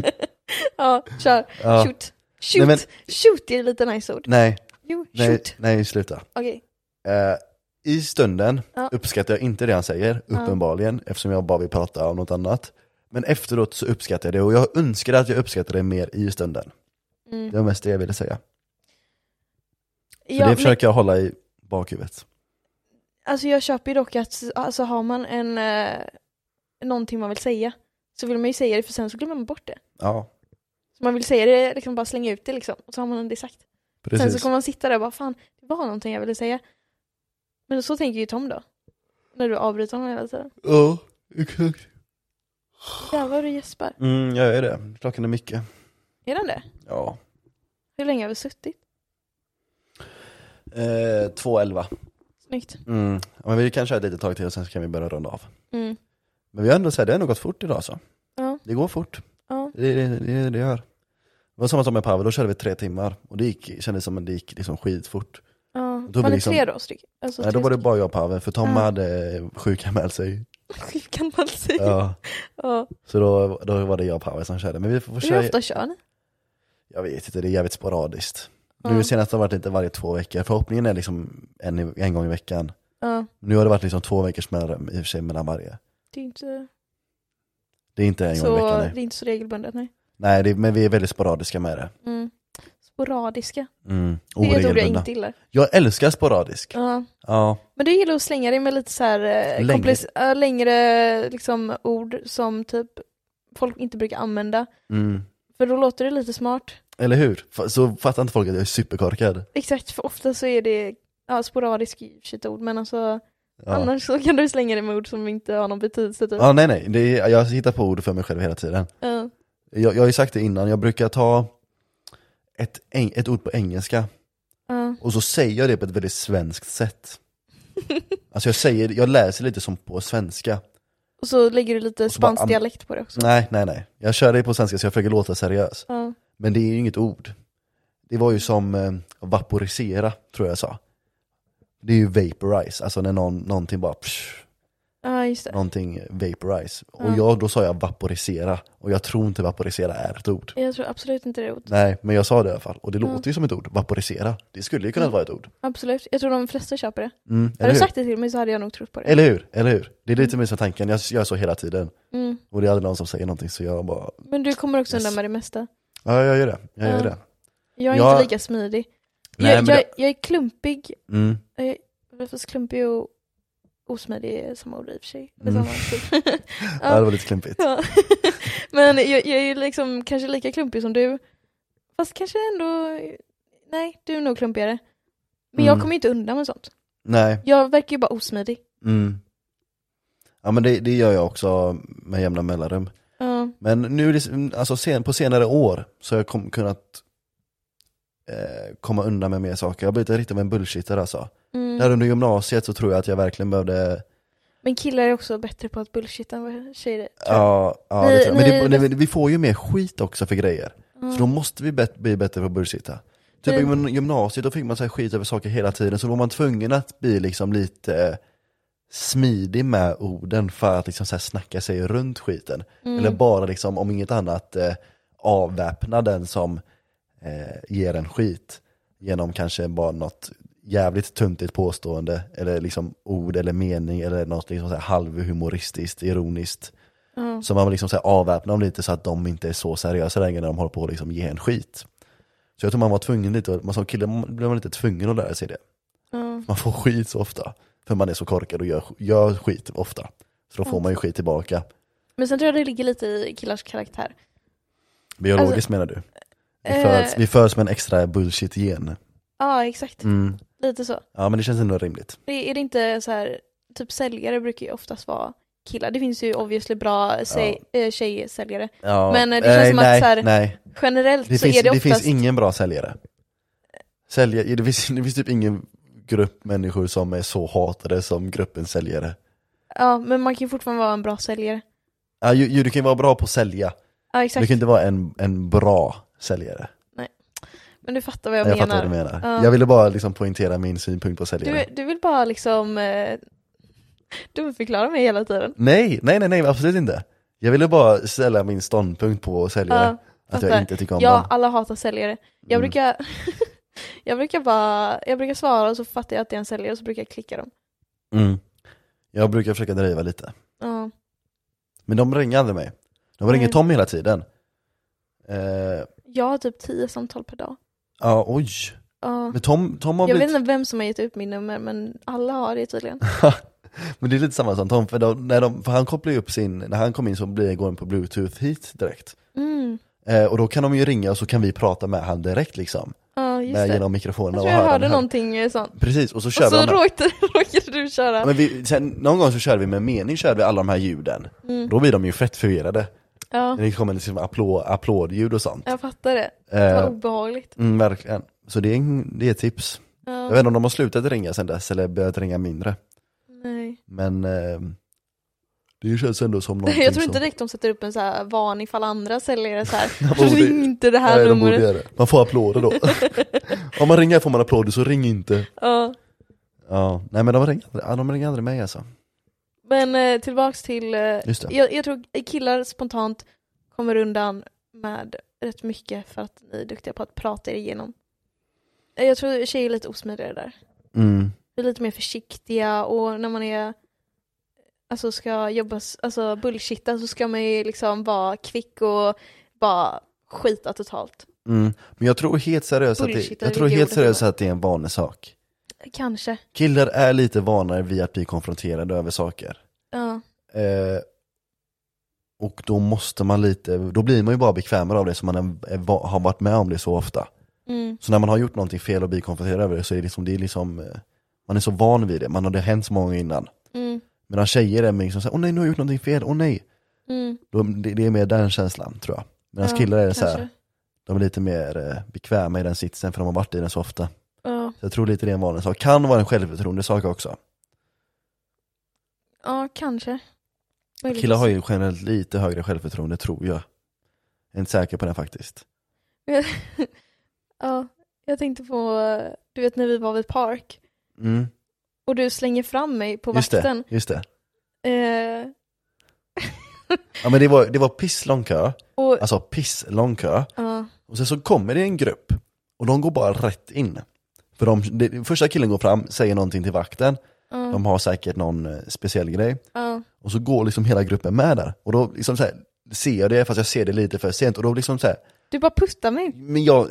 S2: Ja, kör.
S1: Ja.
S2: Shoot. Shoot.
S1: Nej, men-
S2: Shoot är lite nice ord.
S1: nej,
S2: Jo,
S1: nej,
S2: shoot.
S1: nej sluta.
S2: Okej.
S1: Eh, I stunden
S2: Ja.
S1: uppskattar jag inte det han säger, uppenbarligen, eftersom jag bara vill prata om något annat. Men efteråt så uppskattar jag det och jag önskar att jag uppskattar det mer i stunden.
S2: Mm.
S1: Det var mest det jag ville säga. Så
S2: Ja,
S1: det
S2: men-
S1: försöker jag hålla i bakhuvudet.
S2: Alltså jag köper ju dock att alltså, har man en, eh, någonting man vill säga så vill man ju säga det för sen så glömmer man bort det.
S1: Ja,
S2: Så man vill säga det, liksom bara slänga ut det liksom. Och så har man det sagt. Sen så
S1: precis.
S2: kommer man sitta där och bara fan, det var någonting jag ville säga. Men så tänker ju Tom då. När du avbryter honom hela tiden.
S1: Ja, exakt.
S2: Jävlar du gäspar.
S1: Mm, jag är det. Klockan är mycket.
S2: Är den det?
S1: Ja.
S2: Hur länge har vi suttit?
S1: Eh, 2.11.
S2: Snyggt.
S1: Mm. Ja, Men vi kan köra ett litet tag till och sen så kan vi börja runda av.
S2: Mm.
S1: Men vi har ändå så här, det har ändå gått fort idag alltså.
S2: Ja.
S1: Det går fort.
S2: Ja.
S1: Det, det, det, det gör. Det var samma som med Pavel, då körde vi tre timmar och det gick, kändes som att det gick liksom skitfort.
S2: ja.
S1: Då blir
S2: Var det
S1: liksom-
S2: tre då? Stryk? Alltså,
S1: Nej, då
S2: tre
S1: var det
S2: stycken.
S1: bara jag och Pavel, för Tom
S2: Ja.
S1: hade eh, sjukanmält sig.
S2: Kan man säga. Ja.
S1: Ja, så då, då var det jag och Pavel som körde. Men vi får
S2: Hur
S1: försöka,
S2: ofta kör ni?
S1: jag vet inte, det är jävligt sporadiskt. Nu
S2: Ja.
S1: senast har det varit lite varje två veckor, förhoppningen är liksom en, i- en gång i veckan.
S2: Ja.
S1: Nu har det varit liksom två veckors mellan, i och för sig mellan varje.
S2: Det är inte
S1: Det är inte en
S2: så,
S1: gång i veckan
S2: det
S1: nej.
S2: är inte så regelbundet nej.
S1: Nej, det, men vi är väldigt sporadiska med det.
S2: Mm. Sporadiska.
S1: Mm.
S2: Det är ett ord jag
S1: Oregelbundna.
S2: inte gillar.
S1: Jag älskar sporadisk.
S2: Ja.
S1: Ja,
S2: Men du gillar att slänga dig med lite så här eh,
S1: Längre.
S2: komplic- ja, längre liksom, ord som typ folk inte brukar använda.
S1: mm.
S2: För då låter det lite smart.
S1: eller hur? Fa- Så fattar inte folk att jag är superkorkad.
S2: Exakt, för ofta så är det ja, sporadisk i och för sig ett ord men alltså
S1: Ja.
S2: annars så kan du slänga dig med ord som inte har någon betydelse typ.
S1: Ja, nej nej, det är, jag hittar på ord för mig själv hela tiden.
S2: Ja.
S1: Jag, jag har ju sagt det innan, jag brukar ta ett, eng, ett ord på engelska
S2: Ja.
S1: och så säger jag det på ett väldigt svenskt sätt. Alltså jag säger, jag läser lite som på svenska.
S2: Och så lägger du lite
S1: så bara
S2: spansk
S1: am-
S2: dialekt på det också.
S1: Nej, nej, nej. Jag kör det på svenska så jag försöker låta seriös.
S2: Ja.
S1: Men det är ju inget ord. Det var ju som eh, vaporisera, tror jag jag sa. Det är ju vaporize, alltså när någon, någonting bara psh,
S2: ja, just det.
S1: någonting vaporize. Och
S2: Ja.
S1: jag, då sa jag vaporisera, och jag tror inte vaporisera är ett ord.
S2: Jag tror absolut inte det är ord.
S1: Nej, men jag sa det i alla fall. Och det
S2: Ja.
S1: låter ju som ett ord, vaporisera. Det skulle ju kunna
S2: Mm.
S1: vara ett ord.
S2: Absolut. Jag tror de flesta köper det.
S1: Mm, eller,
S2: Hade du
S1: hur?
S2: sagt det till mig så hade jag nog trott på det.
S1: eller hur? Eller hur? Det är lite mer som tanken, jag gör så hela tiden.
S2: Mm.
S1: Och det är aldrig någon som säger någonting så jag bara,
S2: Men du kommer också
S1: Yes.
S2: undan med det mesta.
S1: ja jag gör det, jag gör
S2: Ja.
S1: det.
S2: Jag är
S1: Jag-
S2: inte lika smidig.
S1: Nej,
S2: jag,
S1: men
S2: jag, jag är klumpig,
S1: Mm.
S2: fast klumpig och osmidig är samma ord i och för sig. Eller
S1: Mm.
S2: samma ord. typ.
S1: Ja, det var lite klumpigt.
S2: ja. Men jag, jag är ju liksom kanske lika klumpig som du. Fast kanske ändå, nej du är nog klumpigare. Men jag
S1: Mm.
S2: kommer ju inte undan med sånt.
S1: Nej,
S2: Jag verkar ju bara osmidig.
S1: mm. Ja men det, det gör jag också med jämna mellanrum.
S2: Ja,
S1: Men nu, är det- alltså sen, på senare år så har jag kom, kunnat eh, komma undan med mer saker. Jag har blivit lite av en bullshitter alltså.
S2: mm.
S1: Där under gymnasiet så tror jag att jag verkligen behövde
S2: Men killar är också bättre på att bullshitta än vad tjejer är. tror jag.
S1: Ja, ja
S2: Ni-
S1: det tror jag. men
S2: ni-
S1: det, nej, Mm. vi får ju mer skit också för grejer. Så då måste vi bet, bli bättre på att bullshitta. Typ
S2: Ni-
S1: i gym- gymnasiet, då fick man så här skit över saker hela tiden, så då var man tvungen att bli liksom lite eh, smidig med orden för att liksom så här snacka sig runt skiten.
S2: Mm.
S1: Eller bara liksom, om inget annat, eh, avväpna den som eh, ger en skit genom kanske bara något jävligt tuntigt påstående eller liksom ord eller mening eller något liksom så här halvhumoristiskt, ironiskt.
S2: Ja.
S1: Så man vill liksom så här avväpna dem lite så att de inte är så seriösa längre när de håller på att liksom ge en skit. Så jag tror man var tvungen lite, man som kille blir man lite tvungen att lära sig det.
S2: Ja.
S1: Man får skit så ofta, för man är så korkad och gör, gör skit ofta. Så då får man ju skit tillbaka.
S2: Men sen tror jag det ligger lite i killars karaktär.
S1: Biologiskt
S2: Alltså,
S1: menar du? Vi
S2: eh,
S1: föds, vi föds med en extra bullshit-gen.
S2: Ja, exakt.
S1: Mm.
S2: Lite så.
S1: Ja men det känns ändå rimligt.
S2: Det- Är det inte så här, typ säljare brukar ju oftast vara killar. Det finns ju obviously bra säg, eh, tjejsäljare.
S1: Ja.
S2: Men, eh, det känns
S1: nej,
S2: som att
S1: nej,
S2: så här-
S1: nej.
S2: Generellt
S1: Det,
S2: så
S1: finns,
S2: är
S1: det,
S2: det oftast...
S1: finns ingen bra säljare. Sälja, det, finns, det finns typ ingen grupp människor som är så hatade som gruppen säljare.
S2: Ja, men man kan ju fortfarande vara en bra säljare.
S1: Ja, ju, ju, du kan ju vara bra på att sälja,
S2: Ja,
S1: du
S2: exakt.
S1: kan inte vara en, en bra säljare.
S2: Men du fattar vad jag
S1: Jag, fattar
S2: menar.
S1: vad du menar.
S2: Ja.
S1: Jag ville bara liksom poängtera min synpunkt på säljare.
S2: Du, du vill bara liksom eh, dumförklara mig hela tiden.
S1: Nej, nej, nej, nej, absolut inte. Jag ville bara ställa min ståndpunkt på säljare.
S2: Ja,
S1: att
S2: fattar.
S1: jag inte tycker om
S2: Ja,
S1: dem.
S2: alla hatar säljare. Jag
S1: Mm.
S2: brukar jag brukar bara, jag brukar svara och så fattar jag att det är en säljare och så brukar jag klicka dem.
S1: Mm. Jag brukar försöka driva lite.
S2: Ja,
S1: Men de ringer aldrig mig. De
S2: Nej.
S1: ringer Tom hela tiden. Eh,
S2: jag har typ tio samtal per dag.
S1: ja, oj.
S2: Ja.
S1: Men Tom, Tom har
S2: Jag vet
S1: blivit...
S2: inte vem som har gett ut min nummer men alla har det tydligen.
S1: Men det är lite samma som Tom, för, då, när de, för han kopplar ju upp sin... När han kom in så blir går den på bluetooth hit direkt.
S2: Mm.
S1: Eh, och då kan de ju ringa och så kan vi prata med han direkt liksom.
S2: Ja, just
S1: Med,
S2: det.
S1: genom mikrofonerna
S2: Jag
S1: och
S2: tror jag
S1: höra
S2: hörde
S1: den här.
S2: någonting eh, sånt.
S1: Precis, och så kör
S2: Och så
S1: vi de här.
S2: råkade, råkade du köra.
S1: Men vi, sen, någon gång så körde vi med mening, körde vi alla de här ljuden.
S2: Mm.
S1: Då blir de ju fett förvirrade.
S2: Ja,
S1: Det kommer liksom applå, applådljud och sånt.
S2: jag fattar det. Det var
S1: Eh,
S2: obehagligt.
S1: mm, verkligen. Så det är, en- det är ett tips. Jag vet
S2: Ja,
S1: inte om de har slutat ringa sen dess eller börjat ringa mindre.
S2: nej.
S1: Men eh, det känns ändå som någonting
S2: Jag tror inte
S1: som...
S2: direkt de sätter upp en så här varning ifall andra säljare så här.
S1: borde-
S2: Ring inte det här
S1: Nej, de borde
S2: numret.
S1: göra det. Man får applåder då. om man ringer får man applåder, så ring inte.
S2: Ja.
S1: Ja, nej men de ringer, aldrig- ja, de ringer aldrig mig alltså.
S2: Men eh, tillbaks till, eh,
S1: Just det.
S2: jag, jag tror killar spontant kommer undan med rätt mycket för att ni är duktiga på att prata er igenom. Eh, Jag tror tjejer är lite osmidigare där.
S1: Mm.
S2: Vi är lite mer försiktiga och när man är alltså ska jobba, s- alltså bullshitta så ska man ju liksom vara kvick och bara skita totalt.
S1: Mm. Men jag tror helt seriöst att det,
S2: Bullshit,
S1: jag tror
S2: det är
S1: helt
S2: ordet
S1: seriöst
S2: jag-
S1: att det är en vanesak.
S2: Kanske.
S1: Killar är lite vanare vid att bli konfronterade över saker.
S2: Ja.
S1: Eh, och då måste man lite, då blir man ju bara bekvämare av det som man är, är, va- har varit med om det så ofta.
S2: Mm.
S1: Så när man har gjort någonting fel och blir konfronterad över det så är det liksom, det är liksom eh, man är så van vid det, man har det hänt så många gånger innan.
S2: Mm.
S1: Medan tjejer är mer liksom såhär, åh nej nu har jag gjort någonting fel, åh nej.
S2: Mm.
S1: Då, det, det är mer den känslan tror jag. Medan
S2: Ja,
S1: killar är så
S2: kanske.
S1: här, de är lite mer eh, bekväma i den sitsen för de har varit i den så ofta.
S2: Ja.
S1: Så jag tror lite det är en vanlig sak, kan vara en självförtroende sak också.
S2: ja, kanske. Möjligtvis.
S1: Killar har ju generellt lite högre självförtroende tror jag. Jag är inte säker på det faktiskt.
S2: Ja, jag tänkte på, du vet när vi var vid Park
S1: Mm.
S2: och du slänger fram mig på
S1: Just det,
S2: vakten.
S1: just det.
S2: Eh,
S1: Ja men det var, det var pisslång kö,
S2: och,
S1: alltså pisslång kö.
S2: ja,
S1: Och sen så kommer det en grupp och de går bara rätt in. För de, det- första killen går fram, säger någonting till vakten,
S2: ja,
S1: de har säkert någon eh, speciell grej.
S2: ja,
S1: Och så går liksom hela gruppen med där. Och då liksom så här, ser jag det, fast jag ser det lite för sent. Och då liksom så här,
S2: du bara puttar mig.
S1: men jag,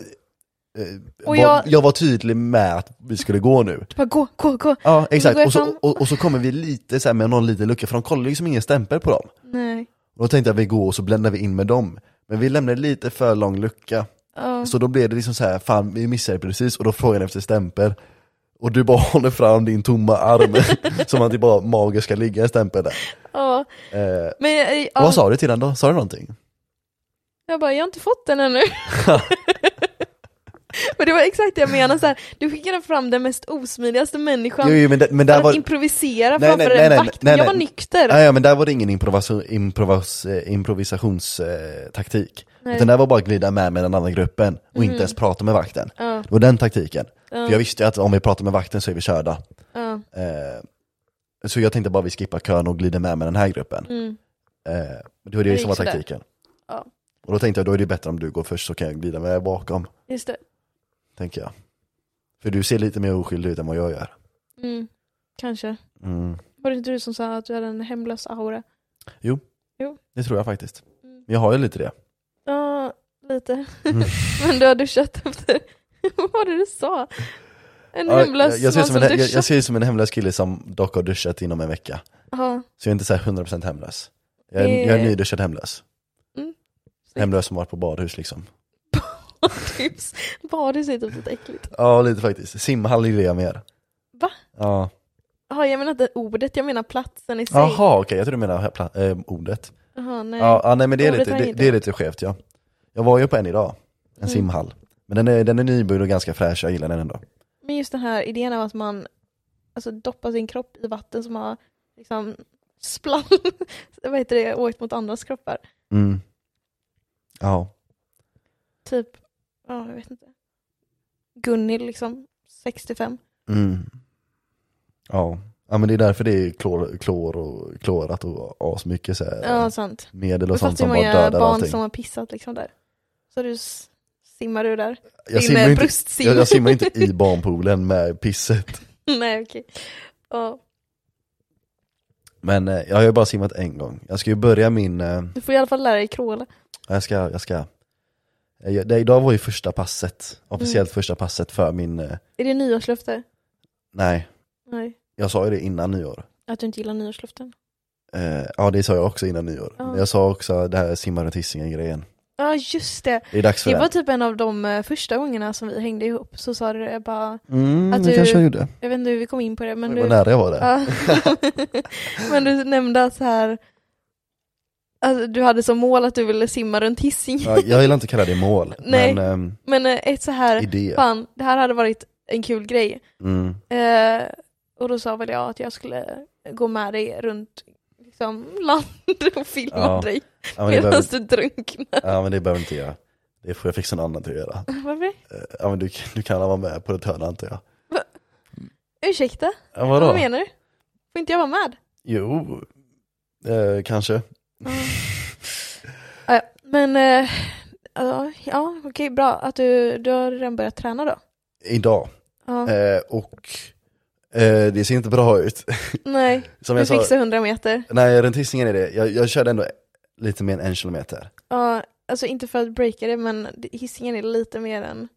S1: eh, var, jag...
S2: jag-
S1: var tydlig med att vi skulle gå nu.
S2: Du bara gå, gå, gå.
S1: Ja exakt,
S2: går
S1: och så,
S2: fram.
S1: och, och så kommer vi lite så här med någon liten lucka, för de kollar liksom ingen stämpel på dem.
S2: Nej.
S1: Och då tänkte jag att vi går och så bländar vi in med dem. Men vi lämnade lite för lång lucka.
S2: Ja,
S1: Så då blev det liksom så här, fan vi missade det precis och då frågade han efter stämpel. Och du bara håller fram din tomma arm som att det bara magiskt ska ligga en stämpel där.
S2: ja.
S1: Eh,
S2: Men jag,
S1: och Vad
S2: ja,
S1: sa du till den då? Sa du någonting?
S2: jag bara, jag har inte fått den ännu. Men det var exakt det jag menade, så här, du skickade fram den mest osmidigaste människan
S1: Jo, jo men, det, men där
S2: för
S1: var...
S2: att improvisera
S1: Nej,
S2: framför
S1: nej, nej,
S2: en
S1: nej,
S2: vakt.
S1: nej,
S2: jag var
S1: nej.
S2: nykter.
S1: Nej, ja, men där var det ingen improvas, improvas, eh, improvisationstaktik.
S2: Nej. Mm.
S1: Utan där var bara att glida med med den andra gruppen och inte ens prata med vakten.
S2: Ja,
S1: Det var den taktiken.
S2: ja,
S1: För jag visste ju att om vi pratar med vakten så är vi körda.
S2: ja,
S1: Eh, så jag tänkte bara vi skippar kön och glider med med den här gruppen.
S2: mm.
S1: Eh, det var det
S2: Det
S1: som var
S2: gick sådär.
S1: taktiken.
S2: Ja.
S1: Och då tänkte jag, då är det bättre om du går först så kan jag glida med bakom,
S2: Just det.
S1: tänker jag. För du ser lite mer oskyldig ut än vad jag gör.
S2: Mm. Kanske.
S1: Mm.
S2: Var det inte du som sa att du hade en hemlös aura?
S1: Det tror jag faktiskt.
S2: Mm.
S1: Jag har ju lite det.
S2: Ja, lite.
S1: Mm.
S2: Men du har duschat efter... Vad var det du sa? En
S1: Ja,
S2: hemlös
S1: jag, jag, ser
S2: man
S1: ut som
S2: som
S1: en, jag, jag
S2: duschat.
S1: ser ut som en hemlös kille som dock har duschat inom en vecka.
S2: Ja,
S1: Så jag är inte så här 100% hemlös. Jag är,
S2: Det-
S1: jag är nyduschad hemlös.
S2: Mm.
S1: Hemlös som varit på badhus liksom.
S2: tips. Badhus är typ lite äckligt.
S1: Ja, lite faktiskt. Simhall gillar jag mer.
S2: Va?
S1: Ja.
S2: Ja, jag menar inte ordet, jag menar platsen i sig.
S1: Jaha, okej, jag tror du menar här pla- eh, ordet.
S2: Jaha, nej.
S1: Ja, ja, nej men det är,
S2: Ordet
S1: lite,
S2: har jag
S1: det,
S2: inte
S1: det är lite skevt ja. Jag var ju på en idag, en
S2: Mm.
S1: simhall. Men den är, den är nybyggd och ganska fräsch, jag gillar den ändå.
S2: Men just den här idén av att man alltså, doppar sin kropp i vatten som har liksom splann, vad heter det, åkt mot andras kroppar.
S1: Mm. Ja,
S2: Typ, ja jag vet inte. Gunnil liksom, 65.
S1: mm. Ja. ja, men det är därför det är klor, klor och klorat och asmycket så här,
S2: Ja, sant.
S1: medel och
S2: Fast
S1: sånt
S2: hur
S1: som bara
S2: många
S1: dödar
S2: barn
S1: allting.
S2: som har pissat liksom där. Så du s- simmar du där.
S1: Jag,
S2: Din,
S1: simmar
S2: eh,
S1: ju inte,
S2: bröstsim.
S1: jag, jag simmar inte i barnpoolen med pisset.
S2: nej, okej. Ja,
S1: Men eh, jag har ju bara simmat en gång. Jag ska ju börja min... Eh,
S2: du får i alla fall lära dig kråla.
S1: Jag ska, jag ska. Eh, jag- Det, idag var ju första passet, officiellt
S2: Mm.
S1: första passet för min, eh,
S2: Är det nyårslöfte?
S1: nej,
S2: Nej.
S1: jag sa ju det innan nyår.
S2: Att du inte gillar nyårslöften?
S1: Eh, ja det sa jag också innan nyår.
S2: Ja.
S1: Men jag sa också det här simma runt Hisingen grejen.
S2: Ja, just det.
S1: Det är dags för
S2: Det
S1: det.
S2: var typ en av de eh, första gångerna som vi hängde ihop så sa du det, jag bara,
S1: Mm,
S2: att
S1: det
S2: du-
S1: kanske jag gjorde.
S2: jag vet inte hur vi kom in på det men
S1: Vad
S2: du,
S1: nära jag var där.
S2: Ja. men du nämnde att så här, alltså, du hade som mål att du ville simma runt Hisingen.
S1: Ja, jag gillar inte att kalla det mål,
S2: Nej.
S1: men ehm,
S2: Men eh, ett så här,
S1: idé.
S2: fan det här hade varit en kul grej.
S1: Mm.
S2: Eh, och då sa väl jag att jag skulle gå med dig runt liksom, land och filma
S1: Ja,
S2: dig
S1: Ja, men det
S2: medan
S1: behöver,
S2: du drunknar.
S1: ja men det behöver inte jag. Det får jag fixa någon annan till att göra.
S2: Varför?
S1: Eh, Ja men du, du kan vara med på ett hörn antar jag.
S2: Ursäkta,
S1: Ja,
S2: vad
S1: vadå?
S2: menar du? Får inte jag vara med?
S1: Jo, eh, kanske.
S2: Ja, men eh, ja, ja, okej, bra att du, du har redan börjat träna då.
S1: Idag.
S2: Ja,
S1: Eh, och eh, det ser inte bra ut.
S2: nej,
S1: Som
S2: du
S1: jag sa,
S2: fixar 100 meter.
S1: nej runt Hisingen är det, jag, jag körde ändå lite mer än en kilometer.
S2: Ja, alltså inte för att breaka det, men det- hissingen är lite mer än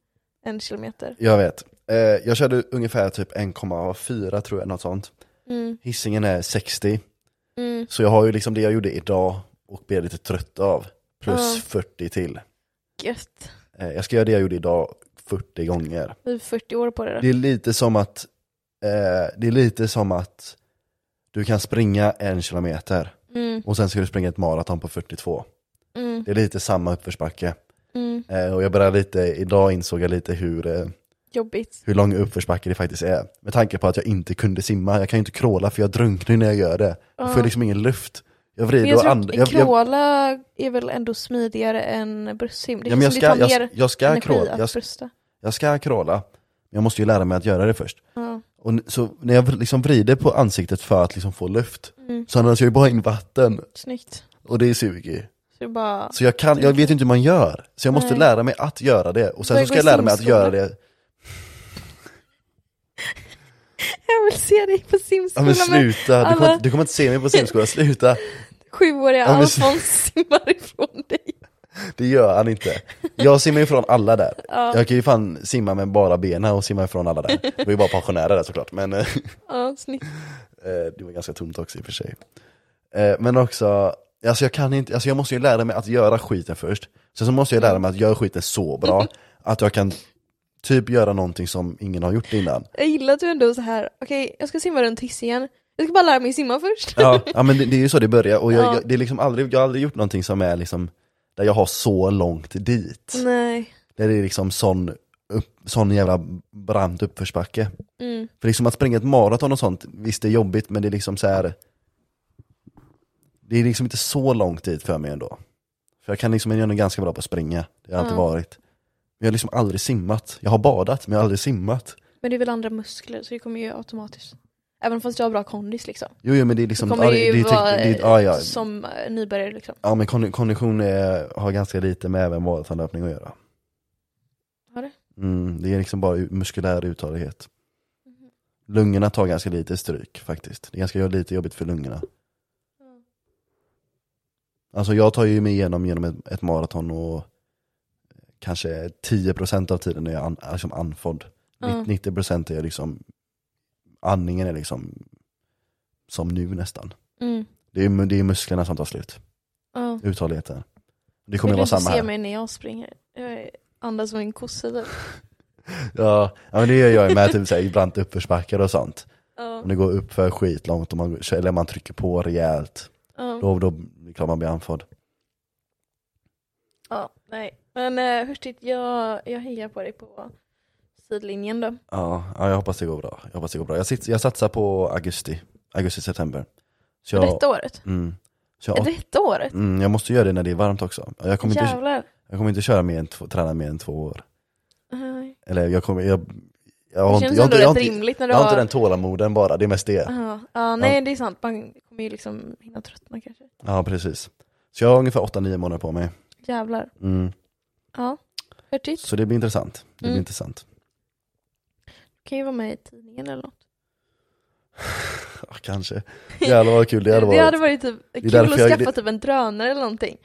S2: en kilometer.
S1: Jag vet. Eh, jag körde ungefär typ 1,4 tror jag, något sånt.
S2: Mm,
S1: Hisingen är 60,
S2: mm,
S1: så jag har ju liksom det jag gjorde idag och blev lite trött av, plus
S2: Ja.
S1: 40 till.
S2: gött.
S1: Eh, jag ska göra det jag gjorde idag 40 gånger.
S2: Du är 40 år på det då.
S1: Det är lite som att, eh, det är lite som att du kan springa en kilometer
S2: Mm,
S1: och sen ska du springa ett maraton på 42.
S2: mm,
S1: Det är lite samma uppförsbacke.
S2: mm,
S1: Eh, och jag började lite, idag insåg jag lite hur, eh,
S2: jobbigt.
S1: hur lång uppförsbacke det faktiskt är. Med tanke på att jag inte kunde simma, jag kan ju inte kråla för jag drunknar ju när jag gör det. Jag får
S2: Ja.
S1: ju liksom ingen luft. Jag
S2: Men
S1: vrider
S2: jag
S1: och
S2: tror
S1: andas. Jag,
S2: att
S1: jag,
S2: kråla är väl ändå smidigare än bröstsim. Det
S1: ja, men jag
S2: känns
S1: ska,
S2: som det tar
S1: jag,
S2: mer
S1: jag ska
S2: energi
S1: kråla,
S2: att
S1: jag,
S2: brösta.
S1: jag ska kråla. Men jag måste ju lära mig att göra det först.
S2: Ja,
S1: Och n- så när jag liksom vrider på ansiktet för att liksom få luft,
S2: mm,
S1: så andas jag ju bara in vatten.
S2: snyggt.
S1: Och det suger ju.
S2: Så det är bara...
S1: Så jag, kan, jag vet inte hur man gör. Så jag måste
S2: Nej.
S1: lära mig att göra det. Och sen så
S2: Börja
S1: ska
S2: gå i
S1: jag lära mig att
S2: simskola.
S1: göra det.
S2: Jag vill se dig på
S1: Ja men
S2: simskolan med
S1: sluta, du
S2: alla-
S1: kommer, inte- du kommer inte se mig på simskola, sluta!
S2: sjuåriga
S1: Ja, men s-
S2: Alfons simmar ifrån dig.
S1: Det gör han inte. Jag simmar ifrån alla där.
S2: Ja,
S1: Jag kan ju fan simma med bara benen och simma ifrån alla där. Det var ju bara pensionärer där såklart, men eh,
S2: ja, snyggt.
S1: det var ganska tomt också i och för sig. Eh, Men också, alltså jag kan inte, alltså jag måste ju lära mig att göra skiten först. Sen så måste jag lära mig att göra skiten så bra att jag kan typ göra någonting som ingen har gjort innan.
S2: Jag gillar att du ändå är så här, okej jag ska simma runt Hisingen, jag ska bara lära mig simma först.
S1: Ja, ja men det, det är ju så det börjar, och jag,
S2: Ja.
S1: jag, det är liksom aldrig, jag har aldrig gjort någonting som är liksom, där jag har så långt
S2: Mm.
S1: dit.
S2: Nej.
S1: Där det är liksom sån, upp, sån jävla brant uppförsbacke.
S2: Mm.
S1: För liksom att springa ett maraton och sånt, visst det är jobbigt men det är liksom så här. Det är liksom inte så långt dit för mig ändå. För jag kan liksom, jag är nog ganska bra på att springa, det har jag alltid
S2: Ja.
S1: varit. Men jag har liksom aldrig simmat. Jag har badat men jag har aldrig simmat.
S2: Men det är väl andra muskler så det kommer ju automatiskt. Även fast du har bra kondis liksom.
S1: Jo, jo men det är
S2: Du
S1: liksom...
S2: kommer
S1: ja, det-
S2: ju
S1: det är tek-
S2: vara
S1: det är- ja, ja.
S2: som eh, nybörjare liksom.
S1: Ja men kon- kondition är, har ganska lite med även maratonlöpning att göra.
S2: Har det?
S1: Mm, det är liksom bara u- muskulär uthållighet.
S2: Mhm.
S1: Lungorna tar ganska lite stryk faktiskt. Det är ganska lite jobbigt för lungorna. Alltså jag tar ju mig igenom genom ett, ett maraton och kanske 10% av tiden är jag an, liksom andfådd.
S2: Ja.
S1: 90 90% är jag liksom, andningen är liksom som nu nästan.
S2: Mm.
S1: Det är, det är musklerna som tar slut,
S2: Ja.
S1: uthålligheten. Det kommer ju vara
S2: Vill du inte
S1: samma här.
S2: se mig när jag springer? Jag andas som en kossa typ.
S1: Ja, ja, men det gör jag ju med typ såhär, i branta uppförsbackar och sånt.
S2: Ja.
S1: Om det går upp för skitlångt och man, eller man trycker på rejält,
S2: Ja.
S1: då, då är det klart man blir andfådd.
S2: Ja, nej. Men eh, Hurtigt, jag, jag hejar på dig på sidlinjen då.
S1: Ja, ja, jag hoppas det går bra. Jag hoppas det går bra. Jag, sits, jag satsar på augusti, augusti-september. Så jag,
S2: Detta året.
S1: mm, så jag,
S2: Detta året?
S1: mm, jag måste göra det när det är varmt också. Jag kommer inte,
S2: Jävlar.
S1: jag kommer inte köra mer än två, träna mer än två år.
S2: Nej.
S1: Eller jag kommer, jag, jag
S2: Det
S1: har inte,
S2: känns
S1: jag har
S2: ändå
S1: inte, jag har
S2: rätt
S1: inte,
S2: rimligt när du
S1: jag har inte
S2: har...
S1: den tålamoden bara, det är mest det.
S2: Ja, ja, nej det är sant. Man kommer ju liksom hinna tröttna kanske.
S1: Ja, precis. Så jag har ungefär 8-9 månader på mig.
S2: Jävlar.
S1: Mm.
S2: Ja. Hurtigt.
S1: Så det blir intressant. Det blir
S2: Mm.
S1: intressant.
S2: Du kan ju vara med i tidningen eller något.
S1: Ja, kanske. Jävlar vad kul det hade varit.
S2: typ kul att
S1: därför jag-
S2: skaffa typ en drönare eller någonting.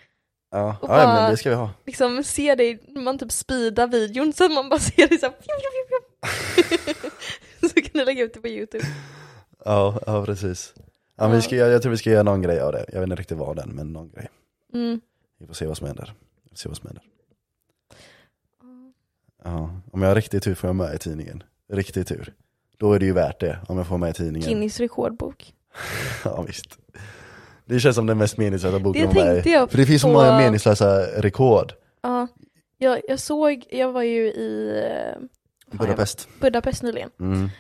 S1: Ja, ja
S2: och bara-
S1: men det ska vi ha.
S2: Liksom se dig, man typ speedar videon så att man bara ser dig så här, pju, pju, pju, pju. Så kan du lägga ut det på youtube.
S1: Ja, ja precis. Ja, men
S2: Ja.
S1: vi ska, göra- jag tror vi ska göra någon grej av det. Jag vet inte riktigt vad den, men någon grej.
S2: Mm.
S1: Vi får se vad som händer. Vi får se vad som händer. Ja, om jag har riktig tur får jag med i tidningen. Riktig tur. Då är det ju värt det, om jag får med i tidningen.
S2: Guinness rekordbok.
S1: Ja, visst. Det känns som den mest meningslösa boken
S2: Det
S1: att vara med i.
S2: tänkte jag
S1: För det finns så
S2: på-
S1: många meningslösa rekord.
S2: Ja, jag, jag såg, jag var ju i eh, jag
S1: Budapest.
S2: Budapest nyligen
S1: Mm.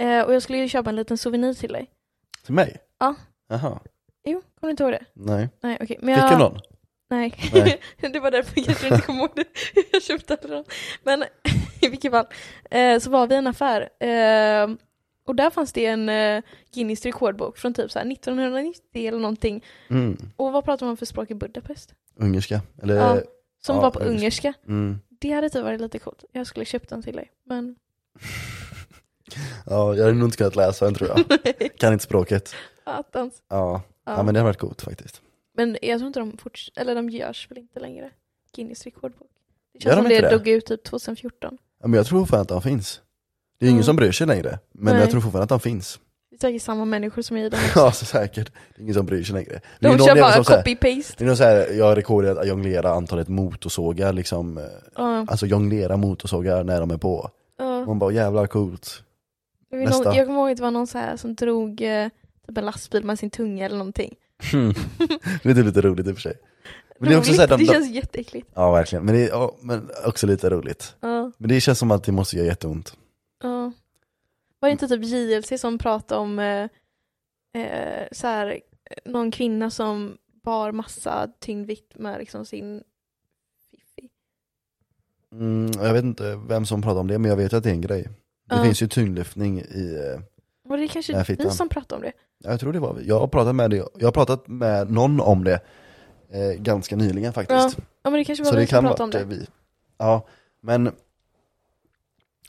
S2: eh, och jag skulle ju köpa en liten souvenir till dig.
S1: Till mig?
S2: Ja.
S1: Jaha,
S2: Jo, kommer du inte ihåg det?
S1: nej.
S2: Nej, okej. Men
S1: Fick
S2: jag...
S1: du någon?
S2: Nej,
S1: Nej.
S2: det var därför jag kanske inte kom ihåg det. Jag köpte aldrig dem. Men i vilket fall, eh, så var vi i en affär eh, och där fanns det en eh, Guinness rekordbok från typ så här 1990 eller någonting.
S1: Mm.
S2: Och vad pratar man för språk i Budapest?
S1: Ungerska? Eller?
S2: Ja. Som
S1: Eh, Ja,
S2: var på
S1: ungerska.
S2: ungerska.
S1: Mm.
S2: Det hade typ varit lite coolt. Jag skulle köpt den till dig, men
S1: Ja, jag hade nog inte kunnat läsa den tror jag. Kan inte språket.
S2: attans.
S1: Ja,
S2: Ja.
S1: ja. men det har varit coolt faktiskt.
S2: Men jag tror inte de forts- eller de görs väl inte längre. Guinness rekordbok. Det
S1: Gör
S2: känns
S1: de
S2: som det,
S1: inte det?
S2: dog ut typ 2014.
S1: Ja, men jag tror fortfarande att de finns. Det är ingen
S2: Mm.
S1: som bryr sig längre, men
S2: Nej.
S1: jag tror fortfarande att de finns.
S2: Det är säkert samma människor som är i den. här.
S1: ja, så säkert. Det är ingen som bryr sig längre. Det är
S2: De
S1: någon
S2: kör
S1: jävel
S2: bara
S1: som så här-
S2: copy-paste.
S1: Det är någon så här, jag har rekord i att jonglera antalet motorsågar liksom, eh,
S2: Ja,
S1: alltså jonglera motorsågar när de är på.
S2: ja.
S1: Man bara jävlar coolt.
S2: Det var
S1: nästa.
S2: någon, jag kommer ihåg att det var någon så här som drog eh, typ en lastbil med sin tunga eller någonting. Mm.
S1: Hmm. det är typ lite roligt i och för sig. Men det är också
S2: Roligt.
S1: så här, de, de,
S2: det känns jätteäckligt.
S1: ja verkligen, men, det är, ja, men också lite roligt.
S2: Ja,
S1: Men det känns som att det måste göra jätteont.
S2: ja. Var det inte typ JLC som pratade om eh, eh, så här, eh, någon kvinna som bar massa tyngdvikt med liksom sin fiffi?
S1: Mm, jag vet inte vem som pratar om det, men jag vet att det är en grej. Det
S2: Ja.
S1: finns ju tyngdlyftning i, eh,
S2: Var det kanske
S1: Nej,
S2: vi
S1: fittan.
S2: som pratade om det?
S1: jag tror det var vi, jag har pratat med, det, jag har pratat med någon om det eh, ganska nyligen faktiskt.
S2: Ja men det kanske var
S1: Så
S2: vi
S1: det
S2: som
S1: kan
S2: pratade om
S1: vara
S2: det.
S1: vi. Ja, men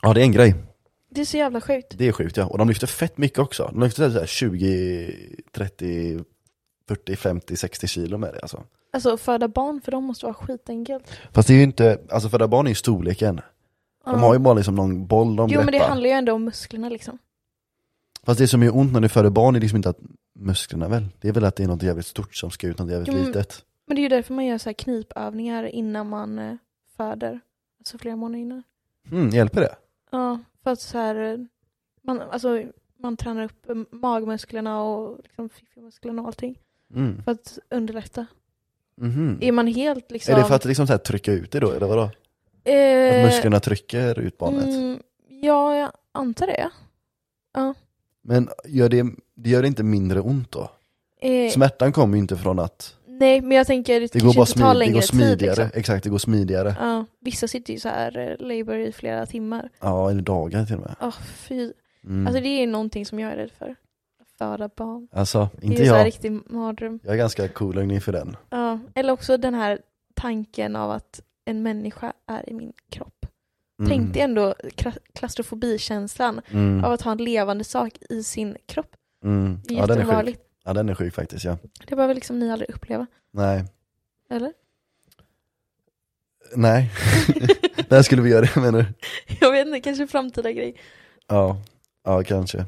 S1: Ja det är en grej,
S2: Det är så jävla sjukt.
S1: det är sjukt ja. Och de lyfter fett mycket också. De lyfter typ såhär 20, 30, 40, 50, 60 kilo med det alltså.
S2: Alltså föda barn för dem måste vara skitenkelt.
S1: Fast det är ju inte, alltså för det barn är ju storleken. De har ju bara liksom någon boll de
S2: jo men det
S1: greppar.
S2: handlar ju ändå om musklerna liksom.
S1: Fast det som gör ont när du föder barn är liksom inte att musklerna väl? Det är väl att det är något jävligt stort som ska ut något jävligt
S2: Jo, men-
S1: litet.
S2: Men det är ju därför man gör så här knipövningar innan man eh, föder. Alltså flera månader innan.
S1: Mm, hjälper det?
S2: Ja, för att så här, eh, man, alltså, man tränar upp eh, magmusklerna och liksom fiffimusklerna och allting.
S1: Mm.
S2: För att underlätta.
S1: Mhm.
S2: Är man helt liksom...
S1: Är det för att liksom så här trycka ut det då, eller vadå? Att
S2: eh,
S1: musklerna trycker ut barnet?
S2: Mm, ja, jag antar det.
S1: Men gör det, det gör det inte mindre ont då?
S2: Eh,
S1: Smärtan kommer ju inte från att
S2: nej, men jag tänker det,
S1: det går,
S2: kanske
S1: bara smid, det
S2: inte tar längre
S1: går
S2: tid.
S1: smidigare.
S2: Liksom.
S1: Exakt, det går smidigare.
S2: Ja, vissa sitter ju så här eh, labor i flera timmar.
S1: Ja, eller dagar till och med.
S2: ah fy.
S1: Mm.
S2: Alltså det är någonting som jag är rädd för. föda barn.
S1: Alltså, inte
S2: det är ju en
S1: jag.
S2: riktig mardröm.
S1: Jag är ganska cool inför den.
S2: Ja. Eller också den här tanken av att en människa är i min kropp.
S1: Mm.
S2: Tänk dig ändå kla- klaustrofobikänslan
S1: Mm.
S2: av att ha en levande sak i sin kropp.
S1: Mm.
S2: Det är
S1: Ja, den är sjuk.
S2: jätteobehagligt.
S1: Ja, den är sjuk faktiskt ja.
S2: Det behöver liksom ni aldrig uppleva,
S1: Nej.
S2: eller?
S1: Nej. När skulle vi göra det menar du?
S2: Jag vet inte, kanske framtida grej.
S1: Ja. Ja, kanske.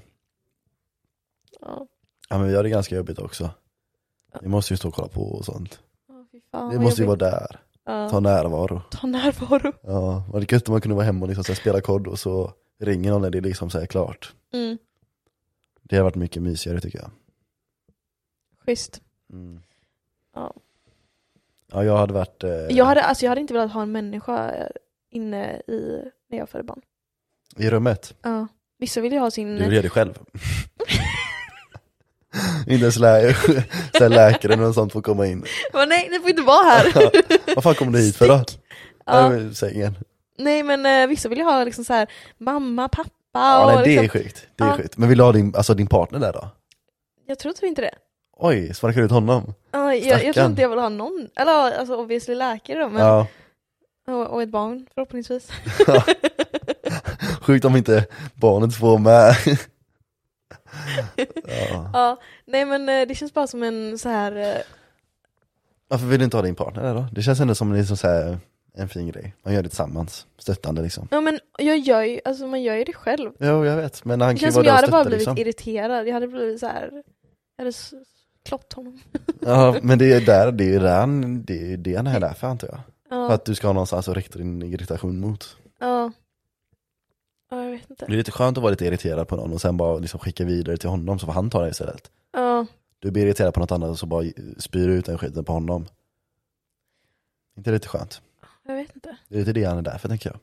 S2: Ja,
S1: Ja, men vi har det ganska jobbigt också. Vi måste ju stå och kolla på och sånt.
S2: oh, fy fan.
S1: Vi
S2: vad
S1: måste ju vara
S2: jobbigt.
S1: där.
S2: Ja.
S1: Ta närvaro.
S2: Ta närvaro.
S1: Ja, vad gött om man kunde vara hemma och liksom så här spela kod och så ringer någon när det är liksom så här klart.
S2: Mm,
S1: Det har varit mycket mysigare tycker jag.
S2: schysst.
S1: Mm.
S2: Ja.
S1: Ja, jag hade varit... Eh,
S2: Jag hade, alltså, jag hade inte velat ha en människa eh, inne i, när jag födde barn.
S1: I rummet.
S2: Ja. Vissa vill ju ha sin...
S1: Du gör det själv. inte ens lä- så här läkaren och sånt får komma in.
S2: Men nej, ni får inte vara här!
S1: Vad fan kom du hit för då?
S2: Stick.
S1: Ja.
S2: Ja.
S1: men Sängen.
S2: Nej men eh, vissa vill ju ha liksom så här, mamma, pappa
S1: Ja,
S2: och
S1: nej, det är
S2: liksom,
S1: sjukt. Det är
S2: Ja.
S1: sjukt. Men vill du ha din, alltså, din partner där då?
S2: Jag tror typ inte det.
S1: Oj, sparkar du ut honom?
S2: Ja, jag, jag tror
S1: Stackarn.
S2: inte jag vill ha någon, eller alltså obviously läkare då, men,
S1: Ja,
S2: och, och ett barn förhoppningsvis.
S1: sjukt om inte barnet får med. ja.
S2: Ja, nej men eh, det känns bara som en så här eh,
S1: Varför vill du inte ha din partner där då? Det känns ändå som liksom så här, en fin grej. Man gör det tillsammans, stöttande liksom.
S2: ja men jag gör ju, alltså man gör ju det själv.
S1: Jo, jag vet. Men han kan ju
S2: Det känns
S1: vara
S2: som jag
S1: där och
S2: hade bara
S1: stötta
S2: blivit
S1: liksom.
S2: irriterad, jag hade blivit så här, jag hade s- klott honom.
S1: Ja, men det är där, det är där, han- det är det han är där för antar jag. För
S2: Ja,
S1: att du ska ha någonstans att rikta din irritation mot.
S2: ja. Ja, jag vet inte.
S1: Det är lite skönt att vara lite irriterad på någon och sen bara liksom skicka vidare till honom så får han ta det istället.
S2: Ja,
S1: Du blir irriterad på något annat och så bara spyr du ut den skiten på honom. Inte det lite skönt?
S2: jag vet inte.
S1: Det är lite det han är där för tänker jag.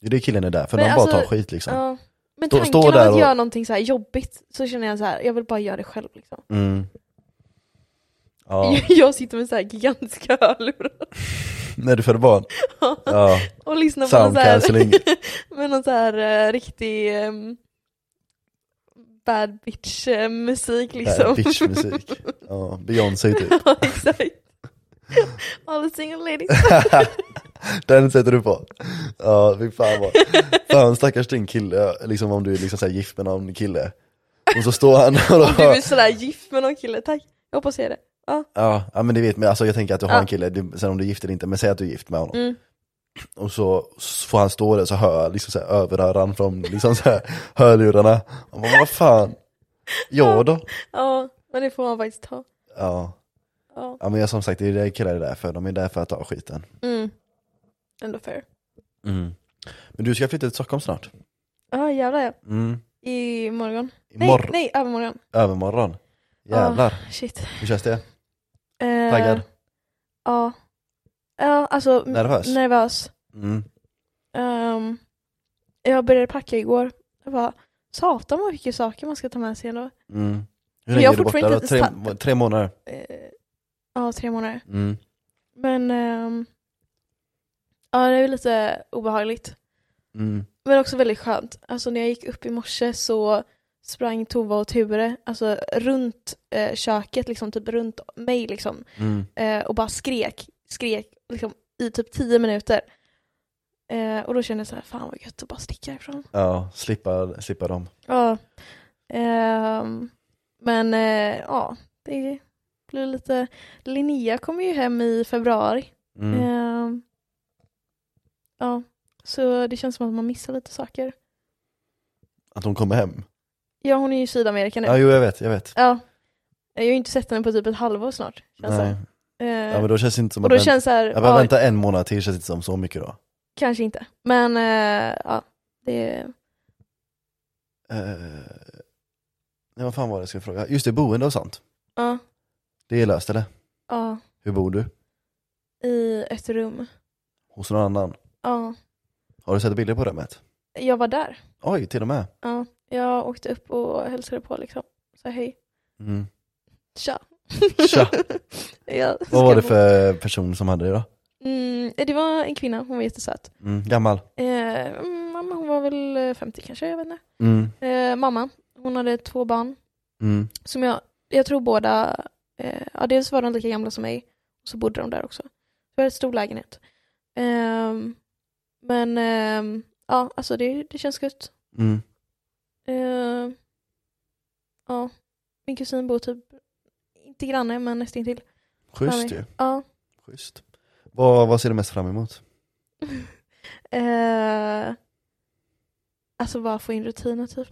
S1: Det är det killen är där för,
S2: Men
S1: de bara
S2: alltså,
S1: tar skit liksom.
S2: Ja. Men
S1: Stå-
S2: tanken
S1: stå
S2: av
S1: där
S2: att
S1: och-
S2: göra någonting så här jobbigt, så känner jag så här, jag vill bara göra det själv liksom.
S1: Mm. Ja,
S2: Jag sitter med så här gigantiska hörlurar
S1: när du födde barn. Ja,
S2: och lyssnar på någon
S1: sound
S2: så här,
S1: cancelling.
S2: med någon så här eh, riktig ehm, bad bitch eh, musik liksom.
S1: Bitchmusik. Ja, Beyoncé typ.
S2: ja, exakt. All single ladies.
S1: Den sätter du på. Ja, fy fan vad. Fan stackars din kille, liksom om du är liksom så här gift med någon kille. Och så står han och
S2: Om du
S1: då,
S2: är sådär gift med någon kille, tack. Jag hoppas jag är det.
S1: ja, ja men det vet men alltså jag tänker att du har
S2: Ja.
S1: en kille, du, sen om du är gift eller inte, men säg att du är gift med honom.
S2: Mm.
S1: Och så så får han stå där så hör liksom så här, överhör han från liksom så här, hörlurarna. Och bara, vad fan, ja då?
S2: Ja, men det får man faktiskt ta.
S1: Ja.
S2: Ja.
S1: ja, men jag som sagt det är det killar är där för, de är där för att ta skiten.
S2: Mm. Ändå fair.
S1: Mm. Men du ska flytta till Stockholm snart.
S2: Ja, jävlar ja.
S1: Mm.
S2: Imorgon. Nej,
S1: Imorgon,
S2: nej, övermorgon.
S1: övermorgon. Jävlar,
S2: Shit.
S1: hur känns det?
S2: Eh,
S1: Taggad?
S2: Ja. Ja, alltså m-
S1: Nervös?
S2: nervös.
S1: Mm.
S2: Ehm, jag började packa igår. Jag bara, satan vad mycket saker man ska ta med sig ändå.
S1: Mm. Hur
S2: Men
S1: länge
S2: jag har
S1: är du borta?
S2: fortfarande
S1: då?
S2: inte
S1: Tre,
S2: sta-
S1: tre månader?
S2: Eh, Ja, tre månader.
S1: Mm.
S2: Men ehm, ja, det är lite obehagligt.
S1: Mm.
S2: Men också väldigt skönt. Alltså när jag gick upp i morse så sprang Tova och Ture, alltså runt eh, köket, liksom typ runt mig liksom.
S1: Mm.
S2: eh, och bara skrek, skrek liksom, i typ tio minuter. Eh, och då kände jag så här, fan vad gött att bara sticka ifrån.
S1: Ja, slippa, slippa dem.
S2: Ja. Ehm, men eh, ja, det blir lite, Linnea kommer ju hem i februari.
S1: Mm.
S2: Ehm, ja, så det känns som att man missar lite saker.
S1: Att hon kommer hem?
S2: Ja, hon är ju i Sydamerika nu.
S1: Ja, jo jag vet, jag vet.
S2: Ja. Jag har ju inte sett henne på typ ett halvår snart. Känns
S1: Nej.
S2: det. Eh,
S1: Ja, men då känns det inte som
S2: och
S1: att
S2: då
S1: vänt-
S2: känns det så här,
S1: jag bara
S2: ja,
S1: vänta en månad till känns inte som så mycket då.
S2: kanske inte. Men eh, ja, det
S1: Eh, nej, vad fan var det jag skulle fråga? Just det, boende och sånt.
S2: Ja,
S1: Det är löst eller?
S2: ja.
S1: Hur bor du?
S2: I ett rum.
S1: Hos någon annan?
S2: Ja.
S1: Har du sett bilder på rummet?
S2: Jag var där.
S1: Oj, till och med.
S2: Ja. Jag åkte upp och hälsade på liksom. Så hej.
S1: Mm.
S2: Tja.
S1: Tja.
S2: Jag ska
S1: Vad var det
S2: bo-
S1: för person som hade det då?
S2: Mm, det var en kvinna, hon var jättesöt.
S1: Mm. Gammal?
S2: Eh, mm, mamma, hon var väl eh, 50 kanske, jag vet inte.
S1: Mm.
S2: Eh, mamma, hon hade två barn.
S1: Mm.
S2: Som jag, jag tror båda, eh, ja dels var de lika gamla som mig, och så bodde de där också. Det var en stor lägenhet. Ehm, men ehm, ja, alltså det, det känns gött.
S1: Mm.
S2: Ehm, ja, min kusin bor typ, inte granne men nästintill.
S1: Schysst ju.
S2: Ja.
S1: Schysst. Vad, vad ser du mest fram emot?
S2: Eh, alltså bara få in rutiner typ.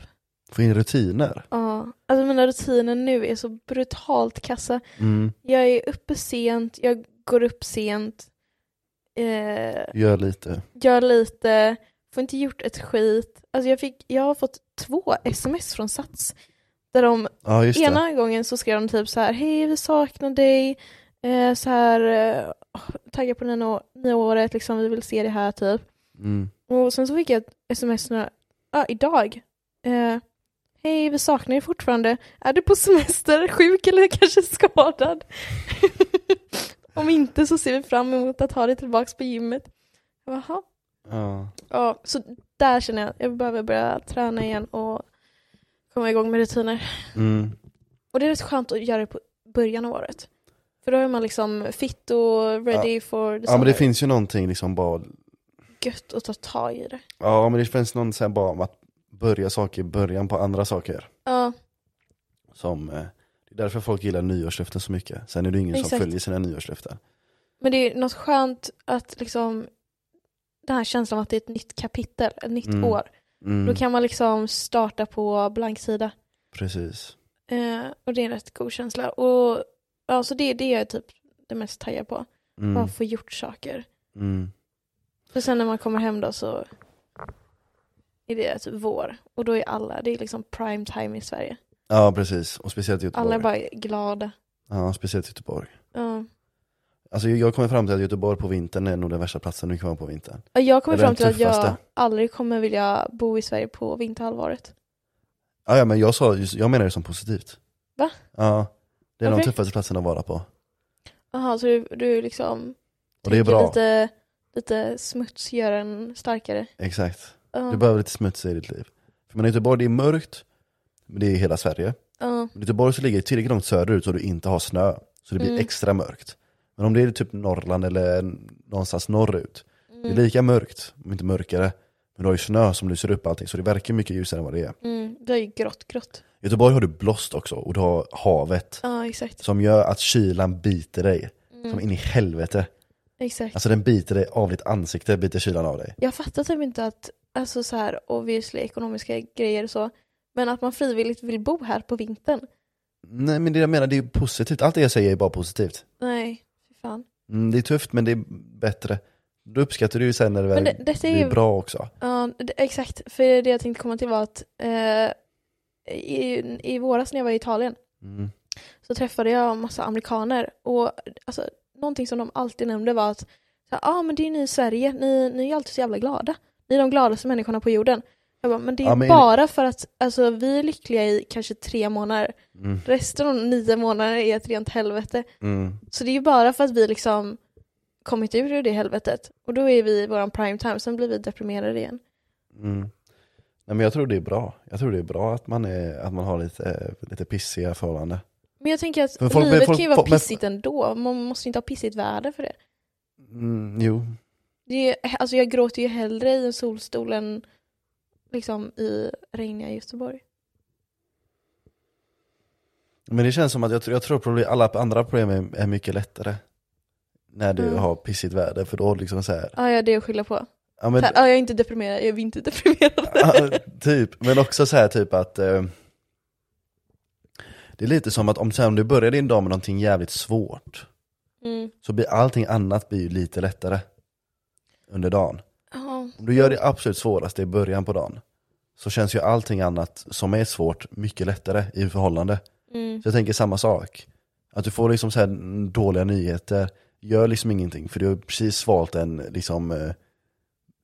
S1: Få in rutiner.
S2: Ja, alltså mina rutiner nu är så brutalt kassa.
S1: Mm.
S2: Jag är uppe sent, jag går upp sent, eh,
S1: Gör lite.
S2: gör lite, får inte gjort ett skit. Alltså jag, fick, jag har fått två sms från Sats där de
S1: Ja just det.
S2: ena gången så skrev de typ så här hej vi saknar dig, eh, så här eh, tagga på det nya å- nya året liksom, vi vill se det här typ.
S1: Mm.
S2: Och sen så fick jag ett sms några, ja, idag. Eh, Hej, vi saknar dig fortfarande. Är du på semester, sjuk eller kanske skadad? Om inte så ser vi fram emot att ha dig tillbaka på gymmet. Jaha.
S1: Ja.
S2: Ja, så där känner jag att jag behöver börja träna igen och komma igång med rutiner.
S1: Mm.
S2: Och det är rätt skönt att göra det på början av året. För då är man liksom fit och ready for the
S1: ja men
S2: summer.
S1: det finns ju någonting liksom bara,
S2: Gött att ta tag i det.
S1: ja men det finns någon så här bara om att börja saker i början på andra saker.
S2: Ja,
S1: Som, eh, det är därför folk gillar nyårslöften så mycket. Sen är det ingen som
S2: Exakt.
S1: följer sina nyårslöften.
S2: Men det är något skönt att liksom den här känslan av att det är ett nytt kapitel, ett nytt
S1: Mm.
S2: år.
S1: Mm.
S2: Då kan man liksom starta på blank sida.
S1: Precis.
S2: Eh, och det är en rätt god känsla. Och ja, så det, det är jag typ det mest taggad på.
S1: Mm.
S2: Bara få gjort saker.
S1: Mm.
S2: Och sen när man kommer hem då så är det typ vår. Och då är alla, det är liksom prime time i Sverige.
S1: Ja precis, och speciellt i Göteborg.
S2: Alla är bara glada.
S1: Ja, speciellt i Göteborg.
S2: Ja.
S1: Alltså jag kommer fram till att Göteborg på vintern är nog den värsta platsen du kan vara på vintern.
S2: Och jag kommer
S1: Det är
S2: fram till
S1: den
S2: att jag
S1: tuffaste.
S2: aldrig kommer vilja bo i Sverige på vinterhalvåret.
S1: Ja, ja men jag, sa, jag menar det som positivt.
S2: Va?
S1: Ja. Det är
S2: Varför?
S1: de tuffaste platserna att vara på.
S2: Jaha, så du, du liksom
S1: Och det är
S2: tänker
S1: bra.
S2: Lite, lite smuts gör en starkare.
S1: Exakt.
S2: Ja,
S1: Du behöver lite smuts i ditt liv. För men i Göteborg, det är mörkt, men det är i hela Sverige.
S2: ja,
S1: Men Göteborg så ligger det tillräckligt långt söderut så du inte har snö. Så det blir
S2: Mm.
S1: extra mörkt. Men om det är typ Norrland eller någonstans norrut, det
S2: mm,
S1: är lika mörkt, om inte mörkare. Men du har ju snö som lyser upp allting, så det verkar mycket ljusare än vad det är.
S2: mm, det är ju grått, grått.
S1: I Göteborg har du blåst också, och du har havet.
S2: Ja, exakt.
S1: Som gör att kylan biter dig, som
S2: Mm,
S1: in i helvete.
S2: exakt.
S1: Alltså den biter dig av ditt ansikte, biter kylan av dig.
S2: Jag fattar typ inte att, alltså så här obviously ekonomiska grejer och så, men att man frivilligt vill bo här på vintern.
S1: Nej men det jag menar, det är ju positivt. Allt det jag säger är bara positivt.
S2: Nej, fy fan.
S1: Mm, det är tufft men det är bättre. Då uppskattar du ju sen när det väl
S2: Men det, detta är
S1: blir
S2: ju
S1: bra också.
S2: Ja, det- exakt. För det jag tänkte komma till var att eh, i, i våras när jag var i Italien
S1: Mm.
S2: så träffade jag en massa amerikaner och alltså, någonting som de alltid nämnde var att ja ah, men det är ju ni i Sverige, ni, ni är ju alltid så jävla glada. Ni är de gladaste människorna på jorden. Jag bara, men det är
S1: Ja, men-
S2: bara för att alltså, vi är lyckliga i kanske tre månader.
S1: Mm.
S2: Resten av nio månader är ett rent helvete.
S1: Mm.
S2: Så det är ju bara för att vi liksom kommit ur det helvetet. Och då är vi i våran prime time, sen blir vi deprimerade igen.
S1: Mm. Nej men jag tror det är bra. Jag tror det är bra att man, är, att man har lite, eh, lite pissiga förhållanden.
S2: Men jag tänker att
S1: Men folk-
S2: livet
S1: men folk-
S2: kan ju vara
S1: folk- men-
S2: pissigt ändå. Man måste ju inte ha pissigt väder för det.
S1: Mm, jo,
S2: det är, ju- alltså jag gråter ju hellre i en solstol än liksom i regniga Göteborg.
S1: men det känns som att jag, tror- jag tror problem, alla andra problem är, är mycket lättare. När du
S2: Mm.
S1: har pissigt väder för då liksom så här,
S2: Ja, ja det är att skylla på.
S1: ja, men,
S2: Så här, ja, jag är inte deprimerad, jag är inte deprimerad.
S1: Ja, typ, men också så här typ att eh, Det är lite som att om, så här, om du börjar din dag med någonting jävligt svårt
S2: Mm.
S1: Så blir allting annat blir ju lite lättare Under dagen
S2: Ja,
S1: Om du gör det absolut svåraste i början på dagen Så känns ju allting annat som är svårt mycket lättare i förhållande
S2: mm,
S1: Så jag tänker samma sak Att du får liksom så här mm, dåliga nyheter Gör liksom ingenting för du har precis svalt en liksom eh,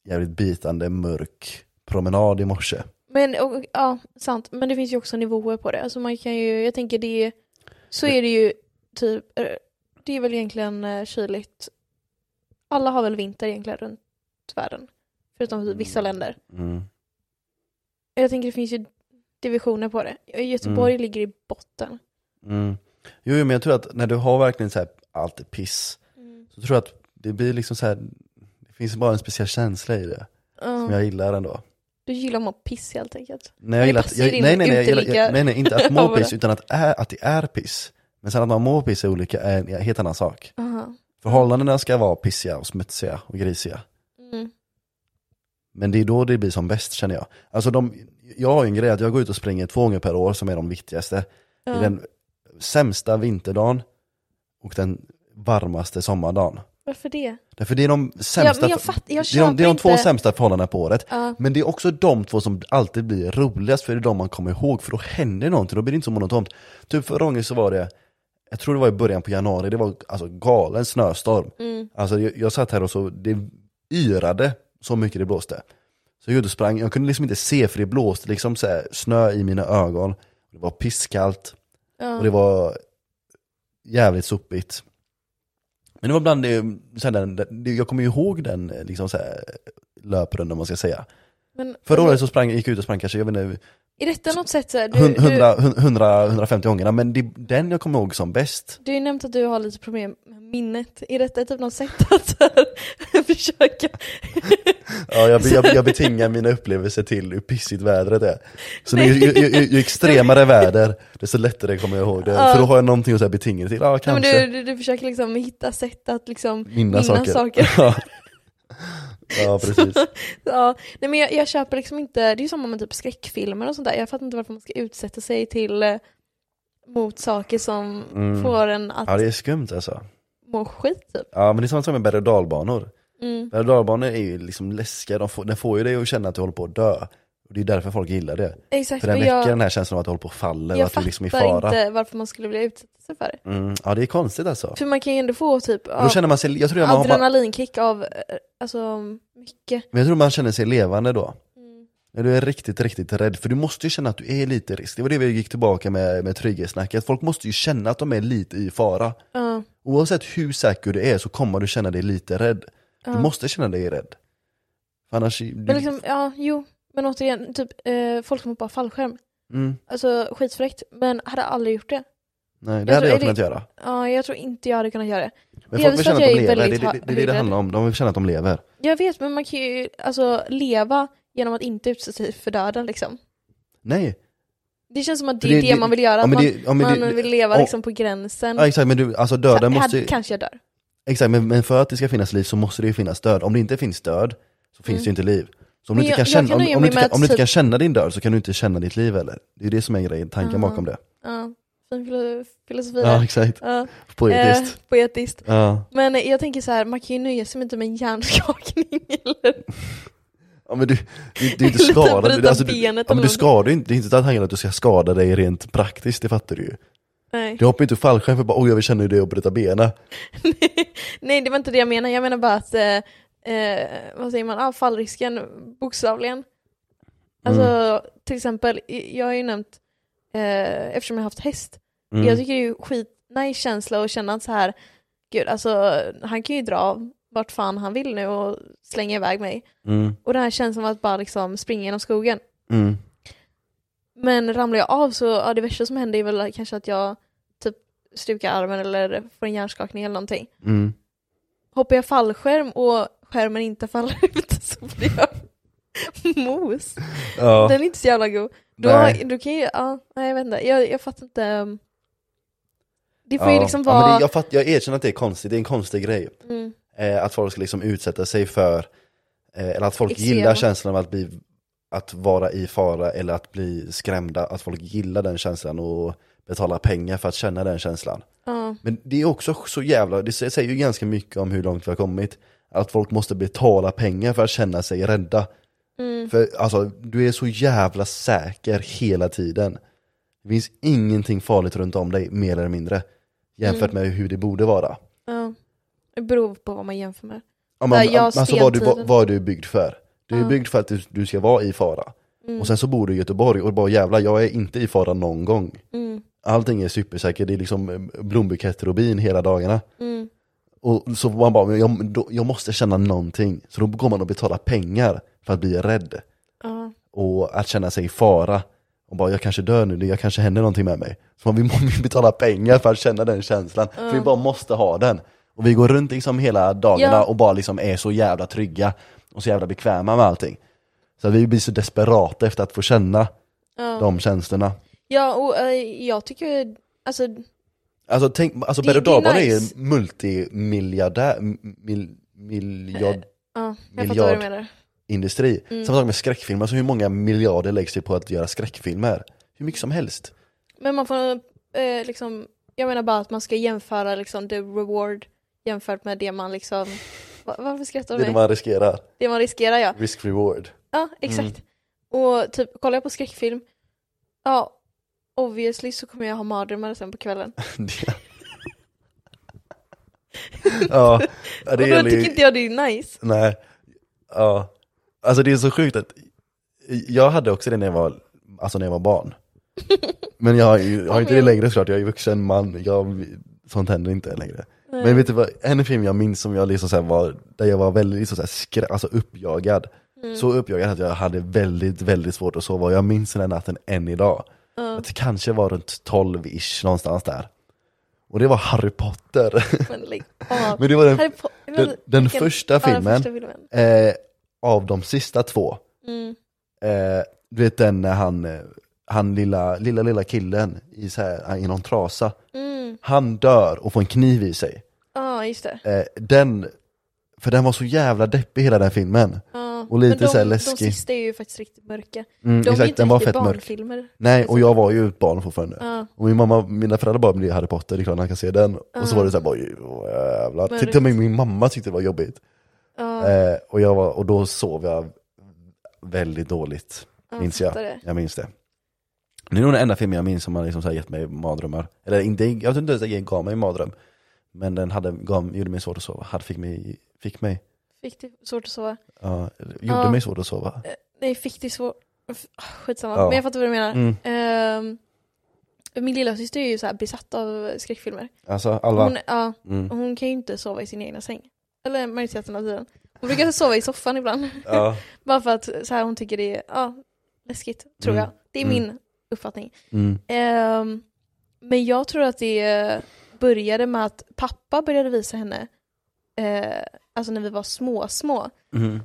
S1: Jävligt bitande mörk promenad i morse
S2: Men och, ja, sant. Men det finns ju också nivåer på det. Alltså man kan ju, jag tänker det, är- så är det ju typ, eh, det är väl egentligen eh, kyligt. Alla har väl vinter egentligen runt världen. Förutom typ vissa länder.
S1: mm.
S2: Jag tänker det finns ju divisioner på det. Eh, Göteborg ligger i botten.
S1: Mm. Jo, jo, men jag tror att när du har verkligen så här, allt är piss,
S2: Mm.
S1: så tror jag att det blir liksom så här, det finns bara en speciell känsla i det,
S2: Ja.
S1: som jag gillar ändå.
S2: Du gillar att må piss helt enkelt.
S1: Nej, jag gillar att,
S2: passar
S1: jag,
S2: in
S1: nej, nej, nej, jag gillar,
S2: uteliggar.
S1: jag, nej, nej, inte att
S2: Vad
S1: må
S2: var det?
S1: piss, utan att, är, att det är piss. Men sen att man mår piss är olika, är en helt annan sak.
S2: Aha.
S1: Förhållandena ska vara pissiga och smutsiga och grisiga.
S2: Mm.
S1: Men det är då det blir som bäst känner jag. Alltså de, jag har ju en grej att jag går ut och springer två gånger per år som är de viktigaste.
S2: Ja.
S1: Det är den sämsta vinterdagen och den varmaste sommardagen.
S2: Varför det?
S1: Därför det är de
S2: Ja,
S1: sämsta,
S2: men jag fattar, jag
S1: det är de, det är de
S2: köper
S1: två
S2: inte-
S1: sämsta förhållandena på året.
S2: Ja.
S1: Men det är också de två som alltid blir roligast, för det är de man kommer ihåg, för då händer någonting, då blir det inte så monotont. Typ förra gången så var det, jag tror det var i början på januari, det var alltså galen snöstorm.
S2: Mm.
S1: Alltså jag, jag satt här och så, det yrade så mycket det blåste. Så jag gjorde sprang, jag kunde liksom inte se för det blåste liksom så här, snö i mina ögon. Det var pisskallt
S2: Ja.
S1: och det var jävligt sopigt. Men det var bland det, så här, den, den, jag kommer ju ihåg den eh, liksom så här, löprundan om man ska säga.
S2: men,
S1: Förra året så sprang, gick jag ut och sprang kanske, jag vet inte,
S2: Är detta något sätt såhär, du,
S1: hun-
S2: du,
S1: 100, hun- 100, 150 gångerna, men det är den jag kommer ihåg som bäst.
S2: du har ju nämnt att du har lite problem med minnet. Är detta typ något sätt att såhär, försöka?
S1: Ja, jag, jag, jag betingar mina upplevelser till hur pissigt vädret är. Så nu,
S2: Nej.
S1: ju, ju, ju, ju extremare väder, desto lättare kommer jag ihåg det.
S2: Ja.
S1: För då har jag någonting att så här betinga det till, ja
S2: Nej, men
S1: kanske.
S2: du, du, du försöker liksom hitta sätt att liksom
S1: Minna saker.
S2: saker.
S1: Ja. ja, precis.
S2: ja. Nej, men jag, jag köper liksom inte, det är ju samma med typ skräckfilmer och sånt där. Jag fattar inte varför man ska utsätta sig till eh, mot saker som
S1: Mm.
S2: får en att
S1: Ja, det är skumt alltså.
S2: må skit typ.
S1: Ja, men det är samma sak med berg och dalbanor.
S2: Mm.
S1: Berg och dalbanor är ju liksom läskiga, de får, den får ju dig att känna att du håller på att dö. Och det är därför folk gillar det.
S2: Exakt,
S1: För den
S2: men
S1: väcker
S2: jag,
S1: den här känslan av att du håller på och faller och
S2: jag
S1: att du
S2: fattar
S1: liksom är i fara.
S2: inte varför man skulle vilja utsätta sig för det.
S1: Mm, ja det är konstigt alltså.
S2: För man kan ju ändå få typ
S1: Då
S2: av
S1: känner man sig, jag tror man, man,
S2: adrenalinkick av eh, alltså mycket.
S1: men jag tror man känner sig levande då.
S2: Mm.
S1: När du är riktigt, riktigt rädd. För du måste ju känna att du är lite i risk. Det var det vi gick tillbaka med, med trygghetssnacket. Folk måste ju känna att de är lite i fara.
S2: Ja,
S1: Oavsett hur säker du är så kommer du känna dig lite rädd. Du
S2: ja.
S1: måste känna dig rädd. För annars... Du,
S2: Men liksom, ja, jo. Men återigen, typ eh, folk som hoppar fallskärm.
S1: mm,
S2: Alltså skitfräckt, men hade aldrig gjort det.
S1: nej, det hade
S2: Jag tror-
S1: jag
S2: är
S1: kunnat göra.
S2: Ja, jag tror inte jag hade kunnat göra det.
S1: Men
S2: det
S1: folk
S2: är väl
S1: vill
S2: så
S1: känna
S2: att
S1: att
S2: jag
S1: de lever.
S2: är
S1: Det, det,
S2: väldigt
S1: det, det är det det
S2: högrädd.
S1: handlar om. De vill känna att de lever.
S2: Jag vet, men man kan ju alltså leva genom att inte utsätta sig för döden liksom.
S1: Nej.
S2: Det känns som att det
S1: För
S2: är det,
S1: det- det-
S2: man vill göra,
S1: Ja,
S2: att
S1: men
S2: man,
S1: det, ja, men
S2: man
S1: det,
S2: vill leva
S1: ja.
S2: liksom på gränsen.
S1: ja, exakt, men du, alltså
S2: Så
S1: döden
S2: här,
S1: måste ju...
S2: Kanske jag dör.
S1: Exakt, men, men för att det ska finnas liv så måste det ju finnas död. Om det inte finns död så finns det
S2: Mm.
S1: ju inte liv. Så om
S2: Men
S1: du inte
S2: jag-
S1: kan
S2: jag
S1: känna,
S2: kan
S1: om,
S2: nöja
S1: om
S2: mig
S1: du inte
S2: med
S1: kan, om du
S2: att
S1: inte kan
S2: typ-
S1: känna din död så kan du inte känna ditt liv heller. Det är det som är grejen, tanken
S2: Ja.
S1: bakom det.
S2: Ja, fin filo- filosofi
S1: Ja,
S2: där.
S1: exakt.
S2: Ja,
S1: Poetiskt.
S2: eh, poetiskt.
S1: Ja.
S2: Men eh, jag tänker så här, man kan ju nöja sig med typ en hjärnskakning eller
S1: ja, men du, du, du är inte
S2: Eller typ
S1: skadad.
S2: bryta
S1: Alltså, du, ja,
S2: benet
S1: men
S2: eller
S1: du skadar ju inte, det är inte tanken att du ska skada dig rent praktiskt, det fattar du ju.
S2: Nej.
S1: Du hoppar ju inte ur fallskärm för bara oj jag vill känna hur det är att bryta benen.
S2: Nej, det var inte det jag menade. Jag menar bara att, eh, eh, vad säger man, ah, fallrisken bokstavligen. Alltså till exempel, i- jag har ju nämnt, eh, eftersom jag har haft häst,
S1: Mm.
S2: jag tycker det är ju skitnice känsla att känna att så här, gud alltså han kan ju dra vart fan han vill nu och slänga iväg mig.
S1: Mm.
S2: Och den här känslan av att bara liksom springa genom skogen.
S1: Mm.
S2: Men ramlar jag av så, ja det värsta som händer är väl kanske att jag typ stukar armen eller får en hjärnskakning eller någonting.
S1: Mm.
S2: Hoppar jag fallskärm och skärmen inte faller ut så blir jag mos.
S1: Ja.
S2: Den är inte så jävla god. Då,
S1: Nej.
S2: då kan ju, ja, nej jag vet inte. Jag, jag fattar inte. um, Det får
S1: ja.
S2: ju liksom
S1: Ja, men
S2: vara...
S1: det, jag, fatt, jag erkänner att det är konstigt, det är en konstig grej.
S2: mm,
S1: eh, att folk ska liksom utsätta sig för, eh, eller att folk
S2: Extrema.
S1: gillar känslan av att bli att vara i fara eller att bli skrämda, att folk gillar den känslan och betalar pengar för att känna den känslan.
S2: ja,
S1: Men det är också så jävla, det sä- säger ju ganska mycket om hur långt vi har kommit, att folk måste betala pengar för att känna sig rädda.
S2: mm,
S1: För alltså, du är så jävla säker hela tiden. Det finns ingenting farligt runt om dig, mer eller mindre, jämfört med hur det borde vara.
S2: ja. Det beror på vad man jämför med.
S1: Ja, men,
S2: Där jag
S1: alltså vad du, vad,
S2: stentiden.
S1: vad du är byggd för. Du är
S2: Ja.
S1: byggd för att du, du ska vara i fara.
S2: Mm,
S1: Och sen så bor du i Göteborg och bara jävlar, jag är inte i fara någon gång.
S2: mm,
S1: Allting är supersäkert, det är liksom eh, blombuketter och bin hela dagarna.
S2: mm,
S1: Och så man bara, men jag, då, jag måste känna någonting. Så då går man och betalar pengar för att bli rädd.
S2: ja.
S1: Och att känna sig i fara. och bara jag kanske dör nu, det jag kanske händer någonting med mig. Så man vill, vill betala pengar för att känna den känslan, för vi bara måste ha den. Och vi går runt liksom hela dagarna
S2: Ja.
S1: och bara liksom är så jävla trygga och så jävla bekväma med allting. Så vi blir så desperata efter att få känna
S2: Ja,
S1: de känslorna.
S2: ja och eh, jag tycker, alltså
S1: Alltså, tänk, alltså
S2: Det-
S1: berg och
S2: det är
S1: dalbana är ju
S2: nice.
S1: multimiljardär, m- mil, miljard,
S2: ja, jag fattar vad du
S1: Miljard.
S2: menar.
S1: industri.
S2: Mm.
S1: Samma sak med skräckfilmer, alltså hur många miljarder läggs det på att göra skräckfilmer? Hur mycket som helst.
S2: Men man får eh, liksom, jag menar bara att man ska jämföra liksom the reward jämfört med det man liksom, va, varför skrattar
S1: Det
S2: du
S1: är det
S2: mig?
S1: man riskerar,
S2: Det man riskerar ja.
S1: risk-reward.
S2: Ja, exakt. Och typ, kollar jag på skräckfilm, ja, obviously så kommer jag ha mardrömmar sen på kvällen.
S1: Det- ja, ja, det
S2: och då
S1: gäller ju...
S2: tycker inte jag det är nice.
S1: Nej, ja. Alltså det är så sjukt att jag hade också det när jag var, alltså när jag var barn. Men jag har ju jag har inte det längre såklart, jag är ju vuxen man, jag, sånt händer inte längre. Men vet du vad, en film jag minns som jag liksom så här var, där jag var väldigt liksom så här skrä, alltså uppjagad. Så uppjagad att jag hade väldigt, väldigt svårt att sova. Och Jag minns den här natten än idag. Att det kanske var runt 12-ish någonstans där. Och det var Harry Potter.
S2: Men lägg av.
S1: Men det var den,
S2: Harry Po-
S1: den, den
S2: vilken-
S1: första
S2: ja, den
S1: filmen
S2: första filmen.
S1: eh, av de sista två.
S2: Mm.
S1: Eh, du vet den när han, eh, han lilla, lilla, lilla killen i, så här, i någon trasa.
S2: Mm.
S1: Han dör och får en kniv i sig.
S2: Ja, just det.
S1: Eh, den, för den var så jävla deppig hela den filmen.
S2: Ja.
S1: Och lite
S2: Men de,
S1: så här
S2: De
S1: läskig.
S2: sista är ju faktiskt riktigt mörka.
S1: Mm,
S2: De är
S1: exakt,
S2: inte
S1: den var
S2: riktigt
S1: fett mörk.
S2: barnfilmer.
S1: Nej, och jag var ju ett barn fortfarande.
S2: Ja.
S1: Och min mamma, mina föräldrar bara, men det är Harry Potter, det är klart han kan se den. Och så var det såhär, oj åh, jävlar.
S2: Men-
S1: Till och med min mamma tyckte det var jobbigt.
S2: Ja.
S1: Eh, och, jag var, och då sov jag väldigt dåligt, minns jag.
S2: fattar det.
S1: Jag minns det. Det är nog den enda filmen jag minns som har liksom så här gett mig mardrömmar. Eller inte, jag vet inte ens att den gav mig en mardröm. Men den hade, gav, gjorde mig svårt att sova, hade, fick mig, fick mig,
S2: Fick du svårt att sova?
S1: ja, gjorde
S2: Ja.
S1: mig svårt att sova.
S2: Nej, fick du svårt... F- ah, Skitsamma,
S1: Ja.
S2: men jag fattar vad du menar.
S1: Mm.
S2: Ehm, min lilla syster är ju så här besatt av skräckfilmer.
S1: Alltså Alva.
S2: Hon, ja,
S1: Mm.
S2: hon kan ju inte sova i sin egna säng. Eller majoriteten av tiden. Hon brukar sova i soffan ibland.
S1: Ja.
S2: Bara för att så här, hon tycker det är ja, läskigt, tror
S1: Mm.
S2: jag. Det är
S1: Mm.
S2: min uppfattning.
S1: Mm.
S2: Ehm, men jag tror att det började med att pappa började visa henne, eh, alltså när vi var små, små.
S1: Mm.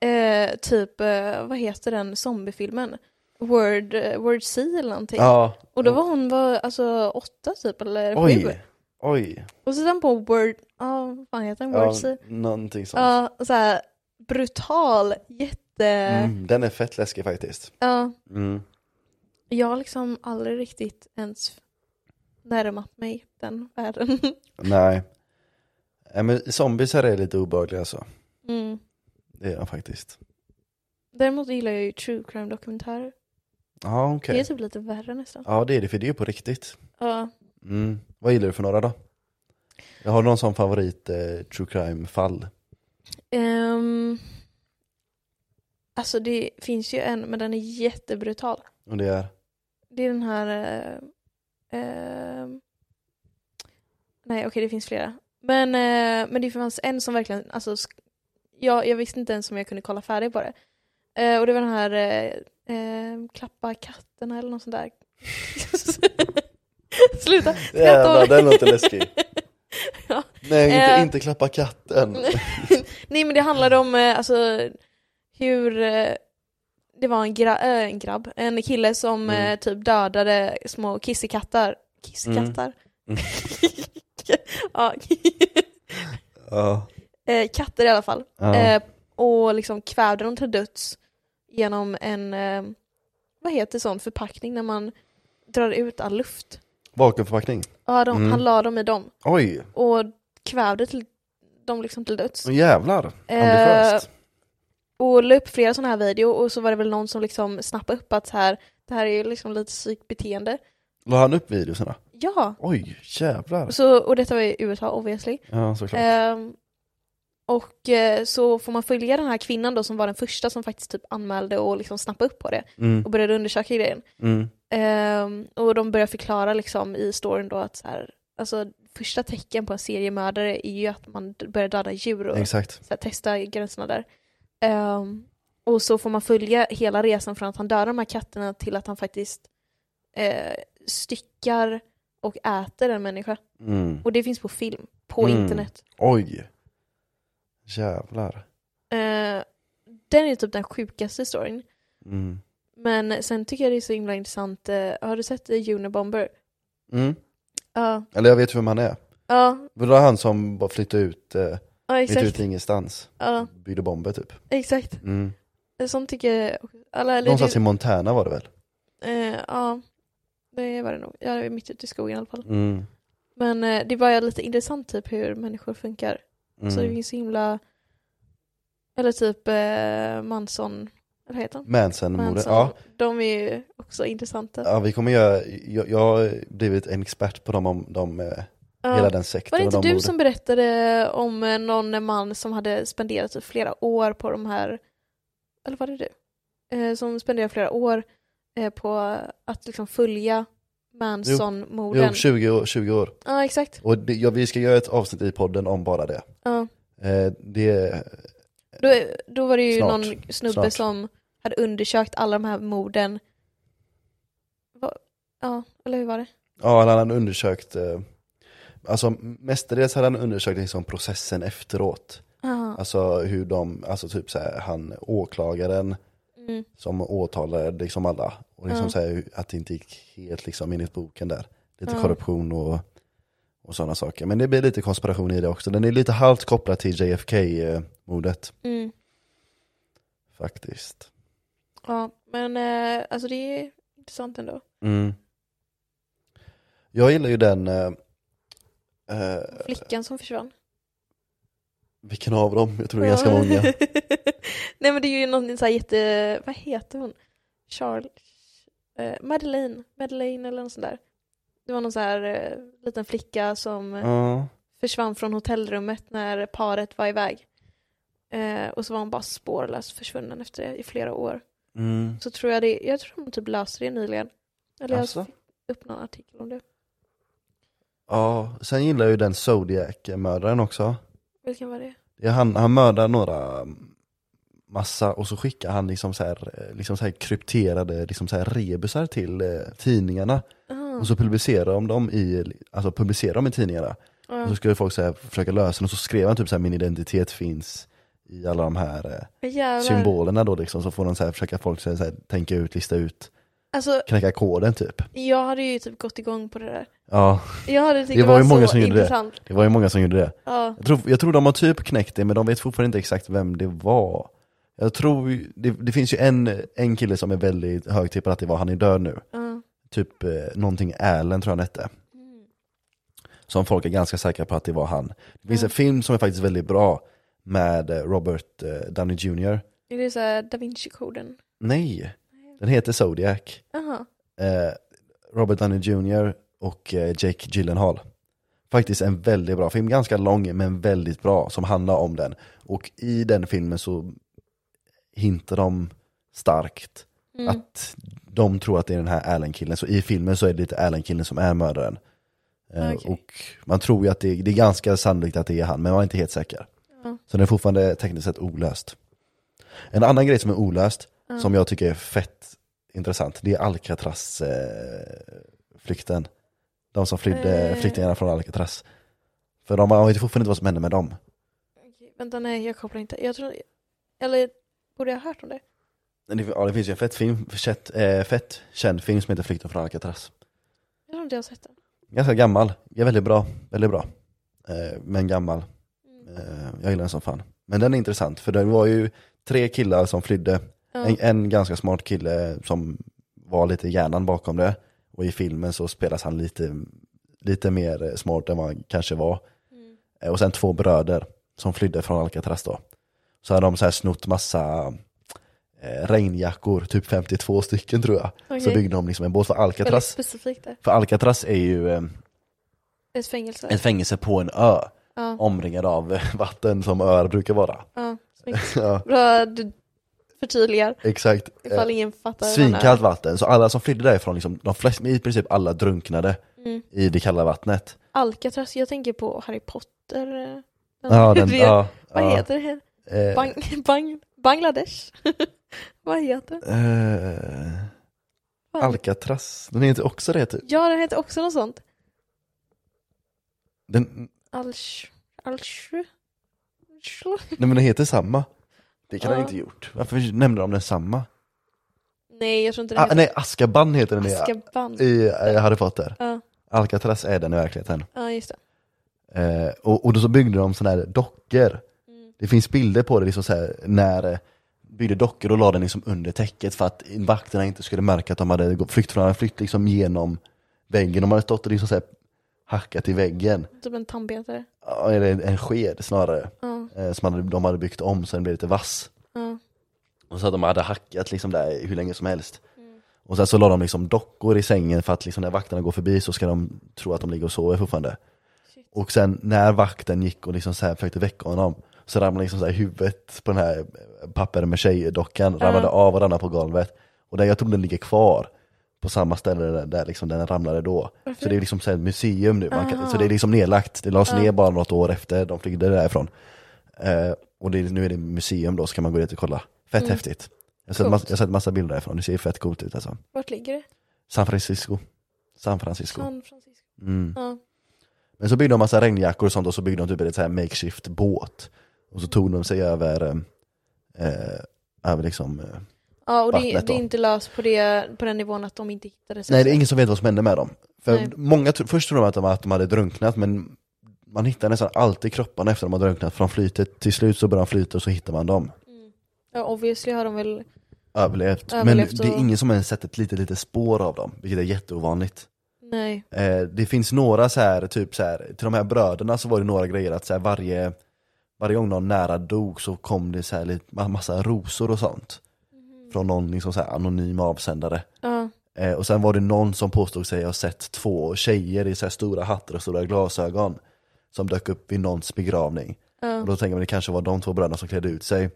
S2: Eh, typ, eh, vad heter den zombiefilmen? Word, eh, Word Sea eller någonting.
S1: Ja.
S2: Och då var hon var, alltså åtta typ, eller sju.
S1: Oj. Oj.
S2: Och så sen på Word, ja vad fan heter den? Word
S1: Ja,
S2: Sea?
S1: någonting sånt.
S2: Ja, så här brutal, jätte...
S1: Mm, den är fett läskig faktiskt.
S2: Ja,
S1: Mm.
S2: jag har liksom aldrig riktigt ens närmat mig den världen.
S1: Nej. Nej, men zombiesar är lite obehagliga alltså.
S2: Mm.
S1: Det är de faktiskt.
S2: Däremot gillar jag ju true crime-dokumentärer.
S1: Ja, okej.
S2: Det är typ lite värre nästan.
S1: Ja, det är det, för det är ju på riktigt.
S2: Ja,
S1: Mm. Vad gillar du för några då? Jag har någon sån favorit eh, true crime-fall.
S2: ehm, alltså det finns ju en, men den är jättebrutal.
S1: Och det är...
S2: Det är den här... eh, ehm, nej, okej, det finns flera. Men, eh, men det fanns en som verkligen... Alltså, sk- jag, jag visste inte ens om jag kunde kolla färdigt på det. Eh, och det var den här eh, eh, Klappa katterna eller något sånt där. Sluta! skratta
S1: Jävlar,
S2: åt mig.
S1: den låter läskig.
S2: Ja.
S1: Nej, inte,
S2: Eh.
S1: inte klappa katten.
S2: Nej men det handlade om eh, alltså, hur eh, det var en, gra- eh, en grabb, en kille som
S1: Mm.
S2: eh, typ dödade små kissekatter. Kissekatter?
S1: Mm.
S2: ja,
S1: Ja.
S2: eh, katter i alla fall.
S1: Ja.
S2: Eh, och liksom kvävde dem till döds genom en, eh, vad heter sån förpackning när man drar ut all luft?
S1: Vakuumförpackning.
S2: Ja, de,
S1: Mm.
S2: Han la dem i dem
S1: Oj,
S2: och kvävde till, dem liksom till döds.
S1: åh jävlar.
S2: Eh,
S1: Ambitiöst.
S2: och la upp flera sådana här video och så var det väl någon som liksom snappade upp att så här, det här är ju liksom lite psykbeteende.
S1: La han upp videorna?
S2: Ja,
S1: Oj, jävlar.
S2: så, och detta var i USA obviously.
S1: Ja, såklart.
S2: Ehm, och eh, så får man följa den här kvinnan då som var den första som faktiskt typ anmälde och liksom snappade upp på det
S1: Mm,
S2: och började undersöka grejen.
S1: mm,
S2: Ehm, och de börjar förklara liksom i storyn då att så här, alltså första tecken på en seriemördare är ju att man d- börjar döda djur och
S1: exakt.
S2: så här, testa gränserna där. Ehm, Och så får man följa hela resan från att han dödar de här katterna till att han faktiskt eh, styckar och äter en människa.
S1: Mm.
S2: Och det finns på film, på
S1: Mm.
S2: internet.
S1: Oj! Jävlar.
S2: Eh, den är typ den sjukaste storyn.
S1: Mm.
S2: Men sen tycker jag det är så himla intressant, eh, har du sett eh, Unabomber?
S1: Mm.
S2: Ja,
S1: Eller jag vet vem han är.
S2: ja,
S1: Det var han som bara flyttade ut, eh,
S2: ja
S1: mitt ute
S2: exakt.
S1: i ingenstans.
S2: Ja,
S1: Byggde bomber typ.
S2: exakt.
S1: Mm.
S2: Sånt tycker jag också. Alla, eller,
S1: Någonstans i
S2: det,
S1: Montana var det väl?
S2: eh, ja, det var det nog. Jag är mitt ute i skogen i alla fall.
S1: Mm.
S2: Men eh, det är bara lite intressant typ hur människor funkar.
S1: Mm.
S2: Så det finns så himla, eller typ eh, Manson, eller heter han?
S1: Manson-mordet,
S2: Manson.
S1: ja.
S2: De är ju också intressanta.
S1: ja. vi kommer göra, jag, jag har blivit en expert på dem, om de, eh,
S2: Ja.
S1: hela den sektorn.
S2: Var det
S1: och
S2: inte
S1: de
S2: du
S1: morden.
S2: som berättade om eh, någon man som hade spenderat typ flera år på de här, eller var det du? Eh, som spenderade flera år eh, på att liksom följa
S1: Jo,
S2: Manson-morden.
S1: 20 år. 20 år.
S2: Ja, exakt.
S1: Och det, ja, vi ska göra ett avsnitt i podden om bara det.
S2: Ja.
S1: Eh, det
S2: Då, då var det ju
S1: Snart.
S2: någon snubbe
S1: Snart.
S2: som hade undersökt alla de här morden. Va? Ja, eller hur var det?
S1: Ja, han hade undersökt, eh, alltså mestadels hade han undersökt liksom processen efteråt.
S2: Ja.
S1: Alltså hur de, alltså typ så här, han åklagaren
S2: Mm.
S1: som åtalade liksom alla. Och liksom
S2: Ja.
S1: så här, hur- att det inte gick helt liksom enligt boken där. Lite
S2: Ja.
S1: korruption och, och sådana saker. Men det blir lite konspiration i det också. Den är lite halvt kopplad till JFK-mordet
S2: Mm.
S1: faktiskt.
S2: Ja, men eh, alltså det är intressant ändå.
S1: Mm. Jag gillar ju den, eh, eh,
S2: Flickan som försvann.
S1: vilken av dem? Jag tror det är ganska många.
S2: Nej men det är ju någon så här jätte, vad heter hon? Charles, eh, Madeleine, Madeleine eller något sånt där. Det var någon så här eh, liten flicka som eh,
S1: Ja.
S2: försvann från hotellrummet när paret var iväg. Eh, och så var hon bara spårlöst försvunnen efter det i flera år.
S1: Mm.
S2: Så tror jag det, jag tror de typ löste det nyligen. Eller
S1: Alltså?
S2: jag fick upp någon artikel om det.
S1: Ja, sen gillar jag ju den Zodiac-mördaren också.
S2: Vilken var det?
S1: Det är han, han mördar några mm, massa och så skickar han liksom så här, eh, liksom så här krypterade liksom så här rebusar till eh, tidningarna.
S2: Ah,
S1: Och så publicerar de dem i, alltså publicerar de i tidningarna. Och
S2: Ah, ja.
S1: så skulle folk så här försöka lösa den och så skrev han typ så här min identitet finns i alla de här eh,
S2: Jävlar.
S1: symbolerna då liksom. Så får de så här försöka folk så här, så här, tänka ut, lista ut,
S2: Alltså
S1: knäcka koden typ.
S2: jag hade ju typ gått igång på det där.
S1: Ja,
S2: Jag hade tyckt
S1: Det var ju många
S2: så
S1: som gjorde det.
S2: intressant.
S1: det var ju många som gjorde det.
S2: Ja.
S1: Jag tror, jag tror de har typ knäckt det, men de vet fortfarande inte exakt vem det var. Jag tror, ju- det, det finns ju en, en kille som är väldigt högtippad att det var, han är död nu.
S2: ja. Mm.
S1: Typ eh, någonting Allen tror jag han hette. Som folk är ganska säkra på att det var han. Det finns en film som är faktiskt väldigt bra med eh, Robert eh, Downey Jr.
S2: Är det såhär Da Vinci-koden?
S1: Nej, den heter Zodiac.
S2: Jaha.
S1: Eh, Robert Downey Jr och eh, Jake Gyllenhaal. Faktiskt en väldigt bra film, ganska lång men väldigt bra, som handlar om den. Och i den filmen så hintar de starkt
S2: Mm.
S1: att de tror att det är den här Allen-killen, så i filmen så är det lite Allen-killen som är mördaren. Eh,
S2: Ah, Okej.
S1: Och man tror ju att det, det är ganska sannolikt att det är han, men man är inte helt säker.
S2: Ja.
S1: Så den är fortfarande tekniskt sett olöst. En annan grej som är olöst,
S2: Ja.
S1: som jag tycker är fett intressant, det är Alcatraz-flykten. de som flydde,
S2: Eh.
S1: flyktingarna från Alcatraz. För de man vet ju fortfarande inte vad som hände med dem.
S2: Okej, Vänta, nej jag kopplar inte. Jag tror... Eller borde jag ha hört om det?
S1: Men det, ja, det finns ju en fett, film, fett, eh, fett känd film som heter Flykten från Alcatraz.
S2: Jag tror inte jag har sett det.
S1: Ganska gammal, är väldigt bra, väldigt bra. Eh, men gammal.
S2: Mm.
S1: Eh, jag gillar den som fan. Men den är intressant, för det var ju tre killar som flydde.
S2: Ja.
S1: En, en ganska smart kille som var lite hjärnan bakom det. Och i filmen så spelas han lite, lite mer eh, smart än vad han kanske var.
S2: Mm.
S1: Eh, Och sen två bröder som flydde från Alcatraz då. Så hade de så här snott massa eh, regnjackor, typ 52 stycken tror jag. Så
S2: Okej.
S1: byggde de liksom en båt för
S2: Väldigt
S1: Alcatraz.
S2: specifikt där.
S1: För Alcatraz är ju eh,
S2: Ett fängelse.
S1: ett fängelse på en ö
S2: Ja.
S1: omringad av eh, vatten som öar brukar vara.
S2: ja. Snyggt.
S1: ja,
S2: Bra, du förtydligar.
S1: exakt. Eh,
S2: Ifall ingen fattar. vad det är.
S1: Svinkallt vatten, så alla som flydde därifrån, liksom, de flesta, i princip alla drunknade
S2: Mm.
S1: i det kalla vattnet.
S2: Alcatraz, jag tänker på Harry Potter. eh,
S1: Ja, den,
S2: det-
S1: ja,
S2: Vad
S1: ja,
S2: heter det?
S1: eh,
S2: Bang, bang. Bangladesh. Vad heter den?
S1: Eh,
S2: Fan.
S1: Alcatraz, den heter också det typ.
S2: Ja, den heter också något sånt.
S1: Den,
S2: Alsh... Alsh... Alsh...
S1: nej men den heter samma. Det kan
S2: Ja.
S1: den inte gjort. Varför nämnde de den samma?
S2: Nej, jag tror inte det
S1: Ah,
S2: heter
S1: nej, Askaban heter den i-
S2: Azkaban.
S1: i eh, Harry Potter.
S2: Ja,
S1: Alcatraz är den i verkligheten.
S2: ja, just det.
S1: Eh, och, och då så byggde de sådana här dockor.
S2: Mm.
S1: Det finns bilder på det, liksom så här, när eh, byggde dockor och la den liksom under täcket för att vakterna inte skulle märka att de hade gå- flytt från, flytt liksom genom väggen. De hade stått och liksom så här, hackat i väggen,
S2: Typ en tandpetare.
S1: Ja, eller en sked snarare,
S2: Ja,
S1: eh, som hade, de hade byggt om så den blev lite vass.
S2: ja.
S1: Och så att de hade hackat liksom där hur länge som helst. Och sen så la de liksom dockor i sängen för att liksom när vakterna går förbi så ska de tro att de ligger och sover fortfarande.
S2: Shit.
S1: Och sen när vakten gick och liksom så här försökte väcka honom så ramlade liksom så här huvudet på den här eh, papper med tjejdockan, ramlade av och ramlade på golvet. Och där jag tror den ligger kvar på samma ställe där, där liksom den ramlade då. Så det är liksom så här ett museum nu, man kan, så det är liksom nedlagt. Det lades ner bara något år efter de flydde därifrån. Eh, och det, är- nu är det museum då, så kan man gå dit och kolla. Fett häftigt. Jag har, sett
S2: Mm. Coolt.
S1: massa, jag har sett massa bilder därifrån, det ser fett coolt ut alltså.
S2: Vart ligger det?
S1: San Francisco. San Francisco.
S2: San Francisco.
S1: Mm.
S2: Ja.
S1: Men så byggde de massa regnjackor och sånt och så byggde de typ en så här makeshift båt. Och så tog de sig över, eh, eh, över liksom, eh.
S2: Ja, och det,
S1: Vattnet
S2: det
S1: då.
S2: är inte löst på, det, på den nivån att de inte hittade sig.
S1: nej det är ingen som vet vad som hände med dem.
S2: Nej.
S1: För många, tro- först trodde de att de, att de hade drunknat men man hittar nästan alltid kropparna efter de har drunknat för de flyter, till slut så börjar de flyta och så hittar man dem.
S2: Ja, obviously har de väl...
S1: Överlevt.
S2: Överlevt
S1: men det
S2: och-
S1: är ingen som ens sett ett litet, litet spår av dem, vilket är jätteovanligt.
S2: Nej.
S1: Eh, det finns några så här, typ så här, till de här bröderna så var det några grejer att så här, varje, varje gång någon nära dog så kom det så här lite, ma- massa rosor och sånt. Från någon liksom så här anonym avsändare.
S2: Ja.
S1: Eh, och sen var det någon som påstod sig ha sett två tjejer i så här stora hattar och stora glasögon. Som dök upp vid någons begravning.
S2: Ja.
S1: Och då tänker man det kanske var de två bröderna som klädde ut sig.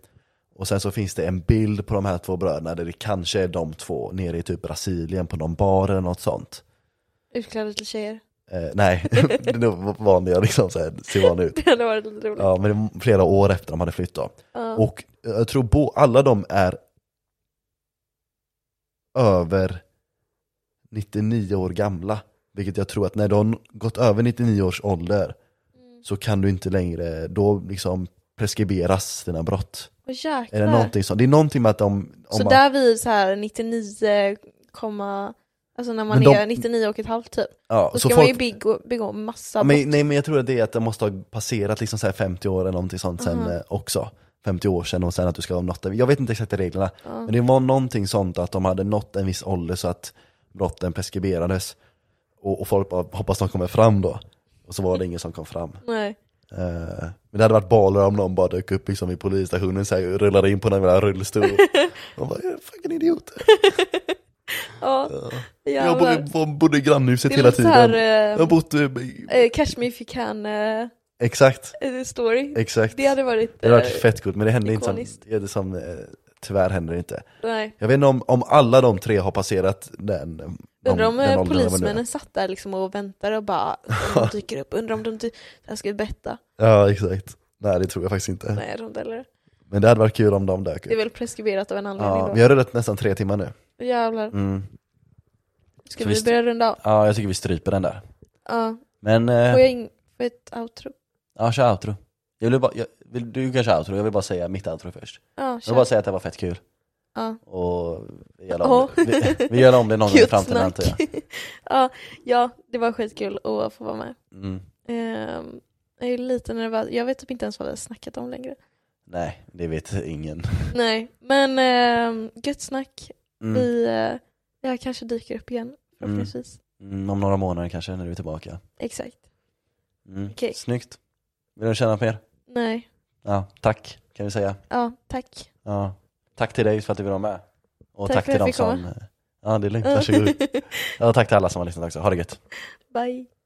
S1: Och sen så finns det en bild på de här två bröderna där det kanske är de två nere i typ Brasilien på någon bar eller något sånt.
S2: Utklädda till tjejer.
S1: Eh, nej, det var vanliga liksom, så här, ser vanliga ut.
S2: Det hade varit lite roligt.
S1: Ja, men det var flera år efter de hade flytt då.
S2: Ja.
S1: Och eh, jag tror bo, alla de är över 99 år gamla. Vilket jag tror att när de gått över 99 års ålder
S2: Mm.
S1: så kan du inte längre, då liksom preskriberas dina brott.
S2: Åh, jäklar.
S1: Eller någonting sånt. Det är någonting med att de... Om
S2: så
S1: man,
S2: där vid så här 99, komma- alltså när man
S1: Men de-
S2: är 99 och ett halvt typ.
S1: ja,
S2: Då
S1: så
S2: ska
S1: folk,
S2: man ju begå, begå massa
S1: Ja,
S2: brott.
S1: men, nej men jag tror att det är att det måste ha passerat liksom så här 50 år eller någonting sånt sen eh, också. 50 år sedan och sen att du ska ha nått en, jag vet inte exakt reglerna, men det var någonting sånt att de hade nått en viss ålder så att brotten preskriberades. Och, och folk bara, hoppas de kommer fram då. Och så var det ingen som kom fram.
S2: Nej.
S1: Eh, men det hade varit baler om någon bara dök upp liksom vid polisstationen så här, och rullade in på den där rullstol. Man bara, "Jag är fucking idiot.
S2: Ja,
S1: Jag
S2: jävlar.
S1: bodde, bodde i grannhuset
S2: Det
S1: hela
S2: är så
S1: tiden.
S2: här
S1: jag
S2: eh,
S1: har bott, eh,
S2: eh, Catch Me If You Can eh,
S1: exakt,
S2: eh, story.
S1: exakt.
S2: Det hade varit...
S1: Det hade
S2: eh,
S1: varit fett coolt men det hände inte som,
S2: ikoniskt.
S1: det är det som eh, tyvärr händer det inte.
S2: Nej.
S1: Jag vet inte om, om alla de tre har passerat den, de,
S2: Undrar om eh,
S1: åldern de var nu.
S2: polismännen satt där liksom och väntade och bara om de dyker upp, undrar om de dy- jag ska berätta.
S1: Ja exakt. Nej det tror jag faktiskt inte.
S2: Nej, jag tror inte heller.
S1: Men det hade varit kul om de dök
S2: Det är
S1: upp.
S2: väl preskriberat av en anledning
S1: Ja, men
S2: då.
S1: jag har rullat nästan tre timmar nu.
S2: Jävlar.
S1: Mm.
S2: Ska
S1: Så
S2: vi
S1: visst-
S2: börja runda av?
S1: Ja jag tycker vi stryper den där.
S2: Ja.
S1: Men, eh,
S2: Får jag in får jag ett outro?
S1: ja kör outro. Jag vill bara, jag, vill, du kan köra outro, jag vill bara säga mitt outro först.
S2: Ja,
S1: Jag vill bara
S2: kör.
S1: säga att det var fett kul.
S2: Ja.
S1: Och vi gör om,
S2: Ja.
S1: det. vi, vi gör om det någon gång i
S2: Kul
S1: framtiden
S2: snack.
S1: antar jag.
S2: ja, ja, det var skitkul att få vara med.
S1: Mm.
S2: Ehm, jag är lite nervös. Jag vet typ inte ens vad vi har snackat om längre.
S1: Nej, det vet ingen.
S2: Nej, men ehm, gött snack.
S1: Mm.
S2: Vi, eh, jag kanske dyker upp igen förhoppningsvis.
S1: Mm, om några månader kanske, när du är tillbaka.
S2: Exakt.
S1: Mm.
S2: Okej.
S1: Snyggt. Vill du känna mer?
S2: Nej,
S1: Ja, tack kan vi säga.
S2: ja, tack.
S1: Ja. Tack till dig för att du vill vara med. Och
S2: Tack
S1: tack,
S2: för
S1: till
S2: att jag
S1: dem
S2: fick
S1: som... Ja, det är lugnt. Varsågod. Ja, tack till alla som har lyssnat också. Ha det gött.
S2: Bye.